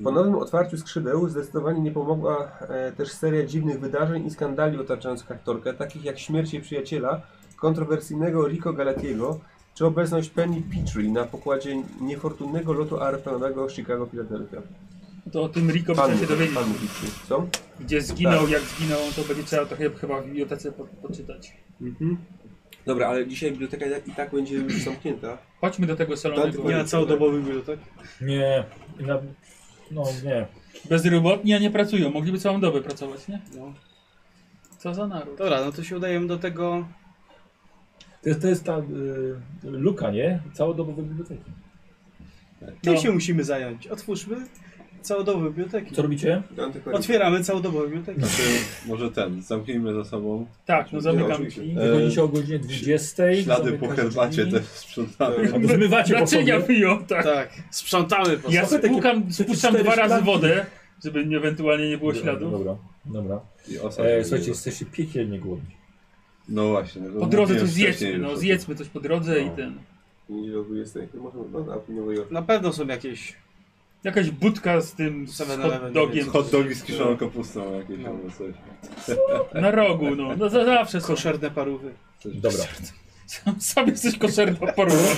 Speaker 3: No.
Speaker 11: Po nowym otwarciu skrzydeł zdecydowanie nie pomogła e, też seria dziwnych wydarzeń i skandali otaczających aktorkę, takich jak śmierć jej przyjaciela, kontrowersyjnego Rico Galatiego, czy obecność Penny Petrie na pokładzie niefortunnego lotu aeroplanowego Chicago-Philadelphia.
Speaker 9: To o tym
Speaker 11: Pan
Speaker 9: Rico chciałem się dowiedzieć,
Speaker 11: Pan Petrie, co?
Speaker 9: gdzie zginął, jak zginął, to będzie trzeba trochę chyba w bibliotece po, poczytać.
Speaker 3: Dobra, ale dzisiaj biblioteka i tak- i tak będzie już zamknięta.
Speaker 9: Chodźmy do tego salonu.
Speaker 3: Tak,
Speaker 9: bo-
Speaker 5: nie na całodobowy bibliotek.
Speaker 2: Nie. Na, no nie.
Speaker 9: Bezrobotni, a nie pracują. Mogliby całą dobę pracować, nie?
Speaker 5: No.
Speaker 9: Co za naród.
Speaker 5: Dobra, no to się udajemy do tego.
Speaker 2: To jest, to jest ta y, luka, nie? Całodobowe biblioteki.
Speaker 5: Tym
Speaker 9: No.
Speaker 5: się musimy zająć. Otwórzmy całodobowe biblioteki.
Speaker 2: Co robicie?
Speaker 3: Do antykwariuszu.
Speaker 5: Otwieramy całodobowe biblioteki.
Speaker 4: Znaczy, może ten, zamknijmy za sobą.
Speaker 9: Tak, no zamykam
Speaker 3: Oczywiście.
Speaker 9: drzwi.
Speaker 2: Wychodzicie o godzinie 20.
Speaker 4: E, Ślady po
Speaker 2: zamykacie
Speaker 4: herbacie
Speaker 2: drzwi.
Speaker 4: też sprzątamy.
Speaker 9: Tak.
Speaker 2: Albo Zmywacie po
Speaker 9: Naczynia
Speaker 2: sobie.
Speaker 9: piją, tak.
Speaker 5: Tak, sprzątamy po
Speaker 9: Ja
Speaker 5: sobie.
Speaker 2: takie-
Speaker 9: spłukam, spuszczam
Speaker 2: cztery
Speaker 9: dwa razy
Speaker 2: szklanki.
Speaker 9: wodę, żeby nie- ewentualnie nie było śladów.
Speaker 2: Dobra, dobra.
Speaker 4: I osadzimy
Speaker 2: E,
Speaker 4: je.
Speaker 2: słuchajcie, jesteście piekielnie głodni.
Speaker 4: No właśnie. no to
Speaker 9: Po drodze
Speaker 4: mówiłem
Speaker 9: coś zjedzmy,
Speaker 4: wcześniej już o
Speaker 9: no
Speaker 4: tym.
Speaker 9: zjedzmy coś po drodze i ten.
Speaker 3: Nie robię jestem. Możemy, no, na New York.
Speaker 5: Na pewno są jakieś.
Speaker 9: Jakaś budka z tym z
Speaker 5: 7-Eleven,
Speaker 9: hot dogiem
Speaker 4: Hot dogi z
Speaker 9: No.
Speaker 4: kiszoną kapustą jakieś albo coś.
Speaker 9: na rogu, no. No za zawsze są.
Speaker 5: Koszerne parówy.
Speaker 4: coś
Speaker 2: Dobra.
Speaker 9: Sam sam jesteś koszerny porówno.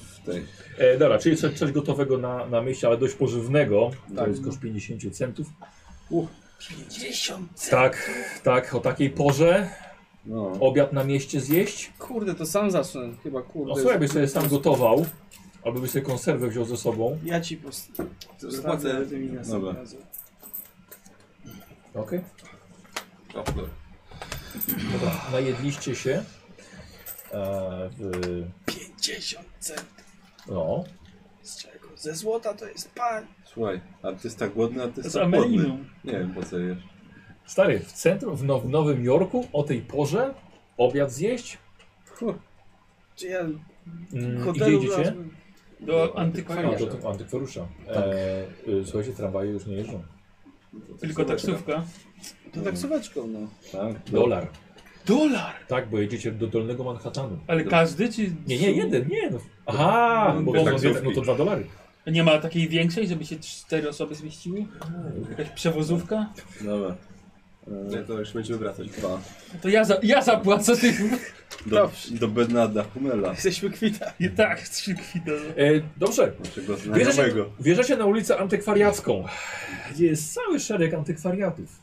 Speaker 4: w tej-
Speaker 2: E, dobra, czyli coś, coś gotowego na, na mieście, ale dość pożywnego.
Speaker 5: Tak.
Speaker 2: To jest koszt 50 centów.
Speaker 5: 50!
Speaker 2: Tak, tak, o takiej porze
Speaker 4: No.
Speaker 2: obiad na mieście zjeść.
Speaker 5: Kurde, to sam zacznę chyba, kurde.
Speaker 2: No słuchaj, byś sobie sam gotował, albo byś sobie konserwę wziął ze sobą.
Speaker 5: Ja ci post...
Speaker 3: Zapłacę.
Speaker 5: Zapłacę tymi
Speaker 4: Dobra.
Speaker 5: następnym razem.
Speaker 2: Okej.
Speaker 3: O, dobra.
Speaker 2: No Najedliście się. E, w,
Speaker 5: 50 centów
Speaker 2: no.
Speaker 5: z czego? Ze złota to jest pan.
Speaker 4: Słuchaj, artysta głodny,
Speaker 9: Z
Speaker 4: artysta głodny.
Speaker 9: Ameliną.
Speaker 4: Nie wiem po co jesz.
Speaker 2: Stary, w centrum, w, now, w Nowym Jorku o tej porze obiad zjeść?
Speaker 5: Czy ja w
Speaker 2: Mm, i gdzie
Speaker 5: hotelu
Speaker 2: idziecie?
Speaker 5: razem-
Speaker 9: Do
Speaker 2: A, do
Speaker 9: antykwariusza.
Speaker 2: tego antykwariusza. E, y, słuchajcie, tramwaje już nie jeżdżą.
Speaker 9: Tylko taksówka.
Speaker 5: To taksóweczką, no.
Speaker 4: Tak?
Speaker 2: Dolar.
Speaker 5: Dolar!
Speaker 2: Tak, bo jedziecie do Dolnego Manhattanu.
Speaker 9: Ale każdy czy...
Speaker 2: Nie, nie, jeden, nie. No. Aha, bo
Speaker 4: dwie
Speaker 2: wozą
Speaker 4: taksówki.
Speaker 2: dwie- no to dwa dolary.
Speaker 9: Nie ma takiej większej, żeby się cztery osoby zmieściły? Jakaś przewozówka?
Speaker 4: Dobra. E,
Speaker 3: Nie, to już będziemy wracać.
Speaker 4: Dwa.
Speaker 9: To ja, za, ja zapłacę tych.
Speaker 4: Do, do Bernarda Humela,
Speaker 5: Jesteśmy kwita.
Speaker 9: I tak, trzy kwita.
Speaker 2: E, dobrze,
Speaker 4: naszego
Speaker 2: Bierzecie,
Speaker 4: znajomego.
Speaker 2: wjeżdżacie na ulicę antykwariacką, gdzie jest cały szereg antykwariatów.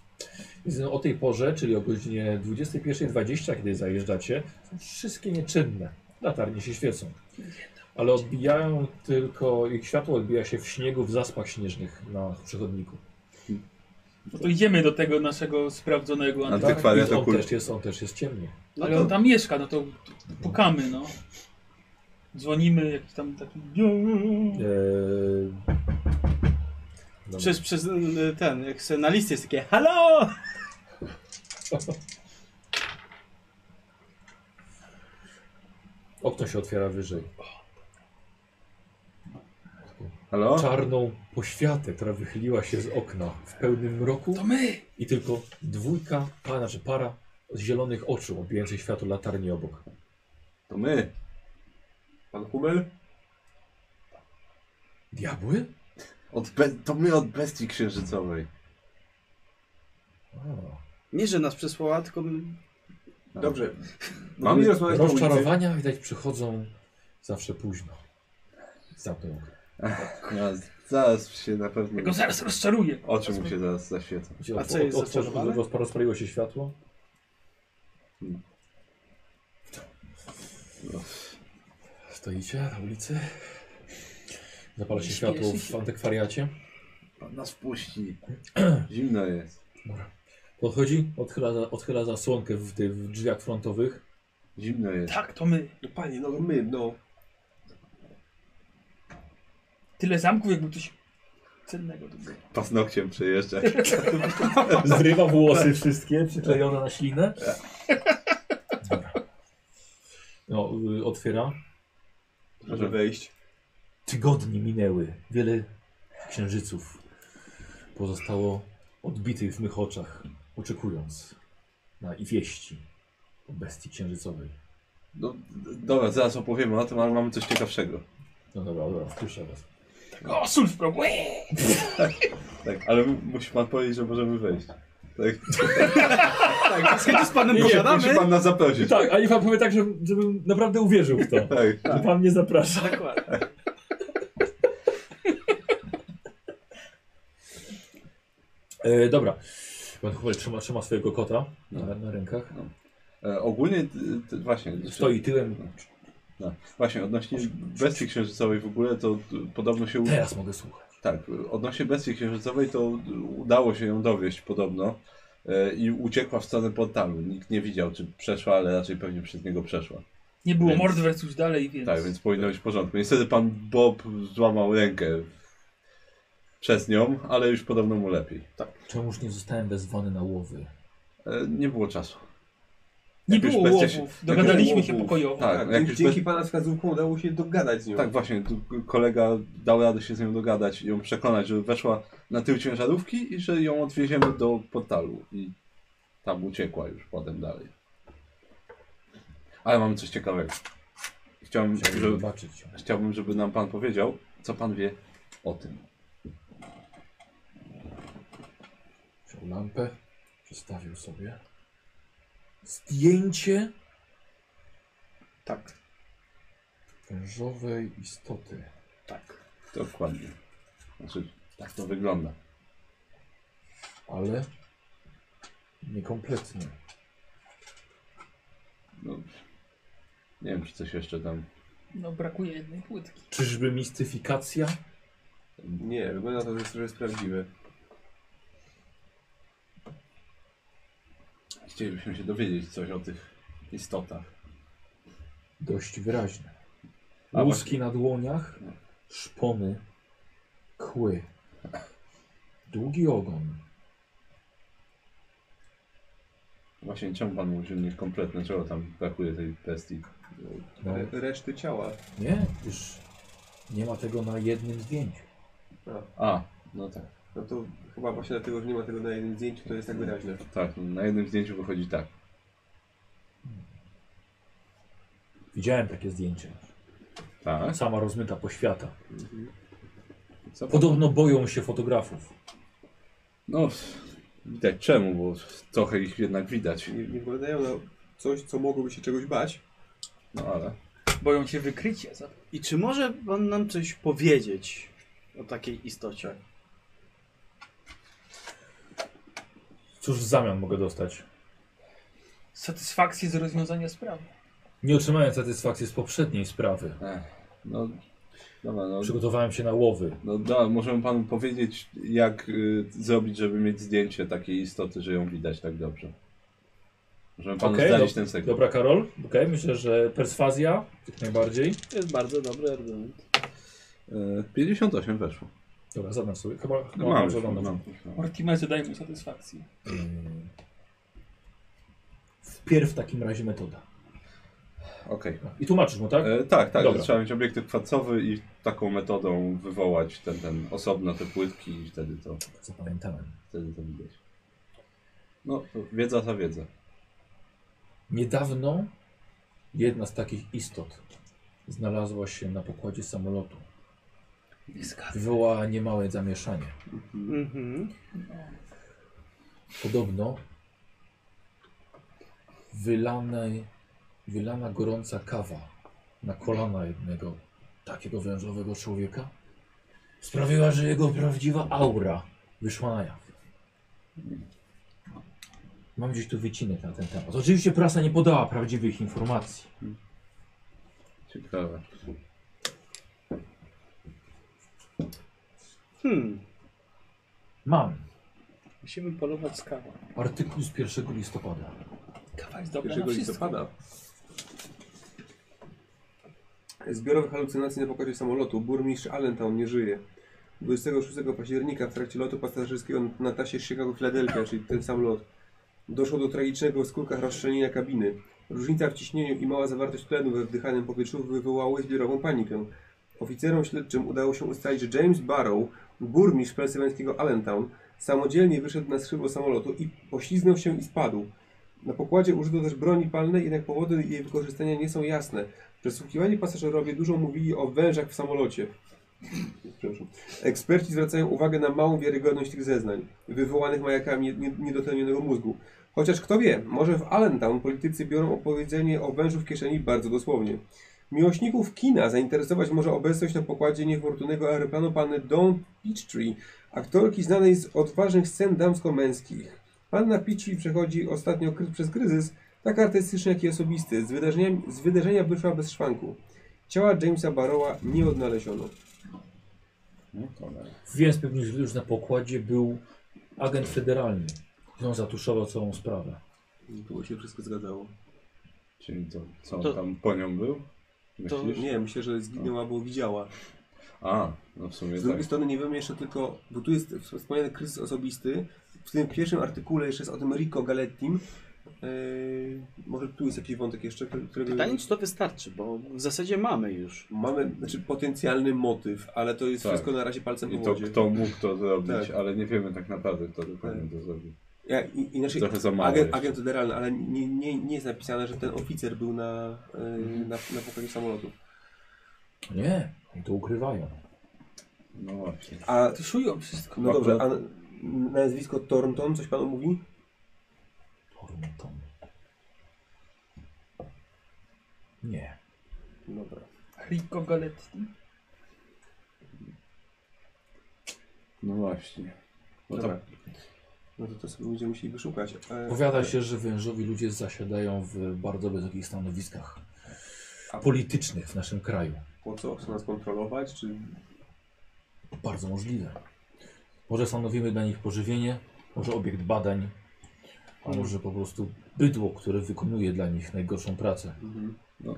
Speaker 2: Więc no, o tej porze, czyli o godzinie 21.20, kiedy zajeżdżacie, są wszystkie nieczynne. Latarnie się świecą. Ale odbijają tylko, ich światło odbija się w śniegu, w zaspach śnieżnych na przechodniku.
Speaker 9: No to idziemy do tego naszego sprawdzonego
Speaker 4: Anty-
Speaker 9: antykwariusza.
Speaker 4: Antykwariat
Speaker 2: Tak, I on,
Speaker 4: okult.
Speaker 2: też jest, on też jest ciemny.
Speaker 5: No
Speaker 9: Ale
Speaker 5: to
Speaker 9: on tam mieszka, no to pukamy, no. Dzwonimy, jakiś tam taki...
Speaker 2: Eee, no. dobra.
Speaker 5: przez, przez y, ten, jak se na liście jest takie Halo!
Speaker 2: Okno się otwiera wyżej.
Speaker 4: Halo?
Speaker 2: Czarną poświatę, która wychyliła się z okna w pełnym mroku
Speaker 9: To my!
Speaker 2: i tylko dwójka, pa- znaczy para zielonych oczu odbijających światło latarni obok.
Speaker 4: To my.
Speaker 3: Pan Hummel?
Speaker 2: Diabły?
Speaker 4: Od be... To my od bestii księżycowej.
Speaker 5: Nie, że nas przesłała, tylko m-
Speaker 4: No.
Speaker 11: Dobrze.
Speaker 4: Mamy-
Speaker 11: Mamy rozmawiać na ulicy.
Speaker 2: Rozczarowania widać przychodzą zawsze późno. Zamknę oko.
Speaker 4: Zaraz, zaraz się na pewno...
Speaker 9: Ja go zaraz rozczaruję.
Speaker 4: Oczy mu się zaraz zaświecą.
Speaker 2: Gdzie
Speaker 5: A
Speaker 2: otw-
Speaker 5: co jest
Speaker 2: otworzył-
Speaker 5: zaczarowane?
Speaker 2: roz- Rozpaliło się światło.
Speaker 4: No.
Speaker 2: Stoicie na ulicy. Zapala się
Speaker 9: Śpieszy
Speaker 2: światło w
Speaker 9: się.
Speaker 2: antykwariacie.
Speaker 4: Pan nas wpuści. Zimno jest.
Speaker 2: Dobra. Podchodzi, odchyla, za- odchyla zasłonkę w, ty- w drzwiach frontowych.
Speaker 4: Zimno jest.
Speaker 9: Tak, to my.
Speaker 3: No panie, no my, no.
Speaker 9: Tyle zamków, jakby coś cennego tu było.
Speaker 4: Paznokciem przejeżdżać.
Speaker 2: Zrywa włosy wszystkie, przyklejone na ślinę. Dobra. No, y, otwiera.
Speaker 3: Może wejść.
Speaker 2: Tygodnie minęły. Wiele księżyców pozostało odbitych w mych oczach, oczekując na i wieści o bestii księżycowej.
Speaker 4: No, d- dobra, zaraz opowiemy o tym, ale mamy coś ciekawszego.
Speaker 2: No dobra, dobra, wpuszczę was.
Speaker 9: O, sól w progu.
Speaker 4: Tak, ale m- musi pan powiedzieć, że możemy wejść. Tak,
Speaker 5: tak, z chęcią z panem
Speaker 2: Nie,
Speaker 5: pogadamy.
Speaker 4: musi pan nas zaprosić.
Speaker 2: Tak, a Iwan powie tak, żebym, żebym naprawdę uwierzył w to.
Speaker 4: Tak.
Speaker 2: Że pan mnie zaprasza.
Speaker 5: Dokładnie.
Speaker 2: E, dobra. Pan Hummel trzyma, trzyma swojego kota na, na rękach.
Speaker 4: E, ogólnie, t, t, właśnie.
Speaker 2: Stoi tyłem.
Speaker 4: No, właśnie, odnośnie bestii księżycowej w ogóle, to d- podobno się... u-
Speaker 2: Teraz mogę słuchać.
Speaker 4: Tak, odnośnie bestii księżycowej, to d- udało się ją dowieść podobno. e, I uciekła w stronę portalu. Nikt nie widział, czy przeszła, ale raczej pewnie przez niego przeszła.
Speaker 9: Nie było
Speaker 4: Więc-
Speaker 9: mordwerc już dalej, więc...
Speaker 4: Tak, więc powinno być w porządku. Niestety pan Bob złamał rękę przez nią, ale już podobno mu lepiej.
Speaker 2: Czemuż nie zostałem wezwany na łowy?
Speaker 4: E, nie było czasu.
Speaker 9: Nie
Speaker 4: jak już
Speaker 9: było
Speaker 4: bestia się-
Speaker 9: łowów. Dogadaliśmy się
Speaker 3: łowów.
Speaker 9: pokojowo.
Speaker 4: Tak,
Speaker 11: Tak,
Speaker 4: jak
Speaker 11: dzięki,
Speaker 4: już
Speaker 11: dzięki pana wskazówkom udało się dogadać z nią.
Speaker 4: Tak, właśnie, tu kolega dał radę się z nią dogadać i ją przekonać, że weszła na tył ciężarówki i że ją odwieziemy do portalu. I tam uciekła już potem dalej. Ale mamy coś ciekawego. Chciałbym,
Speaker 2: Chciałbym
Speaker 4: żeby,
Speaker 2: zobaczyć ją.
Speaker 4: chciałbym, żeby nam pan powiedział, co pan wie o tym.
Speaker 2: Wziął lampę, przestawił sobie. Zdjęcie
Speaker 5: Tak,
Speaker 2: wężowej istoty.
Speaker 5: tak.
Speaker 4: Dokładnie. Znaczy, tak to wygląda.
Speaker 2: ale niekompletnie.
Speaker 4: No, nie wiem, czy coś jeszcze tam.
Speaker 9: No, brakuje jednej płytki.
Speaker 2: Czyżby mistyfikacja?
Speaker 11: Nie, wygląda to, że jest- że jest prawdziwe.
Speaker 4: Chcielibyśmy się dowiedzieć coś o tych istotach.
Speaker 2: Dość wyraźne.
Speaker 4: A
Speaker 2: Łuski na dłoniach, szpony, kły, długi ogon.
Speaker 4: Właśnie czemu pan mówił, że niekompletne, czego tam brakuje tej bestii?
Speaker 2: No,
Speaker 11: Re- Reszty ciała.
Speaker 2: nie, już nie ma tego na jednym zdjęciu.
Speaker 4: A, no tak.
Speaker 11: No to chyba właśnie dlatego, że nie ma tego na jednym zdjęciu, to jest tak wyraźne.
Speaker 4: Tak, na jednym zdjęciu wychodzi tak.
Speaker 2: Widziałem takie zdjęcie.
Speaker 4: Tak.
Speaker 2: Sama rozmyta po świata.
Speaker 4: Co pan...
Speaker 2: Podobno boją się fotografów.
Speaker 4: No, widać czemu, bo trochę ich jednak widać.
Speaker 11: Nie, nie wyglądają na coś, co mogłoby się czegoś bać.
Speaker 4: No ale.
Speaker 9: Boją się wykrycia za
Speaker 5: I czy może pan nam coś powiedzieć o takiej istocie?
Speaker 2: Cóż w zamian mogę dostać?
Speaker 9: satysfakcję z rozwiązania sprawy.
Speaker 2: Nie otrzymałem satysfakcji z poprzedniej sprawy.
Speaker 4: Ech, no, dobra, no.
Speaker 2: Przygotowałem się na łowy.
Speaker 4: No da, możemy panu powiedzieć, jak y, zrobić, żeby mieć zdjęcie takiej istoty, że ją widać tak dobrze. Możemy panu
Speaker 2: Okej,
Speaker 4: zdradzić
Speaker 2: dob-
Speaker 4: ten sekret.
Speaker 2: Dobra, Karol. Okej, myślę, że perswazja jak najbardziej.
Speaker 5: To jest bardzo dobry argument.
Speaker 4: Y, 58 weszło.
Speaker 2: Dobra, zadam sobie. Chyba, chyba
Speaker 4: No, mam,
Speaker 2: dobrze
Speaker 4: mam,
Speaker 2: oglądam.
Speaker 4: mam.
Speaker 9: Mortimerze daje mu satysfakcję.
Speaker 2: Ym, Wpierw w takim razie metoda.
Speaker 4: Okej.
Speaker 2: I tłumaczysz mu, tak?
Speaker 4: E, Tak, tak,
Speaker 2: Dobra.
Speaker 4: trzeba mieć obiektyw kwacowy i taką metodą wywołać ten, ten osobno te płytki i wtedy to,
Speaker 2: Zapamiętałem.
Speaker 4: wtedy to widać. No, to wiedza za wiedza.
Speaker 2: Niedawno Jedna z takich istot znalazła się na pokładzie samolotu. Wywołała niemałe zamieszanie.
Speaker 5: Mhm.
Speaker 2: Podobno wylanej, wylana gorąca kawa na kolana jednego takiego wężowego człowieka sprawiła, że jego prawdziwa aura wyszła na jaw. Mam gdzieś tu wycinek na ten temat. Oczywiście prasa nie podała prawdziwych informacji.
Speaker 4: Ciekawe.
Speaker 5: Hmm.
Speaker 2: Mam
Speaker 5: Musimy polować z kawą.
Speaker 2: artykuł z 1 listopada.
Speaker 9: Kawa jest dobra na
Speaker 13: 1
Speaker 9: wszystko.
Speaker 13: listopada.
Speaker 3: Zbiorowe halucynacje na pokładzie samolotu. Burmistrz Allentown nie żyje. 26 października w trakcie lotu pasażerskiego na tasie Chicago-Philadelphia, czyli ten sam lot, doszło do tragicznego w skórkach rozszczelnienia kabiny. Różnica w ciśnieniu i mała zawartość tlenu we wdychanym powietrzu wywołały zbiorową panikę. Oficerom śledczym udało się ustalić, że James Barrow, burmistrz pensylwańskiego Allentown, samodzielnie wyszedł na skrzydło samolotu i pośliznął się i spadł. Na pokładzie użyto też broni palnej, jednak powody jej wykorzystania nie są jasne. Przesłuchiwani pasażerowie dużo mówili o wężach w samolocie. Przepraszam. Eksperci zwracają uwagę na małą wiarygodność tych zeznań, wywołanych majakami nie- niedotlenionego mózgu. Chociaż kto wie, może w Allentown politycy biorą opowiedzenie o wężu w kieszeni bardzo dosłownie. Miłośników kina zainteresować może obecność na pokładzie niefortunnego aeroplanu panny Dawn Peachtree, aktorki znanej z odważnych scen damsko-męskich. Panna Peachtree przechodzi ostatnio kry- przez kryzys, tak artystyczny, jak i osobisty. Z, wydarzeniami- z wydarzenia wyszła bez szwanku. Ciała Jamesa Barrowa nie odnaleziono.
Speaker 4: No cholera.
Speaker 2: Więc pewnie źle już na pokładzie był agent federalny, który on zatuszował całą sprawę.
Speaker 3: Tu się wszystko zgadzało.
Speaker 4: Czyli to, co on
Speaker 5: To-
Speaker 4: tam po nią był? Myślisz?
Speaker 3: Nie, myślę, że zginęła, bo widziała.
Speaker 4: Tak. A, no w sumie
Speaker 3: Z drugiej
Speaker 4: tak.
Speaker 3: strony nie wiemy jeszcze tylko, bo tu jest wspomniany kryzys osobisty. W tym pierwszym artykule jeszcze jest o tym Rico Galettim. Yy, może tu jest jakiś wątek jeszcze, który- którego...
Speaker 5: Pytanie, czy to wystarczy, bo w zasadzie mamy już.
Speaker 3: Mamy znaczy, potencjalny motyw, ale to jest
Speaker 4: Tak.
Speaker 3: wszystko na razie palcem
Speaker 4: I
Speaker 3: po
Speaker 4: to
Speaker 3: wodzie.
Speaker 4: kto mógł to zrobić,
Speaker 3: Tak.
Speaker 4: ale nie wiemy tak naprawdę kto dokładnie to zrobił.
Speaker 3: Ja, i, inaczej,
Speaker 4: Trochę za mało
Speaker 3: agent,
Speaker 4: jeszcze.
Speaker 3: agent federalny, ale nie, nie, nie jest napisane, że ten oficer był na,
Speaker 5: Mhm.
Speaker 3: yy, na, na pokładzie samolotu.
Speaker 2: Nie, oni to ukrywają.
Speaker 4: No właśnie.
Speaker 3: A,
Speaker 9: Tuszują wszystko.
Speaker 3: no dobrze, a nazwisko Thornton, coś panu mówi?
Speaker 2: Tormenton. Nie.
Speaker 3: Dobra.
Speaker 9: Rico Galetti.
Speaker 4: No właśnie. Bo
Speaker 3: Dobra.
Speaker 4: ta,
Speaker 3: No to to sobie będziemy musieli wyszukać. E,
Speaker 2: Powiada się, że wężowi ludzie zasiadają w bardzo wysokich stanowiskach politycznych w naszym kraju.
Speaker 3: Po co? Chcą nas kontrolować? Czy
Speaker 2: Bardzo możliwe. Może stanowimy dla nich pożywienie, może obiekt badań, a może po prostu bydło, które wykonuje dla nich najgorszą pracę.
Speaker 5: Mhm. No,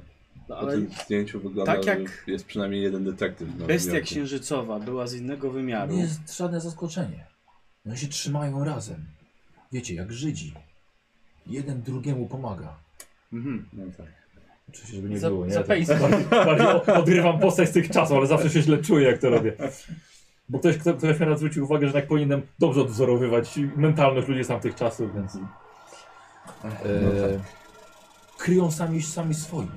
Speaker 4: po
Speaker 5: ale
Speaker 4: tym zdjęciu wygląda,
Speaker 5: tak
Speaker 4: tak
Speaker 5: jak-
Speaker 4: że jest przynajmniej jeden detektyw. na
Speaker 5: bestia
Speaker 4: wymiarku.
Speaker 5: księżycowa była z innego wymiaru.
Speaker 2: Nie jest żadne zaskoczenie. Oni się trzymają razem. Wiecie, jak Żydzi. Jeden drugiemu pomaga.
Speaker 5: Mhm.
Speaker 4: No tak.
Speaker 2: Oczywiście, żeby nie
Speaker 9: Za-
Speaker 2: było, nie?
Speaker 9: za
Speaker 2: Tak
Speaker 9: pejsem.
Speaker 2: bardziej, bardziej o- odgrywam postać z tych czasów, ale zawsze się źle czuję, jak to robię. Bo ktoś, kto, ktoś mi raz zwrócił uwagę, że tak powinienem dobrze odwzorowywać mentalność ludzi z tamtych czasów, więc... E, kryją sami, sami swoich.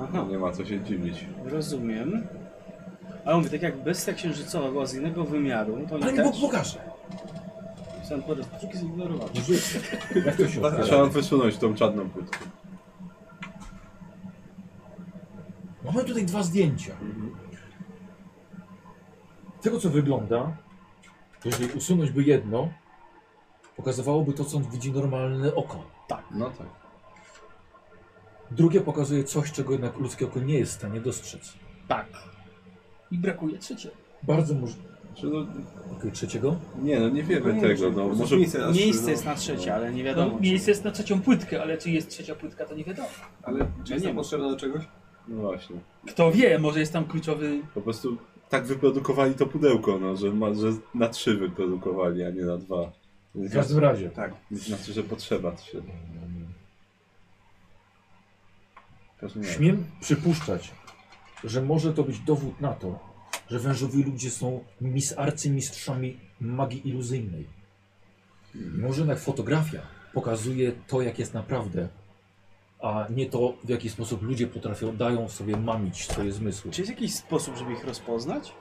Speaker 5: Aha,
Speaker 4: Nie ma co się dziwić.
Speaker 5: rozumiem. Ale mówię, tak jak bestia księżycowa była z innego wymiaru, no to oni
Speaker 2: Ale mi
Speaker 5: też...
Speaker 2: Bóg pokaże.
Speaker 5: Sam po raz drugi zignorować.
Speaker 2: Jak to się otwiera?
Speaker 4: Trzeba wysunąć tą czarną płytkę.
Speaker 2: Mamy tutaj dwa zdjęcia. Z Tego co wygląda, to jeżeli usunąć by jedno, pokazywałoby to, co widzi normalne oko.
Speaker 4: No tak.
Speaker 2: Drugie pokazuje coś, czego jednak ludzkie oko nie jest w stanie dostrzec.
Speaker 9: Tak. I brakuje No, trzecie.
Speaker 2: Bardzo możliwe.
Speaker 4: Czy no,
Speaker 2: Okay, trzeciego?
Speaker 4: nie, no nie wiemy tego. No, może
Speaker 3: miejsce, na
Speaker 5: Miejsce jest
Speaker 3: no,
Speaker 5: na trzecie, ale nie
Speaker 9: No,
Speaker 5: wiadomo. czy-
Speaker 9: miejsce jest na trzecią płytkę, ale czy jest trzecia płytka, to nie wiadomo.
Speaker 3: Ale czy jest
Speaker 5: nie
Speaker 3: nam
Speaker 5: ma.
Speaker 3: potrzebne do czegoś?
Speaker 4: No właśnie.
Speaker 9: Kto wie, może jest tam kluczowy.
Speaker 4: Po prostu tak wyprodukowali to pudełko, no, że, ma, że na trzy wyprodukowali, a nie na dwa.
Speaker 2: W każdym razie.
Speaker 3: Tak.
Speaker 4: Znaczy, że potrzeba trzy. W każdym razie.
Speaker 2: tak. Śmiem przypuszczać, że może to być dowód na to, że wężowi ludzie są mis arcymistrzami magii iluzyjnej. Może jednak fotografia pokazuje to, jak jest naprawdę, a nie to, w jaki sposób ludzie potrafią, dają sobie mamić swoje zmysły.
Speaker 5: Czy jest jakiś sposób, żeby ich rozpoznać?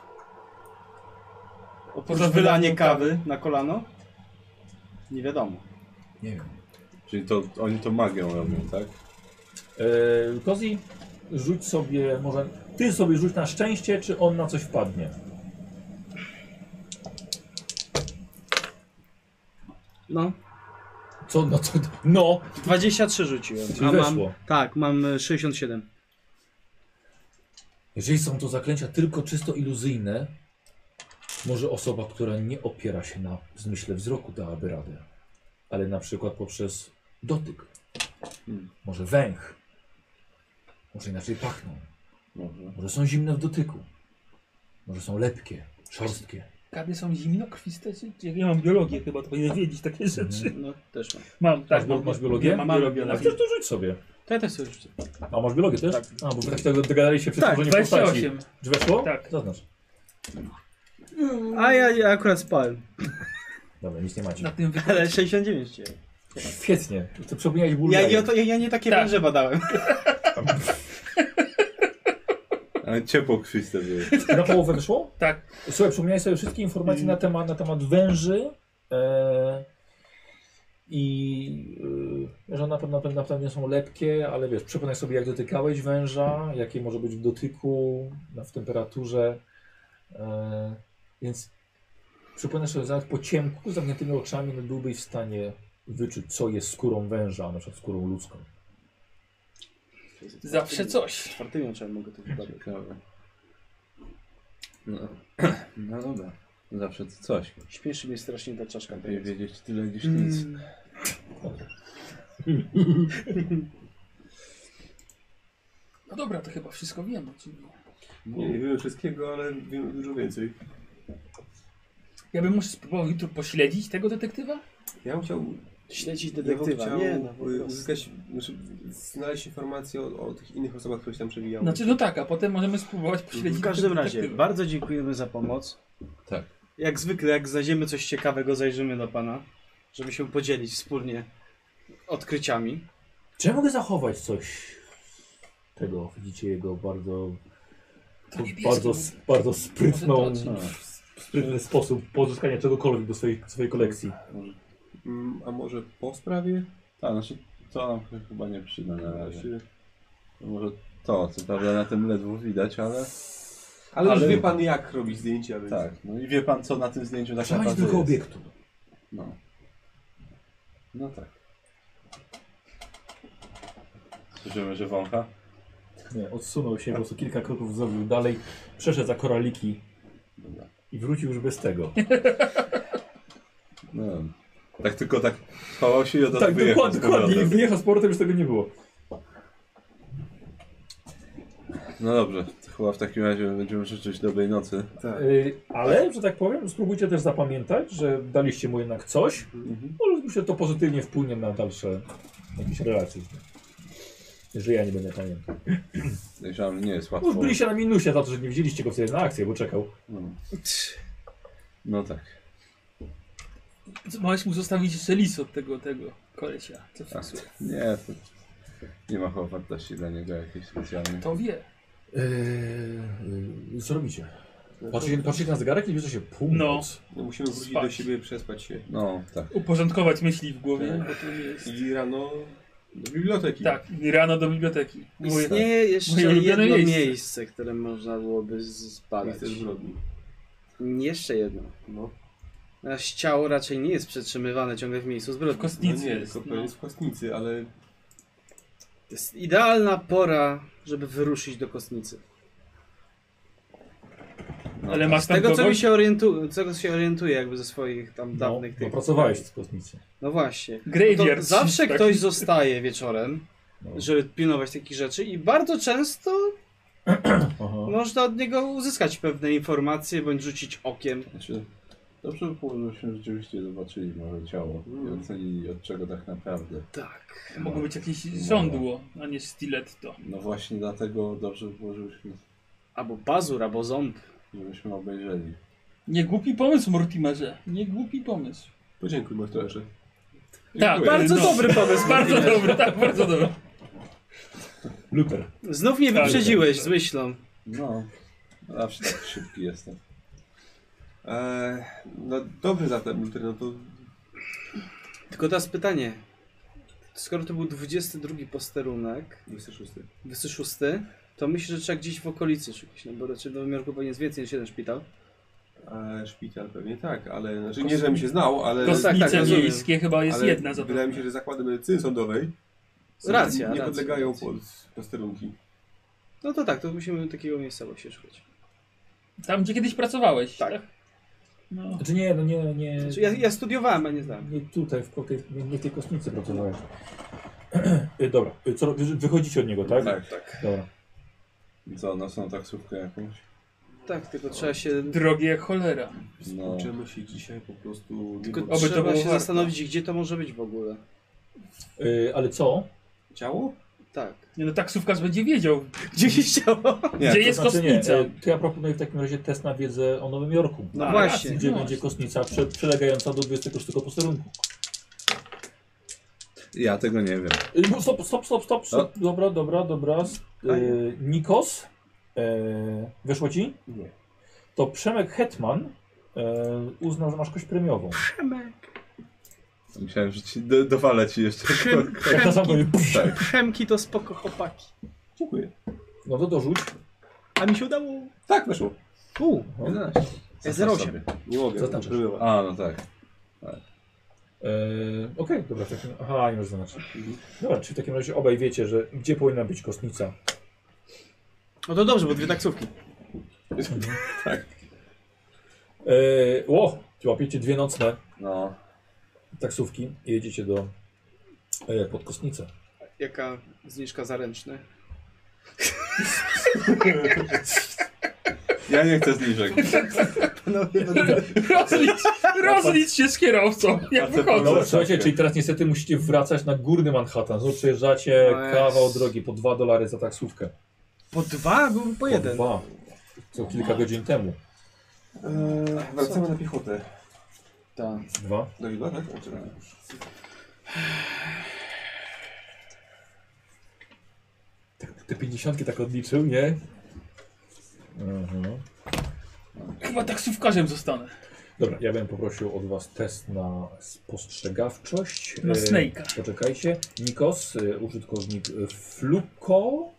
Speaker 5: Oprócz
Speaker 9: Poza
Speaker 5: wylanie
Speaker 9: wylaniem
Speaker 5: kawy na kolano? Nie wiadomo.
Speaker 2: Nie wiem.
Speaker 4: Czyli to oni to magią robią, tak?
Speaker 2: E, Kozi, rzuć sobie, może ty sobie rzuć na szczęście, czy on na coś wpadnie.
Speaker 5: No,
Speaker 2: Co? No, co? No!
Speaker 5: 23 rzuciłem.
Speaker 2: Czyli
Speaker 5: mam,
Speaker 2: weszło.
Speaker 5: tak, mam y, 67.
Speaker 2: Jeżeli są to zaklęcia tylko czysto iluzyjne, może osoba, która nie opiera się na zmyśle wzroku, dałaby radę. Ale na przykład poprzez dotyk. Może węch. Może inaczej pachną.
Speaker 4: Może.
Speaker 2: Może są zimne w dotyku. Może są lepkie, szorstkie.
Speaker 9: Kawy są zimnokrwiste? Czy... czy- Ja mam biologię chyba, to powinienem wiedzieć
Speaker 4: Mhm.
Speaker 9: takie rzeczy.
Speaker 5: No, też mam.
Speaker 9: Mam, tak.
Speaker 2: Masz-
Speaker 9: mam-
Speaker 2: masz biologię?
Speaker 9: Mam
Speaker 5: Mam
Speaker 9: biologię.
Speaker 2: A
Speaker 9: na
Speaker 2: chcesz to rzuć sobie.
Speaker 5: To ja też sobie rzucę.
Speaker 2: A masz biologię też?
Speaker 5: Tak.
Speaker 2: A, bo wy tak tego dogadaliście przed
Speaker 5: Tak,
Speaker 2: tworzeniem postaci.
Speaker 9: 28.
Speaker 2: Czy weszło?
Speaker 9: Tak.
Speaker 2: Zaznacz.
Speaker 5: A ja, ja akurat spałem.
Speaker 2: Dobra, nic nie macie.
Speaker 9: Na tym wykładzie.
Speaker 5: Ale 69 cię.
Speaker 2: Świetnie. To przypomniałeś ból.
Speaker 5: Ja, ja,
Speaker 2: jaja.
Speaker 5: to, ja, ja nie takie
Speaker 9: Tak.
Speaker 5: węże badałem.
Speaker 4: Ale ciepło krwiste były.
Speaker 2: Na połowę wyszło?
Speaker 9: Tak.
Speaker 2: Słuchaj, przypomniałeś sobie wszystkie informacje na, temat, na temat węży e, i e, że na pewno, na pewno, na pewno nie są lepkie, ale wiesz, przypomnij sobie jak dotykałeś węża, jakie może być w dotyku, na, w temperaturze, e, więc przypominasz sobie, że nawet po ciemku, z zamkniętymi oczami no, byłbyś w stanie wyczuć, co jest skórą węża, a na przykład skórą ludzką.
Speaker 9: Zawsze coś.
Speaker 5: Czwartymi oczami mogę to wybadać.
Speaker 4: Ciekawe. No, no dobra. Zawsze to coś.
Speaker 5: Śpieszy mnie strasznie ta czaszka.
Speaker 4: Lepiej
Speaker 5: teraz.
Speaker 4: wiedzieć tyle niż nic.
Speaker 9: No dobra, to chyba wszystko wiemy. Czyli...
Speaker 11: Nie, nie wiemy wszystkiego, ale wiemy dużo więcej.
Speaker 9: Ja bym może spróbował jutro pośledzić tego detektywa?
Speaker 11: Ja bym chciał,
Speaker 5: Śledzić
Speaker 11: ja bym
Speaker 5: detektywa.
Speaker 11: chciał
Speaker 5: Nie, no, po
Speaker 11: y,
Speaker 5: prostu.
Speaker 11: uzyskać, znaczy, znaleźć informacje o, o tych innych osobach, które się tam przewijały.
Speaker 9: Znaczy, no tak, a potem możemy spróbować pośledzić
Speaker 5: W każdym
Speaker 9: tego
Speaker 5: razie,
Speaker 9: detektywa.
Speaker 5: bardzo dziękujemy za pomoc.
Speaker 4: Tak.
Speaker 5: Jak zwykle, jak znajdziemy coś ciekawego, zajrzymy do pana, żeby się podzielić wspólnie odkryciami.
Speaker 2: Czy ja mogę zachować coś tego, widzicie jego bardzo
Speaker 9: To niebieskie.
Speaker 2: bardzo, bardzo sprytną,
Speaker 9: Może to
Speaker 2: sprytny sposób pozyskania czegokolwiek do swojej, swojej kolekcji.
Speaker 11: Mm, A może po sprawie?
Speaker 4: Tak, znaczy to nam się chyba nie przyda na razie. Może to, co prawda na tym ledwo widać, ale
Speaker 11: Ale,
Speaker 4: Ale-
Speaker 11: już wie pan jak robić zdjęcia, więc...
Speaker 4: tak. No i wie pan co na tym zdjęciu tak
Speaker 2: Trzeba mieć
Speaker 4: naprawdę
Speaker 2: tylko
Speaker 4: jest.
Speaker 2: obiektu.
Speaker 4: No. No tak. Słyszymy, że wącha?
Speaker 2: Nie, odsunął się, po prostu kilka kroków zrobił dalej, przeszedł za koraliki
Speaker 4: Dobra.
Speaker 2: i wrócił już bez tego.
Speaker 4: No. Tak tylko tak chował się i od razu
Speaker 2: tak,
Speaker 4: wyjechał
Speaker 2: dokładnie,
Speaker 4: z powrotem.
Speaker 2: dokładnie. Jak wyjechał z portem, już tego nie było.
Speaker 4: No dobrze, to chyba w takim razie będziemy życzyć dobrej nocy.
Speaker 2: Y, ale, że tak powiem, spróbujcie też zapamiętać, że daliście mu jednak coś. Może myślę, to pozytywnie wpłynie na dalsze jakieś relacje. z nim. Jeżeli ja nie będę pamiętał. No,
Speaker 4: Podejrzewam, że nie jest
Speaker 2: Już
Speaker 4: łatwo.
Speaker 2: byliście na minusie za to, że nie widzieliście go wtedy na akcję, bo czekał.
Speaker 4: No. no tak.
Speaker 9: Co, Małeś mu zostawić jeszcze lis od tego, tego kolesia. Co
Speaker 4: tak.
Speaker 9: fiksuje.
Speaker 4: Nie, to nie ma chyba wartości dla niego jakiejś specjalnej.
Speaker 9: To wie.
Speaker 2: Yy, co robicie? Patrzycie, patrzycie na zegarek i bierze się północ.
Speaker 11: No, musimy wrócić
Speaker 9: Spać.
Speaker 11: do siebie, przespać się.
Speaker 4: No tak.
Speaker 9: Uporządkować myśli w
Speaker 5: Tak.
Speaker 9: głowie, bo to jest...
Speaker 11: I rano do biblioteki.
Speaker 9: Tak, rano do biblioteki. Moje-
Speaker 5: Istnieje jeszcze
Speaker 9: Moje ulubione
Speaker 5: jedno miejsce.
Speaker 9: miejsce.
Speaker 5: które można byłoby z- zbadać.
Speaker 11: Miejsce zbrodni.
Speaker 5: Jeszcze jedno.
Speaker 11: No,
Speaker 5: Nasz ciało raczej nie jest przetrzymywane ciągle w miejscu
Speaker 9: tak, W
Speaker 5: zbrodni.
Speaker 11: no
Speaker 9: kostnicy
Speaker 11: nie,
Speaker 9: jest.
Speaker 11: tylko
Speaker 9: No.
Speaker 11: jest w kostnicy, ale
Speaker 5: To jest idealna pora, żeby wyruszyć do kosmicy.
Speaker 4: No,
Speaker 9: Ale
Speaker 4: tak.
Speaker 9: masz
Speaker 5: Z
Speaker 9: tam
Speaker 5: tego, co mi
Speaker 9: kogoś?
Speaker 5: się orientuje, czego się orientuję jakby ze swoich tam
Speaker 2: No,
Speaker 5: dawnych
Speaker 2: no
Speaker 5: tych...
Speaker 2: pracowałeś z kosmicy.
Speaker 5: No właśnie. To
Speaker 9: Graveyard. tak?
Speaker 5: zawsze
Speaker 9: Shift,
Speaker 5: ktoś
Speaker 9: taki.
Speaker 5: zostaje wieczorem,
Speaker 2: No.
Speaker 5: żeby pilnować takich rzeczy i bardzo często
Speaker 2: Aha.
Speaker 9: No.
Speaker 5: można od niego uzyskać pewne informacje bądź rzucić okiem.
Speaker 4: Znaczy, dobrze by było, żebyśmy rzeczywiście zobaczyli może ciało i ocenili od czego tak naprawdę.
Speaker 5: Tak.
Speaker 9: Mm. Mogło być jakieś żądło, a nie stiletto.
Speaker 4: No właśnie dlatego dobrze by było, żebyśmy,
Speaker 5: Albo pazur, albo ząb.
Speaker 4: żebyśmy obejrzeli.
Speaker 9: Nie głupi pomysł, Mortimerze. Nie głupi pomysł.
Speaker 11: podziękuj Mortorze.
Speaker 9: Tak,
Speaker 4: Dziękuję.
Speaker 5: Bardzo
Speaker 9: No.
Speaker 5: dobry pomysł.
Speaker 9: Bardzo dobry, tak, bardzo dobry.
Speaker 10: Luther.
Speaker 5: Znów mnie
Speaker 9: Tak.
Speaker 5: wyprzedziłeś z myślą.
Speaker 4: No, zawsze tak szybki jestem.
Speaker 11: E, no dobrze zatem, Luther, no to
Speaker 5: Tylko teraz pytanie. Skoro to był 22 posterunek,
Speaker 11: 26.
Speaker 5: 26, to myślę, że trzeba gdzieś w okolicy szukać, no bo raczej w Nowym Jorku pewnie jest więcej niż jeden szpital.
Speaker 11: E, szpital pewnie tak, ale znaczy nie, żebym się znał, ale...
Speaker 5: To tak,
Speaker 9: Kostnice
Speaker 5: rozumiem.
Speaker 9: miejskie chyba jest
Speaker 11: ale
Speaker 9: jedna zapewne.
Speaker 11: Wydaje mi się, że zakłady medycyny sądowej są-
Speaker 5: Racja,
Speaker 11: nie
Speaker 5: racja,
Speaker 11: podlegają
Speaker 5: racja.
Speaker 11: pod posterunki.
Speaker 5: No to tak, to musimy takiego miejsca właśnie szukać.
Speaker 9: Tam, gdzie kiedyś pracowałeś, tak?
Speaker 5: Tak.
Speaker 9: No.
Speaker 2: Znaczy nie, no nie, nie.
Speaker 5: Znaczy, ja, ja studiowałem, a nie znam.
Speaker 2: Nie tutaj, w, tej, nie, nie w tej kostnicy pracowałeś. Y, Dobra, y, co, wy- wychodzicie od niego, tak?
Speaker 4: Tak, tak.
Speaker 2: Dobra.
Speaker 4: Co, na są taksówkę jakąś?
Speaker 5: Tak, tylko trzeba się,
Speaker 9: Drogie jak cholera.
Speaker 4: No,
Speaker 11: Uczymy się dzisiaj po prostu...
Speaker 5: tylko
Speaker 9: to
Speaker 5: trzeba
Speaker 9: było
Speaker 5: się
Speaker 9: warto.
Speaker 5: zastanowić, gdzie to może być w ogóle.
Speaker 2: Y, ale co?
Speaker 11: Ciało?
Speaker 5: Tak.
Speaker 9: Nie no, taksówkarz będzie wiedział,
Speaker 5: Gdzie się chciało?
Speaker 4: Nie,
Speaker 9: gdzie
Speaker 4: to
Speaker 9: jest
Speaker 2: znaczy nie,
Speaker 9: kostnica.
Speaker 2: y, to ja proponuję w takim razie test na wiedzę o Nowym Jorku.
Speaker 5: No
Speaker 9: A,
Speaker 5: właśnie.
Speaker 9: racja.
Speaker 2: Gdzie
Speaker 9: No
Speaker 2: będzie kostnica prze, przelegająca do 26 posterunku.
Speaker 4: ja tego nie wiem.
Speaker 2: Y, bo Stop, stop, stop, stop. stop. Dobra, dobra, dobra. Y, Nikos, y, wyszło ci?
Speaker 11: Nie.
Speaker 2: To Przemek Hetman y, uznał, że masz kość premiową.
Speaker 4: Myślałem, że ci do, dowalę ci jeszcze.
Speaker 5: Krzem,
Speaker 2: Jak na sam
Speaker 5: krzemki,
Speaker 2: koniec.
Speaker 4: Tak.
Speaker 5: krzemki to spoko chłopaki.
Speaker 11: Dziękuję.
Speaker 2: No to dorzuć.
Speaker 5: A mi się udało.
Speaker 11: Tak, weszło.
Speaker 5: U,
Speaker 4: 11.
Speaker 5: E08.
Speaker 4: Zaznacz sobie.
Speaker 11: Nie mogę.
Speaker 2: Zaznaczasz.
Speaker 11: Była.
Speaker 4: A, no tak.
Speaker 2: Eee, Okej, dobra, w takim, aha, nie masz znaczy. Dobra, czyli w takim razie obaj wiecie, że gdzie powinna być kostnica.
Speaker 5: no to dobrze, bo dwie taksówki.
Speaker 2: Mhm. Tak. Eee, o, łapiecie dwie nocne
Speaker 4: No,
Speaker 2: taksówki i jedziecie do e, pod kostnicę.
Speaker 5: Jaka zniżka zaręczna?
Speaker 4: ja nie chcę zniżek.
Speaker 5: Panowie,
Speaker 9: Rozlicz, rozlicz się z kierowcą, jak
Speaker 4: Patrzę
Speaker 9: wychodzę.
Speaker 4: po
Speaker 2: No,
Speaker 4: Dobra,
Speaker 2: słuchajcie,
Speaker 4: tak.
Speaker 2: czyli teraz niestety musicie wracać na górny Manhattan. Znowu przejeżdżacie
Speaker 5: No jest.
Speaker 2: kawał drogi po 2 dolary za taksówkę.
Speaker 5: Po dwa, byłby
Speaker 2: No,
Speaker 5: po jeden.
Speaker 2: Dwa. Co kilka godzin temu.
Speaker 11: E, wracamy na piechotę.
Speaker 5: Tak.
Speaker 2: Dwa.
Speaker 11: Do Lidla, tak? O, czekaj.
Speaker 2: Te pięćdziesiątki tak odliczył, nie? Mhm.
Speaker 9: Chyba taksówkarzem zostanę.
Speaker 2: Dobra, ja bym poprosił od was test na spostrzegawczość.
Speaker 9: Na
Speaker 2: E,
Speaker 9: Snake'a.
Speaker 2: Poczekajcie. Nikos, e, użytkownik e, Fluko.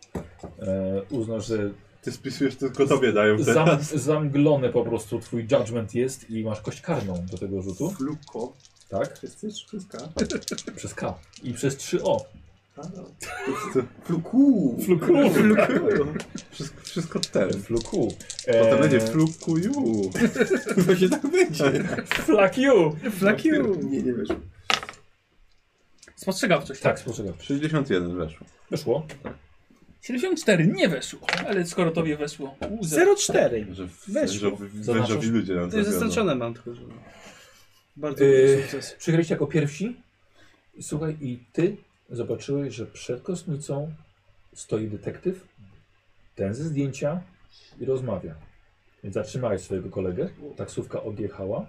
Speaker 2: E, uznał, że
Speaker 4: Ty spisujesz, tylko tobie dają te.
Speaker 2: zam, zamglony po prostu twój judgment jest i masz kość karną do tego rzutu.
Speaker 11: Flukko.
Speaker 2: Tak?
Speaker 11: Wszyscy? Wszystka?
Speaker 2: Przez K. I przez 3O.
Speaker 11: A, no. Fluku!
Speaker 2: Fluku.
Speaker 4: Wszystko, wszystko ten.
Speaker 2: E, Fluku.
Speaker 4: Bo
Speaker 2: E,
Speaker 4: to będzie flukuju.
Speaker 11: Właśnie tak będzie.
Speaker 2: Flak you.
Speaker 11: Nie, nie wiesz.
Speaker 9: Spostrzegawczość.
Speaker 2: Tak, spostrzegawczość.
Speaker 4: 61 weszło.
Speaker 2: Wyszło.
Speaker 9: 74 nie weszło, ale skoro tobie weszło. łzę.
Speaker 5: 04.
Speaker 4: Że
Speaker 5: Weszło.
Speaker 4: wężowi-
Speaker 2: Zaznaczasz?
Speaker 4: Wężowi ludzie nam
Speaker 5: To jest
Speaker 4: zawiodą.
Speaker 5: zaznaczone mam tylko, że... Bardzo
Speaker 2: Yy.
Speaker 5: duży sukces.
Speaker 2: Przyjechaliście jako pierwsi. Słuchaj, i ty zobaczyłeś, że przed kostnicą stoi detektyw, ten ze zdjęcia i rozmawia. Więc zatrzymałeś swojego kolegę, taksówka odjechała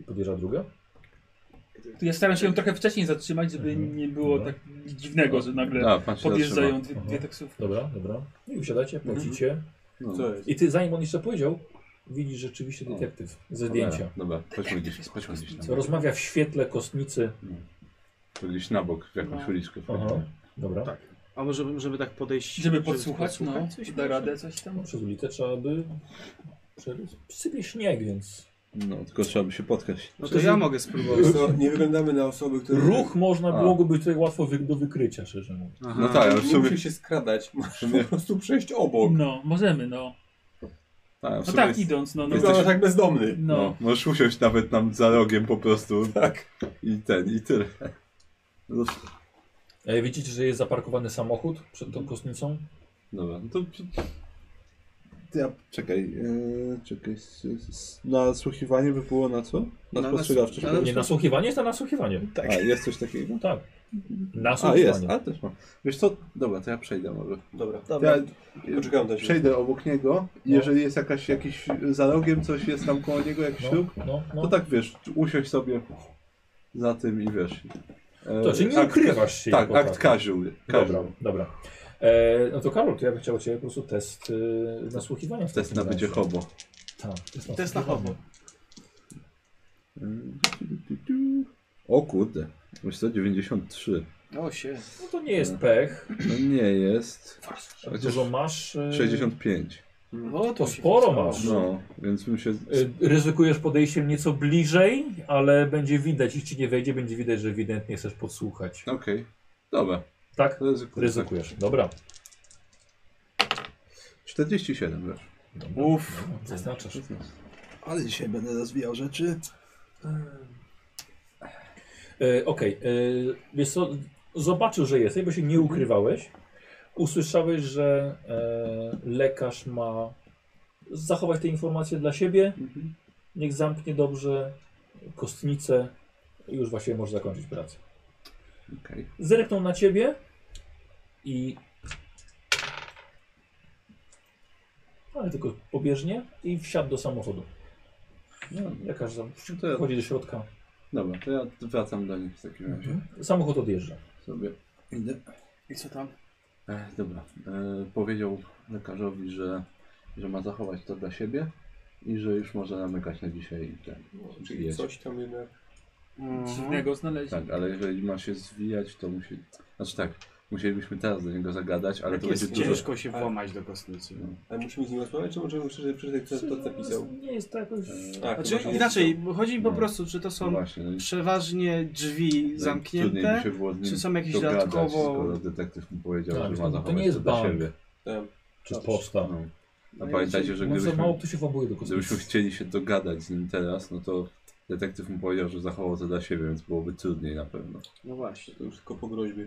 Speaker 2: i podjeżdża druga.
Speaker 9: Ja staram się ją trochę wcześniej zatrzymać, żeby
Speaker 2: Mhm.
Speaker 9: nie było
Speaker 2: No.
Speaker 9: tak dziwnego, że nagle
Speaker 4: A, pan się
Speaker 9: podjeżdżają dwie,
Speaker 2: Aha.
Speaker 9: dwie taksówki.
Speaker 2: Dobra, dobra. No I usiadacie, płacicie.
Speaker 4: zatrzyma. No.
Speaker 11: Co jest?
Speaker 2: I ty, zanim on jeszcze powiedział, widzisz rzeczywiście detektyw ze zdjęcia.
Speaker 4: Dobra, dobra, chodźmy gdzieś, chodźmy gdzieś na bok.
Speaker 2: Rozmawia w świetle kostnicy.
Speaker 4: To Gdzieś na bok, w jakąś
Speaker 9: No.
Speaker 4: uliczkę
Speaker 2: Aha.
Speaker 4: wchodzimy.
Speaker 2: Dobra.
Speaker 5: Tak. A może żeby tak podejść...
Speaker 9: Żeby podsłuchać, no,
Speaker 5: podsłuchać coś
Speaker 9: da
Speaker 5: może?
Speaker 9: radę coś tam.
Speaker 2: No, Przez ulicę trzeba by... przeryć. Sypie śnieg, więc...
Speaker 4: No, tylko trzeba by się spotkać.
Speaker 5: No to ja mogę spróbować.
Speaker 11: Wiesz co, nie wyglądamy na osoby, które...
Speaker 2: Ruch można
Speaker 4: A.
Speaker 2: byłoby być tutaj łatwo wy, do wykrycia, szczerze mówiąc.
Speaker 5: Aha.
Speaker 4: No tak, ale w
Speaker 11: Nie
Speaker 4: sumie...
Speaker 11: musisz się skradać. Możesz
Speaker 4: sumie-
Speaker 11: po prostu przejść obok.
Speaker 9: No, możemy, no.
Speaker 4: Tak, w
Speaker 9: No
Speaker 4: sumie
Speaker 9: tak,
Speaker 4: jest-
Speaker 9: idąc, no. no,
Speaker 4: jesteś-
Speaker 11: Wyglądasz jak tak bezdomny.
Speaker 9: no.
Speaker 4: No, możesz usiąść nawet tam za rogiem po prostu
Speaker 11: Tak.
Speaker 4: i ten, i tyle. No,
Speaker 2: E, widzicie, że jest zaparkowany samochód przed tą kostnicą?
Speaker 4: dobra, no to... to Ja, czekaj, e, czekaj, s- s- nasłuchiwanie by było na co?
Speaker 5: Na
Speaker 4: Na
Speaker 5: nas-
Speaker 4: spostrzegawczość?
Speaker 5: na nas-
Speaker 2: Nie, no nasłuchiwanie jest na nasłuchiwanie.
Speaker 4: A, jest coś takiego?
Speaker 2: Tak.
Speaker 4: A,
Speaker 2: Nasłuchiwanie.
Speaker 4: jest, a też mam. Wiesz co, dobra, to ja przejdę może.
Speaker 11: Dobra.
Speaker 5: Dobra.
Speaker 4: Ja
Speaker 11: Poczekam na ciebie.
Speaker 4: przejdę obok niego i
Speaker 2: No.
Speaker 4: jeżeli jest jakaś, jakiś za rogiem coś jest tam koło niego, jakiś
Speaker 2: No,
Speaker 4: ślub,
Speaker 2: no, no.
Speaker 4: to tak wiesz, usiąść sobie za tym i wiesz. E,
Speaker 2: To, czy nie
Speaker 4: akt-
Speaker 2: ukrywasz się
Speaker 4: Tak,
Speaker 2: jako
Speaker 4: akt
Speaker 2: tak.
Speaker 4: casual. casual.
Speaker 2: Dobra, dobra. E, no to Karol, to ja bym chciał od Ciebie po prostu test e, nasłuchiwania. w
Speaker 4: Test
Speaker 2: takim
Speaker 4: na bycie
Speaker 2: razie.
Speaker 4: hobo.
Speaker 2: Tak, test na,
Speaker 5: Test na
Speaker 2: hobo.
Speaker 4: O kurde. Myślę 93.
Speaker 5: O się.
Speaker 2: No to nie jest pech.
Speaker 4: No nie jest.
Speaker 2: Tak
Speaker 4: Chociaż
Speaker 2: dużo masz. e,
Speaker 4: 65.
Speaker 2: To
Speaker 5: O, No, się Znaczy,
Speaker 2: sporo
Speaker 5: wystało.
Speaker 2: masz.
Speaker 4: No, więc bym się...
Speaker 5: Y-
Speaker 2: E, Ryzykujesz podejściem nieco bliżej, ale będzie widać, jeśli ci nie wejdzie, będzie widać, że ewidentnie chcesz podsłuchać.
Speaker 4: Okej. Dobra.
Speaker 2: Tak?
Speaker 4: Ryzykuję.
Speaker 2: Ryzykujesz. Dobra.
Speaker 4: 47 wiesz.
Speaker 2: Dobra.
Speaker 5: Uff.
Speaker 2: Dobra, Zaznaczasz.
Speaker 4: Ale dzisiaj będę rozwijał rzeczy.
Speaker 2: E, Okej, e, wiesz co, zobaczył, że jesteś, bo się
Speaker 4: Mhm.
Speaker 2: nie ukrywałeś. Usłyszałeś, że e, lekarz ma zachować te informacje dla siebie.
Speaker 4: Mhm.
Speaker 2: Niech zamknie dobrze kostnicę i już właściwie może zakończyć pracę.
Speaker 4: Okej.
Speaker 2: Zerknął na ciebie i... Ale tylko pobieżnie i wsiadł do samochodu.
Speaker 4: No,
Speaker 2: Lekarz za-
Speaker 4: to ja,
Speaker 2: wchodzi do środka.
Speaker 4: dobra, to ja wracam do nich w takim razie.
Speaker 2: Samochód odjeżdża.
Speaker 4: Sobie idę.
Speaker 5: I co tam?
Speaker 4: E, dobra. E, powiedział lekarzowi, że, że ma zachować to dla siebę i że już może namykać na dzisiaj ten.
Speaker 3: Czyli
Speaker 4: Jest.
Speaker 3: coś tam jednak.
Speaker 5: Mhm.
Speaker 9: Dziwnego znaleźli.
Speaker 4: Tak, ale jeżeli ma się zwijać, to musi. Znaczy tak, musielibyśmy teraz do niego zagadać, ale to będzie
Speaker 5: Tak Jest
Speaker 4: dużo.
Speaker 5: ciężko się włamać do kostnicy. no.
Speaker 3: Ale musimy z nim rozmawiać, czy możemy przeczytać, przeczytać co, Tak, to, co napisał?
Speaker 2: Nie jest to jakoś...
Speaker 3: A,
Speaker 5: Znaczy,
Speaker 3: chyba, że-
Speaker 5: inaczej, bo chodzi mi po
Speaker 4: No.
Speaker 5: prostu, czy to
Speaker 4: No
Speaker 5: są
Speaker 4: właśnie, no i
Speaker 5: przeważnie drzwi
Speaker 4: no i trudniej by
Speaker 5: zamknięte.
Speaker 4: się było z nim
Speaker 5: czy są jakieś
Speaker 4: dogadać,
Speaker 5: dodatkowo-
Speaker 4: skoro detektyw mu powiedział,
Speaker 2: Tak,
Speaker 4: że
Speaker 2: to-
Speaker 4: ma
Speaker 2: to
Speaker 4: zachować
Speaker 2: nie jest
Speaker 4: to dla
Speaker 2: bank.
Speaker 4: siebie.
Speaker 3: Tak.
Speaker 2: Czy poczta.
Speaker 4: No.
Speaker 5: No
Speaker 4: A
Speaker 5: i
Speaker 4: pamiętajcie, że
Speaker 2: No za
Speaker 4: gdybyśmy,
Speaker 2: mało kto się wabuje do kosmosu.
Speaker 4: gdybyśmy chcieli się dogadać z nim teraz, no to detektyw mu powiedział, że zachował to dla siebie, więc byłoby trudniej na pewno.
Speaker 5: No właśnie.
Speaker 3: To już tylko po groźbie.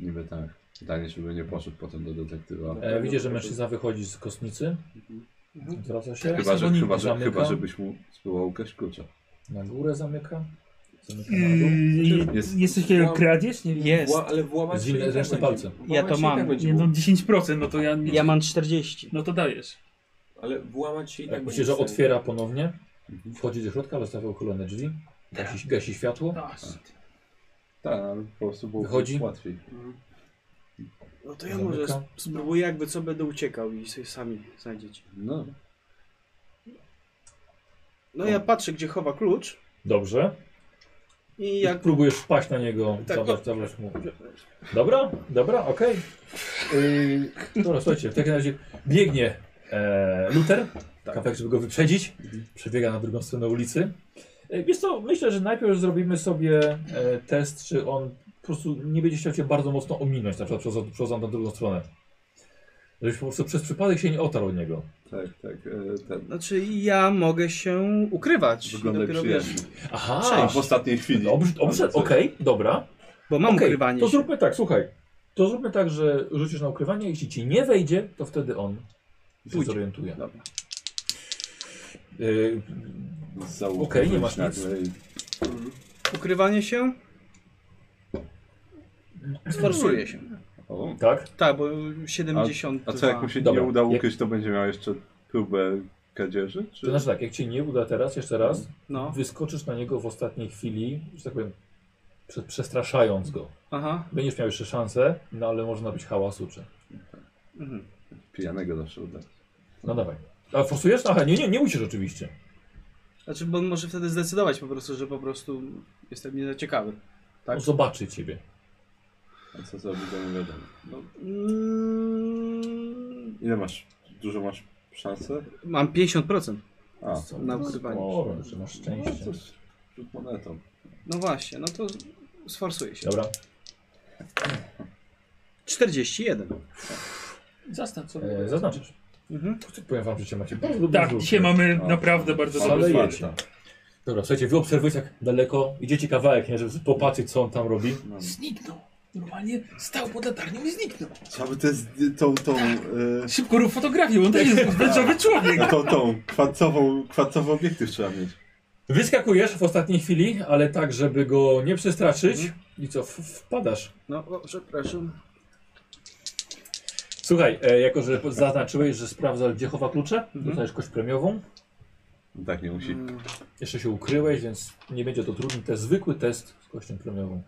Speaker 4: Niby tak. Pytanie, żeby nie poszedł potem do detektywa.
Speaker 2: E, widzisz, że mężczyzna wychodzi z kostnicy,
Speaker 5: Mhm.
Speaker 2: zwraca się,
Speaker 4: Chyba, że,
Speaker 2: zamyka,
Speaker 4: chyba, że,
Speaker 2: zamyka,
Speaker 4: chyba żebyś mu spróbował ukraść klucza.
Speaker 2: na górę zamyka, zamyka na dół.
Speaker 9: Yy,
Speaker 4: Jest-
Speaker 9: jest coś takiego jak kradzież? Nie wiem.
Speaker 5: Jest.
Speaker 3: Wła, ale włamać się
Speaker 2: Zwinę
Speaker 3: i tak
Speaker 2: resztę
Speaker 3: będzie.
Speaker 2: palcem.
Speaker 3: Włamać
Speaker 5: Ja to
Speaker 3: się i
Speaker 5: mam.
Speaker 3: Tak będzie
Speaker 9: Nie, no
Speaker 3: mógł.
Speaker 9: 10%, no to ja...
Speaker 5: Ja mam 40.
Speaker 9: No to dajesz.
Speaker 3: Ale włamać się i Mhm. tak
Speaker 2: Jak
Speaker 3: będzie.
Speaker 2: myślę, że
Speaker 3: w stanie.
Speaker 2: otwiera ponownie, wchodzi do środka, zostawia uchylone drzwi,
Speaker 3: Tak.
Speaker 2: gasi, gasi światło,
Speaker 9: Ach,
Speaker 4: Tak, ale po prostu było
Speaker 2: Wychodzi?
Speaker 4: łatwiej.
Speaker 3: Mhm.
Speaker 5: No to ja
Speaker 2: Zamykam.
Speaker 5: może sp- spróbuję jakby co będę uciekał i sobie sami znajdziecie.
Speaker 4: No,
Speaker 5: No ja patrzę, gdzie chowa klucz
Speaker 2: dobrze,
Speaker 5: i
Speaker 2: i
Speaker 5: jak...
Speaker 2: próbujesz wpaść na niego,
Speaker 5: Tak,
Speaker 2: zabrać, zabrać mu. Dobra, dobra, okej. Yy, dobra, słuchajcie, w takim razie biegnie e, Luther, kawałek, żeby go wyprzedzić. Przebiega na drugą stronę ulicy. E, wiesz co, myślę, że najpierw zrobimy sobie e, test, czy on po prostu nie będzie chciał cię bardzo mocno ominąć, na przykład przez, przez na drugą stronę. Żebyś po prostu przez przypadek się nie otarł od niego.
Speaker 4: tak, tak. E, ten.
Speaker 5: Znaczy ja mogę się ukrywać.
Speaker 4: Wygląda
Speaker 5: Dopiero wiesz,
Speaker 4: przyjaźnie.
Speaker 2: Aha,
Speaker 4: A, w ostatniej chwili.
Speaker 2: dobrze, dobrze okej, dobra.
Speaker 5: bo mam
Speaker 2: Okej,
Speaker 5: ukrywanie
Speaker 2: To
Speaker 5: się.
Speaker 2: zróbmy tak, słuchaj. To zróbmy tak, że rzucisz na ukrywanie, jeśli ci nie wejdzie, to wtedy on się
Speaker 5: Pójdzie.
Speaker 2: zorientuje.
Speaker 4: Dobra.
Speaker 2: Yy,
Speaker 4: Zauważyłeś
Speaker 2: Okej, nie masz
Speaker 4: nagle i-
Speaker 5: Ukrywanie się? Sforsuję się.
Speaker 4: O.
Speaker 2: tak?
Speaker 5: Tak, bo 70.
Speaker 4: A co, jak mu się
Speaker 2: Dobra.
Speaker 4: nie uda
Speaker 2: Jak-
Speaker 4: ukryć, to będzie miał jeszcze próbę kradzieży?
Speaker 2: To
Speaker 4: Czy...
Speaker 2: znaczy tak, jak cię nie uda teraz, jeszcze raz,
Speaker 5: No,
Speaker 2: wyskoczysz na niego w ostatniej chwili, że tak powiem, prze- przestraszając go.
Speaker 5: aha.
Speaker 2: Będziesz miał jeszcze szansę, no ale może nabyć hałasu czy...
Speaker 5: Mhm.
Speaker 4: Pijanego zawsze uda.
Speaker 2: No dawaj. A forsujesz? Aha, nie, nie, nie musisz oczywiście.
Speaker 5: Znaczy, bo on może wtedy zdecydować po prostu, że po prostu jestem nieciekawy.
Speaker 2: Tak? Zobaczy ciebie.
Speaker 4: A co zrobi, to nie wiadomo. No,
Speaker 5: Mm,
Speaker 4: ile masz? Dużo masz szansę?
Speaker 5: mam 50%.
Speaker 4: A,
Speaker 2: Co?
Speaker 5: na
Speaker 2: No,
Speaker 5: ukrywanie.
Speaker 2: Sporo, że masz szczęście.
Speaker 4: No, to z- rzut monetą.
Speaker 5: No właśnie, no to sforsuję się.
Speaker 2: Dobra.
Speaker 5: 41.
Speaker 9: Zastaw sobie.
Speaker 2: E, zaznaczysz.
Speaker 5: Mhm.
Speaker 2: Powiem wam, że dzisiaj macie bardzo dobry
Speaker 9: Tak,
Speaker 2: rzut.
Speaker 9: dzisiaj mamy
Speaker 4: A.
Speaker 9: naprawdę bardzo
Speaker 4: No. Ale
Speaker 9: dobry
Speaker 4: jest.
Speaker 9: skład.
Speaker 2: Dobra, słuchajcie, wy obserwujecie jak daleko, idziecie kawałek, nie, żeby popatrzeć co on tam robi.
Speaker 4: No.
Speaker 9: Zniknął. Normalnie stał pod latarnią i zniknął.
Speaker 4: Trzeba by tę z- tą, tą, e,
Speaker 9: Szybko rób fotografię, bo on też jest wężowy człowiek.
Speaker 4: no tą, tą kwadracową, kwadracowy obiektyw trzeba mieć.
Speaker 2: Wyskakujesz w ostatniej chwili, ale tak, żeby go nie przestraszyć. I co, w- wpadasz.
Speaker 5: No, o, przepraszam.
Speaker 2: Słuchaj, e, jako że zaznaczyłeś, że sprawdza gdzie chowa klucze, dostajesz kość premiową.
Speaker 4: No Tak nie musi.
Speaker 5: Mm,
Speaker 2: Jeszcze się ukryłeś, więc nie będzie to trudny test, zwykły test z kością premiową.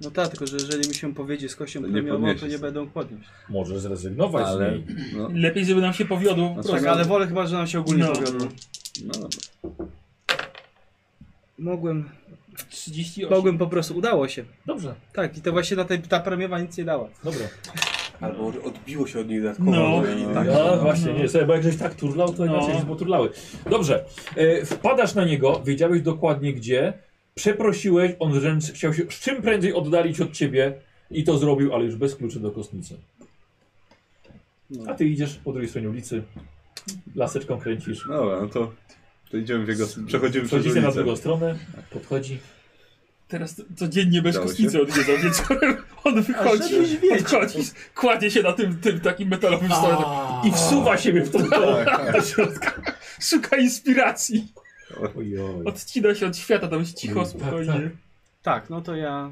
Speaker 5: No tak, tylko że jeżeli mi się powiedzie z kością
Speaker 4: To nie
Speaker 5: premiową, to
Speaker 4: podniesiesz.
Speaker 5: nie będą podnieść.
Speaker 2: Możesz zrezygnować z
Speaker 4: Ale...
Speaker 2: niej.
Speaker 4: No,
Speaker 9: Lepiej, żeby nam się powiodło. po
Speaker 4: No
Speaker 5: Tak,
Speaker 9: prostu.
Speaker 5: ale wolę chyba, że nam się ogólnie
Speaker 9: No.
Speaker 5: powiodło.
Speaker 4: no dobra.
Speaker 5: Mogłem,
Speaker 9: 38.
Speaker 5: mogłem po prostu, udało się.
Speaker 2: Dobrze,
Speaker 5: Tak, i to właśnie na tej, ta premiowa nic nie dała.
Speaker 2: dobra.
Speaker 3: Albo może odbiło się od nich dodatkowo.
Speaker 9: No,
Speaker 4: No,
Speaker 2: Tak,
Speaker 4: tak,
Speaker 2: no,
Speaker 4: no.
Speaker 2: właśnie, nie, sobie, bo jak żeś tak turlał, to inaczej
Speaker 9: No.
Speaker 2: się poturlały. Dobrze, e, wpadasz na niego, wiedziałeś dokładnie gdzie, przeprosiłeś, on wręcz chciał się z czym prędzej oddalić od ciebie i to zrobił, ale już bez kluczy do kostnicy.
Speaker 5: No.
Speaker 2: A ty idziesz po drugiej stronie ulicy, laseczką kręcisz,
Speaker 4: Dobra, no to... To idziemy w jego... Przechodzimy przez
Speaker 2: przechodzicie na
Speaker 4: ulicę.
Speaker 2: drugą stronę, podchodzi.
Speaker 9: Teraz to- codziennie bez
Speaker 4: Udało
Speaker 9: kostnicy odwiedzał wieczorem. On wychodzi,
Speaker 5: żebyś wiedział.
Speaker 9: podchodzi, kładzie się na tym, tym takim metalowym stole tak, i wsuwa siebie w to
Speaker 4: Tak, tak.
Speaker 9: do środka. Szuka inspiracji.
Speaker 2: Ojoj.
Speaker 9: Odcina się od świata, tam jest cicho,
Speaker 2: Tak,
Speaker 9: spokojnie.
Speaker 5: Tak, no to ja...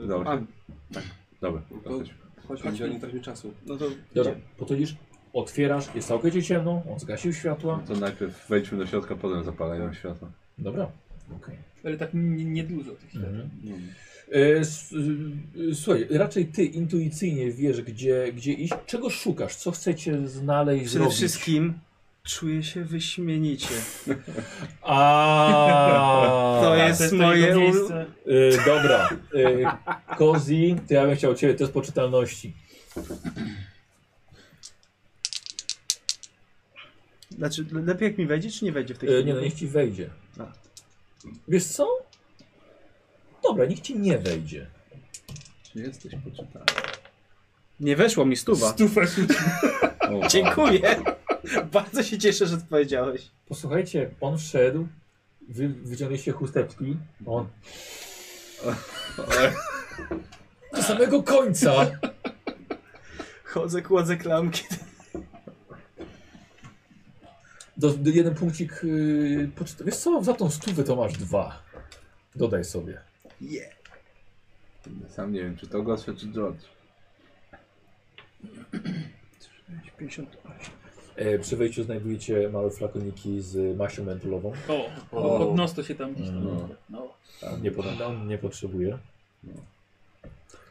Speaker 5: Yy,
Speaker 4: Dobra.
Speaker 5: a,
Speaker 4: Dobra.
Speaker 3: No to chodźmy, gdzie oni tracimy czasu.
Speaker 5: no to
Speaker 2: Dobra, podchodzisz, otwierasz, jest całkowicie ciemno, on zgasił światła.
Speaker 4: To najpierw wejdźmy do środka, potem zapalają światła.
Speaker 2: Dobra, okej.
Speaker 9: Ale tak n- niedużo tych światów.
Speaker 2: Mhm. E, s- y, Słuchaj, raczej ty intuicyjnie wiesz, gdzie, gdzie iść, czego szukasz, co chcecie znaleźć,
Speaker 5: przede
Speaker 2: zrobić.
Speaker 5: wszystkim czuję się wyśmienicie.
Speaker 2: A,
Speaker 5: To
Speaker 9: A,
Speaker 5: jest
Speaker 9: to
Speaker 5: moje
Speaker 9: jego
Speaker 5: ulu-
Speaker 9: miejsce.
Speaker 2: Y, dobra, y, Kozi, to ja bym chciał ciebie test poczytalności.
Speaker 5: Znaczy, le- lepiej jak mi wejdzie, czy nie wejdzie w tej
Speaker 2: Y,
Speaker 5: chwili?
Speaker 2: nie no, niech ci wejdzie.
Speaker 5: A.
Speaker 2: Wiesz co? Dobra, niech ci nie wejdzie.
Speaker 4: Czy jesteś poczytany?
Speaker 5: nie weszło mi stuwa.
Speaker 9: Stufę rzucił.
Speaker 4: O, wow.
Speaker 5: Dziękuję. Bardzo się cieszę, że odpowiedziałeś.
Speaker 2: Posłuchajcie, on wszedł, wy wyciągnęliście chusteczki, on
Speaker 4: Ale-
Speaker 2: do samego końca.
Speaker 5: Chodzę, kładzę klamki.
Speaker 2: Do, do jeden punkcik yy, poczyta. Wiesz co, za tą stówę to masz dwa. Dodaj sobie.
Speaker 4: Sam nie wiem, czy to Gosia, czy George.
Speaker 5: 58.
Speaker 2: E, przy wejściu znajdujecie małe flakoniki z maścią mentolową.
Speaker 9: O,
Speaker 4: O.
Speaker 9: pod nos to się tam gdzieś tam.
Speaker 2: No.
Speaker 9: No.
Speaker 4: Tak.
Speaker 2: Nie podam, nie potrzebuję.
Speaker 4: No.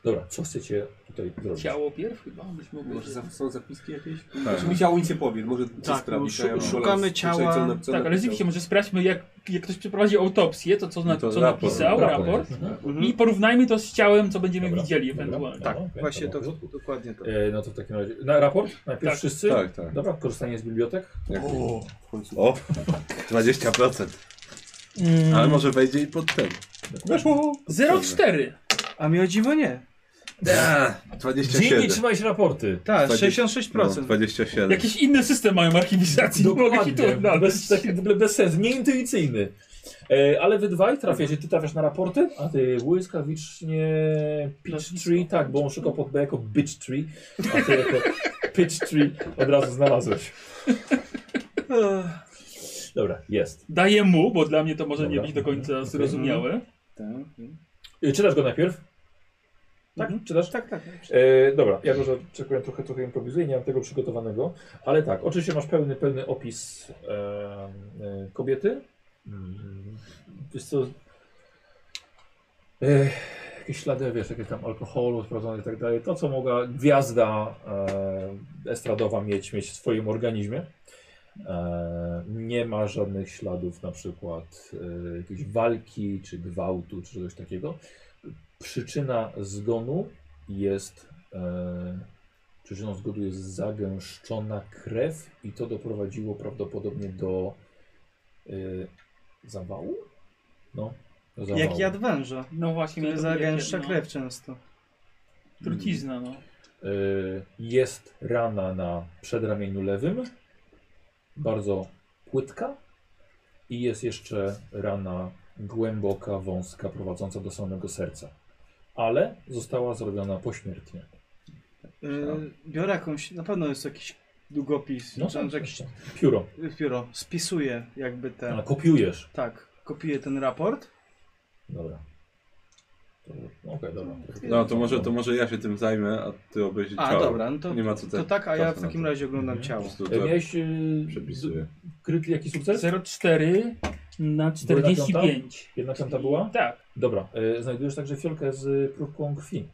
Speaker 2: Dobra, co chcecie tutaj zrobić?
Speaker 9: Ciało pierw chyba byś mógł.
Speaker 3: Może za, są zapiski jakieś?
Speaker 4: Tak.
Speaker 3: Znaczy mi ciało nic nie powie, może coś
Speaker 5: Tak,
Speaker 3: sprawdzić.
Speaker 5: no,
Speaker 3: a ja
Speaker 5: szu-
Speaker 3: mam
Speaker 5: szukamy
Speaker 3: wolę słyszeć,
Speaker 5: ciała.
Speaker 3: co na- co
Speaker 9: Tak, ale
Speaker 3: napisał.
Speaker 9: rzeczywiście może sprawdźmy, jak, jak ktoś przeprowadzi autopsję, to co, na,
Speaker 4: No to
Speaker 9: co
Speaker 4: raport,
Speaker 9: napisał,
Speaker 2: raport.
Speaker 9: raport,
Speaker 2: Mhm.
Speaker 9: i porównajmy to z ciałem, co będziemy
Speaker 2: Dobra,
Speaker 9: widzieli
Speaker 2: dobra.
Speaker 9: ewentualnie.
Speaker 5: Tak,
Speaker 2: No, okej,
Speaker 5: właśnie
Speaker 2: to
Speaker 5: to,
Speaker 2: było w porządku.
Speaker 5: dokładnie to.
Speaker 2: E, no to w takim razie. Na raport? Najpierw
Speaker 9: Tak.
Speaker 2: wszyscy?
Speaker 4: Tak, tak.
Speaker 2: Dobra, korzystanie z bibliotek.
Speaker 4: Jak...
Speaker 3: O, w końcu.
Speaker 4: O! 20%.
Speaker 9: Mm,
Speaker 4: Ale może wejdzie i pod ten.
Speaker 9: Weszło 0,4.
Speaker 5: A mi o dziwo nie.
Speaker 4: Da,
Speaker 2: Dziennie
Speaker 4: 27.
Speaker 2: trzymałeś raporty.
Speaker 5: Tak,
Speaker 4: Dwadzie-
Speaker 5: 66%.
Speaker 4: No, 27.
Speaker 9: Jakiś inny system mają archiwizacji, nie mogę ci to
Speaker 2: Dokładnie,
Speaker 9: odnaleźć.
Speaker 2: bez, taki, w ogóle bez sensu, nieintuicyjny. E, ale wy dwaj trafiacie, ty trafiasz na raporty, a ty błyskawicznie Peach Tree, tak, bo on szukał pod B jako Bitch Tree, a ty jako Pitch Tree od razu znalazłeś. Dobra, jest.
Speaker 9: Daję mu, bo dla mnie to może nie
Speaker 2: Dobra.
Speaker 9: być do końca zrozumiałe.
Speaker 2: E, Czytasz go najpierw? Tak,
Speaker 9: Mhm.
Speaker 2: czytasz?
Speaker 5: Tak, tak.
Speaker 2: E, dobra, ja może czekam trochę, trochę improwizuję, nie mam tego przygotowanego, ale tak, oczywiście masz pełny, pełny opis em, e, kobiety. Mm, Wiesz co, e, jakieś ślady, wiesz, jakieś tam alkoholu sprawdzone i tak dalej, to co mogła gwiazda e, estradowa mieć, mieć w swoim organizmie. E, nie ma żadnych śladów na przykład e, jakiejś walki, czy gwałtu, czy czegoś takiego. Przyczyna zgonu jest e, przyczyną zgodu jest zagęszczona krew i to doprowadziło prawdopodobnie do e, zawału? No, do zawału.
Speaker 5: Jak jad węża,
Speaker 9: No właśnie,
Speaker 5: który
Speaker 9: to
Speaker 5: zagęszcza
Speaker 9: no,
Speaker 5: krew często.
Speaker 9: Trucizna, no.
Speaker 2: E, jest rana na przedramieniu lewym, bardzo płytka i jest jeszcze rana głęboka, wąska, prowadząca do samego serca. Ale została zrobiona pośmiertnie.
Speaker 5: Yy, biorę jakąś, na pewno jest jakiś długopis,
Speaker 2: No
Speaker 5: czy
Speaker 2: tak,
Speaker 5: jakiś
Speaker 2: Pióro.
Speaker 5: pióro. Spisuję jakby
Speaker 2: A,
Speaker 5: te...
Speaker 2: kopiujesz.
Speaker 5: Tak, kopiuję ten raport.
Speaker 2: Dobra. To- Okej, dobra.
Speaker 4: No to może, to może ja się tym zajmę, a ty obejrzyj
Speaker 5: A,
Speaker 4: ciało.
Speaker 5: dobra, no to,
Speaker 4: Nie ma co te-
Speaker 5: to tak, a ja
Speaker 4: czasu
Speaker 5: w
Speaker 4: na
Speaker 5: takim
Speaker 4: to.
Speaker 5: razie
Speaker 2: Mhm.
Speaker 5: oglądam
Speaker 4: Po
Speaker 5: ciało.
Speaker 4: prostu
Speaker 2: E,
Speaker 4: to
Speaker 2: Miałeś yy,
Speaker 4: przepisuję.
Speaker 2: kryty jaki sukces?
Speaker 9: 0,4 na 45.
Speaker 2: Jedna piąta była?
Speaker 9: Tak.
Speaker 2: Dobra, e, znajdujesz także fiolkę z próbką krwi.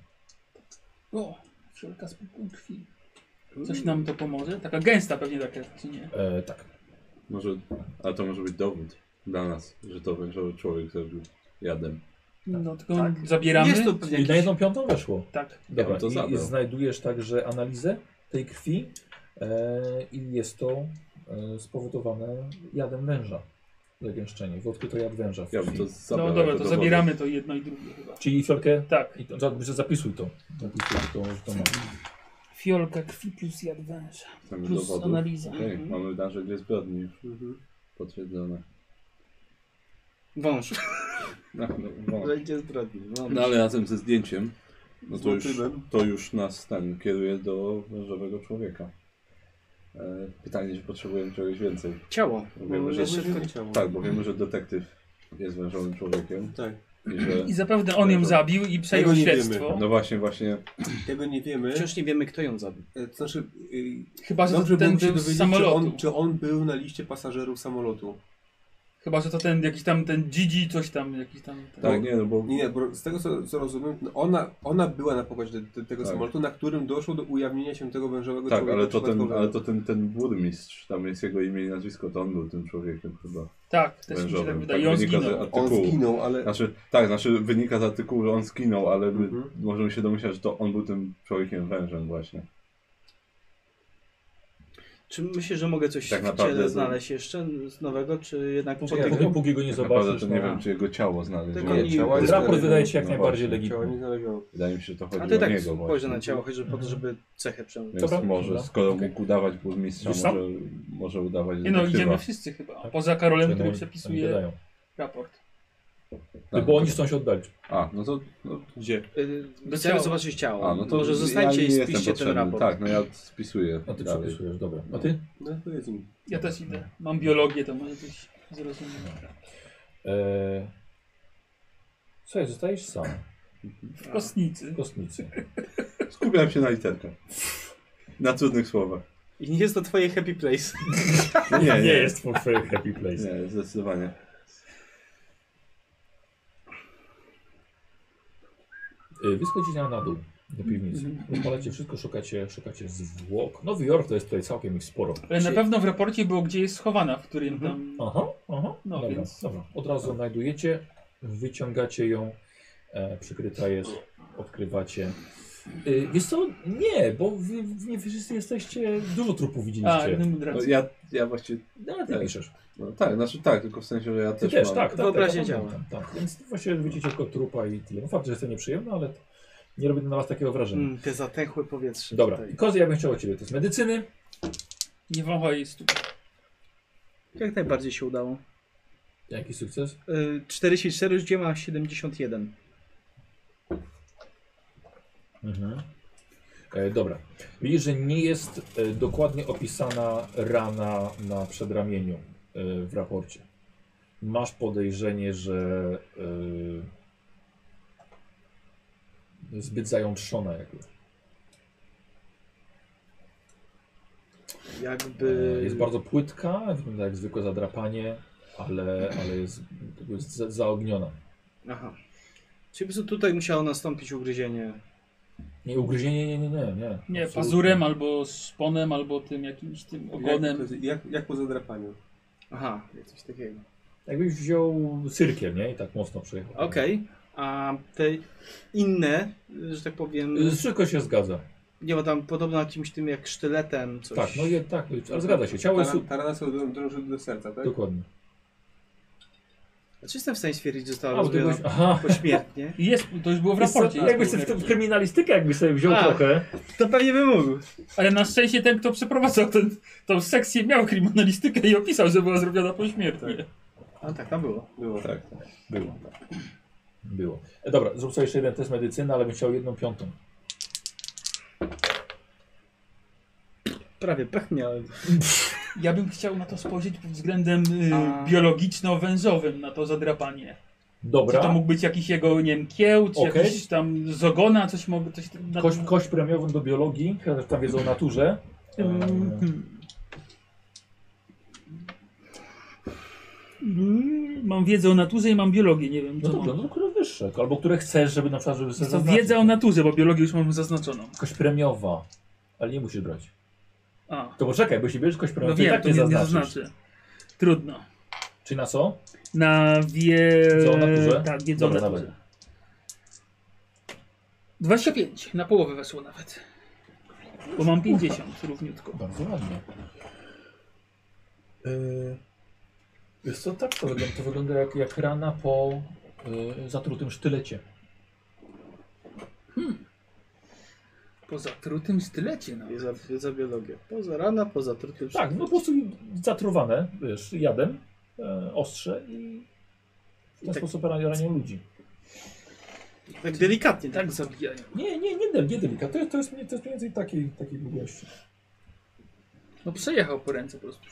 Speaker 9: O, wszelka z półką krwi. Coś nam to pomoże? Taka gęsta pewnie taka, czy nie?
Speaker 2: E, tak.
Speaker 4: Może, ale to może być dowód dla nas, że to wężowy człowiek zrobił jadem.
Speaker 9: No tylko zabieramy.
Speaker 5: Jest to pewnie
Speaker 2: I na jedną piątą weszło.
Speaker 9: Tak.
Speaker 2: Dobra,
Speaker 4: bym to
Speaker 2: i, i
Speaker 4: zabrał.
Speaker 2: znajdujesz także analizę tej krwi e, i jest to e, spowodowane jadem węża. Zagęszczenie. W odkryto jad węża. W
Speaker 4: Ja bym
Speaker 2: krwi.
Speaker 4: to zabrał.
Speaker 9: no dobra,
Speaker 4: jako
Speaker 9: to
Speaker 4: dowód.
Speaker 9: zabieramy to jedno i drugie chyba.
Speaker 2: Czyli fiolkę.
Speaker 9: Tak.
Speaker 2: I to, za- zapisuj to. Zapisuj to, że to ma.
Speaker 9: Fiolka krwi plus jad węża.
Speaker 4: Chcemy
Speaker 9: Plus
Speaker 4: dowodów.
Speaker 9: analiza.
Speaker 4: Okej, mamy narzędzie zbrodni już potwierdzone.
Speaker 5: wąż.
Speaker 4: No, no, no.
Speaker 5: Będzie zbrodni. wąż.
Speaker 4: no ale razem ze zdjęciem, no
Speaker 3: Z
Speaker 4: to już,
Speaker 3: motywem.
Speaker 4: to już nas ten kieruje do wężowego człowieka. E, pytanie, czy potrzebujemy czegoś więcej.
Speaker 5: Ciało.
Speaker 4: Bo
Speaker 5: No,
Speaker 4: wiemy, że,
Speaker 5: jeszcze tylko ciało.
Speaker 4: tak, bo wiemy, że detektyw jest wężowym człowiekiem.
Speaker 11: Tak.
Speaker 4: I że,
Speaker 9: I zapewne on ją zabił i przejął
Speaker 11: Tego nie
Speaker 9: śledztwo.
Speaker 4: no właśnie, właśnie,
Speaker 11: Tego nie wiemy.
Speaker 5: Wciąż nie wiemy, kto ją zabił.
Speaker 11: E, To znaczy, y,
Speaker 9: Chyba, że
Speaker 11: dobrze
Speaker 9: to ten
Speaker 11: byłoby się
Speaker 9: był z
Speaker 11: dowiedzieć, czy
Speaker 9: samolotu.
Speaker 11: on, czy on był na liście pasażerów samolotu.
Speaker 9: Chyba, że to ten jakiś tam, ten Gigi, coś tam, jakiś tam. Ten...
Speaker 4: tak, nie, no bo
Speaker 11: Nie, nie, bo z tego co, co rozumiem, no ona, ona była na pokładzie te- tego
Speaker 4: Tak.
Speaker 11: samolotu, na którym doszło do ujawnienia się tego wężowego
Speaker 4: tak,
Speaker 11: człowieka.
Speaker 4: ale to, ten,
Speaker 11: przypadkowego.
Speaker 4: ale to ten, ten burmistrz, tam jest jego imię i nazwisko, to on był tym człowiekiem chyba
Speaker 9: Tak, też mi się tak
Speaker 4: wężowym.
Speaker 9: wydaje. I on
Speaker 4: wynika z
Speaker 9: zginął.
Speaker 11: On
Speaker 4: artykułu.
Speaker 11: zginął, ale...
Speaker 4: Znaczy, tak, znaczy wynika z artykułu, że on skinął, ale my
Speaker 11: Mhm.
Speaker 4: możemy się domyślać, że to on był tym człowiekiem wężem właśnie.
Speaker 5: Czy myślisz, że mogę coś
Speaker 4: Tak
Speaker 5: w
Speaker 4: naprawdę
Speaker 5: ciele
Speaker 4: to-
Speaker 5: znaleźć jeszcze z nowego, czy jednak po
Speaker 2: Poczekaj,
Speaker 5: tych...
Speaker 2: Dopóki go nie
Speaker 4: Tak naprawdę
Speaker 2: zobaczysz.
Speaker 4: to nie
Speaker 2: no.
Speaker 4: wiem, czy jego ciało znaleziono.
Speaker 5: Tylko nie-
Speaker 11: ciała nie
Speaker 2: Raport
Speaker 11: znaleziono.
Speaker 2: wydaje się jak
Speaker 4: No
Speaker 2: najbardziej
Speaker 4: właśnie.
Speaker 11: Ciała nie
Speaker 2: legitymny.
Speaker 11: znaleziono.
Speaker 4: Wydaje mi się, że to chodzi
Speaker 5: A
Speaker 4: o
Speaker 5: ty tak
Speaker 4: niego
Speaker 5: spojrzę
Speaker 4: właśnie.
Speaker 5: na ciało, choć żeby po to, żeby cechę przejąć.
Speaker 4: Więc
Speaker 2: Dobra.
Speaker 4: może,
Speaker 2: Dobra.
Speaker 4: skoro
Speaker 2: Okej.
Speaker 4: mógł udawać burmistrza,
Speaker 2: Wiesz co?
Speaker 4: może, może udawać
Speaker 9: Nie no,
Speaker 4: detektywa.
Speaker 9: idziemy wszyscy chyba.
Speaker 2: Tak.
Speaker 9: Poza Karolem, który
Speaker 2: Czemu oni- oni
Speaker 9: przepisuje
Speaker 2: gadają?
Speaker 9: raport.
Speaker 4: Tak,
Speaker 2: Bo oni
Speaker 4: tak.
Speaker 2: chcą się oddalić.
Speaker 4: A, no to... No, gdzie?
Speaker 5: Yy,
Speaker 9: Do
Speaker 5: Chcemy
Speaker 9: ciała.
Speaker 5: zobaczyć ciało.
Speaker 4: A, no to
Speaker 5: Może zostańcie
Speaker 4: ja
Speaker 5: i
Speaker 4: nie jestem
Speaker 5: spiszcie ten
Speaker 4: potrzebny.
Speaker 5: raport.
Speaker 4: Tak, no ja spisuję
Speaker 2: A ty
Speaker 4: dalej.
Speaker 2: przepisujesz, dobra. A ty?
Speaker 11: No to jest im.
Speaker 9: Ja też idę. Mam biologię, to może być zrozumiałe.
Speaker 2: Eee... Słuchaj, zostajesz sam
Speaker 9: W kostnicy.
Speaker 2: w kostnicy.
Speaker 4: Skupiam się na literkach. Na trudnych słowach. No
Speaker 5: I nie jest to twoje happy place.
Speaker 4: Nie, nie,
Speaker 2: to twoje happy place.
Speaker 4: Nie, zdecydowanie.
Speaker 2: Y, Wyskoczycie na dół do piwnicy. Odpalacie wszystko, szukacie, szukacie zwłok. Nowy Jork to jest tutaj całkiem ich sporo.
Speaker 9: Ale na pewno w raporcie było, gdzie jest schowana, w którym tam...
Speaker 2: Aha, aha.
Speaker 9: No
Speaker 2: dobra,
Speaker 9: więc-
Speaker 2: dobra. Od razu znajdujecie, wyciągacie ją, e, przykryta jest, odkrywacie. Y, wiesz co? Nie, bo wy, wy nie wszyscy jesteście, dużo trupów
Speaker 9: A,
Speaker 2: widzieliście.
Speaker 9: innym
Speaker 4: No,
Speaker 9: racji.
Speaker 4: ja, ja właściwie...
Speaker 2: No, ale ty
Speaker 4: Tak.
Speaker 2: piszesz.
Speaker 4: No, tak, znaczy tak, tylko w sensie, że ja
Speaker 2: Ty
Speaker 4: też,
Speaker 2: też,
Speaker 4: mam...
Speaker 2: tak, tak.
Speaker 5: Wyobraźnia
Speaker 2: tak,
Speaker 5: działa.
Speaker 2: Tak, tak, Więc właśnie widzicie tylko trupa i tyle. No fakt, że jest to nieprzyjemne, ale to nie robi to na was takiego wrażenia.
Speaker 5: Mm, te zatęchłe powietrze.
Speaker 2: Dobra,
Speaker 5: tutaj.
Speaker 2: i kozy, ja bym chciał od ciebie. To jest medycyny.
Speaker 9: Nie wąchaj stu.
Speaker 5: Jak najbardziej się udało.
Speaker 2: Jaki sukces?
Speaker 5: Yy, 44 już gdzie ma 71.
Speaker 2: Mhm. E, dobra. Widzisz, że nie jest e, dokładnie opisana rana na przedramieniu e, w raporcie. Masz podejrzenie, że e, zbyt zajątrzona jakby.
Speaker 5: Jakby... Yy.
Speaker 2: E, Jest bardzo płytka, wygląda jak zwykłe zadrapanie, ale, ale jest, jest za- zaogniona.
Speaker 5: Aha. Czyli po prostu tutaj musiało nastąpić ugryzienie.
Speaker 2: Nie, ugryzienie, nie, nie, nie. Nie,
Speaker 9: Nie,
Speaker 2: Absolutnie.
Speaker 9: pazurem albo szponem, albo tym jakimś tym
Speaker 11: Jak, to
Speaker 9: ogonem.
Speaker 11: jest- jak, jak po zadrapaniu.
Speaker 5: Aha, coś takiego.
Speaker 2: Jakbyś wziął cyrkiem, nie? I tak mocno przejechał.
Speaker 5: Okej. A te inne, y, że tak powiem,
Speaker 2: Y, Wszystko się zgadza.
Speaker 5: nie ma tam podobno jakimś tym jak sztyletem coś.
Speaker 2: Tak, no je, tak, no i- ale zgadza się. Ciało jest...
Speaker 11: Tara, tarana sobie drąży do serca, tak?
Speaker 2: Dokładnie.
Speaker 5: Czy jestem w stanie stwierdzić, że została
Speaker 2: A, bo ty
Speaker 5: rozbiona
Speaker 2: byłeś... Aha.
Speaker 5: pośmiertnie?
Speaker 9: I Jest, to już było w raporcie.
Speaker 2: Jakbyś sobie w kryminalistykę jakbyś sobie wziął
Speaker 5: A.
Speaker 2: trochę.
Speaker 5: To pewnie by mógł.
Speaker 9: Ale na szczęście ten, kto przeprowadzał ten, tą sekcję, miał kryminalistykę i opisał, że była zrobiona pośmiertnie.
Speaker 5: A tak, tam było.
Speaker 11: Było.
Speaker 4: Tak.
Speaker 2: Było. Było. E, dobra, zrób sobie jeszcze jeden test medycyny, ale bym chciał jedną piątą.
Speaker 5: Prawie pech miałem.
Speaker 9: Ja bym chciał na to spojrzeć pod względem y,
Speaker 5: A.
Speaker 9: biologiczno-węzowym, na to zadrapanie. Czy to
Speaker 2: Dobra.
Speaker 9: mógł być jakiś jego, nie wiem, kieł, czy
Speaker 2: Okej.
Speaker 9: jakiś tam z ogona, coś mogę, coś tam- na
Speaker 2: Kość, kość premiową do biologii, chyba też tam wiedzą o naturze. E,
Speaker 9: Mm, Mam mam wiedzę o naturze i mam biologię, nie wiem
Speaker 2: No
Speaker 9: co
Speaker 2: dobrze,
Speaker 9: mam.
Speaker 2: no to które wyższe, albo które chcesz, żeby na przykład, żeby sobie
Speaker 9: Jest to
Speaker 2: zaznaczyć.
Speaker 9: wiedza o naturze, bo biologię już mam zaznaczoną.
Speaker 2: Kość premiowa, ale nie musisz brać.
Speaker 9: A,
Speaker 2: To poczekaj, bo jeśli bierzesz kość premiową,
Speaker 9: no
Speaker 2: to i
Speaker 9: wiem,
Speaker 2: tak
Speaker 9: to
Speaker 2: nie
Speaker 9: mnie nie
Speaker 2: zaznaczysz.
Speaker 9: zaznaczy. Trudno.
Speaker 2: Czyli na co?
Speaker 9: Na wie...
Speaker 2: Wiedzę o naturze?
Speaker 9: Tak, wiedzę o
Speaker 2: Dobra,
Speaker 9: naturze.
Speaker 2: dawaj.
Speaker 9: 25, na połowę weszło nawet. Bo mam 50 równiutko.
Speaker 2: Bardzo ładnie. Yy, wiesz co, tak to wygląda, to wygląda jak, jak rana po yy, zatrutym sztylecie.
Speaker 9: Po zatrutym stylecie no. nawet.
Speaker 5: Wiedza, wiedza biologia. Poza rana, poza trutym
Speaker 2: Tak, no po prostu zatruwane, wiesz, jadem, e, ostrze i w ten
Speaker 5: I tak-
Speaker 2: sposób ranią, ranią ludzi.
Speaker 5: Tak delikatnie, tak?
Speaker 9: Tak zabijają.
Speaker 2: Nie, nie, nie, del- nie delikatnie, to jest, to jest, mniej- to jest mniej więcej takiej, takiej długości.
Speaker 9: No przejechał po ręce po prostu.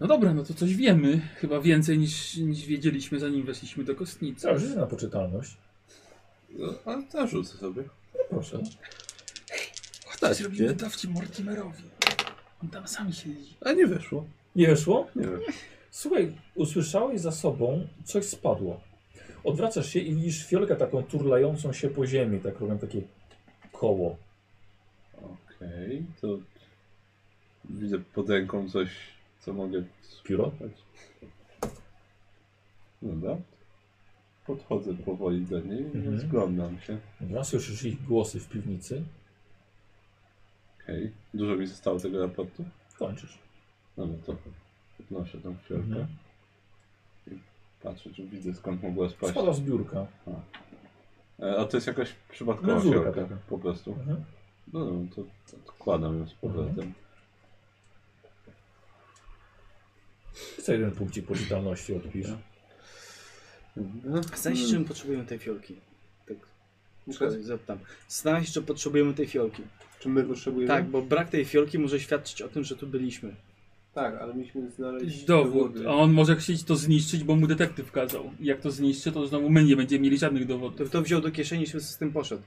Speaker 9: No dobra, no to coś wiemy. Chyba więcej niż, niż wiedzieliśmy zanim weszliśmy do kostnicy.
Speaker 2: Całe życie na poczytalność.
Speaker 4: No, ale to rzucę sobie.
Speaker 2: No proszę.
Speaker 4: tak,
Speaker 9: Zrobimy
Speaker 4: nie?
Speaker 9: dowcip Mortimerowi. On tam sam siedzi.
Speaker 4: A nie weszło.
Speaker 2: Nie wyszło?
Speaker 4: Nie weszło.
Speaker 2: Słuchaj, usłyszałeś za sobą, coś spadło. Odwracasz się i widzisz fiolkę taką turlającą się po ziemi, tak robią takie koło.
Speaker 4: Okej, to widzę pod ręką coś, co mogę
Speaker 2: Pióro?
Speaker 4: spróbować. Dobra. Podchodzę powoli do niej i
Speaker 2: Mhm.
Speaker 4: rozglądam się.
Speaker 2: Dobra, słyszysz ich głosy w piwnicy.
Speaker 4: Okej. Dużo mi zostało tego raportu.
Speaker 2: Kończysz.
Speaker 4: No no to podnoszę tą fiolkę.
Speaker 2: Mhm.
Speaker 4: Patrzę, czy widzę skąd mogła spaść.
Speaker 2: Spada z biurka.
Speaker 4: E, A to jest jakaś przypadkowa
Speaker 2: Mezurka
Speaker 4: fiolka,
Speaker 2: taka.
Speaker 4: po prostu.
Speaker 2: Mhm.
Speaker 4: No, no to odkładam ją z powrotem.
Speaker 2: Co jeden punkcik poczytalności odpisz.
Speaker 4: Mhm.
Speaker 5: Znajdź, czym potrzebujemy tej fiolki. Tak,
Speaker 3: Muszę-
Speaker 5: zapytam. Znajdź, czy potrzebujemy tej fiolki.
Speaker 3: Czy my potrzebujemy?
Speaker 2: Mhm.
Speaker 5: Tak, bo brak tej fiolki może świadczyć o tym, że tu byliśmy.
Speaker 3: Tak, ale mieliśmy znaleźć
Speaker 9: Dowód.
Speaker 3: dowody.
Speaker 9: A on może chcieć to zniszczyć, bo mu detektyw kazał. Jak to zniszczy, to znowu my nie będziemy mieli żadnych dowodów.
Speaker 5: To kto wziął do kieszeni i się z tym poszedł.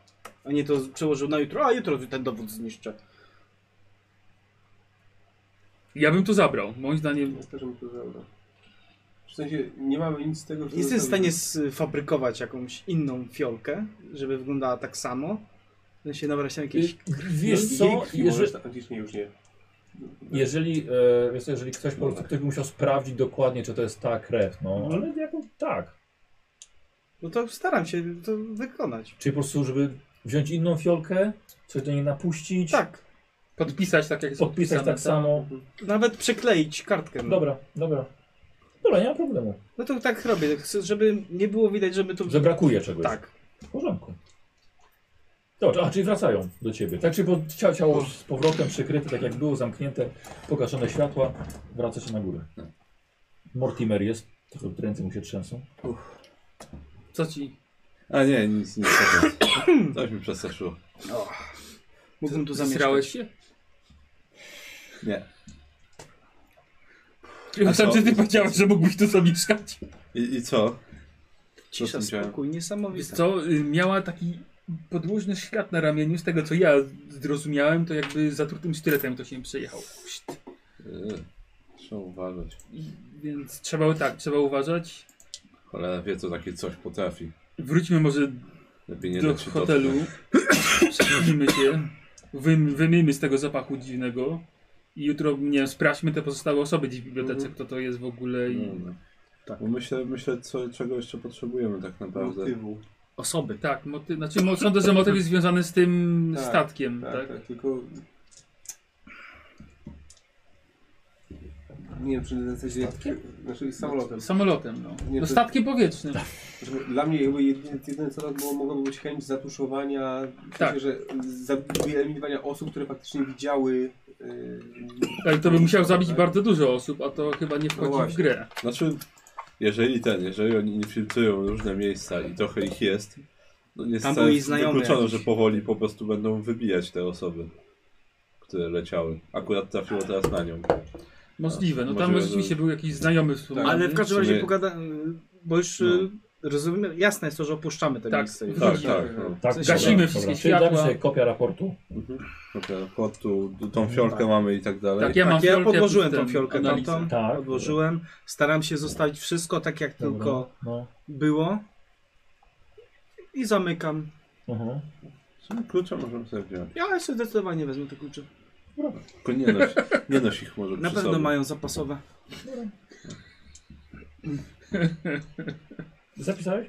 Speaker 5: A nie to z- przełożył na jutro, a jutro ten dowód zniszczę.
Speaker 9: Ja bym to zabrał. Moim zdaniem
Speaker 3: Ja też bym to zabrał. W sensie nie mamy nic z tego, że.
Speaker 5: Nie Jestem w stanie sfabrykować jakąś inną fiolkę, żeby wyglądała tak samo. W sensie nabrać tam
Speaker 2: Y-
Speaker 5: jakieś...
Speaker 11: No,
Speaker 2: Wiesz co, jeżeli,
Speaker 3: Antycznie już nie.
Speaker 2: jeżeli, e, wiesz co, jeżeli ktoś po prostu, ktoś by musiał sprawdzić dokładnie, czy to jest ta krew, no,
Speaker 5: Mhm.
Speaker 2: ale jako, tak.
Speaker 5: No to staram się to wykonać.
Speaker 2: Czyli po prostu, żeby wziąć inną fiolkę, coś do niej napuścić,
Speaker 5: Tak,
Speaker 9: podpisać tak, jak jest
Speaker 2: podpisać
Speaker 9: podpisane,
Speaker 2: tak samo.
Speaker 5: nawet przykleić kartkę. No,
Speaker 2: Dobra, dobra. Dobra, nie ma problemu.
Speaker 5: no to tak robię, tak chcę, żeby nie było widać, żeby tu...
Speaker 2: Że brakuje czegoś.
Speaker 5: Tak.
Speaker 2: W porządku. Dobrze, a czyli wracają do ciebie. Tak, czyli po- cia- ciało z powrotem przykryte, tak jak było, zamknięte, pogaszone światła, wraca się na górę. Mortimer jest, trochę ręce mu się trzęsą.
Speaker 9: Co ci?
Speaker 4: A nie, nic, nic. takiego. Coś mi przestraszyło.
Speaker 5: Mógłbym tu
Speaker 9: Zamieszkałeś
Speaker 5: zamieszkać.
Speaker 9: się?
Speaker 4: Nie.
Speaker 9: Ja myślałem,
Speaker 4: co?
Speaker 9: że ty powiedziałeś, że mógłbyś tu zamieszkać.
Speaker 4: I, i co?
Speaker 5: Cisza,
Speaker 4: Co z tym
Speaker 5: spokój,
Speaker 9: Wiesz
Speaker 5: niesamowite.
Speaker 9: co, y, miała taki podłużny ślad na ramieniu, z tego co ja zrozumiałem, to jakby zatrutym sztyletem to się przejechał. Szt.
Speaker 4: Yy, trzeba uważać.
Speaker 9: I- Więc trzeba tak, trzeba uważać.
Speaker 4: Cholera wie, co takie coś potrafi.
Speaker 9: Wróćmy może
Speaker 4: Lepiej nie
Speaker 9: do
Speaker 4: dać się
Speaker 9: hotelu.
Speaker 4: dotknąć.
Speaker 9: Przejrzyjmy się. Wym, wymyjmy z tego zapachu dziwnego. I jutro, nie wiem, sprawdźmy te pozostałe osoby gdzieś w bibliotece, kto to jest w ogóle i...
Speaker 4: No, no. Bo myślę, myślę co, czego jeszcze potrzebujemy tak naprawdę.
Speaker 3: Motywu.
Speaker 5: Osoby.
Speaker 9: Tak, moty... znaczy mo- sądzę, że motyw jest związany z tym
Speaker 3: Tak,
Speaker 9: statkiem,
Speaker 3: Tak,
Speaker 9: tak?
Speaker 3: tak, tylko. Nie wiem, czy na zasadzie. Znaczy samolotem.
Speaker 9: Samolotem, no.
Speaker 3: Nie,
Speaker 9: no
Speaker 3: to-
Speaker 9: statkiem powietrznym.
Speaker 5: Tak.
Speaker 3: Żeby Dla mnie jakby jedyny, jedyny celak było, mogłaby być chęć zatuszowania, w sensie,
Speaker 9: Tak.
Speaker 3: że za- wyeliminowania osób, które faktycznie widziały. Yy,
Speaker 9: Ale to by musiał zabić bardzo dużo osób, a to chyba nie wchodzi w
Speaker 3: właśnie.
Speaker 9: grę.
Speaker 4: Znaczy, jeżeli ten, jeżeli oni infiltrują różne miejsca i trochę ich jest, no nie
Speaker 5: Tam
Speaker 4: jest wcale
Speaker 5: byli znajomi
Speaker 4: wykluczone,
Speaker 5: jakiś.
Speaker 4: że powoli po prostu będą wybijać te osoby, które leciały. Akurat trafiło teraz na nią. Tak,
Speaker 9: Możliwe, no
Speaker 4: A,
Speaker 9: tam
Speaker 4: może-
Speaker 5: Tak.
Speaker 9: rzeczywiście był jakiś znajomy wspomniany.
Speaker 5: Ale w każdym
Speaker 4: W sumie-
Speaker 5: razie pogada... Bo już
Speaker 4: No.
Speaker 5: y, rozumiem, jasne jest to, że opuszczamy to
Speaker 9: Tak.
Speaker 5: miejsce.
Speaker 4: Tak, tak. No.
Speaker 2: Tak,
Speaker 5: Coś
Speaker 9: gasimy wszystkie
Speaker 2: Czyli damy
Speaker 9: światła.
Speaker 2: sobie kopia raportu.
Speaker 4: Dobra, Pod tu, tą fiolkę mamy i tak dalej.
Speaker 9: Tak, ja mam
Speaker 5: Tak, ja
Speaker 9: fiolkę,
Speaker 5: podłożyłem
Speaker 9: tu
Speaker 5: tą
Speaker 9: ten
Speaker 5: fiolkę
Speaker 9: analizę.
Speaker 5: tamtą,
Speaker 2: Tak.
Speaker 5: podłożyłem. Staram się zostawić wszystko tak, jak
Speaker 2: Dobra.
Speaker 5: tylko
Speaker 2: No.
Speaker 5: było. I zamykam.
Speaker 2: Mhm.
Speaker 4: Tak. Są Klucze możemy sobie wziąć.
Speaker 5: Ja sobie zdecydowanie wezmę te klucze.
Speaker 4: Tylko nie noś, nie noś ich może
Speaker 5: Na
Speaker 4: przy
Speaker 5: pewno
Speaker 4: sobie.
Speaker 5: mają zapasowe.
Speaker 2: Zapisałeś?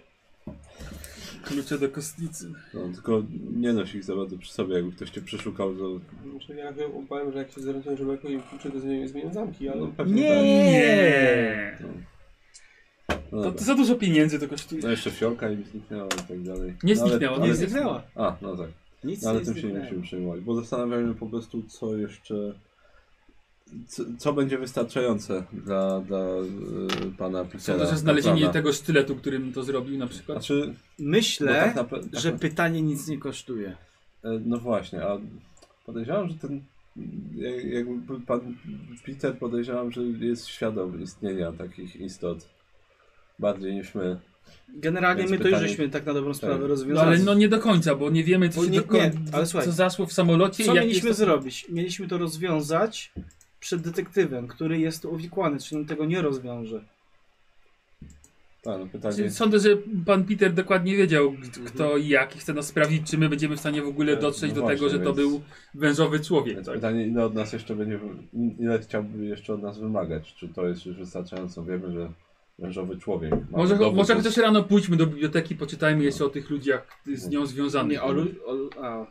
Speaker 9: Klucze do kostnicy.
Speaker 4: No, tylko nie noś ich za bardzo przy sobie, jakby ktoś cię przeszukał. To...
Speaker 3: Znaczy, ja chyba powiem, że jak się zorientuję, że brakuje mi kluczy, to zmienię, zmienię zamki, ale...
Speaker 4: No, pewnie
Speaker 5: Nie!
Speaker 9: Nie!
Speaker 4: Tak. No,
Speaker 9: To,
Speaker 4: dobra.
Speaker 9: to za dużo pieniędzy to kosztuje.
Speaker 4: no jeszcze fiolka im zniknęła i tak dalej.
Speaker 9: Nie
Speaker 4: No, ale-
Speaker 9: zniknęła, nie
Speaker 4: ale-
Speaker 5: Nie zniknęła.
Speaker 4: A, no tak.
Speaker 5: Nic
Speaker 4: No, ale
Speaker 5: nie
Speaker 4: tym się nie
Speaker 5: zniknęło.
Speaker 4: musimy przejmować, bo zastanawiamy się po prostu, co jeszcze. Co, co będzie wystarczające dla, dla e, pana Pitera.
Speaker 9: Sądzę, że znalezienie
Speaker 4: Kaplana.
Speaker 9: tego sztyletu, którym to zrobił na przykład.
Speaker 4: Znaczy, bo
Speaker 5: Myślę,
Speaker 4: tak na, pe- tak
Speaker 5: że
Speaker 4: na,
Speaker 5: pytanie nic nie kosztuje.
Speaker 4: e, No właśnie, a podejrzewam, że ten. jak- Jakby pan Peter podejrzewam, że jest świadom istnienia takich istot. Bardziej niż my.
Speaker 5: Generalnie
Speaker 4: Więc
Speaker 5: my to już
Speaker 4: pytanie-
Speaker 5: żeśmy tak na dobrą sprawę
Speaker 4: Tak.
Speaker 9: No
Speaker 5: rozwiązali.
Speaker 9: ale no nie do końca, bo nie wiemy co
Speaker 5: Bo
Speaker 9: się
Speaker 5: nie-
Speaker 9: do końca,
Speaker 5: nie, ale słuchaj.
Speaker 9: co zaszło w samolocie.
Speaker 5: Co
Speaker 9: i jak
Speaker 5: mieliśmy
Speaker 9: jest...
Speaker 5: zrobić? Mieliśmy to rozwiązać przed detektywem, który jest tu uwikłany, czyli on tego nie rozwiąże.
Speaker 4: Tak, no pytanie.
Speaker 9: Czyli Znaczy, Sądzę, że pan Peter dokładnie wiedział
Speaker 4: Mm-hmm.
Speaker 9: k- kto i jak i chce nas sprawdzić, czy my będziemy w stanie w ogóle
Speaker 4: Tak,
Speaker 9: dotrzeć
Speaker 4: no
Speaker 9: do
Speaker 4: właśnie,
Speaker 9: tego, że to
Speaker 4: więc-
Speaker 9: był wężowy człowiek.
Speaker 4: Więc
Speaker 9: Tak?
Speaker 4: pytanie, ile od nas jeszcze będzie, ile chciałby jeszcze od nas wymagać? Czy to jest już wystarczająco? Wiemy, że wężowy człowiek. ma
Speaker 9: Może,
Speaker 4: dowód,
Speaker 9: może
Speaker 4: więc-
Speaker 9: chociaż rano pójdźmy do biblioteki, poczytajmy
Speaker 4: No.
Speaker 9: jeszcze o tych ludziach z nią związanych.
Speaker 5: Nie, o, lu- o, Mhm. a,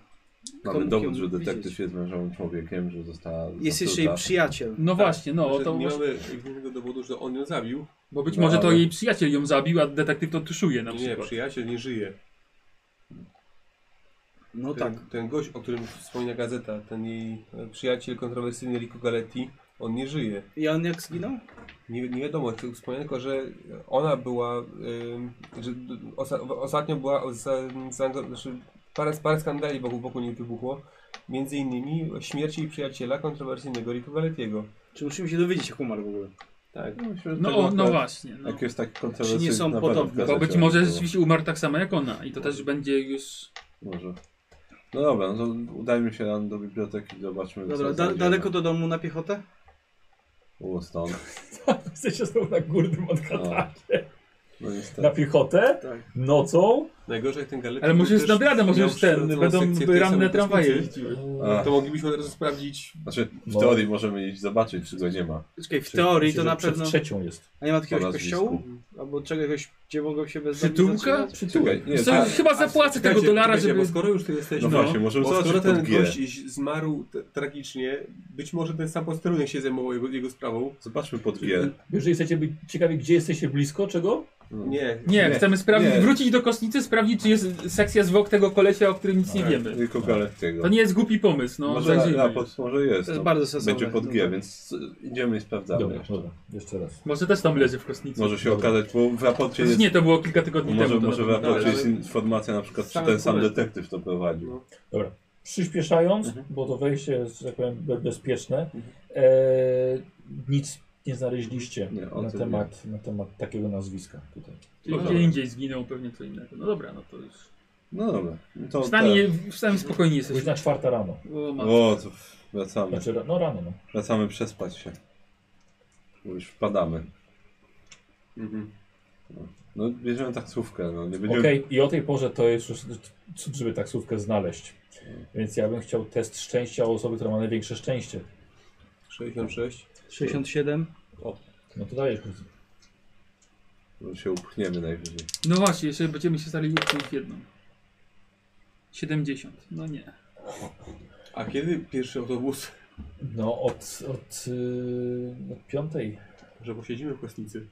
Speaker 4: Mamy
Speaker 5: komu
Speaker 4: dowód,
Speaker 5: ją
Speaker 4: że detektyw
Speaker 5: widzieć?
Speaker 4: jest wężowym człowiekiem, że została.
Speaker 5: Jest jeszcze jej
Speaker 4: zatruta.
Speaker 5: przyjaciel.
Speaker 9: No
Speaker 4: Tak.
Speaker 9: właśnie, no
Speaker 3: Znaczy,
Speaker 9: to
Speaker 3: nie
Speaker 9: może,
Speaker 3: mamy żadnego dowodu, że on ją zabił.
Speaker 9: bo być
Speaker 4: No,
Speaker 9: może to
Speaker 4: ale-
Speaker 9: jej przyjaciel ją zabił, a detektyw to tuszuje na
Speaker 3: nie,
Speaker 9: przykład.
Speaker 3: przyjaciel nie żyje.
Speaker 5: No
Speaker 3: ten,
Speaker 5: tak.
Speaker 3: ten gość, o którym wspomina gazeta, ten jej e, przyjaciel kontrowersyjny Rico Galetti, on nie żyje.
Speaker 5: I on jak zginął?
Speaker 3: Nie, nie wiadomo, tylko wspomniałem tylko, że ona była, ym, że d- osa, ostatnio była, za, zaango- znaczy parę, parę skandali wokół, wokół niej wybuchło. Między innymi śmierć jej przyjaciela kontrowersyjnego Rico Galettiego.
Speaker 5: Czy musimy się dowiedzieć, jak umarł w ogóle?
Speaker 4: Tak, no, myślę, że
Speaker 9: No,
Speaker 4: tego
Speaker 9: o, no
Speaker 4: akurat-
Speaker 9: właśnie. No.
Speaker 4: Jak jest tak
Speaker 5: Czy
Speaker 4: kontrowersyjny.
Speaker 5: nie są
Speaker 4: na pewno w
Speaker 5: podobne?
Speaker 4: gazecie
Speaker 9: Bo być
Speaker 4: o
Speaker 9: może
Speaker 4: tym
Speaker 9: rzeczywiście umarł tak samo jak ona
Speaker 4: No.
Speaker 9: i to też będzie już...
Speaker 4: było. Może. No dobra, no to udajmy się rano do biblioteki i zobaczmy.
Speaker 5: Dobra, da, daleko do domu na piechotę?
Speaker 4: Było stąd.
Speaker 2: Jesteście znowu na górnym odkatacie.
Speaker 4: No niestety.
Speaker 2: Na piechotę?
Speaker 5: Tak.
Speaker 2: Nocą?
Speaker 3: Najgorzej jak ten Galetti...
Speaker 9: Ale może
Speaker 3: był
Speaker 9: już
Speaker 3: też-
Speaker 9: nad ranem, może
Speaker 3: miał
Speaker 9: już ten,
Speaker 3: przyrodzoną
Speaker 9: będą
Speaker 3: sekcję w tej
Speaker 9: ranne
Speaker 3: samej
Speaker 9: tramwaje.
Speaker 3: kostnicy jeździły.
Speaker 4: A,
Speaker 3: To moglibyśmy od razu sprawdzić,
Speaker 4: znaczy, w
Speaker 2: No.
Speaker 4: teorii możemy iść zobaczyć, czy go nie ma.
Speaker 5: Czekaj, w teorii
Speaker 2: Myślę,
Speaker 5: to
Speaker 2: że
Speaker 5: na
Speaker 2: przed
Speaker 5: pewno...
Speaker 2: trzecią jest.
Speaker 5: A nie ma
Speaker 4: po
Speaker 5: jakiegoś
Speaker 4: nazwisku.
Speaker 5: kościołu? Albo czegoś, gdzie mogą się bez zabójstwa
Speaker 9: Przytułka?
Speaker 5: trzymać?
Speaker 4: Czekaj, nie,
Speaker 9: Co,
Speaker 4: tak.
Speaker 9: chyba zapłacę tego dolara,
Speaker 3: czekajcie,
Speaker 9: żeby...
Speaker 3: Bo skoro już tu jesteśmy,
Speaker 4: No właśnie, możemy
Speaker 3: bo skoro
Speaker 4: zobaczyć
Speaker 3: ten
Speaker 4: pod G.
Speaker 3: gość ś- zmarł t- tragicznie, być może ten sam posterunek się zajmował jego, jego sprawą.
Speaker 4: Zobaczmy pod G.
Speaker 2: Jeżeli chcecie być ciekawi, gdzie jesteście blisko, czego?
Speaker 3: Nie,
Speaker 9: Nie,
Speaker 4: No, Nie,
Speaker 9: chcemy sprawdzić,
Speaker 4: nie.
Speaker 9: wrócić do kostnicy, sprawdzić, czy jest sekcja zwłok tego kolesia, o którym nic nie wiemy.
Speaker 4: Tylko Galettiego.
Speaker 9: To nie jest głupi pomysł, no
Speaker 4: Tak. może,
Speaker 9: zajrzyjmy.
Speaker 4: raport, może jest.
Speaker 5: To jest
Speaker 4: no.
Speaker 5: bardzo sensowne.
Speaker 4: Będzie pod G,
Speaker 5: No tak.
Speaker 4: więc y, idziemy i sprawdzamy.
Speaker 2: Dobra,
Speaker 4: jeszcze.
Speaker 2: dobra, jeszcze raz.
Speaker 9: Może też tam leży w kostnicy.
Speaker 4: Może się okazać, bo w raporcie
Speaker 9: Przecież
Speaker 4: jest.
Speaker 9: Nie, to było kilka tygodni
Speaker 4: Może,
Speaker 9: temu. to
Speaker 4: może
Speaker 9: na
Speaker 4: w
Speaker 9: pewno.
Speaker 4: raporcie
Speaker 5: No,
Speaker 3: ale-
Speaker 4: jest informacja na przykład, czy
Speaker 3: Same
Speaker 4: ten sam
Speaker 3: polecam.
Speaker 4: detektyw to prowadził.
Speaker 2: Przyspieszając,
Speaker 4: Mhm.
Speaker 2: bo to wejście jest, że tak powiem, be- bezpieczne,
Speaker 4: Mhm.
Speaker 2: e, nic nie znaleźliście
Speaker 4: Nie, o
Speaker 2: na,
Speaker 4: tym
Speaker 2: temat, na temat takiego nazwiska tutaj.
Speaker 9: Czyli
Speaker 4: Dobra.
Speaker 9: Gdzie indziej zginął, pewnie co innego. No dobra, no to już.
Speaker 4: No dobra. To tak.
Speaker 9: Przynajmniej, przynajmniej spokojnie jesteśmy.
Speaker 2: Godzina czwarta rano.
Speaker 9: O,
Speaker 4: te...
Speaker 9: matko.
Speaker 4: O, to wracamy.
Speaker 2: Znaczy, ra- no rano, no.
Speaker 4: Wracamy przespać się. Bo już wpadamy.
Speaker 5: Mhm.
Speaker 4: No bierzemy taksówkę, no nie będziemy.
Speaker 2: Okej, i o tej porze to jest już cud, żeby taksówkę znaleźć. Więc ja bym chciał test szczęścia u osoby, która ma największe szczęście.
Speaker 3: 66.
Speaker 5: 67?
Speaker 2: No to dajesz. Kuzu.
Speaker 4: No, się upchniemy najwyżej.
Speaker 9: No właśnie, jeszcze będziemy się stali w jedną. 70. No nie.
Speaker 3: A kiedy pierwszy autobus?
Speaker 2: No od, od, yy, od piątej.
Speaker 3: Że posiedzimy w kostnicy.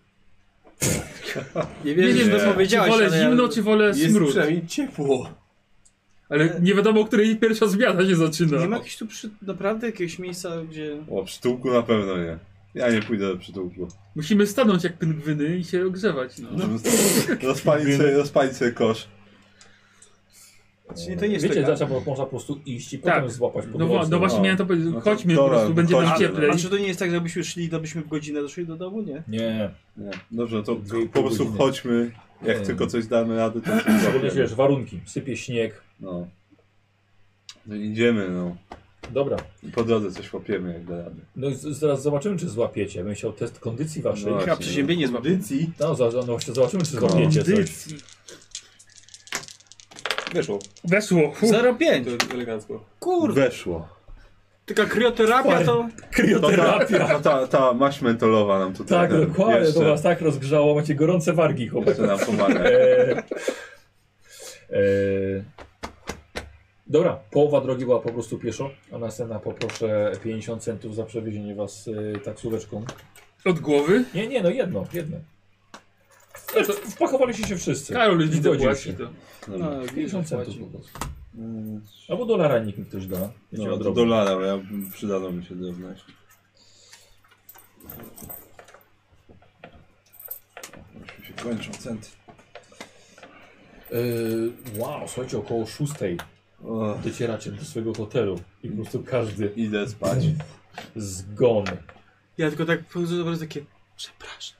Speaker 5: Nie wiem,
Speaker 9: nie
Speaker 5: co
Speaker 9: wiem, czy
Speaker 5: powiedziałeś,
Speaker 9: wolę
Speaker 5: ale ja-
Speaker 9: zimno, czy wolę
Speaker 3: Jest
Speaker 9: smród.
Speaker 3: przynajmniej ciepło.
Speaker 9: Ale nie wiadomo, o której pierwsza zmiana się zaczyna.
Speaker 5: Nie ma jakiegoś tu przy... naprawdę jakiegoś miejsca, gdzie...
Speaker 4: O, przytułku na pewno nie. Ja nie pójdę do przytułku.
Speaker 9: Musimy stanąć jak pingwiny i się ogrzewać. No.
Speaker 4: Żeby Rozpalić sobie, rozpalić sobie kosz.
Speaker 5: Czyli to Znaczy, nie jest tak-
Speaker 2: Wiecie,
Speaker 5: taka-
Speaker 2: dlaczego można po prostu iść i
Speaker 9: Tak.
Speaker 2: potem złapać po
Speaker 9: No, wa-
Speaker 2: drodze.
Speaker 9: no właśnie
Speaker 4: No.
Speaker 9: miałem to powiedzieć,
Speaker 4: No to
Speaker 9: chodźmy po
Speaker 4: dobra,
Speaker 9: prostu, będziemy
Speaker 4: chodźmy,
Speaker 9: cieplej.
Speaker 5: A czy to nie jest tak, żebyśmy szli, to byśmy w godzinę doszli do domu? Nie.
Speaker 2: Nie,
Speaker 4: Nie. Dobrze, to
Speaker 2: Dwie i pół
Speaker 4: po prostu
Speaker 2: godziny.
Speaker 4: chodźmy Jak
Speaker 2: Nie.
Speaker 4: tylko coś damy radę, to się
Speaker 2: Szczególnie, że
Speaker 4: złapiemy.
Speaker 2: wiesz, warunki. Sypie śnieg.
Speaker 4: No. No idziemy, no.
Speaker 2: Dobra.
Speaker 4: Po drodze coś łapiemy, jak da radę.
Speaker 2: No i z- zaraz zobaczymy, czy złapiecie. Będę chciał test kondycji waszej. No,
Speaker 4: No.
Speaker 5: Chyba przeziębienie złapie.
Speaker 3: Kondycji.
Speaker 2: za, za- no właśnie zobaczymy, czy
Speaker 4: No.
Speaker 2: złapiecie coś.
Speaker 9: Kondycji.
Speaker 3: Weszło.
Speaker 9: Weszło. Fu.
Speaker 5: 0,5.
Speaker 3: To elegancko.
Speaker 5: Kurde.
Speaker 4: Weszło.
Speaker 5: Taka krioterapia to...
Speaker 2: Krioterapia.
Speaker 4: No ta, ta maść mentolowa nam tutaj.
Speaker 2: Tak,
Speaker 4: ten,
Speaker 2: dokładnie. To
Speaker 4: Jeszcze,
Speaker 2: was tak rozgrzało. Macie gorące wargi, chłopaki.
Speaker 4: jeszcze nam pomaga.
Speaker 2: Eee, eee, dobra, połowa drogi była po prostu pieszo, a następna poproszę 50 centów za przewiezienie was y, taksóweczką.
Speaker 9: Od głowy?
Speaker 2: Nie, nie, no jedno, jedno. To, wpakowaliście się wszyscy.
Speaker 9: No Karol
Speaker 2: Zgodził
Speaker 9: Tak. widzę
Speaker 2: się.
Speaker 9: płaci to.
Speaker 4: No.
Speaker 5: widzę,
Speaker 2: 50 centów
Speaker 5: płaci.
Speaker 2: po
Speaker 5: Mm.
Speaker 2: prostu. Albo dolara nikt mi ktoś da. Wiecie,
Speaker 4: No,
Speaker 2: od
Speaker 4: do
Speaker 2: robu.
Speaker 4: dolara, ale ja bym- przydało mi się drewno jeszcze. Już mi się kończą centy.
Speaker 2: Eee, wow, słuchajcie, około 6
Speaker 4: O,
Speaker 2: docieracie do swojego hotelu i po prostu każdy
Speaker 4: idę spać.
Speaker 2: zgon.
Speaker 5: Ja tylko tak po prostu takie... Przepraszam.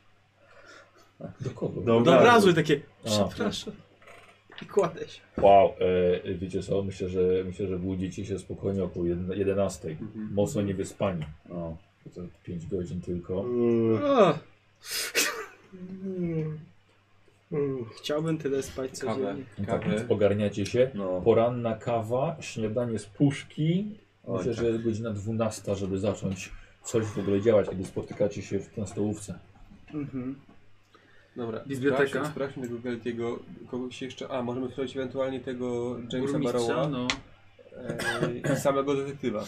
Speaker 2: Do kogo?
Speaker 5: Do obrazu i
Speaker 4: obrazu.
Speaker 5: takie...
Speaker 2: A.
Speaker 5: Przepraszam. I kładę się.
Speaker 2: Wow, e, wiecie co, myślę, że myślę, że budzicie się spokojnie około 11.
Speaker 5: Mhm.
Speaker 2: Mocno niewyspani.
Speaker 4: No.
Speaker 2: To 5 godzin tylko.
Speaker 5: Mm. O. Chciałbym tyle spać
Speaker 3: Kawę.
Speaker 5: codziennie.
Speaker 2: I Tak,
Speaker 3: Kawę.
Speaker 2: więc ogarniacie się.
Speaker 5: Mm.
Speaker 4: No.
Speaker 2: Poranna kawa, śniadanie z puszki.
Speaker 4: Oj,
Speaker 2: Myślę,
Speaker 4: tak.
Speaker 2: że godzina 12, żeby zacząć coś w ogóle działać, kiedy spotykacie się w- na stołówce.
Speaker 5: Mhm.
Speaker 3: Dobra,
Speaker 9: Biblioteka.
Speaker 3: Sprawdźmy, sprawdźmy tego Galtiego, kogoś jeszcze. A, możemy sprawdzić ewentualnie tego Jamesa
Speaker 9: Burmistrza,
Speaker 3: Barrowa
Speaker 9: no.
Speaker 3: e, i samego detektywa.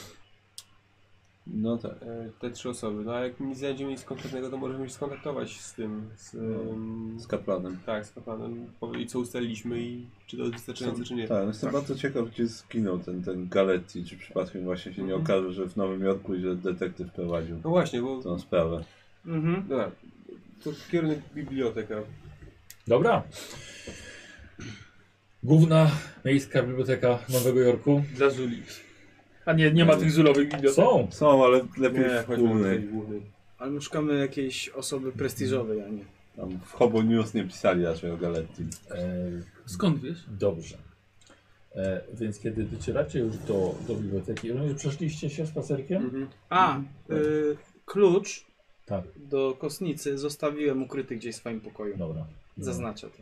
Speaker 4: No tak.
Speaker 3: E, te trzy osoby. No a jak nie znajdziemy nic konkretnego, to możemy się skontaktować z tym. Z, em,
Speaker 4: Z kaplanem.
Speaker 3: Tak, z kaplanem. Powiedzieć co ustaliliśmy i czy to jest wystarczające, czy nie.
Speaker 4: Tak, jestem bardzo ciekaw, gdzie zginął ten, ten Galetti, czy przypadkiem właśnie się nie
Speaker 3: Mhm.
Speaker 4: okaże, że w Nowym Jorku i że detektyw prowadził
Speaker 3: No właśnie, bo...
Speaker 4: tą sprawę.
Speaker 5: Mhm.
Speaker 3: Dobra, to kierunek biblioteka.
Speaker 2: Dobra. Główna miejska biblioteka Nowego Jorku.
Speaker 9: Dla Zuli. A nie, nie ma tych zulowych bibliotek.
Speaker 2: Są.
Speaker 4: Są, ale lepiej
Speaker 3: Nie,
Speaker 4: w
Speaker 3: chodźmy do tej
Speaker 4: głównej.
Speaker 3: głównej.
Speaker 5: Ale my szukamy jakiejś osoby prestiżowej, a nie.
Speaker 4: Tam w Hobo News nie pisali raczej o Galetti.
Speaker 2: E,
Speaker 9: Skąd wiesz?
Speaker 2: Dobrze. E, więc kiedy docieracie już do, do biblioteki, rozumiem, że przeszliście się spacerkiem?
Speaker 4: Mm.
Speaker 3: Mhm.
Speaker 5: A, y, klucz
Speaker 2: Tak,
Speaker 5: do kosnicy zostawiłem ukryty gdzieś w swoim pokoju.
Speaker 2: dobra.
Speaker 5: Zaznacza to.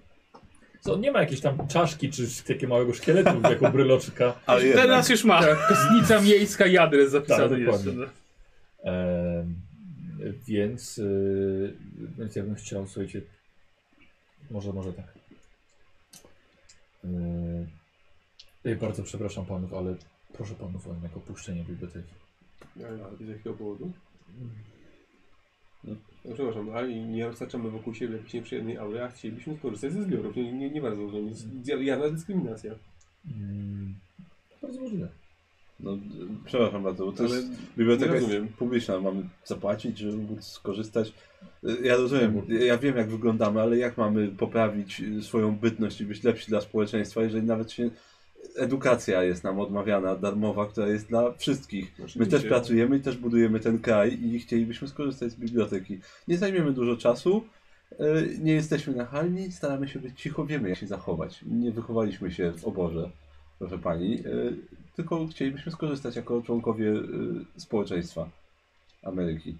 Speaker 2: Co, nie ma jakiejś tam czaszki czy takiego małego szkieletu jako bryloczka.
Speaker 3: Znaczy,
Speaker 4: Ale jednak,
Speaker 5: Teraz już ma.
Speaker 9: Tak, kosnica miejska i adres zapisany
Speaker 2: Tak,
Speaker 9: jeszcze.
Speaker 2: dokładnie.
Speaker 9: No.
Speaker 2: E, więc, y, więc ja bym chciał, słuchajcie, może, może tak. E, bardzo przepraszam panów, ale proszę panów o jednak opuszczenie biblioteki.
Speaker 3: Ale Z jakiego powodu? No, przepraszam, ale nie roztaczamy wokół siebie jakiejś nieprzyjemnej aury, a chcielibyśmy skorzystać ze zbiorów. Nie, nie, nie bardzo rozumiem. Jest Jawna dyskryminacja.
Speaker 2: Mm, bardzo możliwe.
Speaker 4: no, e, przepraszam bardzo, bo to
Speaker 3: Ale
Speaker 4: jest biblioteka
Speaker 3: nie
Speaker 4: jest
Speaker 3: rozumiem.
Speaker 4: publiczna, mamy zapłacić, żeby móc skorzystać. E, Ja rozumiem,
Speaker 3: Mhm.
Speaker 4: ja- ja wiem jak wyglądamy, ale jak mamy poprawić e, swoją bytność i być lepsi dla społeczeństwa, jeżeli nawet się edukacja jest nam odmawiana, darmowa, która jest dla wszystkich. My
Speaker 3: Oczywiście.
Speaker 4: też pracujemy i też budujemy ten kraj i chcielibyśmy skorzystać z biblioteki. Nie zajmiemy dużo czasu, e, nie jesteśmy nachalni, staramy się być cicho, wiemy jak się zachować. Nie wychowaliśmy się w oborze, proszę pani, e, tylko chcielibyśmy skorzystać jako członkowie e, społeczeństwa Ameryki.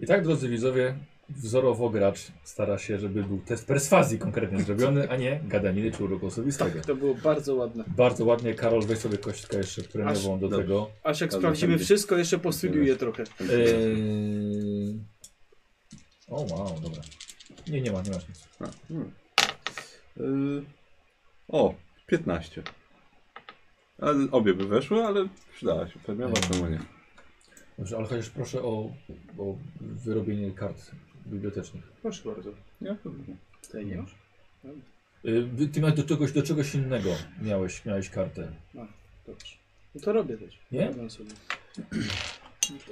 Speaker 2: I tak, drodzy widzowie, wzorowo gracz stara się, żeby był test perswazji konkretnie zrobiony, a nie gadaniny czy uroku osobistego.
Speaker 5: To było bardzo ładne.
Speaker 2: Bardzo ładnie, Karol, weź sobie kościkę jeszcze premiową do
Speaker 4: dobrze.
Speaker 2: tego.
Speaker 5: Aż jak
Speaker 4: Dobra,
Speaker 5: sprawdzimy
Speaker 4: będzie.
Speaker 5: wszystko, jeszcze postudiuję trochę.
Speaker 2: E, Eee... O, wow, dobra. Nie, nie ma, nie masz nic.
Speaker 4: A, hmm. E, O, 15. Ale obie by weszły, ale przydała się premiowa,
Speaker 2: E,
Speaker 4: czemu nie?
Speaker 2: Dobrze, ale chociaż proszę o, o wyrobienie kart bibliotecznych.
Speaker 3: Proszę bardzo.
Speaker 4: Ja,
Speaker 5: Tutaj nie masz?
Speaker 2: Eee, ty miałeś do czegoś, do czegoś innego miałeś, miałeś kartę.
Speaker 5: Dobrze. No to robię też.
Speaker 2: Nie?
Speaker 5: Robię sobie.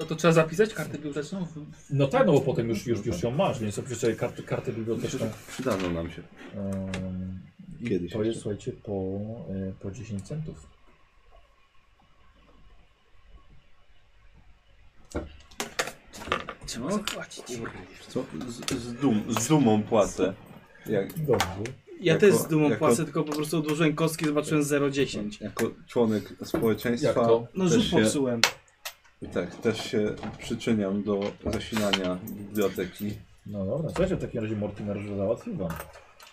Speaker 9: A to trzeba zapisać kartę biblioteczną? W-
Speaker 2: No tak, no bo potem już, już, już ją masz, więc opisz sobie kartę, kartę biblioteczną. yy,
Speaker 4: przydadzą nam się.
Speaker 2: Ym, i
Speaker 4: Kiedyś
Speaker 2: to jest,
Speaker 4: jeszcze.
Speaker 2: słuchajcie, po, y, po 10 centów.
Speaker 9: Trzeba zapłacić.
Speaker 4: No, Co? Z, z, dum, z dumą płacę. Jak,
Speaker 2: Dobrze.
Speaker 5: Ja
Speaker 4: Jako-
Speaker 5: też z dumą
Speaker 4: jako-
Speaker 5: płacę, tylko po prostu odłożyłem kostki, zobaczyłem 0,10.
Speaker 4: jako członek społeczeństwa.
Speaker 2: Jak to?
Speaker 5: No
Speaker 4: też
Speaker 5: rzut
Speaker 4: się-
Speaker 5: popsułem.
Speaker 4: Tak, też się przyczyniam do zasilania biblioteki.
Speaker 2: No dobra, słuchajcie, w takim razie Mortimer już załatwił wam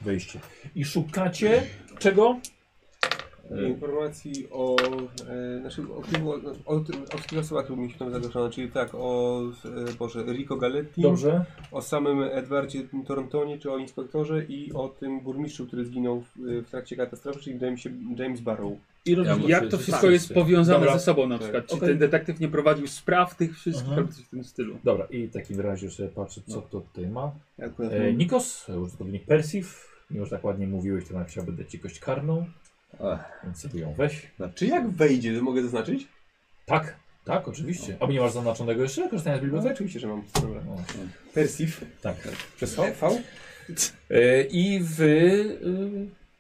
Speaker 2: wejście. I szukacie czego?
Speaker 4: E.
Speaker 3: Informacji o e, naszym o, kilku- o, o, tym- o kilku osobach, które mieliśmy tam zagrożone, czyli tak, o e, Boże, Rico Galetti,
Speaker 2: Dobrze.
Speaker 3: o samym Edwardzie Torontonie, czy o inspektorze i o tym burmistrzu, który zginął w, w trakcie katastrofy, czyli wydaje mi się James Barrow.
Speaker 2: I robisz
Speaker 4: Ja-
Speaker 9: Jak to
Speaker 2: tak.
Speaker 9: wszystko jest powiązane ze sobą na przykład? Czy
Speaker 2: Okej.
Speaker 9: ten detektyw nie prowadził spraw tych wszystkich
Speaker 2: Aha.
Speaker 9: albo coś w tym stylu?
Speaker 2: Dobra, i w takim razie sobie patrzę, co kto tutaj ma.
Speaker 4: Ja akurat
Speaker 2: E,
Speaker 4: mam-
Speaker 2: Nikos, użytkownik Persif. Mimo, że tak ładnie mówiłeś, to napisał, będę ci kość karną,
Speaker 4: Ach,
Speaker 2: więc sobie ją weź.
Speaker 4: no.
Speaker 3: Czy jak wejdzie, to mogę zaznaczyć?
Speaker 2: Tak, tak, oczywiście. A bo nie masz zaznaczonego jeszcze korzystania z
Speaker 3: No,
Speaker 2: biblioteki?
Speaker 3: oczywiście, że mam. Dobra.
Speaker 2: No,
Speaker 3: Persif.
Speaker 2: tak, przez V.
Speaker 3: V?
Speaker 2: E, I wy e,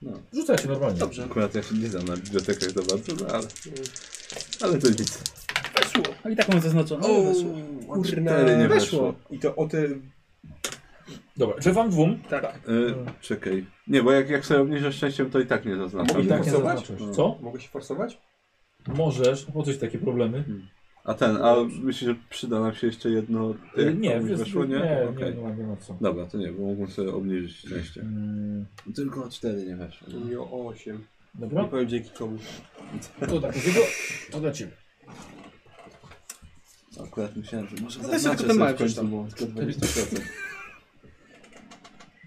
Speaker 4: No.
Speaker 2: rzucacie normalnie.
Speaker 5: Dobrze.
Speaker 4: Akurat ja się nie znam na bibliotekach za bardzo, no ale, ale to nic.
Speaker 9: Weszło. A i tak mam zaznaczone.
Speaker 3: O,
Speaker 9: weszło.
Speaker 3: Kurna,
Speaker 4: Cztery nie
Speaker 3: weszło.
Speaker 4: weszło.
Speaker 3: I to o te...
Speaker 2: Dobra, czy wam dwóm?
Speaker 9: Tak.
Speaker 4: E, czekaj. Nie, bo jak, jak sobie obniżę szczęściem, to i tak nie zaznaczam.
Speaker 3: I tak nie
Speaker 4: zaznaczysz.
Speaker 2: Co?
Speaker 3: Mogę się forsować?
Speaker 2: Możesz, bo coś takie problemy.
Speaker 4: A ten, a myślisz, że przyda nam się jeszcze jedno.
Speaker 2: E,
Speaker 4: jak
Speaker 2: Nie,
Speaker 4: komuś
Speaker 2: wiesz,
Speaker 4: weszło, nie?
Speaker 2: Nie, nie,
Speaker 4: Okej.
Speaker 2: nie, ma- nie ma co.
Speaker 4: Dobra, to nie, bo mogłem sobie obniżyć szczęście.
Speaker 2: Mm,
Speaker 4: Tylko o cztery nie weszło.
Speaker 3: To mi o 8. Nie
Speaker 2: Dobra,
Speaker 3: powiem dzięki komu.
Speaker 2: to tak, jego, to dla ciebie.
Speaker 4: Akurat myślałem, że może
Speaker 5: No to jest
Speaker 4: zaznaczę
Speaker 5: tylko ten
Speaker 4: sobie
Speaker 5: mały
Speaker 4: w końcu,
Speaker 5: przecież
Speaker 4: bo tylko 20%.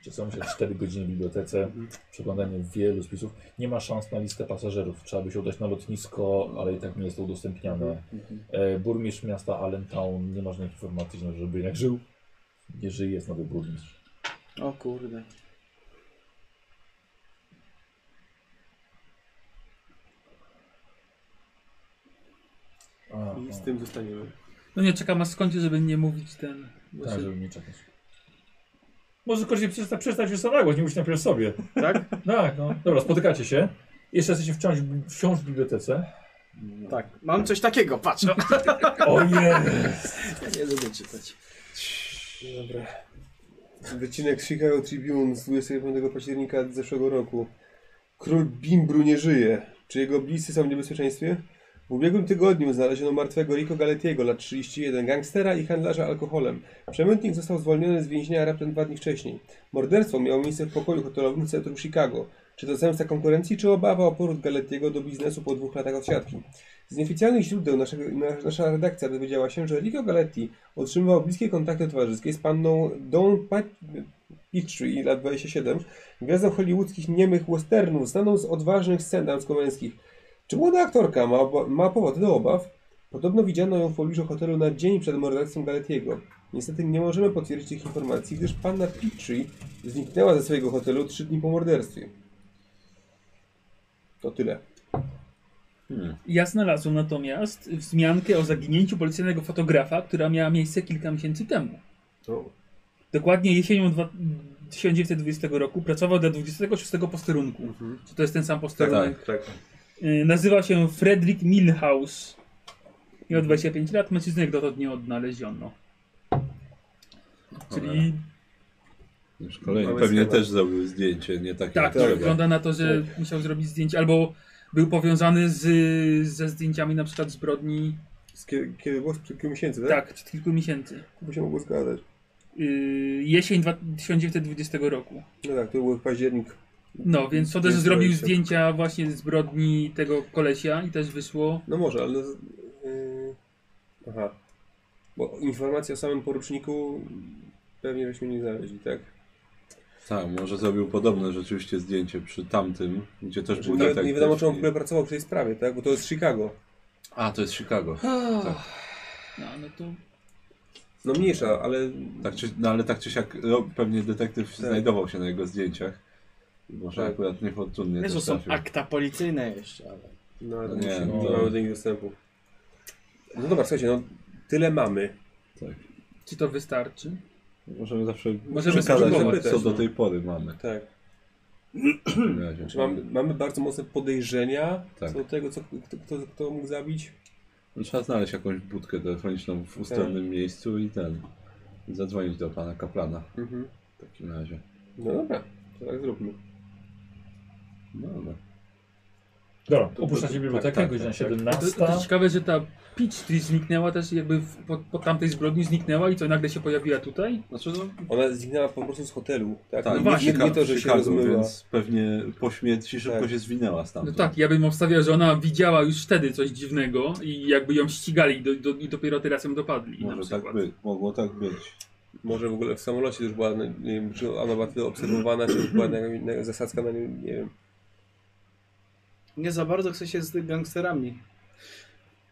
Speaker 2: Gdzie są się 4 godziny w bibliotece, przeglądanie wielu spisów. Nie ma szans na listę pasażerów. Trzeba by się udać na lotnisko, ale i tak nie jest to udostępniane. E, burmistrz miasta Allentown nie ma żadnych informacji, no, żeby jednak żył. Nie żyje, jest nowy burmistrz.
Speaker 5: O kurde.
Speaker 2: A, tak,
Speaker 3: I z tym zostaniemy.
Speaker 9: No nie, czekam aż skończy, żeby nie mówić ten...
Speaker 2: a, tak, żeby nie czekać. Może koniecznie przeczytać, przeczytać już samego, nie mówić najpierw sobie.
Speaker 5: Tak?
Speaker 2: Tak, no. Dobra, spotykacie się. Jeszcze jesteście wciąż, wciąż w bibliotece.
Speaker 5: Tak. Mam coś takiego, patrz. No.
Speaker 2: Ojej!
Speaker 5: Nie lubię czytać.
Speaker 3: Dobra. Wycinek z Chicago Tribune z 25 października zeszłego roku. Król Bimbru nie żyje. Czy jego bliscy są w niebezpieczeństwie? W ubiegłym tygodniu znaleziono martwego Rico Galetiego, lat 31, gangstera i handlarza alkoholem. Przemytnik został zwolniony z więzienia raptem dwa dni wcześniej. Morderstwo miało miejsce w pokoju hotelowym w centrum Chicago. Czy to zemsta konkurencji, czy obawa o powrót Galetiego do biznesu po dwóch latach odsiadki? Z nieoficjalnych źródeł naszego, na- nasza redakcja dowiedziała się, że Rico Galetti otrzymywał bliskie kontakty towarzyskie z panną Dawn Pat- Petrie, lat 27, gwiazdą hollywoodzkich niemych westernów, znaną z odważnych scen damsko-męskich. Czy młoda aktorka ma, oba- ma powody do obaw? Podobno widziano ją w pobliżu hotelu na dzień przed morderstwem Galetiego. Niestety nie możemy potwierdzić tych informacji, gdyż panna Petrie zniknęła ze swojego hotelu trzy dni po morderstwie. To tyle.
Speaker 4: Hmm,
Speaker 9: Ja znalazłem natomiast wzmiankę o zaginięciu policjalnego fotografa, która miała miejsce kilka miesięcy temu. Dokładnie jesienią dwa- 1920 roku pracował do 26 posterunku. Czy to jest ten sam posterunek?
Speaker 4: Tak, tak.
Speaker 9: Y, Nazywa się Frederick Milhouse. Miał 25 lat, mężczyznę jak dotąd nie odnaleziono. Czyli
Speaker 4: Już kolejny.
Speaker 3: Mamy
Speaker 4: Pewnie
Speaker 3: schemat.
Speaker 4: też zrobił zdjęcie, nie takie
Speaker 9: tak,
Speaker 4: jak
Speaker 9: to
Speaker 4: trzeba.
Speaker 9: wygląda na to, że
Speaker 4: Tak.
Speaker 9: musiał zrobić zdjęcie, albo był powiązany z, ze zdjęciami na przykład zbrodni,
Speaker 3: Z kiedy, kiedy było? Sprzed kilku miesięcy, tak?
Speaker 9: tak, czy kilku miesięcy.
Speaker 3: Bo się mogło zgadzać.
Speaker 9: Yy, jesień dwa- 1920 roku.
Speaker 3: No tak, to był październik.
Speaker 9: No, więc Soderze
Speaker 3: Jest
Speaker 9: zrobił
Speaker 3: dwadzieścia.
Speaker 9: zdjęcia właśnie zbrodni tego kolesia i też wyszło.
Speaker 3: No może, ale... z- Yy... Aha. Bo informacje o samym poruczniku pewnie byśmy nie znaleźli, tak?
Speaker 4: Tak, może zrobił podobne rzeczywiście zdjęcie przy tamtym, gdzie też
Speaker 3: Znaczy,
Speaker 4: był
Speaker 3: nie,
Speaker 4: detektyw.
Speaker 3: nie wiadomo, czy on
Speaker 4: i-
Speaker 3: w ogóle pracował przy tej sprawie, tak? Bo to jest Chicago.
Speaker 4: A, to jest Chicago.
Speaker 9: No, no to
Speaker 3: No mniejsza, ale...
Speaker 4: Tak czy, no ale tak czy siak no, pewnie detektyw znajdował się na jego zdjęciach. Może
Speaker 3: Tak.
Speaker 4: akurat niefortunnie
Speaker 5: Wiesz, że
Speaker 4: to
Speaker 5: są
Speaker 4: trafił.
Speaker 5: akta policyjne jeszcze, ale...
Speaker 3: No ale to
Speaker 4: Nie,
Speaker 3: musimy-
Speaker 4: no.
Speaker 3: nie mamy do nich dostępu. No dobra, słuchajcie, no tyle mamy.
Speaker 9: czy to wystarczy?
Speaker 4: Możemy zawsze
Speaker 9: Możemy
Speaker 4: przekazać,
Speaker 9: spróbować,
Speaker 4: co
Speaker 3: no.
Speaker 4: do tej pory mamy.
Speaker 3: Tak.
Speaker 4: w takim razie.
Speaker 3: Hmm. Czy mamy, mamy bardzo mocne podejrzenia
Speaker 4: Tak.
Speaker 3: co do tego, co, kto, kto, kto mógł zabić?
Speaker 4: No, Trzeba znaleźć jakąś budkę telefoniczną w ustronnym
Speaker 3: Tak.
Speaker 4: miejscu i ten. Zadzwonić do pana kaplana
Speaker 3: Mhm.
Speaker 4: w takim razie.
Speaker 3: No dobra. to tak zróbmy.
Speaker 4: No, no.
Speaker 3: Tak,
Speaker 2: Dobra, opuszczacie bibliotekę,
Speaker 4: tak, tak,
Speaker 2: godzina
Speaker 4: tak.
Speaker 2: 17.
Speaker 9: To, to ciekawe, że ta Peachtree zniknęła też jakby w, po, po tamtej zbrodni zniknęła i co, nagle się pojawiła tutaj?
Speaker 4: Znaczy, no,
Speaker 3: Ona zniknęła po prostu z hotelu. Tak,
Speaker 4: tak,
Speaker 3: nie,
Speaker 9: właśnie,
Speaker 3: nie, nie to, że się
Speaker 4: Chicago,
Speaker 3: rozmyła.
Speaker 4: więc pewnie po śmierci szybko
Speaker 3: Tak.
Speaker 4: się zwinęła
Speaker 9: No
Speaker 4: stamtąd.
Speaker 9: tak, ja bym obstawiał, że ona widziała już wtedy coś dziwnego i jakby ją ścigali do, do, i dopiero teraz ją dopadli na
Speaker 4: Może
Speaker 9: przykład.
Speaker 4: tak by, mogło tak być.
Speaker 3: Może w ogóle w samolocie już była, no, nie wiem, czy ona była tyle obserwowana, czy już była na, na, zasadzka na nią, nie wiem.
Speaker 5: Nie za bardzo chce się z tymi gangsterami.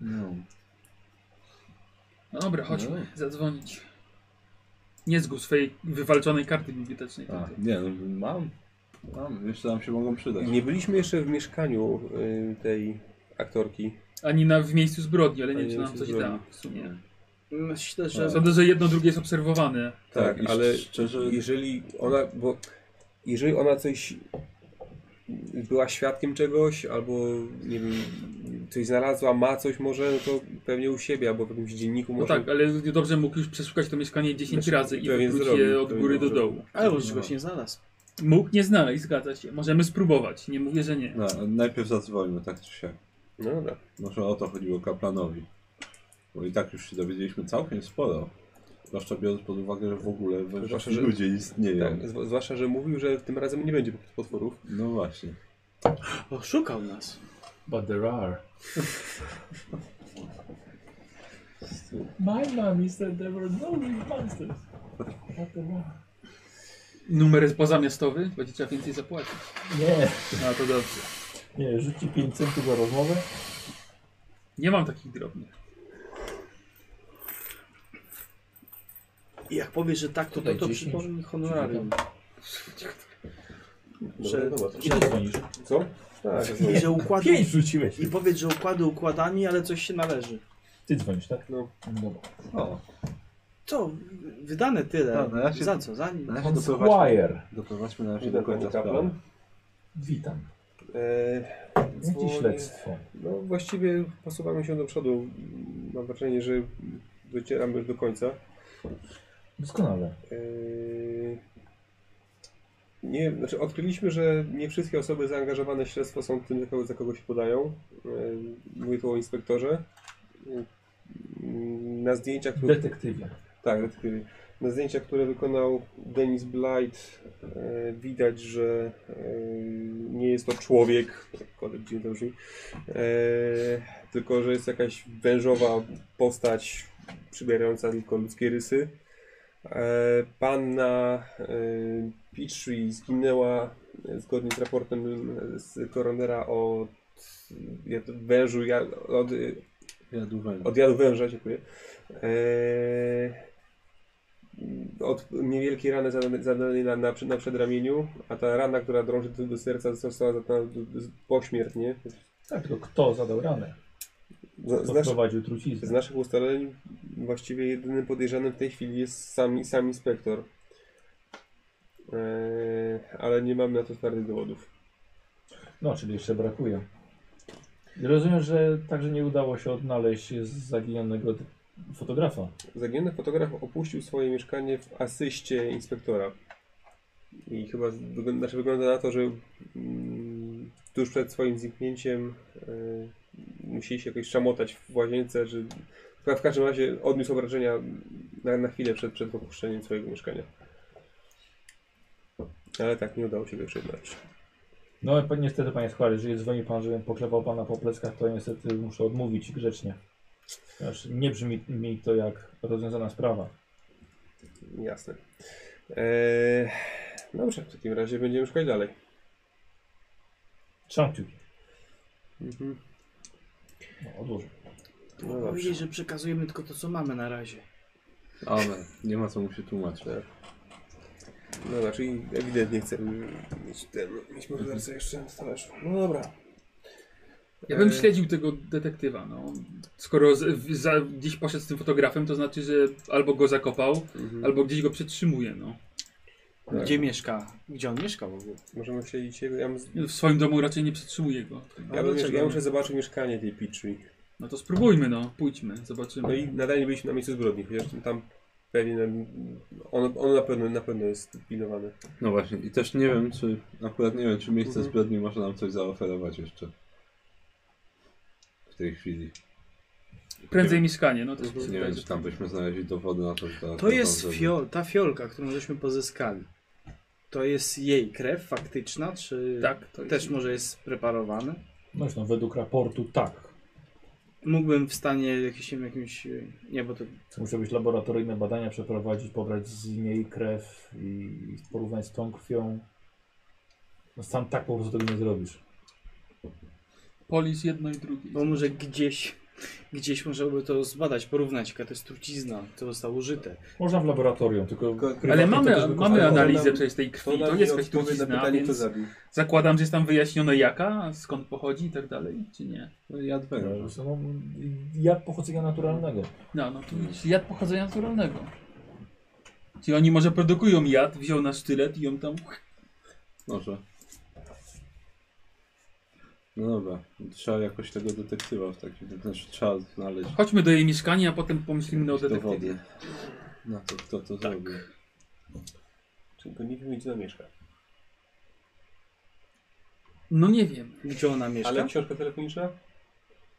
Speaker 4: No.
Speaker 9: No dobra, chodźmy, zadzwonić. Nie zgub swojej wywalczonej karty bibliotecznej.
Speaker 4: A,
Speaker 9: tamtej.
Speaker 4: nie, no, mam. Mam, jeszcze nam się mogą przydać.
Speaker 3: Nie byliśmy jeszcze w mieszkaniu y, tej aktorki.
Speaker 9: Ani na, w miejscu zbrodni, ale nie wiem,
Speaker 3: Ani
Speaker 9: czy
Speaker 3: na
Speaker 9: nam coś
Speaker 3: miejscu
Speaker 9: da
Speaker 3: zbrodni.
Speaker 9: w sumie.
Speaker 5: Mm, Myślę, że
Speaker 4: No.
Speaker 9: Sądzę, że jedno drugie jest obserwowane.
Speaker 4: Tak,
Speaker 3: Tak, ale
Speaker 4: ale szczerze,
Speaker 3: jeżeli ona, bo jeżeli ona coś była świadkiem czegoś, albo nie wiem, coś znalazła, ma coś może, no to pewnie u siebie, albo w jakimś dzienniku
Speaker 9: No
Speaker 3: może.
Speaker 9: tak, ale dobrze mógł już przeszukać to mieszkanie 10
Speaker 3: Znaczy,
Speaker 9: razy i
Speaker 3: pewnie
Speaker 9: wrócić
Speaker 3: zrobił,
Speaker 9: je od
Speaker 3: pewnie
Speaker 9: góry do
Speaker 3: może.
Speaker 9: dołu.
Speaker 5: Ale już czegoś nie znalazł.
Speaker 9: Mógł nie znaleźć, zgadza się. Możemy spróbować, nie mówię, że nie.
Speaker 4: no, najpierw zadzwońmy, tak czy siak.
Speaker 3: No dobra.
Speaker 4: Może o to chodziło kaplanowi. Bo i tak już się dowiedzieliśmy całkiem sporo. Zwłaszcza biorąc pod uwagę, że w ogóle
Speaker 3: Zwłaszcza,
Speaker 4: wężowscy
Speaker 3: że-
Speaker 4: ludzie istnieją.
Speaker 3: Tak, zw- zwłaszcza, że mówił, że tym razem nie będzie potworów.
Speaker 4: No właśnie.
Speaker 5: Oszukał nas.
Speaker 2: But there are. My mom is that there were no real monsters. But there are.
Speaker 9: Numer jest pozamiastowy, będzie trzeba więcej zapłacić.
Speaker 2: Nie,
Speaker 9: A to dobrze.
Speaker 2: nie, rzuci 5 centów za rozmowę.
Speaker 9: Nie mam takich drobnych.
Speaker 5: I jak powiesz, że tak, to to,
Speaker 2: Tutaj
Speaker 5: to
Speaker 2: 10.
Speaker 5: przypomnij honorarium. Że,
Speaker 3: Dobra, dobra.
Speaker 2: Gdzie ty dzwonisz?
Speaker 3: Co? Tak,
Speaker 5: I że układu...
Speaker 2: 5 rzuciłeś.
Speaker 5: I powiedz, że układy układami, ale coś się należy.
Speaker 2: Ty dzwonisz, tak?
Speaker 3: No.
Speaker 2: Dobra.
Speaker 4: O,
Speaker 5: Co? Wydane tyle.
Speaker 4: Tak, no ja się-
Speaker 5: Za co? Za nic.
Speaker 4: na razie doprowadźmy,
Speaker 2: Squire.
Speaker 4: doprowadźmy na razie do
Speaker 3: Jeden pani
Speaker 4: końca
Speaker 3: kaplan.
Speaker 4: sprawy.
Speaker 2: Witam.
Speaker 3: E,
Speaker 2: Jakie
Speaker 3: dzwonię.
Speaker 2: śledztwo?
Speaker 3: No właściwie posuwamy się do przodu. Mam wrażenie, że docieramy już do końca.
Speaker 2: Doskonale.
Speaker 3: Eee, Nie, znaczy odkryliśmy, że nie wszystkie osoby zaangażowane w śledztwo są tym, za kogo, za kogo się podają. Eee, Mówię tu o inspektorze. Eee, Na zdjęciach, które,
Speaker 2: Detektywie.
Speaker 3: tak, detektywie. na zdjęciach, które wykonał Denis Blight, eee, widać, że eee, nie jest to człowiek, jakkolwiek dziwnie to brzmi, eee, tylko że jest jakaś wężowa postać przybierająca tylko ludzkie rysy. E, Panna e, Petrie zginęła e, zgodnie z raportem e, z koronera od jad- wężu, ja- od,
Speaker 4: Ja duwałem.
Speaker 3: od jadu węża, dziękuję. E, Od niewielkiej rany zadane- zadanej na, na, przy- na przedramieniu, a ta rana, która drąży do, do serca, została zadana do- do- pośmiertnie.
Speaker 2: Tak, tylko kto zadał ranę?
Speaker 3: Z,
Speaker 2: Kto
Speaker 3: z, nasz,
Speaker 2: wprowadził
Speaker 3: z
Speaker 2: truciznę?
Speaker 3: naszych ustaleń właściwie jedynym podejrzanym w tej chwili jest sam, sam inspektor. Eee, ale nie mamy na to twardych dowodów.
Speaker 2: No, czyli jeszcze brakuje. Rozumiem, że także nie udało się odnaleźć zaginionego d- fotografa.
Speaker 3: Zaginiony fotograf opuścił swoje mieszkanie w asyście inspektora. I chyba wygląda, znaczy wygląda na to, że mm, tuż przed swoim zniknięciem e, musieli się jakoś szamotać w łazience, że w- w każdym razie odniósł obrażenia na, na chwilę przed, przed opuszczeniem swojego mieszkania. Ale tak, nie udało się go przyznać.
Speaker 2: No, ale pan- niestety, panie Squire, jeżeli dzwoni pan, żebym poklepał pana po pleckach, to niestety muszę odmówić grzecznie. Ponieważ nie brzmi mi to jak rozwiązana sprawa.
Speaker 3: Jasne. Eee, dobrze, w takim razie będziemy szukać dalej.
Speaker 2: Trzymam kciuki.
Speaker 3: Mhm.
Speaker 2: No, odłożę.
Speaker 3: No dobrze.
Speaker 5: Powiedzieć, że przekazujemy tylko to, co mamy na razie.
Speaker 4: Ale nie ma co mu się tłumaczyć.
Speaker 3: No
Speaker 11: znaczy,
Speaker 3: dobra, czyli ewidentnie chcemy mieć ten, mieć mordercę jeszcze na talerzu. No dobra.
Speaker 9: Ja bym
Speaker 3: E,
Speaker 9: śledził tego detektywa, no. Skoro z, w- za, gdzieś poszedł z tym fotografem, to znaczy, że albo go zakopał,
Speaker 3: Mhm.
Speaker 9: albo gdzieś go przetrzymuje, no.
Speaker 3: Tak.
Speaker 5: Gdzie mieszka? Gdzie on mieszka w ogóle?
Speaker 3: Możemy śledzić jego. Ja, bym-
Speaker 9: W swoim domu raczej nie przetrzymuje go.
Speaker 3: ja, bym,
Speaker 5: dlaczego
Speaker 3: ja
Speaker 5: nie?
Speaker 3: muszę zobaczyć mieszkanie tej Pitchy.
Speaker 9: No to spróbujmy, no. Pójdźmy, zobaczymy.
Speaker 3: No i nadal nie byliśmy na miejscu zbrodni, chociaż tam
Speaker 11: Pewien, mm, on, on na pewno, na pewno jest pilnowany.
Speaker 4: No właśnie, i też nie wiem, czy akurat nie wiem, czy miejsce
Speaker 11: Mhm.
Speaker 4: zbrodni może nam coś zaoferować jeszcze. W tej chwili.
Speaker 9: Prędzej mieszkanie, no to jest
Speaker 4: Nie wiem, czy tam byśmy znaleźli dowody na No to, że teraz
Speaker 5: To jest
Speaker 4: naprawdę-
Speaker 5: fiol, ta fiolka, którą żeśmy pozyskali. To jest jej krew faktyczna, czy
Speaker 9: Tak, to jest-
Speaker 5: też może jest preparowane?
Speaker 2: No już no, według raportu tak.
Speaker 5: Mógłbym w stanie jakimś, jakimś y, nie, bo to
Speaker 2: To muszą być laboratoryjne badania przeprowadzić, pobrać z niej krew i porównać z tą krwią. No sam tak po prostu tego nie zrobisz.
Speaker 9: Polis jedno i drugie.
Speaker 2: No,
Speaker 5: Bo może gdzieś, gdzieś można by to zbadać, porównać, jaka to jest trucizna, co zostało użyte.
Speaker 2: Można w laboratorium, tylko...
Speaker 11: Tylko-
Speaker 2: prywatnie
Speaker 9: Ale
Speaker 2: to
Speaker 9: mamy,
Speaker 2: też by
Speaker 9: mamy
Speaker 2: kosztowało.
Speaker 9: analizę przecież tej krwi, to jest jakaś
Speaker 11: odpowiedź na
Speaker 9: trucizna,
Speaker 11: pytanie, kto
Speaker 9: więc
Speaker 11: zabił.
Speaker 9: zakładam, że jest tam wyjaśnione jaka, skąd pochodzi i tak dalej, czy nie?
Speaker 4: No i adwent.
Speaker 2: No, no, Jad pochodzenia naturalnego.
Speaker 9: No, no to
Speaker 2: Mm.
Speaker 9: jest jad pochodzenia naturalnego. Czyli oni może produkują jad, wziął na sztylet i ją tam...
Speaker 4: Może. No dobra, trzeba jakoś tego detektywa w takim, znaczy trzeba znaleźć
Speaker 9: Chodźmy do jej mieszkania, a potem pomyślimy no o
Speaker 4: jakieś
Speaker 9: detektywie.
Speaker 4: dowody na to, kto to zrobił.
Speaker 11: Czyli to nie wiem, gdzie ona mieszka.
Speaker 9: No nie wiem.
Speaker 5: Gdzie ona mieszka?
Speaker 11: Ale książka telefoniczna?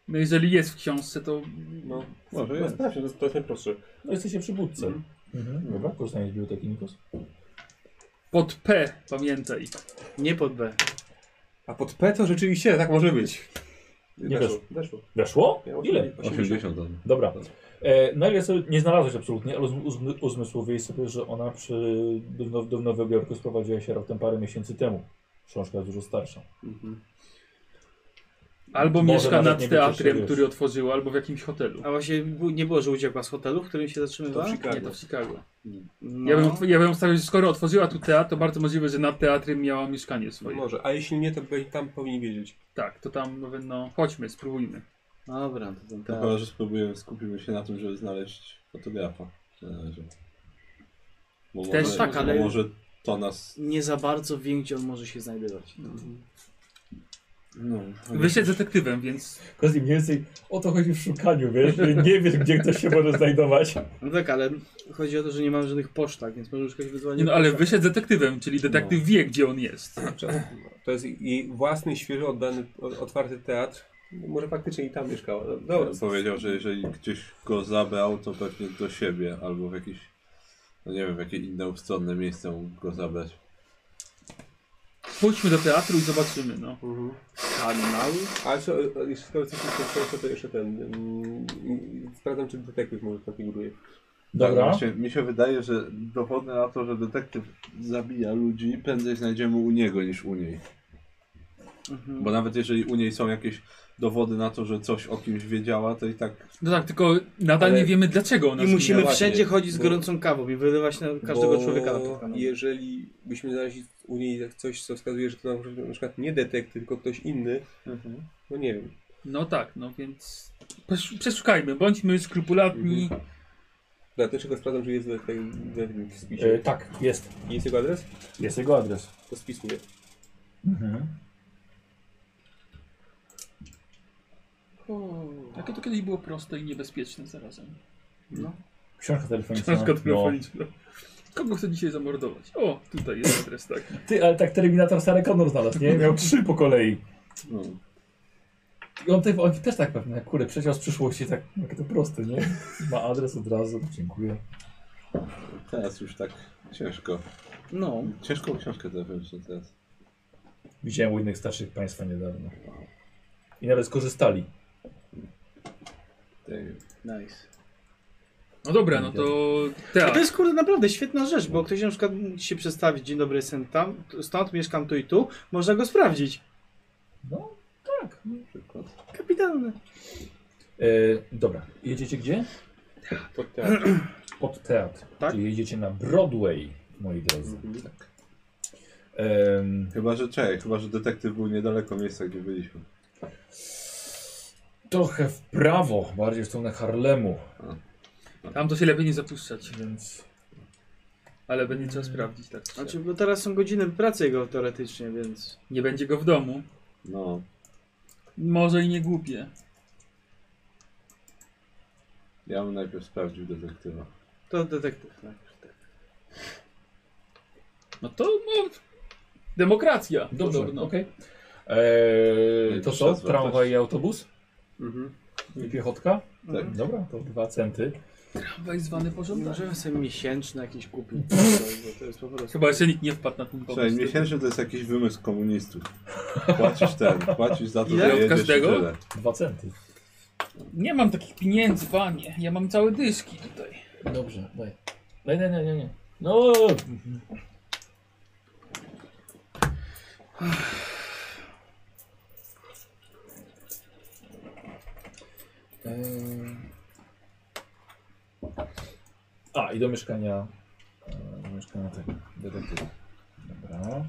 Speaker 9: No jeżeli jest w książce, to
Speaker 11: No,
Speaker 4: Może
Speaker 11: no
Speaker 4: jest.
Speaker 11: sprawdźmy, to jest, to jest najprostsze.
Speaker 2: No jesteście przy budce. Mhm. Dobra, korzystanie z biblioteki Nikos.
Speaker 9: pod P, pamiętaj.
Speaker 5: Nie pod B.
Speaker 11: A pod P to rzeczywiście tak może być.
Speaker 2: Nie
Speaker 11: weszło. weszło.
Speaker 2: Weszło?
Speaker 11: Miało
Speaker 2: Ile?
Speaker 4: 80 on.
Speaker 2: Dobra. E, na ile sobie nie znalazłeś absolutnie, ale uzm- uzm- uzmysłowiłeś sobie, że ona przy, do, Now- do Nowego Jorku sprowadziła się raptem parę miesięcy temu. Książka jest dużo starsza.
Speaker 9: Albo
Speaker 2: Może
Speaker 9: mieszka
Speaker 2: nawet
Speaker 9: nad
Speaker 2: nie wiecie,
Speaker 9: teatrem,
Speaker 2: czy
Speaker 9: który otworzył, albo w jakimś hotelu.
Speaker 5: A właśnie bu- nie było, że uciekła z hotelu, w którym się
Speaker 11: To w
Speaker 5: zatrzymywała?
Speaker 9: Nie,
Speaker 11: Chicago.
Speaker 9: to w Chicago.
Speaker 5: No.
Speaker 9: Ja bym, ja bym stawiał, że skoro otworzyła tu teatr, to bardzo możliwe, że nad teatrem miała mieszkanie
Speaker 11: No
Speaker 9: swoje.
Speaker 11: może, a jeśli nie, to by- tam powinni wiedzieć.
Speaker 9: Tak, to tam, no, no chodźmy, spróbujmy.
Speaker 5: No, Dobra, to ten
Speaker 4: Chyba,
Speaker 5: teatr.
Speaker 4: że spróbujemy, skupimy się na tym, żeby znaleźć fotografa. Na razie. Bo
Speaker 9: Też
Speaker 4: może,
Speaker 5: tak,
Speaker 4: bo
Speaker 5: ale-
Speaker 4: może to nas...
Speaker 5: Nie za bardzo wiem, gdzie on może się znajdować.
Speaker 4: No,
Speaker 9: Wy jesteś detektywem, więc
Speaker 2: Kozi, mniej więcej o to chodzi w szukaniu, wiesz? że Nie wiesz, gdzie ktoś się może znajdować.
Speaker 5: No tak, ale chodzi o to, że nie mam żadnych posztak, więc możemy szukać wyzwania.
Speaker 9: nie, no, ale wyszedł detektywem, czyli detektyw wie, gdzie on jest.
Speaker 11: To jest jej własny, świeżo oddany, o- otwarty teatr. Może faktycznie i tam mieszkała. No, Dobra,
Speaker 4: Powiedział, że jeżeli gdzieś go zabrał, to pewnie do siebie albo w jakieś, no nie wiem, w jakie inne ustronne miejsce mógł go zabrać.
Speaker 9: Pójdźmy do teatru i zobaczymy, no.
Speaker 11: Mhm.
Speaker 5: Kanał?
Speaker 11: A jeszcze, e, jeśli skoro coś jeszcze to jeszcze ten. mm, mm, Sprawdzam, czy detektyw może tam figuruje.
Speaker 4: Tak,
Speaker 2: Dobra.
Speaker 4: właśnie, mi się wydaje, że dowody na to, że detektyw zabija ludzi, prędzej znajdziemy u niego niż u niej.
Speaker 5: Mhm.
Speaker 4: Bo nawet jeżeli u niej są jakieś dowody na to, że coś o kimś wiedziała, to i tak
Speaker 9: No tak, tylko nadal
Speaker 11: Ale-
Speaker 9: nie wiemy, dlaczego ona
Speaker 5: I musimy
Speaker 11: właśnie,
Speaker 5: wszędzie chodzić z
Speaker 11: bo-
Speaker 5: gorącą kawą i wylewać na każdego
Speaker 11: Bo
Speaker 5: człowieka na tym
Speaker 3: no.
Speaker 5: kanale.
Speaker 11: Jeżeli byśmy znaleźli u niej coś, co wskazuje, że to na przykład- na przykład nie detektyw, tylko ktoś inny, no nie wiem.
Speaker 9: No tak, no więc pesz- przeszukajmy, bądźmy skrupulatni.
Speaker 11: Dobra, też tylko sprawdzam, czy jest detektyw w
Speaker 2: E,
Speaker 11: spisie.
Speaker 2: tak, jest.
Speaker 11: Jest jego adres?
Speaker 2: Jest jego adres.
Speaker 11: To spisuję.
Speaker 2: Mhm.
Speaker 9: Jakie to kiedyś było proste i niebezpieczne zarazem.
Speaker 2: Książka telefoniczna.
Speaker 9: Książka
Speaker 2: No.
Speaker 9: telefoniczna. Kogo chce dzisiaj zamordować? O, tutaj jest adres, tak.
Speaker 2: Ty, ale tak Terminator Sarah Connor znalazł, nie? Miał trzy po kolei.
Speaker 4: no,
Speaker 2: I on, te, on też tak pewnie, jak kurde, przeciął z przyszłości, tak, jakie to proste, nie? Ma adres od razu, dziękuję.
Speaker 4: teraz już tak ciężko.
Speaker 5: No,
Speaker 4: Ciężką książkę telefoniczną teraz.
Speaker 2: Widziałem u innych starszych państwa niedawno. I nawet skorzystali.
Speaker 4: Tej-
Speaker 5: nice.
Speaker 9: No dobra, no to
Speaker 5: A to
Speaker 9: teatr.
Speaker 5: jest kurde naprawdę świetna rzecz, bo ktoś na przykład musi się przestawić, dzień dobry, jestem tam, stąd mieszkam tu i tu, można go sprawdzić.
Speaker 2: No, tak.
Speaker 4: Przykład.
Speaker 5: Kapitalne.
Speaker 2: E, dobra, jedziecie gdzie?
Speaker 11: Pod teatr.
Speaker 2: Pod teatr.
Speaker 5: Tak.
Speaker 2: Czyli jedziecie na Broadway, moi drodzy. Tak. Em,
Speaker 4: Chyba, że czekaj, chyba, że detektyw był niedaleko miejsca, gdzie byliśmy.
Speaker 2: trochę w prawo, bardziej w stronę Harlemu,
Speaker 9: Tam to się lepiej nie
Speaker 2: Tak.
Speaker 9: zapuszczać,
Speaker 2: więc...
Speaker 9: ale będzie trzeba sprawdzić, tak. czy
Speaker 5: Znaczy, bo teraz są godziny pracy jego teoretycznie, więc...
Speaker 9: siak. Nie będzie go w domu.
Speaker 4: No,
Speaker 9: Może i nie głupie.
Speaker 4: ja bym najpierw sprawdził detektywa.
Speaker 5: To detektyw. Tak.
Speaker 12: No to no, demokracja.
Speaker 2: Dobrze,
Speaker 12: Podobno.
Speaker 2: okej. Eee, to
Speaker 4: Nie,
Speaker 2: co?
Speaker 4: trzeba
Speaker 2: Tramwaj i autobus?
Speaker 3: Mhm.
Speaker 2: I piechotka?
Speaker 4: Tak.
Speaker 2: Dobra, to dwa centy.
Speaker 12: Weź zwany
Speaker 9: No
Speaker 12: pożądany.
Speaker 9: tak.
Speaker 5: Możemy sobie miesięczne jakieś kupić. bo to jest po prostu...
Speaker 9: Chyba jeszcze nikt nie wpadł na ten
Speaker 4: Słuchaj,
Speaker 9: pomysł.
Speaker 4: miesięczny to jest jakiś wymysł komunistów. Płacisz ten, płacisz za to,
Speaker 9: Ile?
Speaker 4: że
Speaker 9: Od
Speaker 4: jedziesz
Speaker 9: każdego?
Speaker 4: i tyle.
Speaker 2: Dwa centy.
Speaker 9: Nie mam takich pieniędzy, panie. Ja mam całe dyski tutaj.
Speaker 2: Dobrze, daj. Daj, daj, daj, nie, nie. No, Eee. A, i do mieszkania. e, Do mieszkania tego detektywa. Dobra.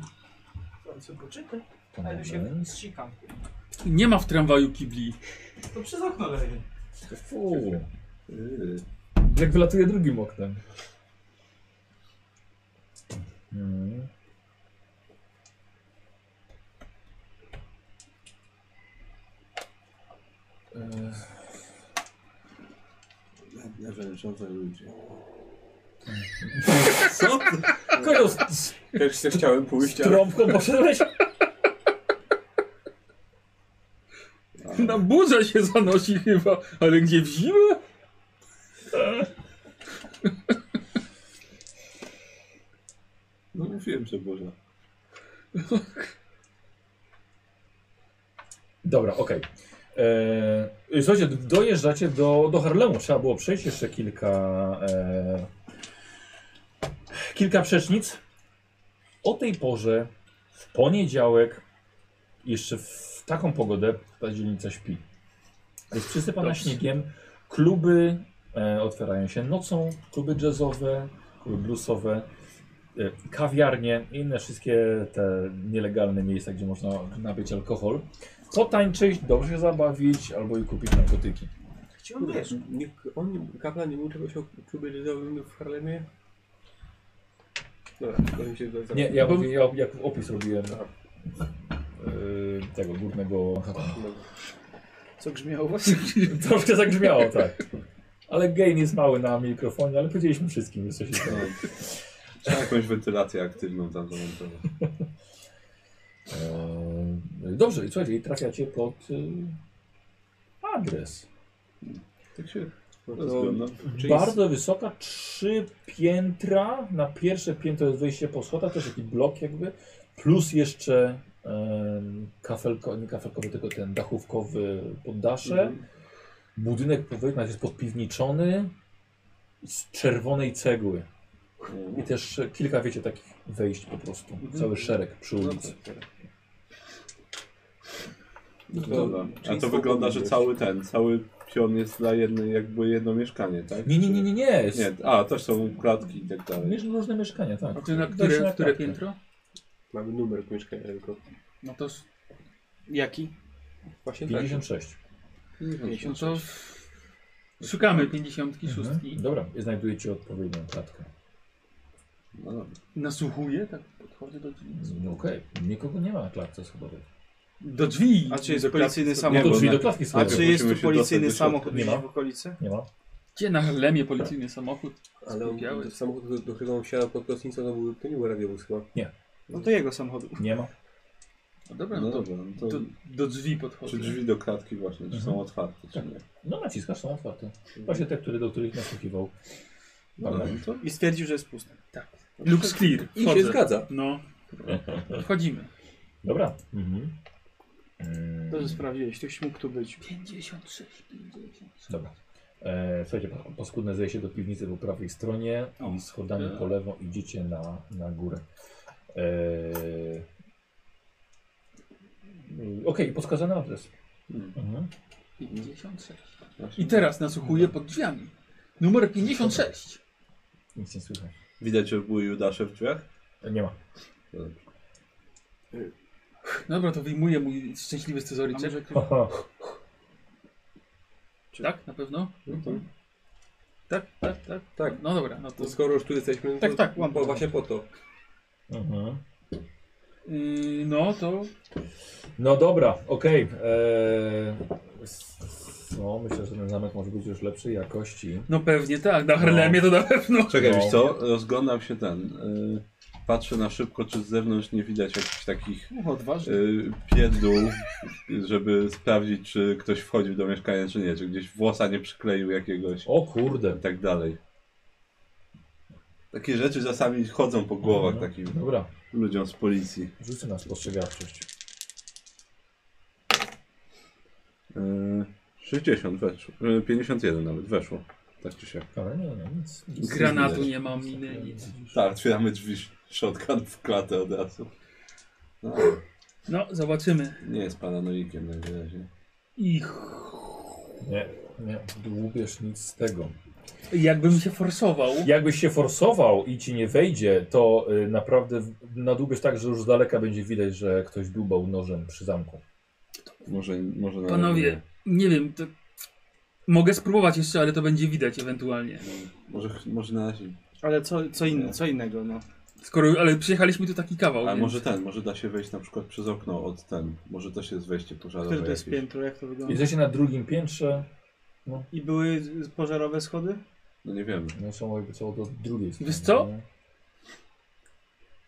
Speaker 14: Co poczytaj?
Speaker 2: To
Speaker 14: Ale
Speaker 2: nie
Speaker 14: tu się
Speaker 2: jest.
Speaker 14: wstrzykam.
Speaker 9: Nie ma w tramwaju kibli.
Speaker 14: To przez okno leje.
Speaker 2: Fuu. Yy. Jak wylatuje drugim oknem. Mm. Yy.
Speaker 4: Nawężowe ludzie.
Speaker 2: Koją E, z, z
Speaker 3: Też się chciałem pójść, ale...
Speaker 2: trąbką poszedłeś?
Speaker 5: Tak.
Speaker 9: Na burza się zanosi chyba, ale gdzie w zimę?
Speaker 4: No mówiłem, że Boże.
Speaker 2: Dobra, okej. Eee, Słuchajcie, dojeżdżacie do, do Harlemu. Trzeba było przejść jeszcze kilka. E, kilka przecznic. O tej porze, w poniedziałek, jeszcze w taką pogodę, ta dzielnica śpi. Jest przysypana śniegiem. Kluby e, otwierają się nocą. Kluby jazzowe, kluby bluesowe, e, kawiarnie i inne wszystkie te nielegalne miejsca, gdzie można nabyć alkohol potańczyć, dobrze się zabawić albo i kupić narkotyki.
Speaker 9: No
Speaker 14: Chciałem wiesz.
Speaker 3: Nikt, on, kaplan nie mówił czegoś o klubie jazzowym w Harlemie? Dobra, to mi się do-
Speaker 2: Nie, ja, mówię, ja jak opis robiłem yy, tego górnego...
Speaker 5: Co grzmiało właśnie?
Speaker 2: Troszkę zagrzmiało, tak. Ale gain jest mały na mikrofonie, ale powiedzieliśmy wszystkim, że coś tak. się stało.
Speaker 4: No. Trzeba jakąś wentylację aktywną tam zamontować.
Speaker 2: Eee, Dobrze, i słuchajcie, i trafiacie pod yy, adres.
Speaker 4: Tak się no,
Speaker 3: No,
Speaker 4: no,
Speaker 2: Bardzo wysoka, trzy piętra. Na pierwsze piętro jest wejście po schodach, też taki blok jakby. Plus jeszcze em, kafelko, nie kafelkowy, tylko ten dachówkowy poddasze.
Speaker 9: Mhm.
Speaker 2: Budynek po wewnątrz jest podpiwniczony z czerwonej cegły. I też kilka, wiecie, takich wejść po prostu.
Speaker 9: Mhm.
Speaker 2: Cały szereg
Speaker 9: No
Speaker 2: przy ulicy.
Speaker 9: tak,
Speaker 4: Dobra. A to wygląda, że cały ten, cały pion jest dla jednej, jakby jedno mieszkanie, tak?
Speaker 2: Nie, nie, nie, nie, nie. Jest
Speaker 4: Nie, a też są klatki i tak dalej.
Speaker 2: Miesz- różne mieszkania, tak.
Speaker 9: A ty na
Speaker 2: Dajcie na
Speaker 9: które, które
Speaker 2: kartę.
Speaker 9: piętro?
Speaker 3: Mamy numer mieszkania tylko.
Speaker 9: No to
Speaker 5: Jaki?
Speaker 3: Właśnie tak.
Speaker 2: 56.
Speaker 9: 50. No to... Szukamy 56.
Speaker 2: Mhm. Dobra, znajdujecie odpowiednią klatkę.
Speaker 4: No dobra.
Speaker 9: Nasłuchuję, tak podchodzę do drzwi.
Speaker 2: No Okej, nikogo nie ma na klatce schodowej.
Speaker 9: Do drzwi!
Speaker 5: A czy jest policyjny
Speaker 2: No
Speaker 4: Nie,
Speaker 2: to
Speaker 4: bo
Speaker 5: samochód?
Speaker 2: drzwi
Speaker 4: na-
Speaker 2: do klatki
Speaker 5: A
Speaker 4: tak,
Speaker 2: schodowej.
Speaker 5: czy
Speaker 4: musimy
Speaker 5: jest tu
Speaker 4: się
Speaker 5: policyjny
Speaker 4: dostać do
Speaker 5: samochód
Speaker 2: środka.
Speaker 5: gdzieś
Speaker 2: Nie ma.
Speaker 5: w okolicy?
Speaker 2: Nie ma.
Speaker 9: Gdzie na Harlemie policyjny samochód?
Speaker 3: Ale on,
Speaker 9: Skupiałeś.
Speaker 3: to samochód, do, do którego on wsiadał pod kostnicą, to, był, to nie był radiowóz chyba.
Speaker 5: No to jego samochodu.
Speaker 2: Nie ma.
Speaker 9: No dobra,
Speaker 4: No
Speaker 9: no to,
Speaker 4: dobra, no to
Speaker 9: do, do drzwi podchodzę.
Speaker 4: czy drzwi do klatki właśnie, czy
Speaker 2: Mhm.
Speaker 4: są otwarte, czy nie?
Speaker 2: No naciskasz, są otwarte. Właśnie te, które, do których nasłuchiwał.
Speaker 4: No, no to
Speaker 5: I stwierdził, że jest pusty.
Speaker 9: Looks clear.
Speaker 3: I
Speaker 9: Wchodzę.
Speaker 3: się zgadza.
Speaker 9: No. Wchodzimy.
Speaker 2: Dobra. Mhm. Mm,
Speaker 5: Dobrze sprawdziłeś, ktoś mógł tu być.
Speaker 9: 56, 56.
Speaker 2: Dobra. E, słuchajcie, pa- paskudne zejście do piwnicy po prawej stronie i schodami po lewą idziecie na, na górę. E, mm, Okej, podskazany adres.
Speaker 4: Hmm.
Speaker 2: Mhm.
Speaker 9: 56.
Speaker 4: właśnie.
Speaker 9: I teraz nasłuchuję pod drzwiami. Numer 56.
Speaker 2: Nic nie słychać.
Speaker 4: Widać, że były Judasze w drzwiach?
Speaker 2: E, Nie ma.
Speaker 9: Dobra, to wyjmuję mój szczęśliwy
Speaker 5: A
Speaker 9: scyzoryczek.
Speaker 5: może
Speaker 2: Aha.
Speaker 9: Tak, na pewno?
Speaker 4: No
Speaker 9: Tak, tak, tak.
Speaker 3: Tak.
Speaker 9: No dobra, no to...
Speaker 3: To skoro już tu jesteśmy,
Speaker 9: Tak,
Speaker 3: to,
Speaker 9: tak, mam
Speaker 3: bo
Speaker 9: to.
Speaker 3: właśnie po to.
Speaker 2: Mhm.
Speaker 9: Yy, no to...
Speaker 2: No dobra, okej. Eee, e, s- No, myślę, że ten zamek może być już lepszej jakości.
Speaker 9: No pewnie tak, na Harlemie to na pewno.
Speaker 4: Czekaj,
Speaker 2: No.
Speaker 4: wiesz co? Rozglądam się ten. y, patrzę na szybko, czy z zewnątrz nie widać jakichś takich
Speaker 5: Odważnie.
Speaker 4: yy, pierdół, żeby sprawdzić, czy ktoś wchodził do mieszkania, czy nie. Czy gdzieś włosa nie przykleił jakiegoś
Speaker 2: O kurde.
Speaker 4: i tak dalej. Takie rzeczy czasami chodzą po głowach
Speaker 2: Mhm.
Speaker 4: takim
Speaker 2: Dobra,
Speaker 4: ludziom z policji.
Speaker 2: rzucę na spostrzegawczość.
Speaker 4: Yy, 60 weszło. Yy, 51 nawet weszło. Tak czy siak.
Speaker 2: Ale nie, nie, nic. nic.
Speaker 9: Granatu nie ma, miny, nic.
Speaker 4: Tak, otwieramy drzwi shotgun w klatę od razu. No,
Speaker 9: No, zobaczymy.
Speaker 4: nie jest paranoikiem najwyraźniej.
Speaker 9: I
Speaker 2: Nie, nie, dłubiesz nic z tego.
Speaker 9: jakbym się forsował.
Speaker 2: Jakbyś się forsował i ci nie wejdzie, to y, naprawdę w- nadłubiesz tak, że już z daleka będzie widać, że ktoś dłubał nożem przy zamku.
Speaker 4: Może, może nawet
Speaker 9: Panowie, nie wiem, to... Mogę spróbować jeszcze, ale to będzie widać ewentualnie.
Speaker 4: nie. Może, może na razie.
Speaker 5: Ale co, co, in, co innego, no.
Speaker 9: Skoro, ale przyjechaliśmy tu taki kawał,
Speaker 4: Ale
Speaker 9: więc...
Speaker 4: może ten, może da się wejść na przykład przez okno od ten. Może też jest wejście pożarowe.
Speaker 5: Które to jest
Speaker 4: jakieś.
Speaker 5: piętro, jak to wygląda?
Speaker 2: Jesteście na drugim piętrze,
Speaker 5: I były y, pożarowe schody?
Speaker 4: No nie wiemy.
Speaker 2: no są jakby co do drugiej strony.
Speaker 9: Wiesz co?
Speaker 2: nie?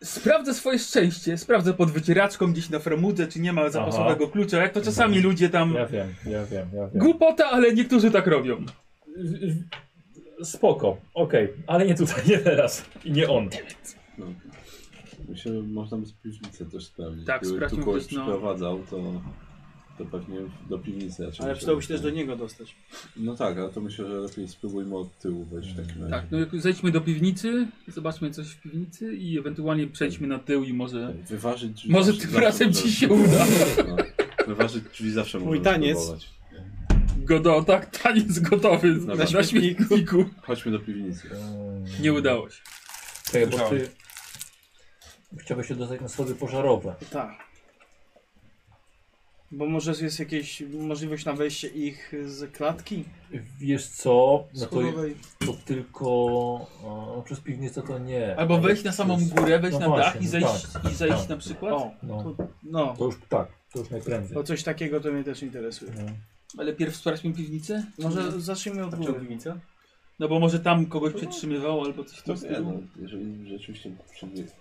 Speaker 9: Sprawdzę swoje szczęście, sprawdzę pod wycieraczką gdzieś na framudze, czy nie ma zapasowego klucza, jak to czasami ludzie tam...
Speaker 2: Ja wiem, ja wiem, ja wiem.
Speaker 9: Głupota, ale niektórzy tak robią.
Speaker 2: Spoko, okej, ale nie tutaj, nie teraz. I nie on.
Speaker 4: No. Myślę, że można by z piwnicy też sprawdzić.
Speaker 9: Tak,
Speaker 4: Gdyby tu
Speaker 9: sprawdźmy
Speaker 4: kogoś
Speaker 9: też, no.
Speaker 4: przyprowadzał, to, to pewnie do piwnicy raczej.
Speaker 5: Ale
Speaker 4: myślę,
Speaker 5: przydałoby się
Speaker 4: że-
Speaker 5: też do niego dostać.
Speaker 4: No tak, ale to myślę, że lepiej spróbujmy od tyłu wejść w takim razie.
Speaker 9: Tak, no jak zejdźmy do piwnicy, zobaczmy coś w piwnicy i ewentualnie przejdźmy na tył no i może...
Speaker 4: Wyważyć drzwi
Speaker 9: Może
Speaker 4: zawsze-
Speaker 9: tym
Speaker 4: zawsze-
Speaker 9: razem ci się uda.
Speaker 4: No. Wyważyć drzwi zawsze
Speaker 5: Mój
Speaker 4: można
Speaker 5: taniec.
Speaker 4: spróbować.
Speaker 9: Godo, tak, taniec gotowy
Speaker 4: Dobra.
Speaker 9: na śmietniku.
Speaker 4: Chodźmy do piwnicy.
Speaker 2: E,
Speaker 9: Nie udało się.
Speaker 2: Czekaj, bo ty chciałbyś się dostać na schody pożarowe.
Speaker 5: Tak. Bo może jest jakieś możliwość na wejście ich z klatki
Speaker 2: Wiesz co, no to,
Speaker 5: schodowej?
Speaker 2: to tylko e, przez piwnicę to nie.
Speaker 9: Albo
Speaker 2: Ale
Speaker 9: wejść na samą
Speaker 2: przez-
Speaker 9: górę, wejść
Speaker 2: No
Speaker 9: na
Speaker 2: właśnie,
Speaker 9: dach i
Speaker 2: no
Speaker 9: zejść,
Speaker 2: tak,
Speaker 9: i zejść
Speaker 2: tak.
Speaker 9: na przykład.
Speaker 5: O,
Speaker 2: No,
Speaker 5: to, no.
Speaker 2: to już tak, to już najprędzej.
Speaker 5: O coś takiego to mnie też interesuje.
Speaker 2: No.
Speaker 9: Ale pierw sprawdźmy piwnicę.
Speaker 5: Może zacznijmy od góry.
Speaker 12: piwnica?
Speaker 9: No bo może tam kogoś przetrzymywał albo coś
Speaker 4: To
Speaker 9: tam.
Speaker 4: nie, no, jeżeli rzeczywiście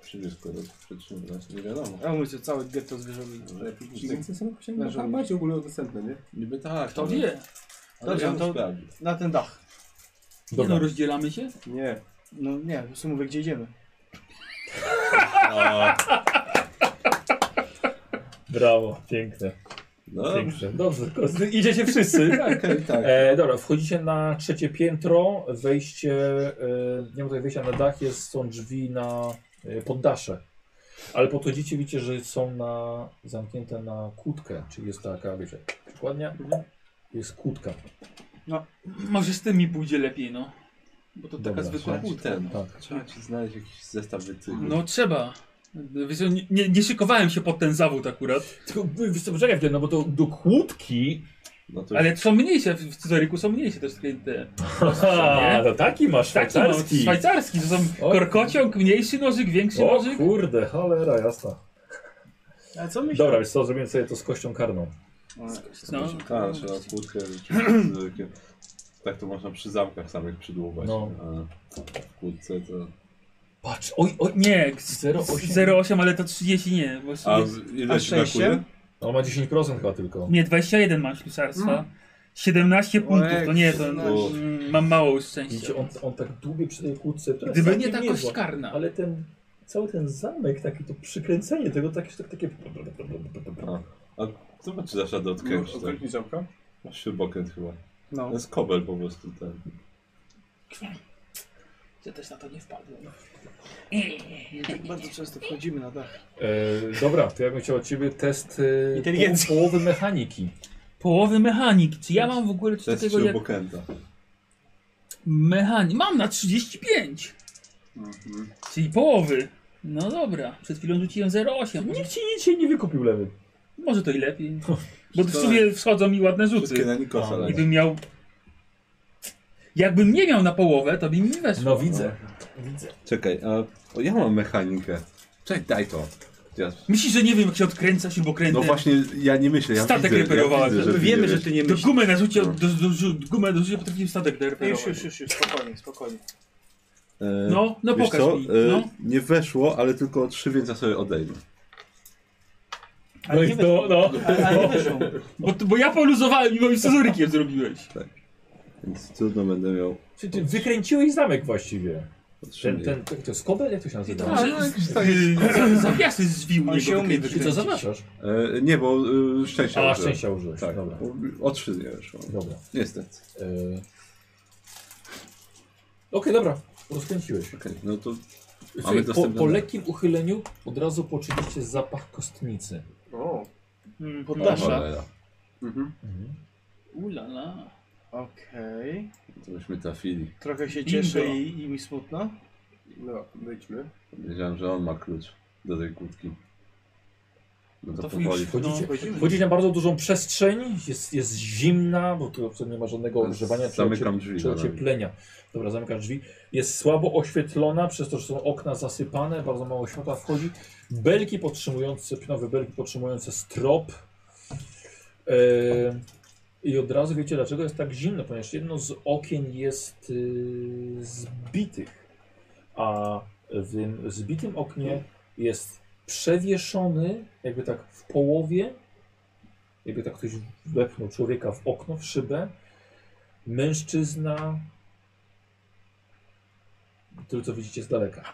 Speaker 4: przywiesku przetrzymywać, nie wiadomo.
Speaker 5: Ja mówię, co całe getto zwierzęli.
Speaker 4: Może piwnicy-
Speaker 3: Piwnice są chyba na Harbacie ogólnodostępne, nie?
Speaker 4: Niby tak.
Speaker 9: Kto
Speaker 4: ale-
Speaker 9: wie?
Speaker 4: ale
Speaker 5: Dobrze,
Speaker 4: ja bym
Speaker 5: to-
Speaker 4: sprawdził.
Speaker 5: Na ten dach.
Speaker 9: Nie
Speaker 2: Dobra,
Speaker 9: no, rozdzielamy się?
Speaker 3: Nie.
Speaker 5: No nie, po prostu mówię, gdzie idziemy.
Speaker 4: A,
Speaker 2: brawo, piękne,
Speaker 4: No,
Speaker 2: piękne. Dobrze, tylko z- idziecie wszyscy.
Speaker 4: okej, tak.
Speaker 2: E, dobra, wchodzicie na trzecie piętro, wejście, e, nie ma tutaj wejścia na dach, jest, są drzwi na e, poddasze. Ale podchodzicie, widzicie, że są na, zamknięte na kłódkę, czyli jest taka, wiecie, przykładnia, jest kłódka.
Speaker 9: No Może z tymi pójdzie lepiej, no. Bo to taka
Speaker 2: Dobra,
Speaker 9: zwykła
Speaker 4: Trzeba ci
Speaker 9: kłódka.
Speaker 4: ten.
Speaker 2: Tak.
Speaker 4: Trzeba ci znaleźć jakiś zestaw wytygów.
Speaker 2: Mhm.
Speaker 9: No trzeba. Wiesz, co, nie, nie, nie szykowałem się pod ten zawód akurat.
Speaker 2: Tylko, wy- wiesz co, poczekaj chwilę, no bo to do kłódki,
Speaker 4: no to
Speaker 9: Ale są mniejsze, w scyzoryku są mniejsze też takie te.
Speaker 2: haha,
Speaker 9: Nie?
Speaker 2: to taki masz,
Speaker 9: Taki no,
Speaker 2: szwajcarski.
Speaker 9: szwajcarski, to są
Speaker 2: O.
Speaker 9: korkociąg, mniejszy nożyk, większy
Speaker 2: O
Speaker 9: nożyk.
Speaker 2: kurde, cholera, jasna.
Speaker 5: A co myślisz?
Speaker 2: Dobra, wiesz co, zrobiłem sobie to z kością karną.
Speaker 9: No.
Speaker 4: Tak, trzeba kłódkę rzeczywiście z rykiem. Tak to można przy zamkach samych przydłubać.
Speaker 2: No.
Speaker 4: A w kłódce to...
Speaker 2: Patrz, oj, oj,
Speaker 9: Nie,
Speaker 2: Zero osiem.
Speaker 9: 0,8, ale to 30 nie. Bo
Speaker 4: A
Speaker 9: jest-
Speaker 4: ile
Speaker 5: A
Speaker 4: ci
Speaker 5: szczęście?
Speaker 4: brakuje?
Speaker 2: on ma 10% chyba tylko.
Speaker 9: Nie, 21 mam ślusarstwa.
Speaker 2: Mm.
Speaker 9: 17 punktów, to nie, to
Speaker 4: Uf.
Speaker 9: mm, mam mało szczęścia.
Speaker 2: Widzicie, on, on tak dłubie przy tej kłódce, która
Speaker 9: Gdyby
Speaker 2: jest
Speaker 9: nie ta
Speaker 2: całkiem niezła,
Speaker 9: kość karna.
Speaker 2: Ale ten, cały ten zamek, takie to przykręcenie tego, takie... Tak, takie...
Speaker 4: Zobacz, czy zawsze do
Speaker 9: No,
Speaker 4: odkręcić. tak?
Speaker 3: Odkręcić zamka?
Speaker 4: Masz śrubokręt chyba.
Speaker 5: No.
Speaker 4: To jest kobel po prostu ten.
Speaker 12: Ja też na to nie
Speaker 4: No.
Speaker 12: wpadłem.
Speaker 5: Nie tak bardzo często wchodzimy na dach.
Speaker 2: E, dobra, to ja bym chciał od ciebie test e,
Speaker 5: Inteligencji.
Speaker 2: poł- połowy mechaniki.
Speaker 9: Połowy mechanik. Czy ja mam w ogóle coś
Speaker 4: To jest
Speaker 9: takiego jak
Speaker 4: śrubokręta.
Speaker 9: mechanik? Mam na 35.
Speaker 4: Mhm.
Speaker 9: Czyli połowy. No dobra, przed chwilą rzuciłem 0,8. Może,
Speaker 2: Nikt ci nic się nie wykupił lewy.
Speaker 9: może to i lepiej. Bo w
Speaker 4: to-
Speaker 9: sumie wchodzą mi ładne
Speaker 4: Wszystkie
Speaker 9: rzuty.
Speaker 4: na Nikosa
Speaker 2: A,
Speaker 9: I
Speaker 4: lecą.
Speaker 9: bym miał... Jakbym nie miał na połowę, to by mi nie
Speaker 4: No.
Speaker 9: weszło.
Speaker 2: No widzę.
Speaker 4: Czekaj, a o, ja mam mechanikę. Czekaj, daj to. Ja,
Speaker 9: Myślisz, że nie wiem, jak się odkręca się, bo krętę.
Speaker 4: no właśnie, ja nie myślę. Ja
Speaker 9: Statek
Speaker 4: widzę,
Speaker 9: reperowała.
Speaker 4: Ja widzę,
Speaker 5: My
Speaker 4: że
Speaker 5: wiemy, że
Speaker 4: wiesz.
Speaker 5: ty nie
Speaker 9: Do
Speaker 5: myślisz.
Speaker 9: gumę narzucił,
Speaker 4: No.
Speaker 9: do, do, do, gumę narzucił, potrafił statek derperować.
Speaker 14: Już, już, już, już, spokojnie, spokojnie.
Speaker 4: E,
Speaker 9: No, no
Speaker 4: wiesz
Speaker 9: pokaż
Speaker 4: co?
Speaker 9: mi.
Speaker 4: E,
Speaker 9: No.
Speaker 4: Nie weszło, ale tylko o trzy, więc ja sobie odejmę.
Speaker 14: Ale nie
Speaker 2: no,
Speaker 14: weszło.
Speaker 2: no.
Speaker 14: Ale, ale nie weszło.
Speaker 9: Bo, bo ja poluzowałem i moim scyzorykiem zrobiłeś.
Speaker 4: Więc trudno będę miał
Speaker 2: Czyli ty wykręciłeś zamek właściwie.
Speaker 4: o trzy.
Speaker 2: Ten, ten, ten, to jest kobel? Jak to się nazywa?
Speaker 9: Że z- y, Zawiasy zwił
Speaker 5: On
Speaker 9: jego
Speaker 5: się umie
Speaker 2: I
Speaker 9: wykręcić.
Speaker 2: co zaznaczasz?
Speaker 4: E, nie, bo e, szczęścia
Speaker 2: A,
Speaker 4: użyłem.
Speaker 2: szczęścia użyłeś.
Speaker 4: Tak,
Speaker 2: Dobra.
Speaker 4: bo o trzy nie weszło.
Speaker 2: Dobra.
Speaker 4: Niestety.
Speaker 2: Yy... Okej, dobra. Rozkręciłeś.
Speaker 4: Okej, no to
Speaker 2: Słuchaj, po,
Speaker 4: dostępne-
Speaker 2: po lekkim uchyleniu od razu poczuliście zapach kostnicy.
Speaker 3: O,
Speaker 5: Hmm.
Speaker 9: Mm,
Speaker 4: O,
Speaker 5: Poddasza.
Speaker 4: cholera.
Speaker 3: Mhm.
Speaker 9: Ulala.
Speaker 5: Okej.
Speaker 4: To myśmy trafili.
Speaker 5: Trochę się
Speaker 9: Bingo.
Speaker 5: cieszę i, i mi smutno.
Speaker 3: no, wyjdźmy.
Speaker 4: Wiedziałem, że on ma klucz do tej kłódki. No to,
Speaker 9: To
Speaker 4: powoli.
Speaker 9: wchodź.
Speaker 2: Wchodzicie,
Speaker 9: wchodzimy.
Speaker 2: wchodzicie na bardzo dużą przestrzeń, jest, jest zimna, bo tu absolutnie nie ma żadnego
Speaker 4: Ale
Speaker 2: ogrzewania czy,
Speaker 4: zamykam
Speaker 2: ocie-
Speaker 4: drzwi
Speaker 2: czy
Speaker 4: za nami.
Speaker 2: ocieplenia. Dobra, zamykasz drzwi. Jest słabo oświetlona, przez to, że są okna zasypane, bardzo mało światła wchodzi. Belki podtrzymujące, pinowe belki podtrzymujące strop. E, I od razu wiecie, dlaczego jest tak zimno, ponieważ jedno z okien jest y, zbitych, a w tym zbitym oknie jest przewieszony, jakby tak w połowie, jakby tak ktoś wepchnął człowieka w okno, w szybę. Mężczyzna, tyle co widzicie z daleka.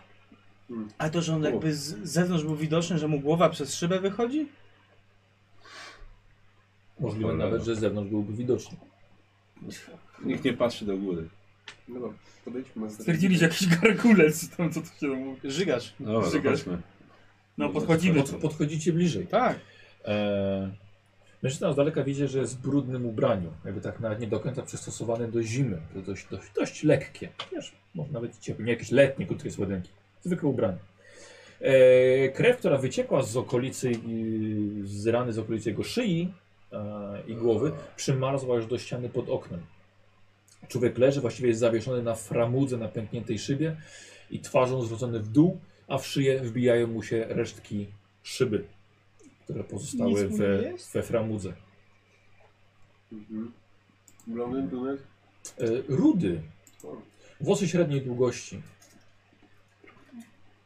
Speaker 5: A to, że on jakby z zewnątrz był widoczny, że mu głowa przez szybę wychodzi?
Speaker 2: Możliwe
Speaker 4: Cholera.
Speaker 2: nawet, że z zewnątrz byłby widoczny.
Speaker 4: Nikt nie patrzy do góry.
Speaker 3: No dobra, podejdźmy.
Speaker 9: Stwierdzili, że jakiś gargulec tam, co to się tam mówi.
Speaker 5: Żygacz.
Speaker 4: No,
Speaker 9: Żygacz.
Speaker 4: zobaczmy.
Speaker 9: No
Speaker 4: No,
Speaker 9: podchodzimy.
Speaker 2: Pod, podchodzicie bliżej.
Speaker 5: Tak.
Speaker 2: E, mężczyzna z daleka widzi, że jest w brudnym ubraniu. Jakby tak nawet nie do końca przystosowany do zimy. To jest dość, dość, dość lekkie. Wiesz, może nawet ciepłe. Nie jakieś letnie, krótkie spodenki. Zwykłe ubranie. E, krew, która wyciekła z okolicy, i- z rany z okolicy jego szyi e, i głowy, przymarzła już do ściany pod oknem. Człowiek leży, właściwie jest zawieszony na framudze na pękniętej szybie i twarzą zwrócony w dół, a w szyję wbijają mu się resztki szyby, które pozostały
Speaker 5: Nic mu nie
Speaker 2: we,
Speaker 5: jest?
Speaker 2: we framudze.
Speaker 3: Mhm. Blondyn, brunet.
Speaker 2: E, rudy,
Speaker 3: O,
Speaker 2: włosy średniej długości,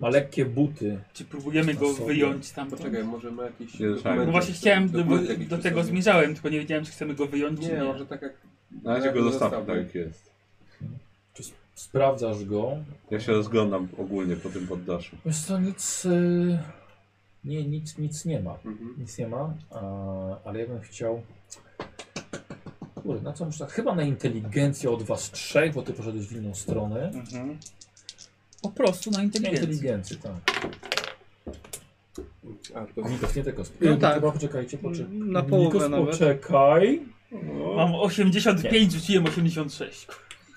Speaker 2: ma lekkie buty.
Speaker 9: Czy próbujemy go
Speaker 2: Osobie.
Speaker 9: wyjąć tam?
Speaker 3: Poczekaj, może ma jakieś...
Speaker 4: Nie,
Speaker 3: dokumenty-
Speaker 9: No właśnie chciałem, do,
Speaker 3: dokumenty jakieś
Speaker 9: do
Speaker 3: przy
Speaker 9: tego
Speaker 3: sobie?
Speaker 9: zmierzałem, tylko nie wiedziałem, czy chcemy go wyjąć, czy
Speaker 3: Nie,
Speaker 9: nie.
Speaker 3: może tak jak...
Speaker 4: Na razie go zostawmy, tak jak jest.
Speaker 2: Czy sp- sprawdzasz go?
Speaker 4: Ja się rozglądam ogólnie po tym poddaszu.
Speaker 2: Jest to nic, e, nie, nic, nic nie ma.
Speaker 3: Mhm.
Speaker 2: Nic nie ma, a, ale ja bym chciał. Kurde, na co muszę? tak, Chyba na inteligencję od was trzech, bo ty poszedłeś w inną stronę.
Speaker 5: Mhm.
Speaker 9: Po prostu na
Speaker 2: Na
Speaker 9: inteligencję.
Speaker 2: inteligencję, tak.
Speaker 3: A, to...
Speaker 2: Nikos, nie te kostki.
Speaker 5: No
Speaker 2: E,
Speaker 5: tak.
Speaker 2: Chyba poczekajcie, poczekaj.
Speaker 5: Na połowę
Speaker 2: Nikos,
Speaker 5: nawet.
Speaker 2: poczekaj.
Speaker 9: Mam 85, rzuciłem 86.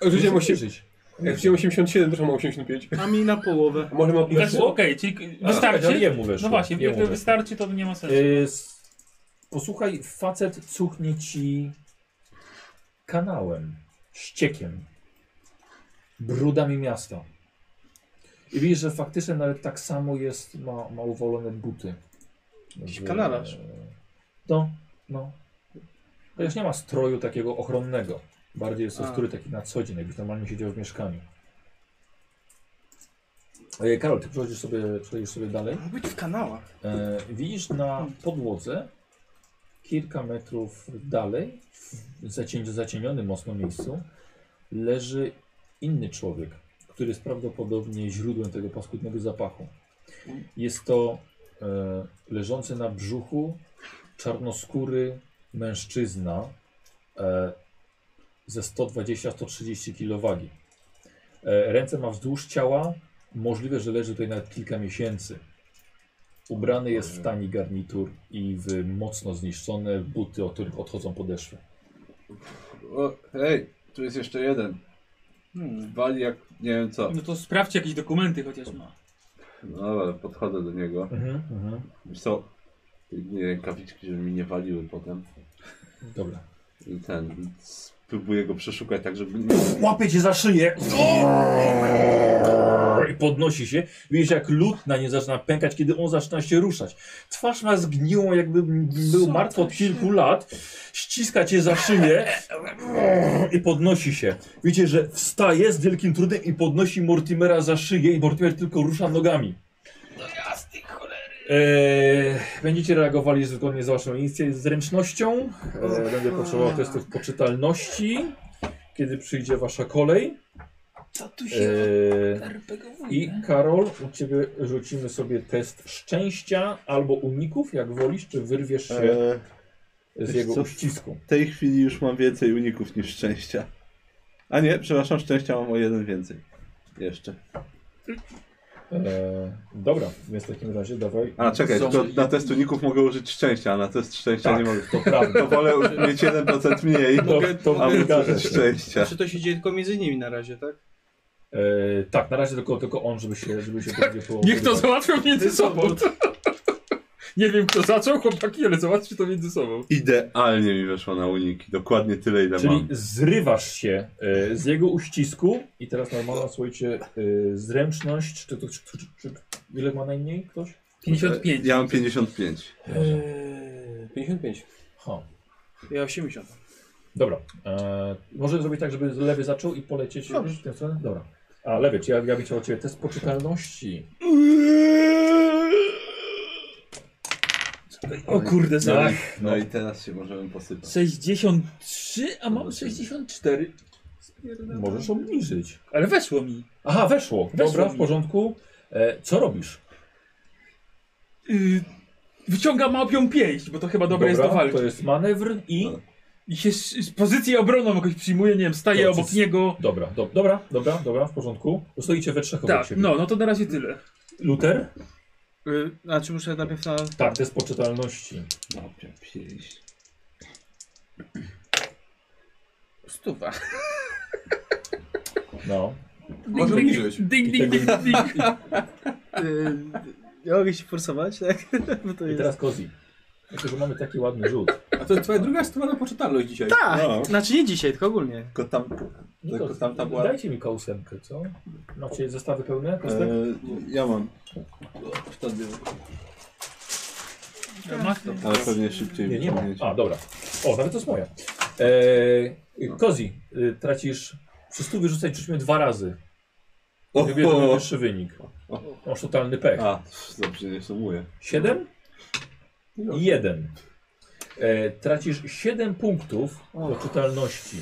Speaker 3: Rzuciłem
Speaker 2: Muszę
Speaker 3: 8...
Speaker 2: liczyć.
Speaker 3: Jak wziąłem 87, to ma 85.
Speaker 5: A mi na połowę.
Speaker 3: A może ma
Speaker 9: I Weszło? Okej, czyli wystarczy?
Speaker 2: Ale jemu weszło.
Speaker 9: No właśnie,
Speaker 2: jemu
Speaker 9: jak
Speaker 2: weszło.
Speaker 9: wystarczy to nie ma sensu.
Speaker 2: E, s- Posłuchaj, facet cuchnie ci kanałem, ściekiem, brudami miasta. I widzisz, że faktycznie nawet tak samo jest, ma, ma uwolone buty.
Speaker 5: Jakiś
Speaker 2: Że-
Speaker 5: kanalarz.
Speaker 2: No, no. Chociaż nie ma stroju takiego ochronnego. Bardziej jest to
Speaker 5: A.
Speaker 2: strój taki na co dzień, jakbyś normalnie siedział w mieszkaniu. E, Karol, ty przechodzisz sobie, przechodzisz sobie dalej.
Speaker 5: Mógł być w kanałach.
Speaker 2: E, widzisz na podłodze, kilka metrów dalej, w zacień, zacienionym mocno miejscu, leży inny człowiek, który jest prawdopodobnie źródłem tego paskudnego zapachu. Jest to e, leżący na brzuchu czarnoskóry mężczyzna e, ze 120-130 kg wagi. E, ręce ma wzdłuż ciała, możliwe, że leży tutaj nawet kilka miesięcy. Ubrany jest w tani garnitur i w mocno zniszczone buty, od których odchodzą podeszwy.
Speaker 4: O, hej, tu jest jeszcze jeden.
Speaker 5: Hmm.
Speaker 4: Wali jak nie wiem co.
Speaker 9: No to sprawdźcie jakieś dokumenty chociaż ma.
Speaker 4: No dobra, podchodzę do niego. Wiesz co? Nie, rękawiczki, żeby mi nie waliły potem.
Speaker 2: Dobra.
Speaker 4: I ten. Eee, Spróbuję go przeszukać tak, żeby.
Speaker 2: Łapie cię za szyję. I podnosi się. Widzisz, jak lód na nim zaczyna pękać, kiedy on zaczyna się ruszać. Twarz ma zgniłą, jakby m- był martwy od kilku lat. Ściska cię za szyję i podnosi się. Widzicie, że wstaje z wielkim trudem i podnosi Mortimera za szyję i Mortimer tylko rusza nogami. Eee, będziecie reagowali zgodnie z waszą inicj- zręcznością. Eee, będę potrzebował testów poczytalności, kiedy przyjdzie wasza kolej.
Speaker 12: Co tu się
Speaker 2: Eee,
Speaker 12: RPGowuje?
Speaker 2: I Karol, u ciebie rzucimy sobie test szczęścia albo uników, jak wolisz, czy wyrwiesz się
Speaker 4: Eee,
Speaker 2: z
Speaker 4: wiesz
Speaker 2: jego
Speaker 4: co?
Speaker 2: uścisku.
Speaker 4: w tej chwili już mam więcej uników niż szczęścia. A nie, przepraszam, szczęścia mam o jeden więcej. Jeszcze.
Speaker 2: Eee, dobra, więc w takim razie dawaj.
Speaker 4: A czekaj,
Speaker 2: Są-
Speaker 4: tylko na test uników mogę użyć szczęścia, a na test szczęścia
Speaker 2: Tak.
Speaker 4: nie mogę.
Speaker 2: To prawda.
Speaker 4: To wolę mieć 1% mniej,
Speaker 2: To, to
Speaker 4: a mogę
Speaker 2: zgadza
Speaker 4: użyć
Speaker 2: się.
Speaker 4: szczęścia.
Speaker 5: Czy Znaczy, to się dzieje tylko między nimi na razie, tak?
Speaker 2: Eee, tak, na razie tylko, tylko on, żeby się, żeby się tak,
Speaker 9: Niech to załatwią między sobą. Nie wiem kto zaczął, chłopaki, ale załatwcie to między sobą.
Speaker 4: Idealnie mi weszło na uniki, dokładnie tyle ile
Speaker 2: Czyli
Speaker 4: mam.
Speaker 2: zrywasz się e, z jego uścisku i teraz normalna, słuchajcie, e, zręczność, czy to, czy, czy, czy, ile ma najmniej ktoś?
Speaker 9: 55.
Speaker 4: Ja mam 55.
Speaker 11: Eee, 55.
Speaker 2: Ha.
Speaker 5: Ja 80.
Speaker 2: Dobra, e, może zrobić tak, żeby lewy zaczął i polecieć w tę stronę? Dobra. A lewy, czy ja, ja bym chciał od ciebie test poczytalności.
Speaker 9: O kurde,
Speaker 4: No,
Speaker 9: za
Speaker 4: i, no i teraz się możemy posypać.
Speaker 9: 63, a mam 64.
Speaker 2: Możesz obniżyć.
Speaker 9: Ale weszło mi.
Speaker 2: Aha, weszło.
Speaker 9: Weszło
Speaker 2: Dobra, w
Speaker 9: mi.
Speaker 2: porządku. E, co robisz?
Speaker 9: Yy, wyciągam małpią pięść, bo to chyba dobre jest do walki.
Speaker 2: To jest No, manewr i...
Speaker 9: I się z, z pozycji obroną jakoś przyjmuje, nie wiem, staje
Speaker 2: To,
Speaker 9: obok
Speaker 2: czy-
Speaker 9: niego.
Speaker 2: Dobra, do, dobra, dobra, dobra, w porządku. Bo Stoicie we trzech obok
Speaker 9: Tak,
Speaker 2: siebie. Tak.
Speaker 9: no, no to na razie tyle.
Speaker 2: Luter?
Speaker 5: Y, znaczy muszę najpierw na...
Speaker 2: Tak, test poczytalności.
Speaker 5: No,
Speaker 4: Dobra, pięść.
Speaker 5: Stuwa.
Speaker 2: No.
Speaker 11: Może
Speaker 9: ding,
Speaker 11: obniżyć.
Speaker 9: Ding, ding, ding, ding.
Speaker 5: Y, ja mogę się forsować, tak? Bo to
Speaker 2: I
Speaker 5: jest...
Speaker 2: teraz Kozi. Myślę, że mamy taki ładny rzut.
Speaker 11: A to jest twoja druga strona poczytalność dzisiaj.
Speaker 5: Tak!
Speaker 4: No.
Speaker 5: Znaczy nie dzisiaj, tylko ogólnie.
Speaker 4: Tylko tam,
Speaker 2: No
Speaker 4: tylko
Speaker 2: to,
Speaker 4: tam ta była...
Speaker 2: Dajcie mi kołsemkę, co? Macie zestawy pełne kostek?
Speaker 4: Eee, ja mam. Wtedy...
Speaker 9: Masz to.
Speaker 4: Ale pewnie
Speaker 5: E,
Speaker 4: szybciej
Speaker 2: nie, nie mam.
Speaker 4: wyciągnięcie.
Speaker 2: A, dobra. O, nawet to jest moja. Eee, Kozi, y, tracisz... Przy stu wyrzucaj rzućmy dwa razy.
Speaker 4: O,
Speaker 2: Żeby to był
Speaker 4: o,
Speaker 2: wyższy wynik. Masz totalny pech.
Speaker 4: A, pff, dobrze, nie sumuję.
Speaker 2: Siedem? I jeden. E, tracisz siedem punktów
Speaker 5: O.
Speaker 2: poczytalności.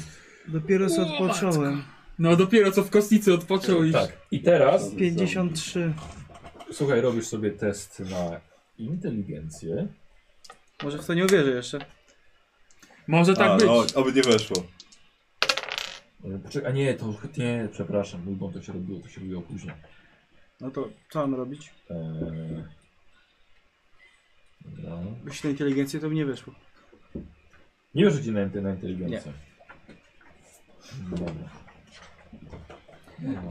Speaker 5: Dopiero
Speaker 9: co
Speaker 5: co
Speaker 9: odpocząłem.
Speaker 5: odpocząłem.
Speaker 9: No dopiero co w kostnicy odpoczął i...
Speaker 2: Tak. I teraz
Speaker 5: 53.
Speaker 2: Słuchaj, robisz sobie test na inteligencję.
Speaker 5: Może w to nie uwierzę jeszcze.
Speaker 9: Może tak
Speaker 4: A,
Speaker 9: być.
Speaker 4: no, oby nie weszło.
Speaker 2: E, Poczekaj, a nie, to nie, przepraszam, mój błąd to się robiło, to się robiło później.
Speaker 5: No to co mam robić?
Speaker 2: Eee, dobra.
Speaker 5: Jeśli na inteligencję to by nie wyszło.
Speaker 2: Nie wiesz, ci na, inte- na inteligencję. Dobra.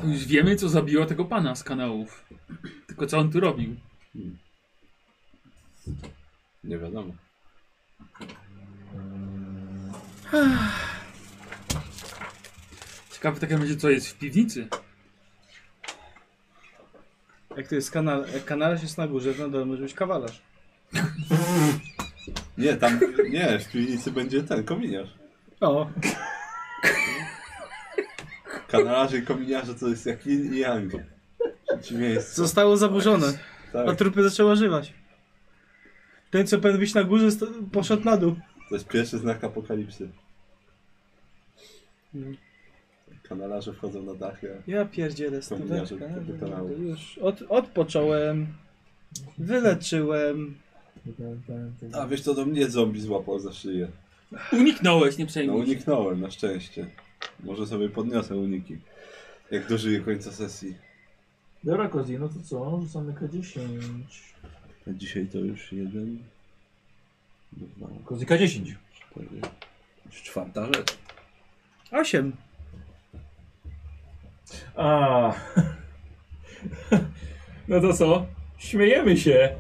Speaker 9: To już wiemy, co zabiło tego pana z kanałów. Tylko co on tu robił.
Speaker 4: Nie wiadomo.
Speaker 9: Ciekawe tak jak będzie, co jest w piwnicy.
Speaker 5: Jak to jest kanal, jak kanalarz jest na górze, to na dole może być kawalarz.
Speaker 4: Nie, tam, nie, w piwnicy będzie ten, kominiarz.
Speaker 5: O,
Speaker 4: Kanalarze i kominiarze to jest jak yin i yang. Przeciwieństwo.
Speaker 5: zostało zaburzone, a
Speaker 4: Tak,
Speaker 5: trupy zaczęły ożywać. Ten, co powinien być na górze, sto- poszedł na dół.
Speaker 4: to jest pierwszy znak apokalipsy. Kanalarze wchodzą na dachy.
Speaker 5: Ja pierdzielę
Speaker 4: Kominiarze
Speaker 5: stóweczkę.
Speaker 4: do kanału.
Speaker 5: Już od, odpocząłem, wyleczyłem.
Speaker 4: A. A wiesz co, do mnie zombie złapał za szyję.
Speaker 9: Uniknąłeś, nie
Speaker 4: No
Speaker 9: przejmuj się.
Speaker 4: uniknąłem, na szczęście. Może sobie podniosę uniki. Jak dożyję końca sesji.
Speaker 2: Dobra, Kozi, no to co? Rzucamy K10.
Speaker 4: A dzisiaj to już jeden... Dwa,
Speaker 2: Kozi K10.
Speaker 4: cztery... Już czwarta rzecz.
Speaker 5: Osiem.
Speaker 2: A. No to co? Śmiejemy się.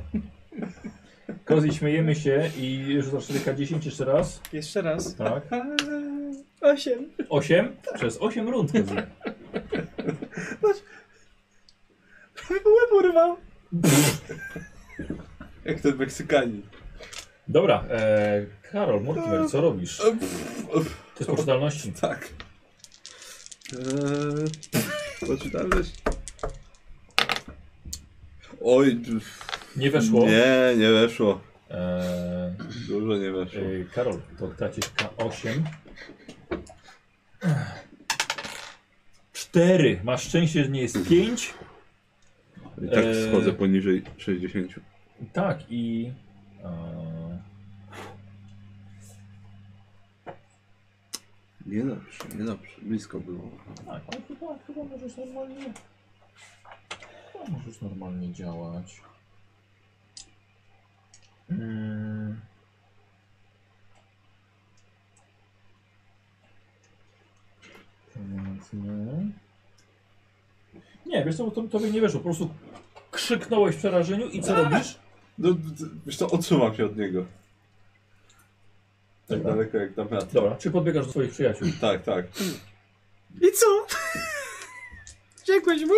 Speaker 2: Kozi, śmiejemy się i rzucasz 4K10 jeszcze raz.
Speaker 5: Jeszcze raz.
Speaker 2: Tak.
Speaker 5: Osiem.
Speaker 2: 8 przez 8 rund. Kozi.
Speaker 5: Łeb urwał.
Speaker 4: Jak ten Meksykanin.
Speaker 2: Dobra, e, Karol, Mortimer, co robisz? To jest poczytalności.
Speaker 4: Tak. Eee, poczytałeś? Oj, pff,
Speaker 2: Nie weszło.
Speaker 4: nie, nie weszło.
Speaker 2: E,
Speaker 4: Dużo nie weszło.
Speaker 2: e, Karol, to tracisz K8. Cztery. Masz szczęście, że nie jest pięć.
Speaker 4: I tak
Speaker 2: Eee.
Speaker 4: schodzę poniżej 60.
Speaker 2: Tak i... E,
Speaker 4: Niedobrze, niedobrze. Blisko było.
Speaker 2: tak, ale chyba, chyba możesz normalnie... Chyba możesz normalnie działać. Mm. Więc nie. Nie, wiesz co, bo to, tobie nie weszło, po prostu krzyknąłeś w przerażeniu i co robisz?
Speaker 4: No, d- wiesz co, odsuwam się od niego. Tak
Speaker 2: Dobra.
Speaker 4: daleko jak tam wiatr.
Speaker 2: Dobra, czy podbiegasz do swoich przyjaciół?
Speaker 4: Tak, tak.
Speaker 5: I co? Dziękuję mu?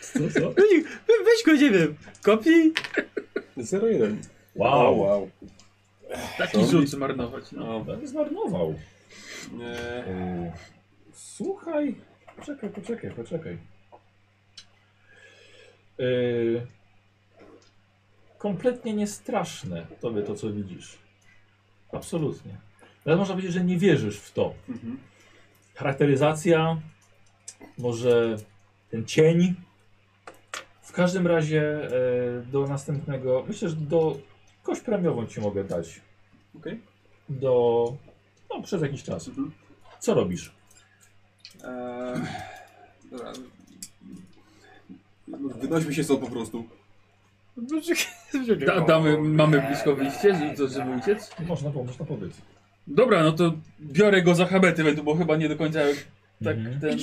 Speaker 2: Co, co?
Speaker 5: No nie, we- Weź go, nie wiem. Kopnij.
Speaker 3: 0-1.
Speaker 2: Wow,
Speaker 4: wow.
Speaker 9: Taki rzut zmarnować, no.
Speaker 2: no nie zmarnował.
Speaker 3: Nie.
Speaker 9: Eee,
Speaker 2: Yy, Słuchaj. Poczekaj, poczekaj, poczekaj. Yy, kompletnie niestraszne tobie to, co widzisz. Absolutnie. Nawet można powiedzieć, że nie wierzysz w to.
Speaker 3: Mhm.
Speaker 2: Charakteryzacja, może ten cień. W każdym razie yy, do następnego, myślę, że do kość premiową ci mogę dać.
Speaker 3: Okej.
Speaker 2: Do, no przez jakiś czas.
Speaker 3: Mhm.
Speaker 2: Co robisz?
Speaker 3: Eee, dobra. Wynośmy się stąd po prostu.
Speaker 9: Da, damy, mamy blisko wyjście, żeby- to- żeby uciec.
Speaker 2: Można, po- można pobyć.
Speaker 9: Dobra, no to biorę go za habety, bo chyba nie do końca tak
Speaker 2: Mhm.
Speaker 9: ten...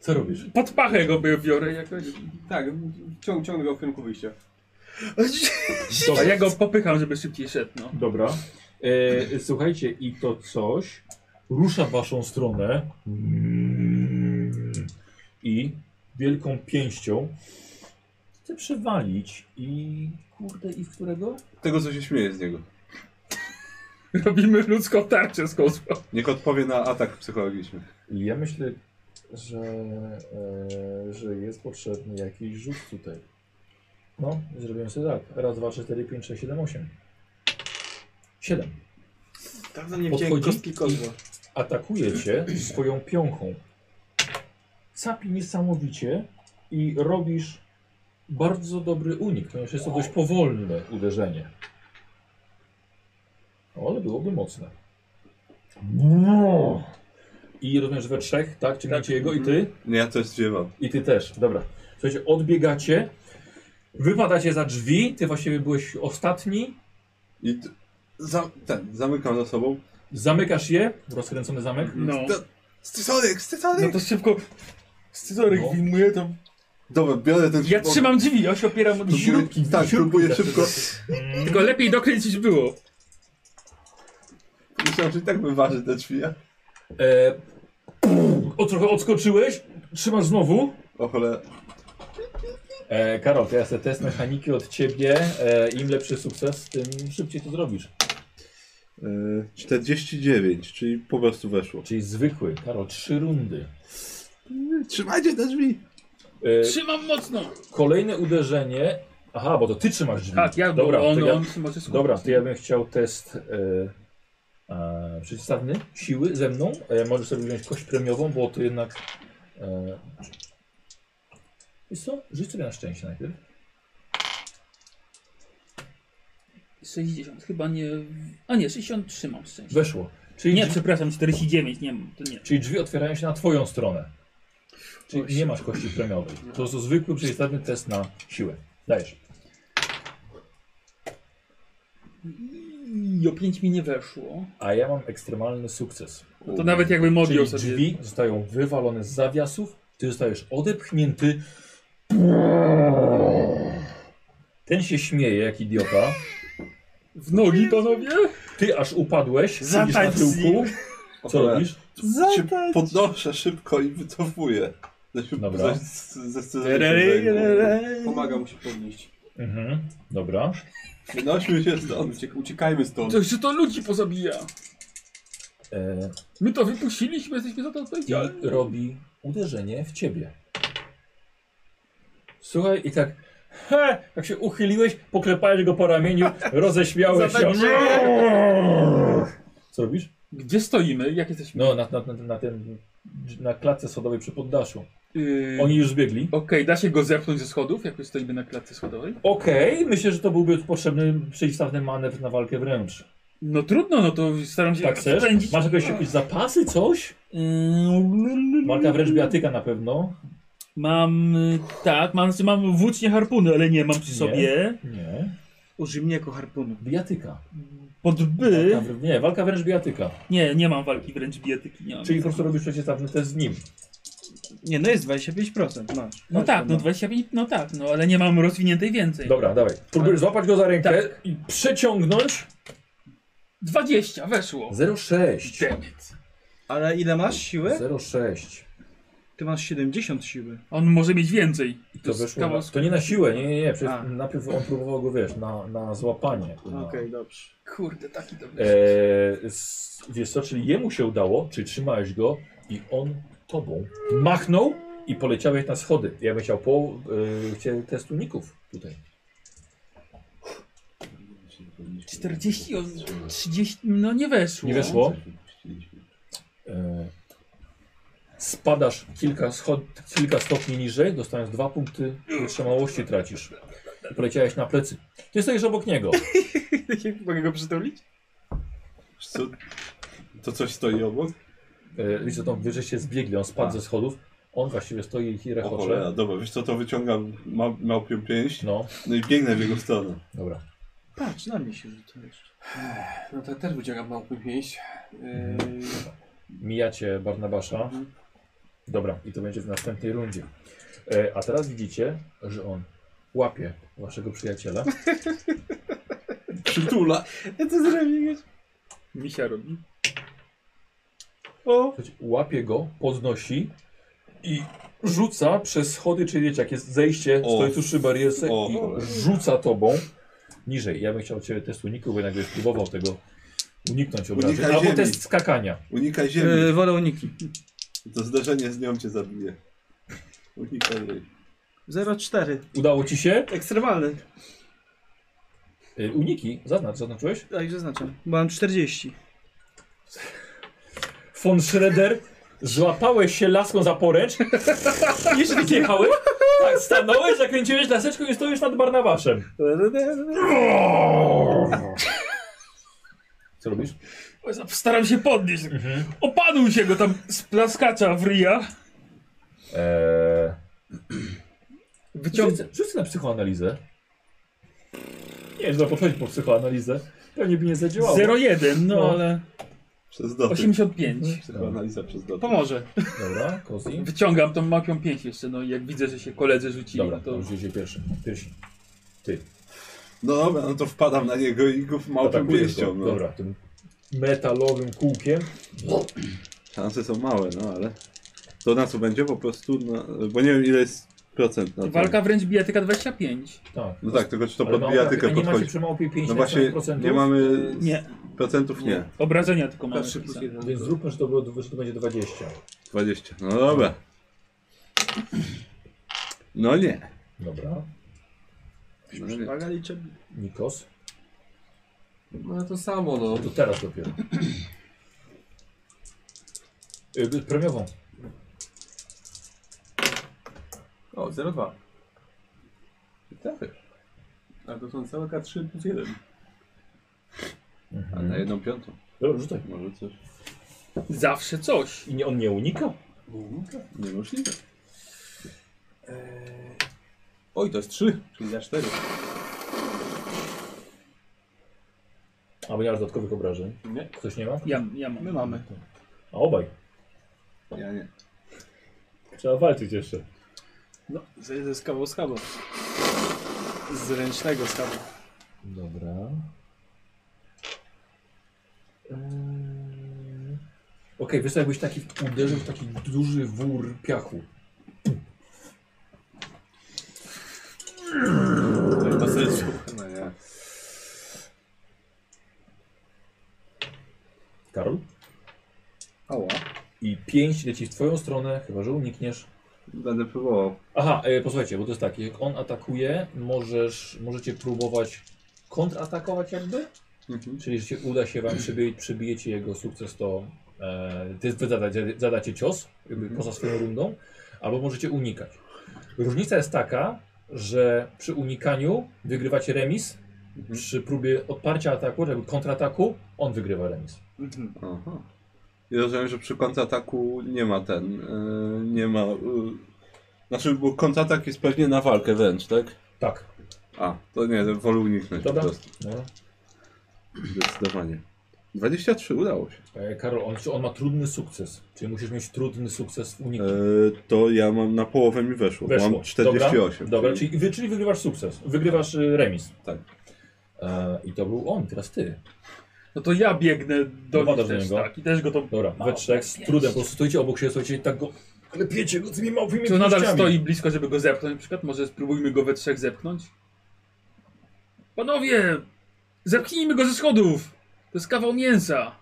Speaker 2: Co robisz?
Speaker 9: Pod pachę go biorę jakoś.
Speaker 3: Tak, ciąg, ciągnę go w kierunku wyjścia.
Speaker 9: A ja go popycham, żeby szybciej szedł, no.
Speaker 2: Dobra. E, słuchajcie, i to coś rusza w waszą stronę i wielką pięścią chce przewalić i kurde, i w którego?
Speaker 4: Tego, co się śmieje z niego.
Speaker 9: Robimy ludzką tarczę z kozła.
Speaker 4: Niech odpowie na atak psychologiczny.
Speaker 2: Ja myślę, że, e, że jest potrzebny jakiś rzut tutaj. No, zrobiłem sobie tak. Raz, dwa, trzy, cztery, pięć, sześć, siedem, osiem. Siedem.
Speaker 5: Dawno nie
Speaker 2: Podchodzi
Speaker 5: widziałem kostki kozła.
Speaker 2: atakuje cię swoją piąchą. Capi niesamowicie i robisz bardzo dobry unik, ponieważ jest to dość powolne uderzenie. O, Ale byłoby mocne. I rozumiem, że we trzech, tak? Ciągniecie jego i ty?
Speaker 4: Nie, ja też zdziewam.
Speaker 2: I ty też, dobra. Słuchajcie, odbiegacie, wypadacie za drzwi, ty właściwie byłeś ostatni,
Speaker 4: I d- za, ten, zamykam za sobą.
Speaker 2: zamykasz je, rozkręcony zamek.
Speaker 9: No.
Speaker 4: Scyzoryk,
Speaker 9: No
Speaker 4: scyzoryk!
Speaker 9: to szybko... Scyzoryk
Speaker 2: No.
Speaker 9: winmuje, to...
Speaker 4: Dobra, biorę ten
Speaker 9: Ja
Speaker 4: szybko-
Speaker 9: trzymam drzwi, ja się opieram od drzwi.
Speaker 4: Próbuję, tak, próbuję szybko.
Speaker 9: Tylko lepiej dokręcić było.
Speaker 4: Myślałem, że i tak wyważy te drzwi. a-
Speaker 2: E, o, trochę odskoczyłeś, trzymasz znowu.
Speaker 4: O cholera.
Speaker 2: E, Karol, teraz te test mechaniki od ciebie. E, Im lepszy sukces, tym szybciej to zrobisz.
Speaker 4: Yy, 49, czyli po prostu weszło.
Speaker 2: Czyli zwykły. Karol, trzy rundy.
Speaker 4: Trzymajcie te drzwi!
Speaker 2: E,
Speaker 9: Trzymam mocno.
Speaker 2: kolejne uderzenie. Aha, bo to ty trzymasz drzwi.
Speaker 9: Tak, ja,
Speaker 2: Dobra,
Speaker 9: bo on,
Speaker 2: to ja,
Speaker 9: on może skupić.
Speaker 2: dobra, to ja bym chciał test e, e, przeciwstawny siły ze mną. E, możesz sobie wziąć kość premiową, bo to jednak. E, wiesz co? Rzuć sobie na szczęście najpierw.
Speaker 9: 60, chyba nie... A nie, 63 mam szczęście.
Speaker 2: Weszło. Czyli
Speaker 9: Nie,
Speaker 2: drzwi-
Speaker 9: przepraszam, 49, nie mam, to nie.
Speaker 2: Czyli drzwi otwierają się na twoją stronę. Czyli nie masz kości premiowej. To jest zwykły, przeciwstawny test na siłę. Dajesz.
Speaker 9: I o 5 mi nie weszło.
Speaker 2: A ja mam ekstremalny sukces.
Speaker 9: No to nawet jakby
Speaker 2: Czyli
Speaker 9: modlił sobie.
Speaker 2: drzwi zostają wywalone z zawiasów, ty zostajesz odepchnięty. Ten się śmieje jak idiota.
Speaker 9: W nogi panowie?
Speaker 2: Ty aż upadłeś, siedzisz na
Speaker 5: Zatańcz z
Speaker 2: tyłku.
Speaker 5: nim.
Speaker 4: O
Speaker 2: Co
Speaker 4: cholera.
Speaker 2: robisz?
Speaker 4: Się podnoszę szybko i wycofuję.
Speaker 2: Dobra.
Speaker 4: Zdecydowanie.
Speaker 3: Pomaga mu się podnieść.
Speaker 2: Mhm. Dobra.
Speaker 4: Wynośmy się stąd.
Speaker 3: Uciek, uciekajmy stąd.
Speaker 9: To, że to ludzi pozabija.
Speaker 2: E,
Speaker 9: My to wypuściliśmy, jesteśmy za to odpowiedzialni.
Speaker 2: I robi uderzenie w ciebie. Słuchaj, i tak. He, jak się uchyliłeś, poklepałeś go po ramieniu, roześmiałeś się. Co robisz?
Speaker 9: Gdzie stoimy? Jak jesteśmy?
Speaker 2: No, na, na, na, na tym. Na klatce schodowej przy poddaszu.
Speaker 9: Yy,
Speaker 2: Oni już zbiegli.
Speaker 9: Okej, da się go zepchnąć ze schodów, jak już stoimy na klatce schodowej?
Speaker 2: Okej, myślę, że to byłby potrzebny przeciwstawny manewr na walkę wręcz.
Speaker 9: No trudno, no to staram się
Speaker 2: Tak chcesz?
Speaker 9: spędzić.
Speaker 2: Masz jakieś, jakieś zapasy, coś? Walka wręcz biatyka na pewno.
Speaker 9: Yy, Mam, y, tak, mam, mam włócznie harpuny, ale nie mam przy
Speaker 2: Nie.
Speaker 9: sobie.
Speaker 2: Nie.
Speaker 14: Użyj mnie jako harpunu.
Speaker 2: Biatyka.
Speaker 9: Podby.
Speaker 2: Walka wrę- Nie, walka wręcz biatyka.
Speaker 9: Nie, nie mam walki wręcz bietyki, nie mam.
Speaker 2: Czyli po prostu robisz przeciwstawny test z nim.
Speaker 14: Nie, no jest 25%, masz.
Speaker 9: No tak, no 25, no tak, no ale nie mam rozwiniętej więcej.
Speaker 2: Dobra, dawaj. Próbujesz złapać go za rękę i przeciągnąć.
Speaker 9: 20, weszło.
Speaker 2: 06.
Speaker 9: Damn it.
Speaker 14: Ale ile masz siły?
Speaker 2: 06.
Speaker 14: Ty masz 70 siły.
Speaker 9: On może mieć więcej.
Speaker 2: I
Speaker 9: To
Speaker 2: to
Speaker 9: jest
Speaker 2: wyszło. Na,
Speaker 9: kawał sk-
Speaker 2: to nie na siłę, nie, nie, nie. Przecież
Speaker 14: A.
Speaker 2: najpierw on próbował go, wiesz, na, na złapanie. Na,
Speaker 14: dobrze.
Speaker 9: Kurde, taki dobry.
Speaker 2: e, s, wiesz co, czyli jemu się udało, czyli trzymałeś go i on tobą machnął i poleciałeś na schody. Ja bym chciał po e, chciał test uników tutaj.
Speaker 9: 40, o- 30, no nie weszło.
Speaker 2: Nie weszło. E, Spadasz kilka, schod, kilka stopni niżej, dostając dwa punkty wytrzymałości tracisz. Poleciałeś na plecy. Ty stoisz obok niego.
Speaker 5: Mogę go przytulić?
Speaker 4: Wiesz Co? To coś stoi obok?
Speaker 2: E, Widzę, tam wyżej się zbiegli, on spadł ze schodów. On właściwie stoi i
Speaker 4: O cholera,
Speaker 2: rechocze.
Speaker 4: dobra, wiesz co, to wyciągam mał, małpią pięść,
Speaker 2: No,
Speaker 4: no i biegnę w jego stronę.
Speaker 2: dobra.
Speaker 14: Patrz, na mnie się rzuca jeszcze.
Speaker 3: No to też wyciągam małpy pięść. Yy,
Speaker 2: Mijacie Barnabasza.
Speaker 5: Mhm.
Speaker 2: Dobra, i to będzie w następnej rundzie. E, a teraz widzicie, że on łapie waszego przyjaciela.
Speaker 4: Przytula.
Speaker 5: Ja to zrobiłeś.
Speaker 9: Misia robi.
Speaker 5: O!
Speaker 2: Słuchajcie, Łapie go, podnosi i rzuca przez schody, czyli wiecie, jak jest zejście,
Speaker 4: O.
Speaker 2: stoi tuż przy barierce
Speaker 4: O.
Speaker 2: i rzuca tobą niżej. Ja bym chciał cię test uniku, bo jednak byś próbował tego uniknąć od razu.
Speaker 4: Unikaj
Speaker 2: Albo
Speaker 4: ziemi.
Speaker 2: test skakania.
Speaker 4: Unikaj
Speaker 14: Yy,
Speaker 4: ziemi.
Speaker 14: wolę uniki.
Speaker 4: To zderzenie z nią cię zabije. Unikaj jej.
Speaker 14: 0,4.
Speaker 2: Udało ci się?
Speaker 14: Ekstremalny.
Speaker 2: Y, Uniki, zaznacz, zaznaczyłeś?
Speaker 14: Tak, zaznaczam. Bo mam 40.
Speaker 2: Von Schroeder, złapałeś się laską za poręcz. Jeszcze tak jechałeś. Tak, stanąłeś, zakręciłeś laseczką i stoisz nad Barnabaszem. Co robisz?
Speaker 9: Staram się podnieść. Opadł się go tam z plaskacza w ryja.
Speaker 2: Eee...
Speaker 9: Wyciąg-
Speaker 2: Rzucę- Rzucę na psychoanalizę. Nie, że zapocząć po psychoanalizę. Pewnie by nie zadziałało.
Speaker 9: 0,1, no,
Speaker 2: No.
Speaker 9: ale
Speaker 4: Przez dotyk.
Speaker 9: 85.
Speaker 4: Mhm. Psychoanaliza przez dotyk.
Speaker 14: Pomoże.
Speaker 2: Dobra, Kozi.
Speaker 9: Wyciągam tą mapią pięć jeszcze, no i jak widzę, że się koledzy rzucili,
Speaker 2: Dobra,
Speaker 9: to...
Speaker 2: to rzucicie pierwszy. Pierwszy.
Speaker 4: No dobra, no to wpadam na niego i go małpią
Speaker 2: Atakujesz
Speaker 4: pięścią.
Speaker 2: go.
Speaker 4: No.
Speaker 2: Dobra, tym metalowym kółkiem.
Speaker 4: Szanse są małe, no ale... To na co będzie po prostu, no, bo nie wiem ile jest procent na to.
Speaker 9: Walka wręcz bijatyka 25.
Speaker 2: Tak.
Speaker 4: No tak, tylko czy to
Speaker 2: Ale na
Speaker 4: podbija
Speaker 2: obrad-
Speaker 4: tylko
Speaker 2: a Nie macie
Speaker 4: podchodzi.
Speaker 2: przy małpie 5
Speaker 4: No właśnie, nie mamy
Speaker 9: Nie,
Speaker 4: procentów, nie.
Speaker 9: obrażenia tylko mamy.
Speaker 3: trzy plus
Speaker 9: napisane.
Speaker 3: jeden.
Speaker 2: Więc zróbmy, że to, było, że to będzie 20.
Speaker 4: 20. No dobra. No nie.
Speaker 2: Dobra.
Speaker 4: No nie.
Speaker 14: Uwaga liczę.
Speaker 2: Nikos.
Speaker 3: No to samo no.
Speaker 2: To teraz dopiero. Y, Premiową.
Speaker 3: O, 0,2. Tak. A to są całe K3 plus 1.
Speaker 4: A na jedną piątą.
Speaker 2: Dobra, rzucaj.
Speaker 4: Może coś.
Speaker 9: Zawsze coś.
Speaker 2: I nie, on nie unika?
Speaker 4: Niemożliwe.
Speaker 3: Oj, to jest 3, czyli za 4.
Speaker 2: A bo nie masz dodatkowych obrażeń.
Speaker 3: Nie.
Speaker 2: Ktoś nie ma?
Speaker 9: Ja, ja mam.
Speaker 14: My mamy.
Speaker 2: A obaj.
Speaker 4: Ja nie.
Speaker 2: Trzeba walczyć jeszcze.
Speaker 5: No, zejdę z kawał z kawał. Z ręcznego z kawał.
Speaker 2: Dobra. Eee... Okej, wiesz co, jakbyś taki uderzył w taki duży wór piachu.
Speaker 4: To sensu.
Speaker 5: No nie.
Speaker 2: Karol.
Speaker 5: Ała.
Speaker 2: I pięć leci w twoją stronę, chyba że unikniesz.
Speaker 4: Będę próbował.
Speaker 2: Aha, e, posłuchajcie, bo to jest tak, jak on atakuje, możesz, możecie próbować kontratakować jakby, czyli jeśli uda się wam przybić, przybijecie jego sukces, to e, ty wy zadacie, zadacie cios jakby poza swoją rundą, albo możecie unikać. Różnica jest taka, że przy unikaniu wygrywacie remis, przy próbie odparcia ataku, jakby kontrataku, on wygrywa remis.
Speaker 14: Mhm.
Speaker 4: Aha. I rozumiem, że przy kontrataku nie ma ten. y, nie ma. y, znaczy, bo kontratak jest pewnie na walkę wręcz, tak?
Speaker 2: Tak,
Speaker 4: A, to nie, to wolę uniknąć
Speaker 2: dobra?
Speaker 4: po prostu.
Speaker 2: No.
Speaker 4: Zdecydowanie. 23 udało się.
Speaker 2: E, Karol, on, on ma trudny sukces, czyli musisz mieć trudny sukces w
Speaker 4: E,
Speaker 2: uniku.
Speaker 4: to ja mam na połowę mi weszło. bo
Speaker 2: Weszło.
Speaker 4: Mam 48.
Speaker 2: Dobra, dobra czyli, wy, czyli wygrywasz sukces. Wygrywasz y, remis.
Speaker 4: Tak.
Speaker 2: E, I to był on, teraz ty.
Speaker 9: No to ja biegnę do
Speaker 2: Dopadasz
Speaker 9: nich
Speaker 2: do
Speaker 9: też,
Speaker 2: niego?
Speaker 9: tak. I też go to...
Speaker 2: Dobra, we trzech z trudem po prostu stoicie obok siebie, stoicie i tak go klepiecie go tymi małpymi
Speaker 9: Czy on nadal
Speaker 2: pięściami.
Speaker 9: stoi blisko, żeby go zepchnąć na przykład? Może spróbujmy go we trzech zepchnąć? Panowie! Zepchnijmy go ze schodów! To jest kawał mięsa!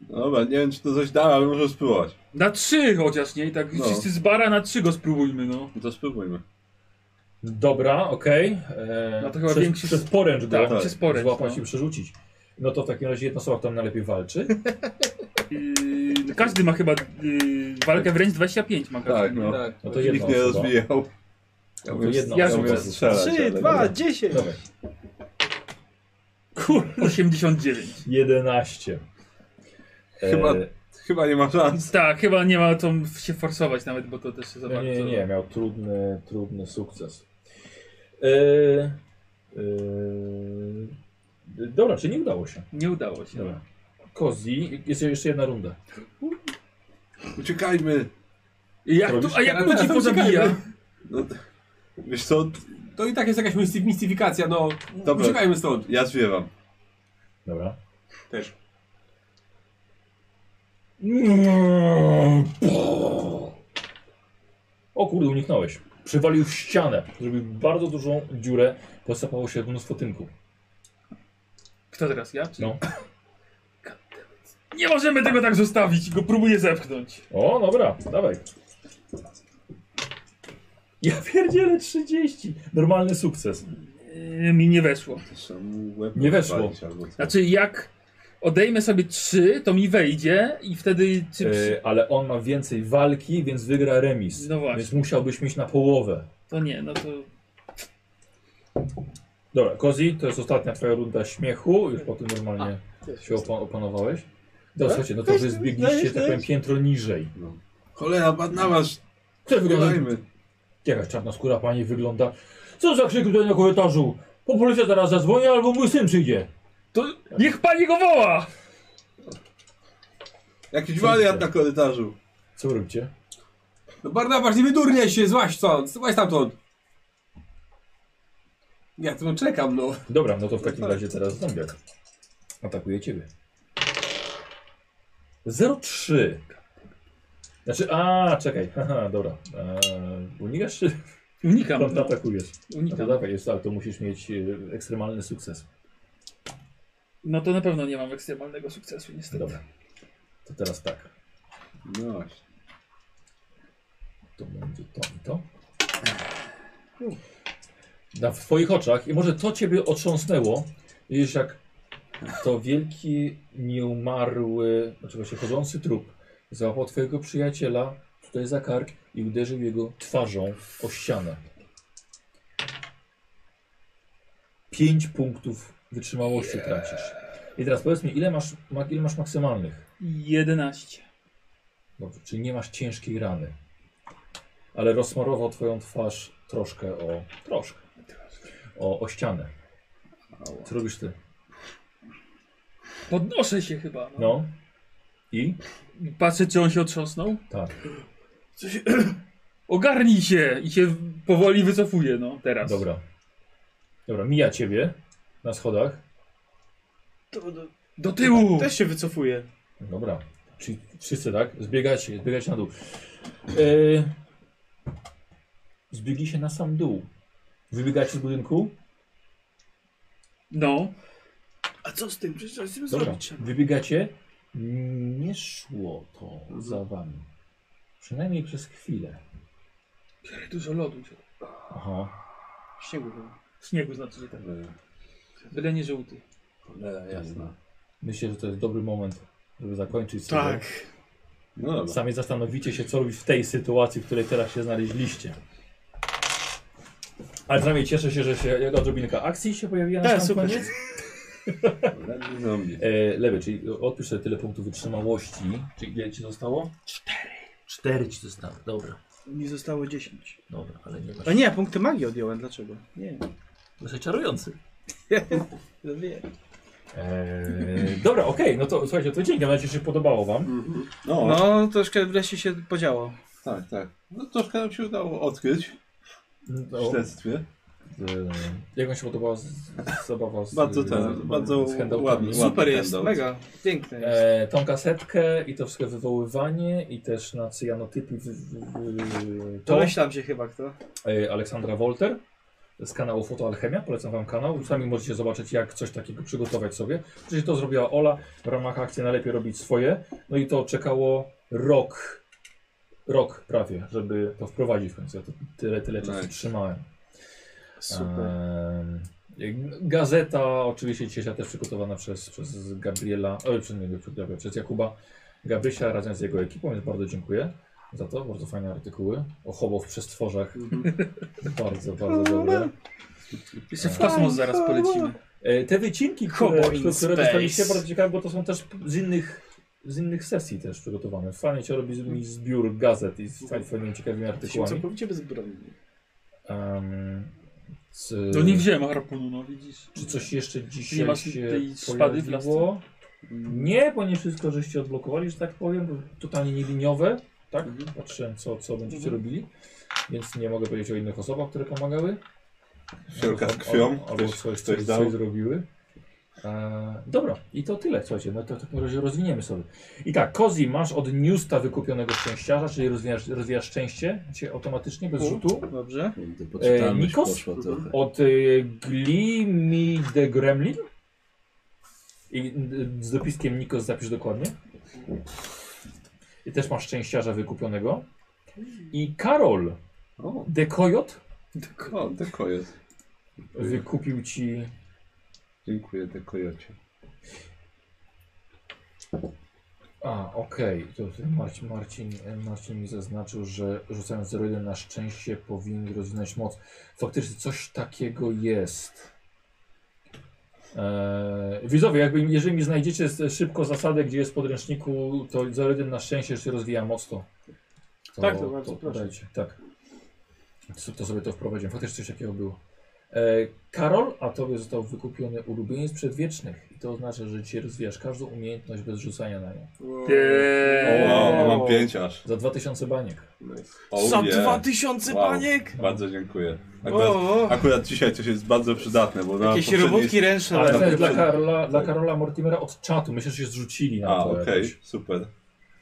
Speaker 4: Dobra, nie wiem czy to coś da, ale może spróbować.
Speaker 9: Na trzy chociaż, nie? I tak
Speaker 4: No.
Speaker 9: wszyscy z bara na trzy go spróbujmy, no.
Speaker 4: No to spróbujmy.
Speaker 2: Dobra, okej. E,
Speaker 9: No to chyba
Speaker 2: przez,
Speaker 9: większy-
Speaker 2: Przez poręcz go
Speaker 9: Tak,
Speaker 4: tak.
Speaker 9: przez poręcz,
Speaker 2: złapać
Speaker 9: no.
Speaker 2: i przerzucić. No to w takim razie jedna osoba, która najlepiej walczy.
Speaker 9: Yy, każdy ma chyba yy, walkę wręcz 25 ma każdy.
Speaker 4: Tak, no.
Speaker 3: Tak.
Speaker 2: No to jedna
Speaker 4: Nikt nie
Speaker 2: osoba.
Speaker 4: rozwijał.
Speaker 2: No to
Speaker 4: umiem-
Speaker 2: jedna
Speaker 9: ja
Speaker 4: ja umiem
Speaker 2: osoba.
Speaker 4: strzelać. ale
Speaker 14: Trzy,
Speaker 4: dobra.
Speaker 14: dwa, dziesięć.
Speaker 2: Dobra.
Speaker 9: Kur- 89.
Speaker 2: 11. E,
Speaker 4: Chyba- Chyba nie ma szans.
Speaker 9: Tak, chyba nie ma to się forsować nawet, bo to też się za
Speaker 2: Nie,
Speaker 9: bardzo...
Speaker 2: nie, nie, miał trudny, trudny sukces. Yy, yy, dobra, czy nie udało się?
Speaker 9: Nie udało się.
Speaker 2: Dobra. Kozi, jest jeszcze jedna runda.
Speaker 4: Uciekajmy!
Speaker 9: I Jak
Speaker 2: Co
Speaker 9: tu,
Speaker 2: robisz?
Speaker 9: a jak ludzi pozabija?
Speaker 4: No, wiesz co,
Speaker 3: To i tak jest jakaś mistyf- mistyfikacja, no.
Speaker 4: Dobra.
Speaker 3: Uciekajmy stąd.
Speaker 4: ja zwiewam.
Speaker 2: Dobra.
Speaker 3: Też.
Speaker 2: O kurde, uniknąłeś. Przywalił w ścianę, zrobił bardzo dużą dziurę, posypało się mnóstwo tynku.
Speaker 9: Kto teraz, ja? Czy...
Speaker 2: No.
Speaker 9: Nie możemy tego tak zostawić, go próbuję zepchnąć.
Speaker 2: O, dobra, dawaj. Ja pierdzielę 30. Normalny sukces.
Speaker 9: Yy, mi nie weszło.
Speaker 4: Trzeba mu łeb
Speaker 2: Nie weszło.
Speaker 4: odpalić albo co.
Speaker 9: Znaczy jak odejmę sobie 3, to mi wejdzie i wtedy... Czy... przy-
Speaker 2: E, ale on ma więcej walki, więc wygra remis.
Speaker 9: No właśnie.
Speaker 2: Więc musiałbyś mieć na połowę.
Speaker 9: To nie, no to...
Speaker 2: Dobra, Kozi, to jest ostatnia twoja runda śmiechu.
Speaker 9: Tak.
Speaker 2: Już po tym normalnie się opa opanowałeś. No, słuchajcie, no to wy zbiegliście, tak powiem, piętro niżej.
Speaker 4: No. Cholera, badnawasz!
Speaker 2: Która wygląda,
Speaker 4: Uciekajmy!
Speaker 2: jakaś czarnoskóra pani wygląda. Co za krzyk tutaj na korytarzu? Po policja zaraz zadzwoni, albo mój syn przyjdzie.
Speaker 9: To niech pani go woła!
Speaker 4: Jakiś wariat na korytarzu!
Speaker 2: Co wy robicie?
Speaker 3: No Barnabasz, nie wydurniaj się, złaź stąd, złaź stamtąd. Ja tu czekam, no.
Speaker 2: Dobra, no to w takim
Speaker 4: tak.
Speaker 2: razie teraz zombiak. Atakuje ciebie. 03. Znaczy, a czekaj, haha, dobra. Eee, unikasz czy
Speaker 9: Unikam, no.
Speaker 2: atakujesz? No to
Speaker 9: unikam.
Speaker 2: dawaj, jest, ale to musisz mieć e, ekstremalny sukces.
Speaker 9: No to na pewno nie mam ekstremalnego sukcesu, niestety.
Speaker 2: Dobra. To teraz tak.
Speaker 4: No właśnie.
Speaker 2: To będzie to i to. Na, w twoich oczach, i może to ciebie otrząsnęło, widzisz jak to wielki, nieumarły, znaczy właśnie chodzący trup załapał twojego przyjaciela tutaj za kark i uderzył jego twarzą o ścianę. Pięć punktów wytrzymałości tracisz. I teraz powiedz mi, ile masz, ma- ile masz maksymalnych?
Speaker 9: 11.
Speaker 2: Dobrze, czyli nie masz ciężkiej rany. Ale rozsmarował twoją twarz troszkę o. troszkę. O, o ścianę. Co robisz ty?
Speaker 9: Podnoszę się chyba. No.
Speaker 2: No. I?
Speaker 9: Patrzę, czy on się otrząsnął.
Speaker 2: Tak,
Speaker 9: Ogarnij się! I się powoli wycofuje, no teraz.
Speaker 2: dobra. Dobra, mija ciebie na schodach.
Speaker 5: To- to-
Speaker 9: Do tyłu!
Speaker 5: Też się wycofuje.
Speaker 2: Dobra. Czyli wszyscy tak? Zbiegacie, zbiegacie E, na dół. Yy... Zbiegli się na sam dół. Wybiegacie z budynku?
Speaker 9: No.
Speaker 5: A co z tym? Przecież coś z tym
Speaker 2: Dobra,
Speaker 5: zrobić trzeba.
Speaker 2: wybiegacie. Nie szło to za wami. Przynajmniej przez chwilę.
Speaker 9: Dużo lodu. się-
Speaker 2: Aha.
Speaker 5: Śniegu chyba.
Speaker 9: Śniegu znaczy, że tak. Byle nie żółty.
Speaker 4: Cholera, jasna.
Speaker 2: Myślę, że to jest dobry moment, żeby zakończyć sobie.
Speaker 5: Tak.
Speaker 4: No dobra.
Speaker 2: Sami zastanowicie się, co robić w tej sytuacji, w której teraz się znaleźliście. Ale przynajmniej cieszę się, że się jaka odrobinka akcji się pojawiła na
Speaker 5: Tak,
Speaker 2: sam
Speaker 5: super.
Speaker 2: koniec.
Speaker 4: Ledwo zombie.
Speaker 2: E, lewy, czyli odpisz sobie tyle punktów wytrzymałości. Czyli ile ci zostało? Cztery. Cztery ci zostało, dobra.
Speaker 14: Mi zostało 10.
Speaker 2: Dobra, ale nie masz.
Speaker 14: A nie, punkty magii odjąłem. Dlaczego? Nie.
Speaker 2: Jesteś czarujący.
Speaker 14: No wie.
Speaker 2: E, dobra, okej, no to słuchajcie, to dzięki, mam nadzieję, że się podobało wam.
Speaker 4: No,
Speaker 14: No, troszkę wreszcie się podziało.
Speaker 4: tak, tak. No troszkę nam się udało odkryć w
Speaker 2: No,
Speaker 4: śledztwie.
Speaker 2: e, jak wam się podobała z, z, zabawa z
Speaker 4: Bardzo
Speaker 2: e,
Speaker 4: ten, bardzo
Speaker 2: handoutami?
Speaker 4: ładny.
Speaker 5: Super
Speaker 4: ładny
Speaker 5: jest,
Speaker 4: handout.
Speaker 14: Mega, piękne jest.
Speaker 2: E, tą kasetkę i to wszystko wywoływanie i też na cyjanotypy w, w, w, to
Speaker 14: Domyślam się chyba kto.
Speaker 2: e, Aleksandra Wolter z kanału Fotoalchemia, polecam wam kanał, sami możecie zobaczyć jak coś takiego przygotować sobie. Przecież to zrobiła Ola w ramach akcji Najlepiej Robić Swoje, no i to czekało rok, rok prawie, żeby to wprowadzić w końcu, ja to tyle, tyle czasu
Speaker 4: Nice.
Speaker 2: trzymałem.
Speaker 14: Super.
Speaker 2: Ehm, Gazeta, oczywiście dzisiejsza też przygotowana przez, przez Gabriela, e, przez, nie, przez, Gabriela, przez Jakuba Gabrysia razem z jego ekipą, więc bardzo dziękuję za to. Bardzo fajne artykuły o hobo w przestworzach.
Speaker 3: Mhm.
Speaker 2: bardzo, bardzo dobre.
Speaker 9: Jeszcze w kosmos zaraz polecimy.
Speaker 2: E, te wycinki, które,
Speaker 5: Hobo in
Speaker 2: które, które
Speaker 5: space.
Speaker 2: dostaliście, bardzo ciekawe, bo to są też z innych, z innych sesji też przygotowane. Fajnie się robi z- mi zbiór gazet i z faj- fajnymi, ciekawymi
Speaker 4: E,
Speaker 5: Jesteśmy
Speaker 2: artykułami.
Speaker 5: całkowicie bezbronni.
Speaker 2: Ehm, z-
Speaker 9: No nie wziąłem harpunu, no widzisz.
Speaker 2: Czy coś jeszcze dzisiaj
Speaker 9: masz
Speaker 2: się
Speaker 9: tej szpady w
Speaker 2: pojawiło? Nie, bo nie wszystko żeście odblokowali, że tak powiem. bo Totalnie nieliniowe, tak?
Speaker 9: Mhm.
Speaker 2: Patrzyłem, co, co będziecie robili. Więc nie mogę powiedzieć o innych osobach, które pomagały.
Speaker 4: Wszelka z
Speaker 2: Albo-
Speaker 4: krwią.
Speaker 2: Albo
Speaker 4: Ktoś,
Speaker 2: coś,
Speaker 4: ktoś,
Speaker 2: coś,
Speaker 4: dał.
Speaker 2: coś zrobiły. E, dobra, i to tyle, słuchajcie, no to w takim razie rozwiniemy sobie. I tak, Kozi masz od Newsta wykupionego szczęściarza, czyli rozwijasz, rozwijasz szczęście cię automatycznie, bez rzutu.
Speaker 14: Dobrze.
Speaker 4: Kurde, poczytalność
Speaker 2: Nikos?
Speaker 4: poszła trochę.
Speaker 2: Od y, Glimi de Gremlin. I y, z dopiskiem Nikos zapisz dokładnie. I też masz szczęściarza wykupionego. I Karol
Speaker 4: O,
Speaker 2: de Coyot
Speaker 4: o dekojet.
Speaker 2: wykupił ci.
Speaker 4: Dziękuję dekojocie.
Speaker 2: A, okej. To ty, Marcin, Marcin, Marcin mi zaznaczył, że rzucając 0,1 na szczęście powinien rozwinąć moc. Faktycznie coś takiego jest. Eee, widzowie, jakby, jeżeli mi znajdziecie z- szybko zasadę, gdzie jest w podręczniku, to 0,1 na szczęście się rozwija moc, to, to
Speaker 14: Tak, to bardzo proszę.
Speaker 2: dajcie. Tak. To, to sobie to wprowadziłem. Faktycznie coś takiego było. E, Karol, a tobie został wykupiony ulubieniec przedwiecznych. I to oznacza, że dzisiaj rozwijasz każdą umiejętność bez rzucania na nią.
Speaker 9: Eee.
Speaker 4: O, a mam pięć aż.
Speaker 2: Za 2000 baniek.
Speaker 4: Oh,
Speaker 5: Za
Speaker 4: yeah.
Speaker 5: dwa tysiące
Speaker 4: Wow.
Speaker 5: paniek!
Speaker 4: Bardzo dziękuję. Akurat,
Speaker 5: O,
Speaker 4: akurat dzisiaj to się jest bardzo przydatne, bo na
Speaker 5: jakieś
Speaker 4: poprzedniej-
Speaker 5: robótki ręczne.
Speaker 2: Ale
Speaker 4: tam
Speaker 2: to jest dla
Speaker 4: poprzedni-
Speaker 2: Karola, dla Karola Mortimera od czatu. Myślę, że się zrzucili na
Speaker 4: A,
Speaker 2: to.
Speaker 4: okej,
Speaker 9: Y,
Speaker 2: jakoś.
Speaker 4: super.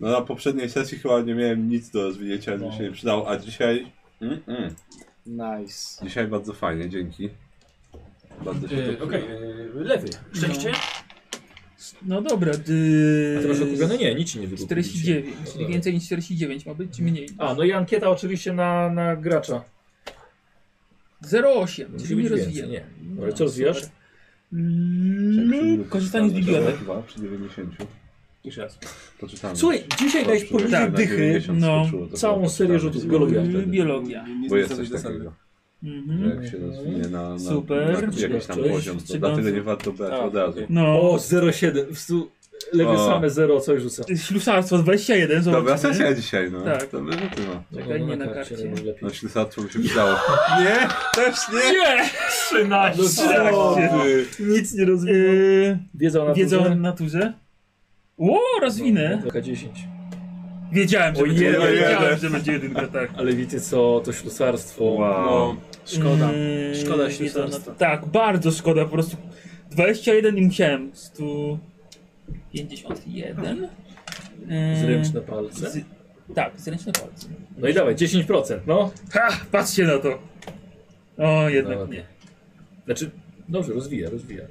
Speaker 4: No na poprzedniej sesji chyba nie miałem nic do rozwinięcia,
Speaker 2: No.
Speaker 4: mi się nie przydało, a dzisiaj... Mm -mm.
Speaker 5: Nice.
Speaker 4: Dzisiaj bardzo fajnie, dzięki. Bardzo się
Speaker 2: Yy,
Speaker 4: to
Speaker 2: Okej,
Speaker 4: przyda.
Speaker 2: yy, lewy.
Speaker 9: y, Szczęście? No dobra, ty...
Speaker 2: A ty masz okupione? Nie, nic ci nie wykupili.
Speaker 9: 49, czyli więcej niż 49 ma być, czy mniej?
Speaker 2: A, no i ankieta oczywiście na, na gracza.
Speaker 9: 0,8,
Speaker 2: Musi
Speaker 9: czyli
Speaker 2: być
Speaker 9: nie
Speaker 2: więcej,
Speaker 9: rozwijam.
Speaker 2: nie. Dobra, co rozwijasz?
Speaker 9: super. Mm, korzystanie z bibliotek.
Speaker 4: Chyba przy 90.
Speaker 3: Jeszcze raz.
Speaker 4: Poczytamy.
Speaker 2: Słuchaj, dzisiaj dałeś
Speaker 4: Dobrze,
Speaker 2: poniżej
Speaker 4: tak, na
Speaker 2: dychy
Speaker 4: 90
Speaker 9: no,
Speaker 4: skoczyło, to tak,
Speaker 2: całą
Speaker 4: chyba
Speaker 2: serię
Speaker 4: poczytamy.
Speaker 2: rzutów biologia
Speaker 4: Wtedy,
Speaker 9: Yy, Biologia.
Speaker 3: Nie, nie
Speaker 4: Bo jest
Speaker 3: znam
Speaker 4: coś
Speaker 3: zasady.
Speaker 4: takiego, że
Speaker 9: Mhm.
Speaker 4: jak się rozwinie na, na,
Speaker 9: Super.
Speaker 4: na jakiś tam
Speaker 2: Czy-
Speaker 4: poziom,
Speaker 9: czy-
Speaker 4: to dlatego nie warto brać
Speaker 3: A,
Speaker 4: od razu.
Speaker 3: okej.
Speaker 9: No,
Speaker 2: O, 0,7. W stu... Lewy
Speaker 4: O.
Speaker 2: same 0, coś rzuca.
Speaker 9: ślusarstwo 21, zobaczymy.
Speaker 4: Dobra sesja dzisiaj, no.
Speaker 9: Tak.
Speaker 4: Dobry rzuty, no.
Speaker 9: Czekaj, nie na karcie.
Speaker 4: No ślusarstwo mi się przydało. Nie? Też nie?
Speaker 9: Nie! 13!
Speaker 2: No
Speaker 4: O, ty.
Speaker 9: Nic nie rozumiem.
Speaker 2: Wiedza o
Speaker 9: Yy,
Speaker 2: naturze.
Speaker 9: wiedzą o naturze? Ło,
Speaker 2: No,
Speaker 9: rozwinę!
Speaker 2: K10.
Speaker 9: Wiedziałem, że
Speaker 2: O
Speaker 9: będzie,
Speaker 4: jeden.
Speaker 9: wiedziałem, że będzie jedynka, tak.
Speaker 2: Ale wiecie co, to ślusarstwo.
Speaker 4: No, Wow.
Speaker 5: Szkoda.
Speaker 9: Yy,
Speaker 5: Szkoda
Speaker 9: nie,
Speaker 5: ślusarstwa.
Speaker 9: no, Tak, bardzo szkoda, po prostu 21 i musiałem 151. Yy,
Speaker 2: No. Zręczne palce.
Speaker 9: z- tak, zręczne palce.
Speaker 2: No i dawaj, 10%, no.
Speaker 9: Ha, patrzcie na to. O, jednak
Speaker 5: No,
Speaker 2: Nawet
Speaker 9: nie.
Speaker 2: Znaczy, dobrze, rozwija, rozwija.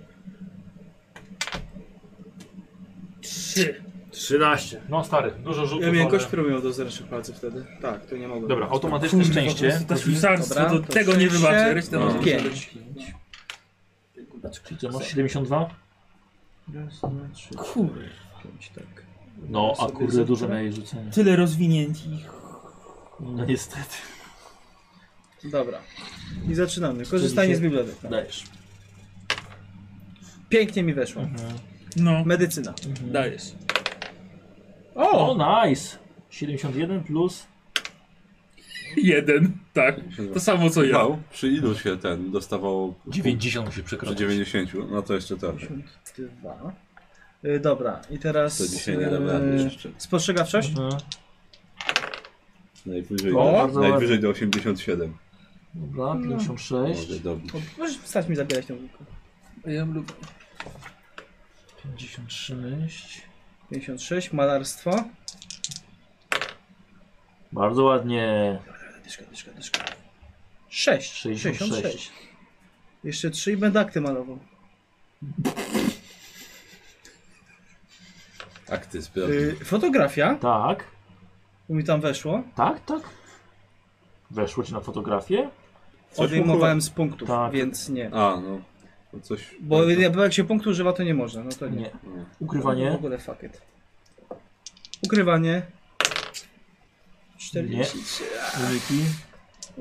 Speaker 9: Trzy.
Speaker 5: 13.
Speaker 15: No stary, dużo rzutów.
Speaker 5: Ja miałem
Speaker 15: ale-
Speaker 5: kość promiał do zerszych palców wtedy. Tak, to nie mogłem.
Speaker 15: Dobra, automatyczne
Speaker 9: Kurwa, po
Speaker 15: szczęście.
Speaker 9: prostu To świsarstwo,
Speaker 5: Dobra,
Speaker 9: to
Speaker 5: to
Speaker 9: tego nie
Speaker 5: szczęście.
Speaker 9: wybaczę. Resztę
Speaker 4: No.
Speaker 9: może
Speaker 5: Pięć.
Speaker 15: Czyli to masz 72?
Speaker 9: Kurde.
Speaker 15: No, a kurde, dużo miałeś rzucenia.
Speaker 9: Tyle rozwinięci.
Speaker 15: No niestety.
Speaker 5: Dobra. I zaczynamy. Korzystanie z bibliotek. tak.
Speaker 15: Dajesz.
Speaker 5: Pięknie mi weszło.
Speaker 15: Mhm.
Speaker 9: No,
Speaker 5: Medycyna.
Speaker 9: dajesz.
Speaker 15: O, nice! 71 plus...
Speaker 9: Jeden, tak. To samo co ja.
Speaker 4: Wow, przy ilu się ten dostawało?
Speaker 2: 90 musi
Speaker 4: Przy
Speaker 2: przekroczyć.
Speaker 4: 90, no to jeszcze tak.
Speaker 5: Dwa. Y, dobra, i teraz.
Speaker 4: To dzisiaj nie
Speaker 5: y,
Speaker 4: dam rady jeszcze.
Speaker 5: Spostrzegawczość?
Speaker 15: No,
Speaker 4: Najwyżej,
Speaker 5: O,
Speaker 4: do,
Speaker 5: bardzo
Speaker 4: najwyżej do 87
Speaker 15: Dobra, 56.
Speaker 4: może dobić.
Speaker 5: Możesz stać mi zabierać tą górkę.
Speaker 3: Ja lubię.
Speaker 15: 56.
Speaker 5: 56, malarstwo.
Speaker 15: Bardzo ładnie.
Speaker 5: Dyszka, dyszka, dyszka. 6.
Speaker 15: 66.
Speaker 5: Jeszcze 3 i będę akty malował.
Speaker 4: Akty sprawdzone.
Speaker 5: Y, fotografia,
Speaker 15: Tak,
Speaker 5: bo mi tam weszło.
Speaker 15: tak, tak. Weszło ci na fotografię?
Speaker 4: Coś
Speaker 5: Odejmowałem z punktów,
Speaker 15: Tak.
Speaker 5: więc nie.
Speaker 4: A, no. To coś...
Speaker 5: Bo jak się punktu używa, to nie można. No to nie.
Speaker 15: Nie.
Speaker 4: Nie.
Speaker 5: W
Speaker 15: Ukrywanie?
Speaker 5: ogóle fuck it. Ukrywanie. 43.
Speaker 15: Wyniki?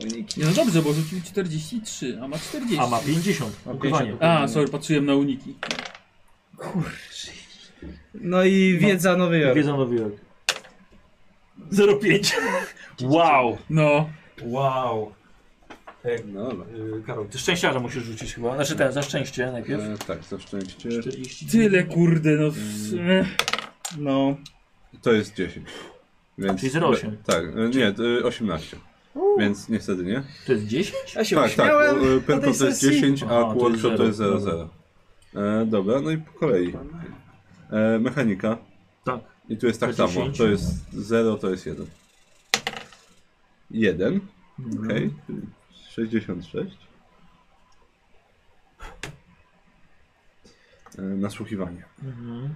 Speaker 5: Uniki.
Speaker 9: Nie, No dobrze, bo rzucił 43, a ma 40.
Speaker 15: A ma 50.
Speaker 5: Ma
Speaker 15: Ukrywanie.
Speaker 5: 50.
Speaker 9: A, sorry, patrzyłem na uniki.
Speaker 5: No i wiedza Nowy Jork.
Speaker 15: Wiedza Nowy Jork. 05. Wow!
Speaker 9: No,
Speaker 15: Wow!
Speaker 4: No dobra.
Speaker 15: Yy, Karol, ty szczęściarza musisz rzucić chyba. Znaczy ten, za szczęście najpierw.
Speaker 4: E, tak, za szczęście.
Speaker 15: 40.
Speaker 9: tyle kurde, no. w- e,
Speaker 5: No.
Speaker 4: To jest 10. Więc...
Speaker 15: Czyli 08.
Speaker 4: be- Tak, e, nie, e, 18. Więc niestety nie.
Speaker 15: To jest 10?
Speaker 5: Ja się
Speaker 4: tak, tak.
Speaker 5: uśmiałem
Speaker 4: e,
Speaker 5: na
Speaker 4: Perko
Speaker 5: tej
Speaker 4: to jest
Speaker 5: sesji.
Speaker 4: 10,
Speaker 15: Aha,
Speaker 4: a
Speaker 15: to
Speaker 4: Qualshot
Speaker 15: jest
Speaker 4: to jest
Speaker 15: zero.
Speaker 4: 00. E, dobra, no i po kolei. E, mechanika.
Speaker 15: Tak.
Speaker 4: I tu jest tak
Speaker 15: Do
Speaker 4: samo.
Speaker 15: 10.
Speaker 4: To jest 0, to jest 1. 1.
Speaker 15: Mhm.
Speaker 4: Okej. 66. E, nasłuchiwanie.
Speaker 15: Mhm.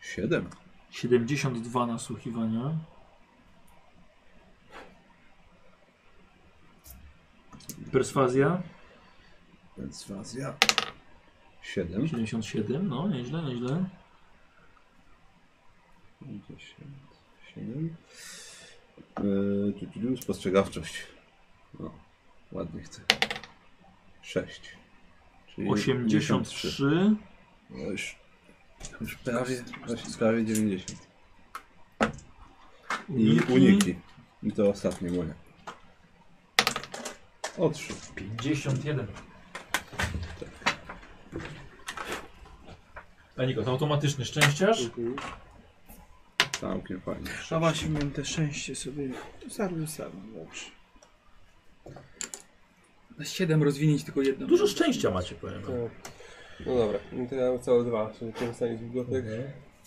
Speaker 4: 7.
Speaker 15: 72 nasłuchiwania. Perswazja.
Speaker 4: Perswazja. 7.
Speaker 15: 77, no nieźle, nieźle.
Speaker 4: 57. Yy, tu, tu, tu, spostrzegawczość. No, ładnie chcę. 6. Czyli
Speaker 15: 83.
Speaker 4: No Już, już prawie, właśnie prawie 90. I uniki. I to ostatnie moje. O 3.
Speaker 15: 51. A Niko, to automatyczny szczęściarz.
Speaker 4: Całkiem fajnie.
Speaker 5: A właśnie miałem te szczęście sobie. Zarwę sam, dobrze.
Speaker 9: na 7 e. rozwinięć tylko jedno.
Speaker 2: Dużo szczęścia macie, powiem. wam.
Speaker 11: No dobra, no to ja mam całe dwa, czyli korzystanie z bibliotek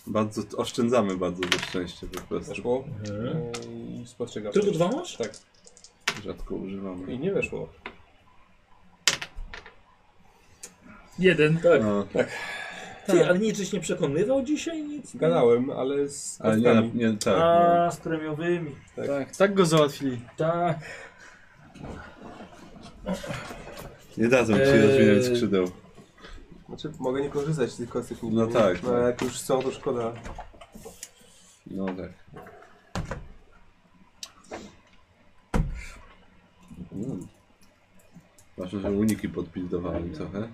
Speaker 4: Bardzo oszczędzamy bardzo ze szczęście po prostu.
Speaker 11: weszło
Speaker 2: Mhm.
Speaker 11: e, i spostrzegawczość.
Speaker 2: Tylko dwa masz?
Speaker 11: Tak,
Speaker 4: Rzadko używamy.
Speaker 11: i nie weszło.
Speaker 9: Jeden.
Speaker 4: No,
Speaker 2: Ty, ale niczyś nie przekonywał dzisiaj nic?
Speaker 11: Gadałem, ale z
Speaker 4: ale nie, na-
Speaker 11: kostkami.
Speaker 4: nie tak. nie.
Speaker 15: A, z premiowymi.
Speaker 5: Tak, tak go załatwili.
Speaker 2: Tak.
Speaker 4: Nie dadzą ci
Speaker 2: Eee.
Speaker 4: rozwinąć skrzydeł.
Speaker 11: Znaczy, mogę nie korzystać z tych kostek nigdy,
Speaker 4: No
Speaker 11: nie?
Speaker 4: tak,
Speaker 11: No,
Speaker 4: tak.
Speaker 11: ale jak już są, to szkoda.
Speaker 4: No tak. Mm. Ważne, że uniki podpildowałem trochę.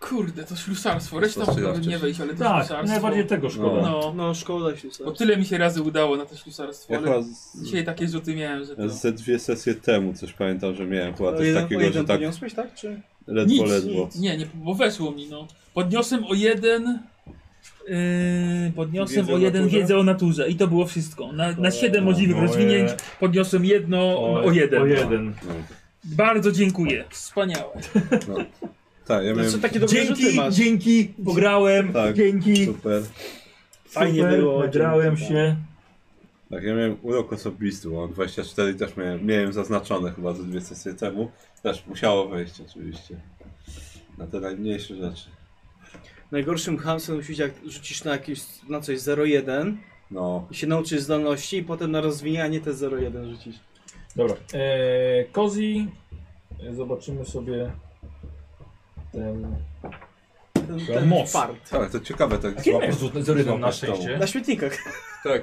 Speaker 9: Kurde, to ślusarstwo. Reszta
Speaker 4: Spostrzegawczość.
Speaker 9: mogłaby nie wejść, ale to
Speaker 15: Tak,
Speaker 9: ślusarstwo.
Speaker 15: najbardziej tego szkoda.
Speaker 4: No.
Speaker 9: No,
Speaker 5: No, szkoda się
Speaker 9: bo tyle mi się razy udało na to ślusarstwo,
Speaker 4: Ja
Speaker 9: ale
Speaker 4: chyba z,
Speaker 9: dzisiaj takie rzuty miałem, że to...
Speaker 4: ja ze dwie sesje temu coś pamiętam, że miałem chyba
Speaker 5: O
Speaker 4: coś
Speaker 5: No, jeden, o
Speaker 4: takiego, że
Speaker 5: jeden
Speaker 4: tak
Speaker 5: podniosłeś, tak? Czy?
Speaker 4: ledwo,
Speaker 9: Nic,
Speaker 4: ledwo.
Speaker 9: nic. Nie, nie, bo weszło mi, no. Podniosłem o jeden... Yy, podniosłem
Speaker 11: Wiedzę
Speaker 9: o
Speaker 11: o
Speaker 9: jeden
Speaker 11: naturze?
Speaker 9: wiedzę o naturze i to było wszystko. Na, na siedem możliwych
Speaker 15: Oje.
Speaker 9: rozwinięć podniosłem jedno o, jeden.
Speaker 15: No. O jeden.
Speaker 4: No.
Speaker 9: Bardzo dziękuję. Wspaniałe.
Speaker 4: Tak, ja miałem...
Speaker 5: Znaczy, takie dobre rzuty
Speaker 9: Dzięki,
Speaker 5: masz.
Speaker 9: dzięki, pograłem,
Speaker 4: Tak.
Speaker 9: dzięki.
Speaker 4: Super.
Speaker 15: Fajnie
Speaker 5: Super,
Speaker 15: było,
Speaker 5: dzięki,
Speaker 15: nagrałem
Speaker 5: tak.
Speaker 15: się.
Speaker 4: Tak, ja miałem urok osobisty, bo mam 24 i też miałem, miałem zaznaczone chyba ze dwie sesje temu. Też musiało wejść oczywiście. Na te najmniejsze rzeczy.
Speaker 5: Najgorszym hamsem musi być jak rzucisz na, jakieś, na coś 0,1
Speaker 4: No,
Speaker 5: i się nauczysz zdolności i potem na rozwijanie te 0,1 rzucisz.
Speaker 2: Dobra. Eee, Kozi. E, Zobaczymy sobie ten...
Speaker 5: Ten,
Speaker 2: To moc.
Speaker 5: part.
Speaker 4: tak, to ciekawe tak
Speaker 15: Jakie miałeś
Speaker 4: złapać.
Speaker 15: rzut z rybą na
Speaker 4: złapać tą-
Speaker 15: szczęście?
Speaker 5: Na śmietnikach.
Speaker 4: Tak.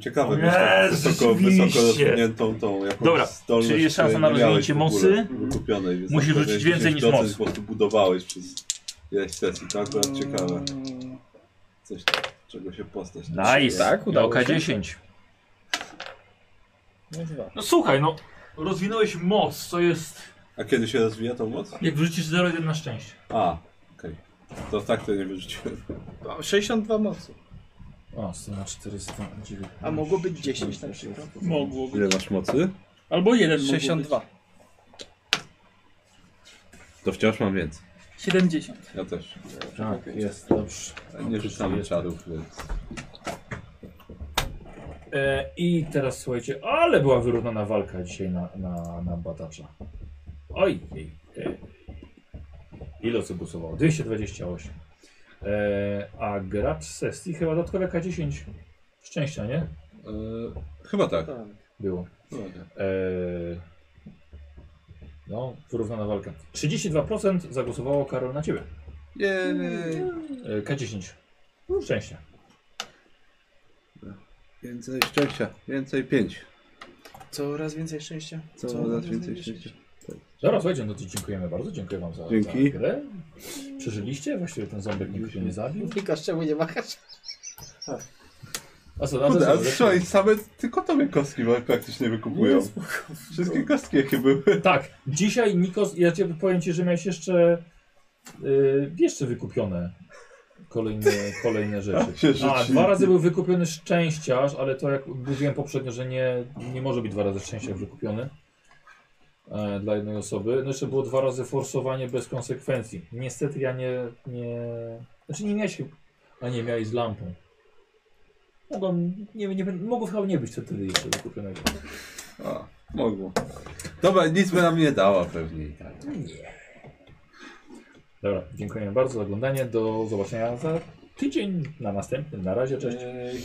Speaker 4: Ciekawe,
Speaker 15: O
Speaker 4: mieć tak
Speaker 15: Jezu,
Speaker 4: wysoko, wysoko
Speaker 15: rzeczywiście.
Speaker 4: rozwiniętą tą jakąś
Speaker 15: Dobra,
Speaker 4: zdolność,
Speaker 15: czyli jest
Speaker 4: której
Speaker 15: szansa na
Speaker 4: nie miałeś
Speaker 15: rozwinięcie
Speaker 4: w ogóle
Speaker 15: mocy.
Speaker 4: wykupionej, więc tak
Speaker 15: Musisz
Speaker 4: na
Speaker 15: rzucić
Speaker 4: pewno
Speaker 15: więcej niż
Speaker 4: 10%
Speaker 15: moc.
Speaker 4: po prostu budowałeś przez ileś sesji, tak? To jest ciekawe.
Speaker 5: Mm,
Speaker 4: Coś, czego się postać.
Speaker 15: Nice.
Speaker 2: Tak, udało
Speaker 15: udało
Speaker 2: się.
Speaker 15: 10. No słuchaj, no rozwinąłeś moc, co jest...
Speaker 4: A kiedy się rozwija tą moc?
Speaker 15: Jak wrzucisz 0,1 na szczęście.
Speaker 4: A, okej. To tak to nie wyrzuciłem.
Speaker 5: O, 62 mocy.
Speaker 2: O, strona 409.
Speaker 5: A mogło być 10 na przykład.
Speaker 9: Mogło być.
Speaker 4: Ile masz mocy?
Speaker 9: Albo jeden mógł
Speaker 5: 62.
Speaker 4: To wciąż mam więcej.
Speaker 9: 70.
Speaker 4: Ja też.
Speaker 2: Tak, jest, dobrze.
Speaker 4: Nie rzucamy czarów, więc...
Speaker 2: E, I teraz słuchajcie, ale była wyrównana walka dzisiaj na, na, na batacza. Oj, jej. E, ile osób głosowało? 228. E, a gracz sesji chyba dodatkowe K10 szczęścia, nie?
Speaker 4: Yy, chyba tak.
Speaker 5: Tak.
Speaker 2: Było.
Speaker 4: Chyba tak.
Speaker 2: E, no, wyrównana walka. 32% zagłosowało Karol na ciebie.
Speaker 4: Jej.
Speaker 2: E, K10 szczęścia.
Speaker 4: Więcej szczęścia. Więcej pięć.
Speaker 5: Coraz więcej szczęścia.
Speaker 4: Coraz więcej szczęścia.
Speaker 2: Dobra, słuchajcie, no to dziękujemy bardzo. Dziękuję wam za,
Speaker 4: Dzięki.
Speaker 2: za grę. Przeżyliście? Właściwie ten ząbek nikt nie zabił.
Speaker 5: Klikasz, czemu nie machasz?
Speaker 2: A co, na
Speaker 4: Kurde,
Speaker 2: co-
Speaker 4: a słuchaj, same tylko tobie kostki praktycznie wykupują. Wszystkie kostki jakie były.
Speaker 2: Tak, dzisiaj Nikos, ja cię powiem ci, że miałeś jeszcze y, jeszcze wykupione kolejne, kolejne rzeczy.
Speaker 4: Tak się rzuci.
Speaker 2: A, dwa razy był wykupiony szczęściarz, ale to jak mówiłem poprzednio, że nie, nie może być dwa razy szczęściarz wykupiony e, dla jednej osoby. No jeszcze było dwa razy forsowanie bez konsekwencji. Niestety ja nie, nie znaczy nie miałeś, chyb- a nie miałeś z lampą. Mogłem, nie, nie, mogło chyba nie być wtedy jeszcze wykupionego.
Speaker 4: A, mogło. Dobra, nic by nam nie dała pewnie i tak.
Speaker 2: Dobra,
Speaker 11: E,
Speaker 2: dziękujemy bardzo za oglądanie. Do zobaczenia za tydzień na następnym. Na razie, cześć.
Speaker 4: Ej.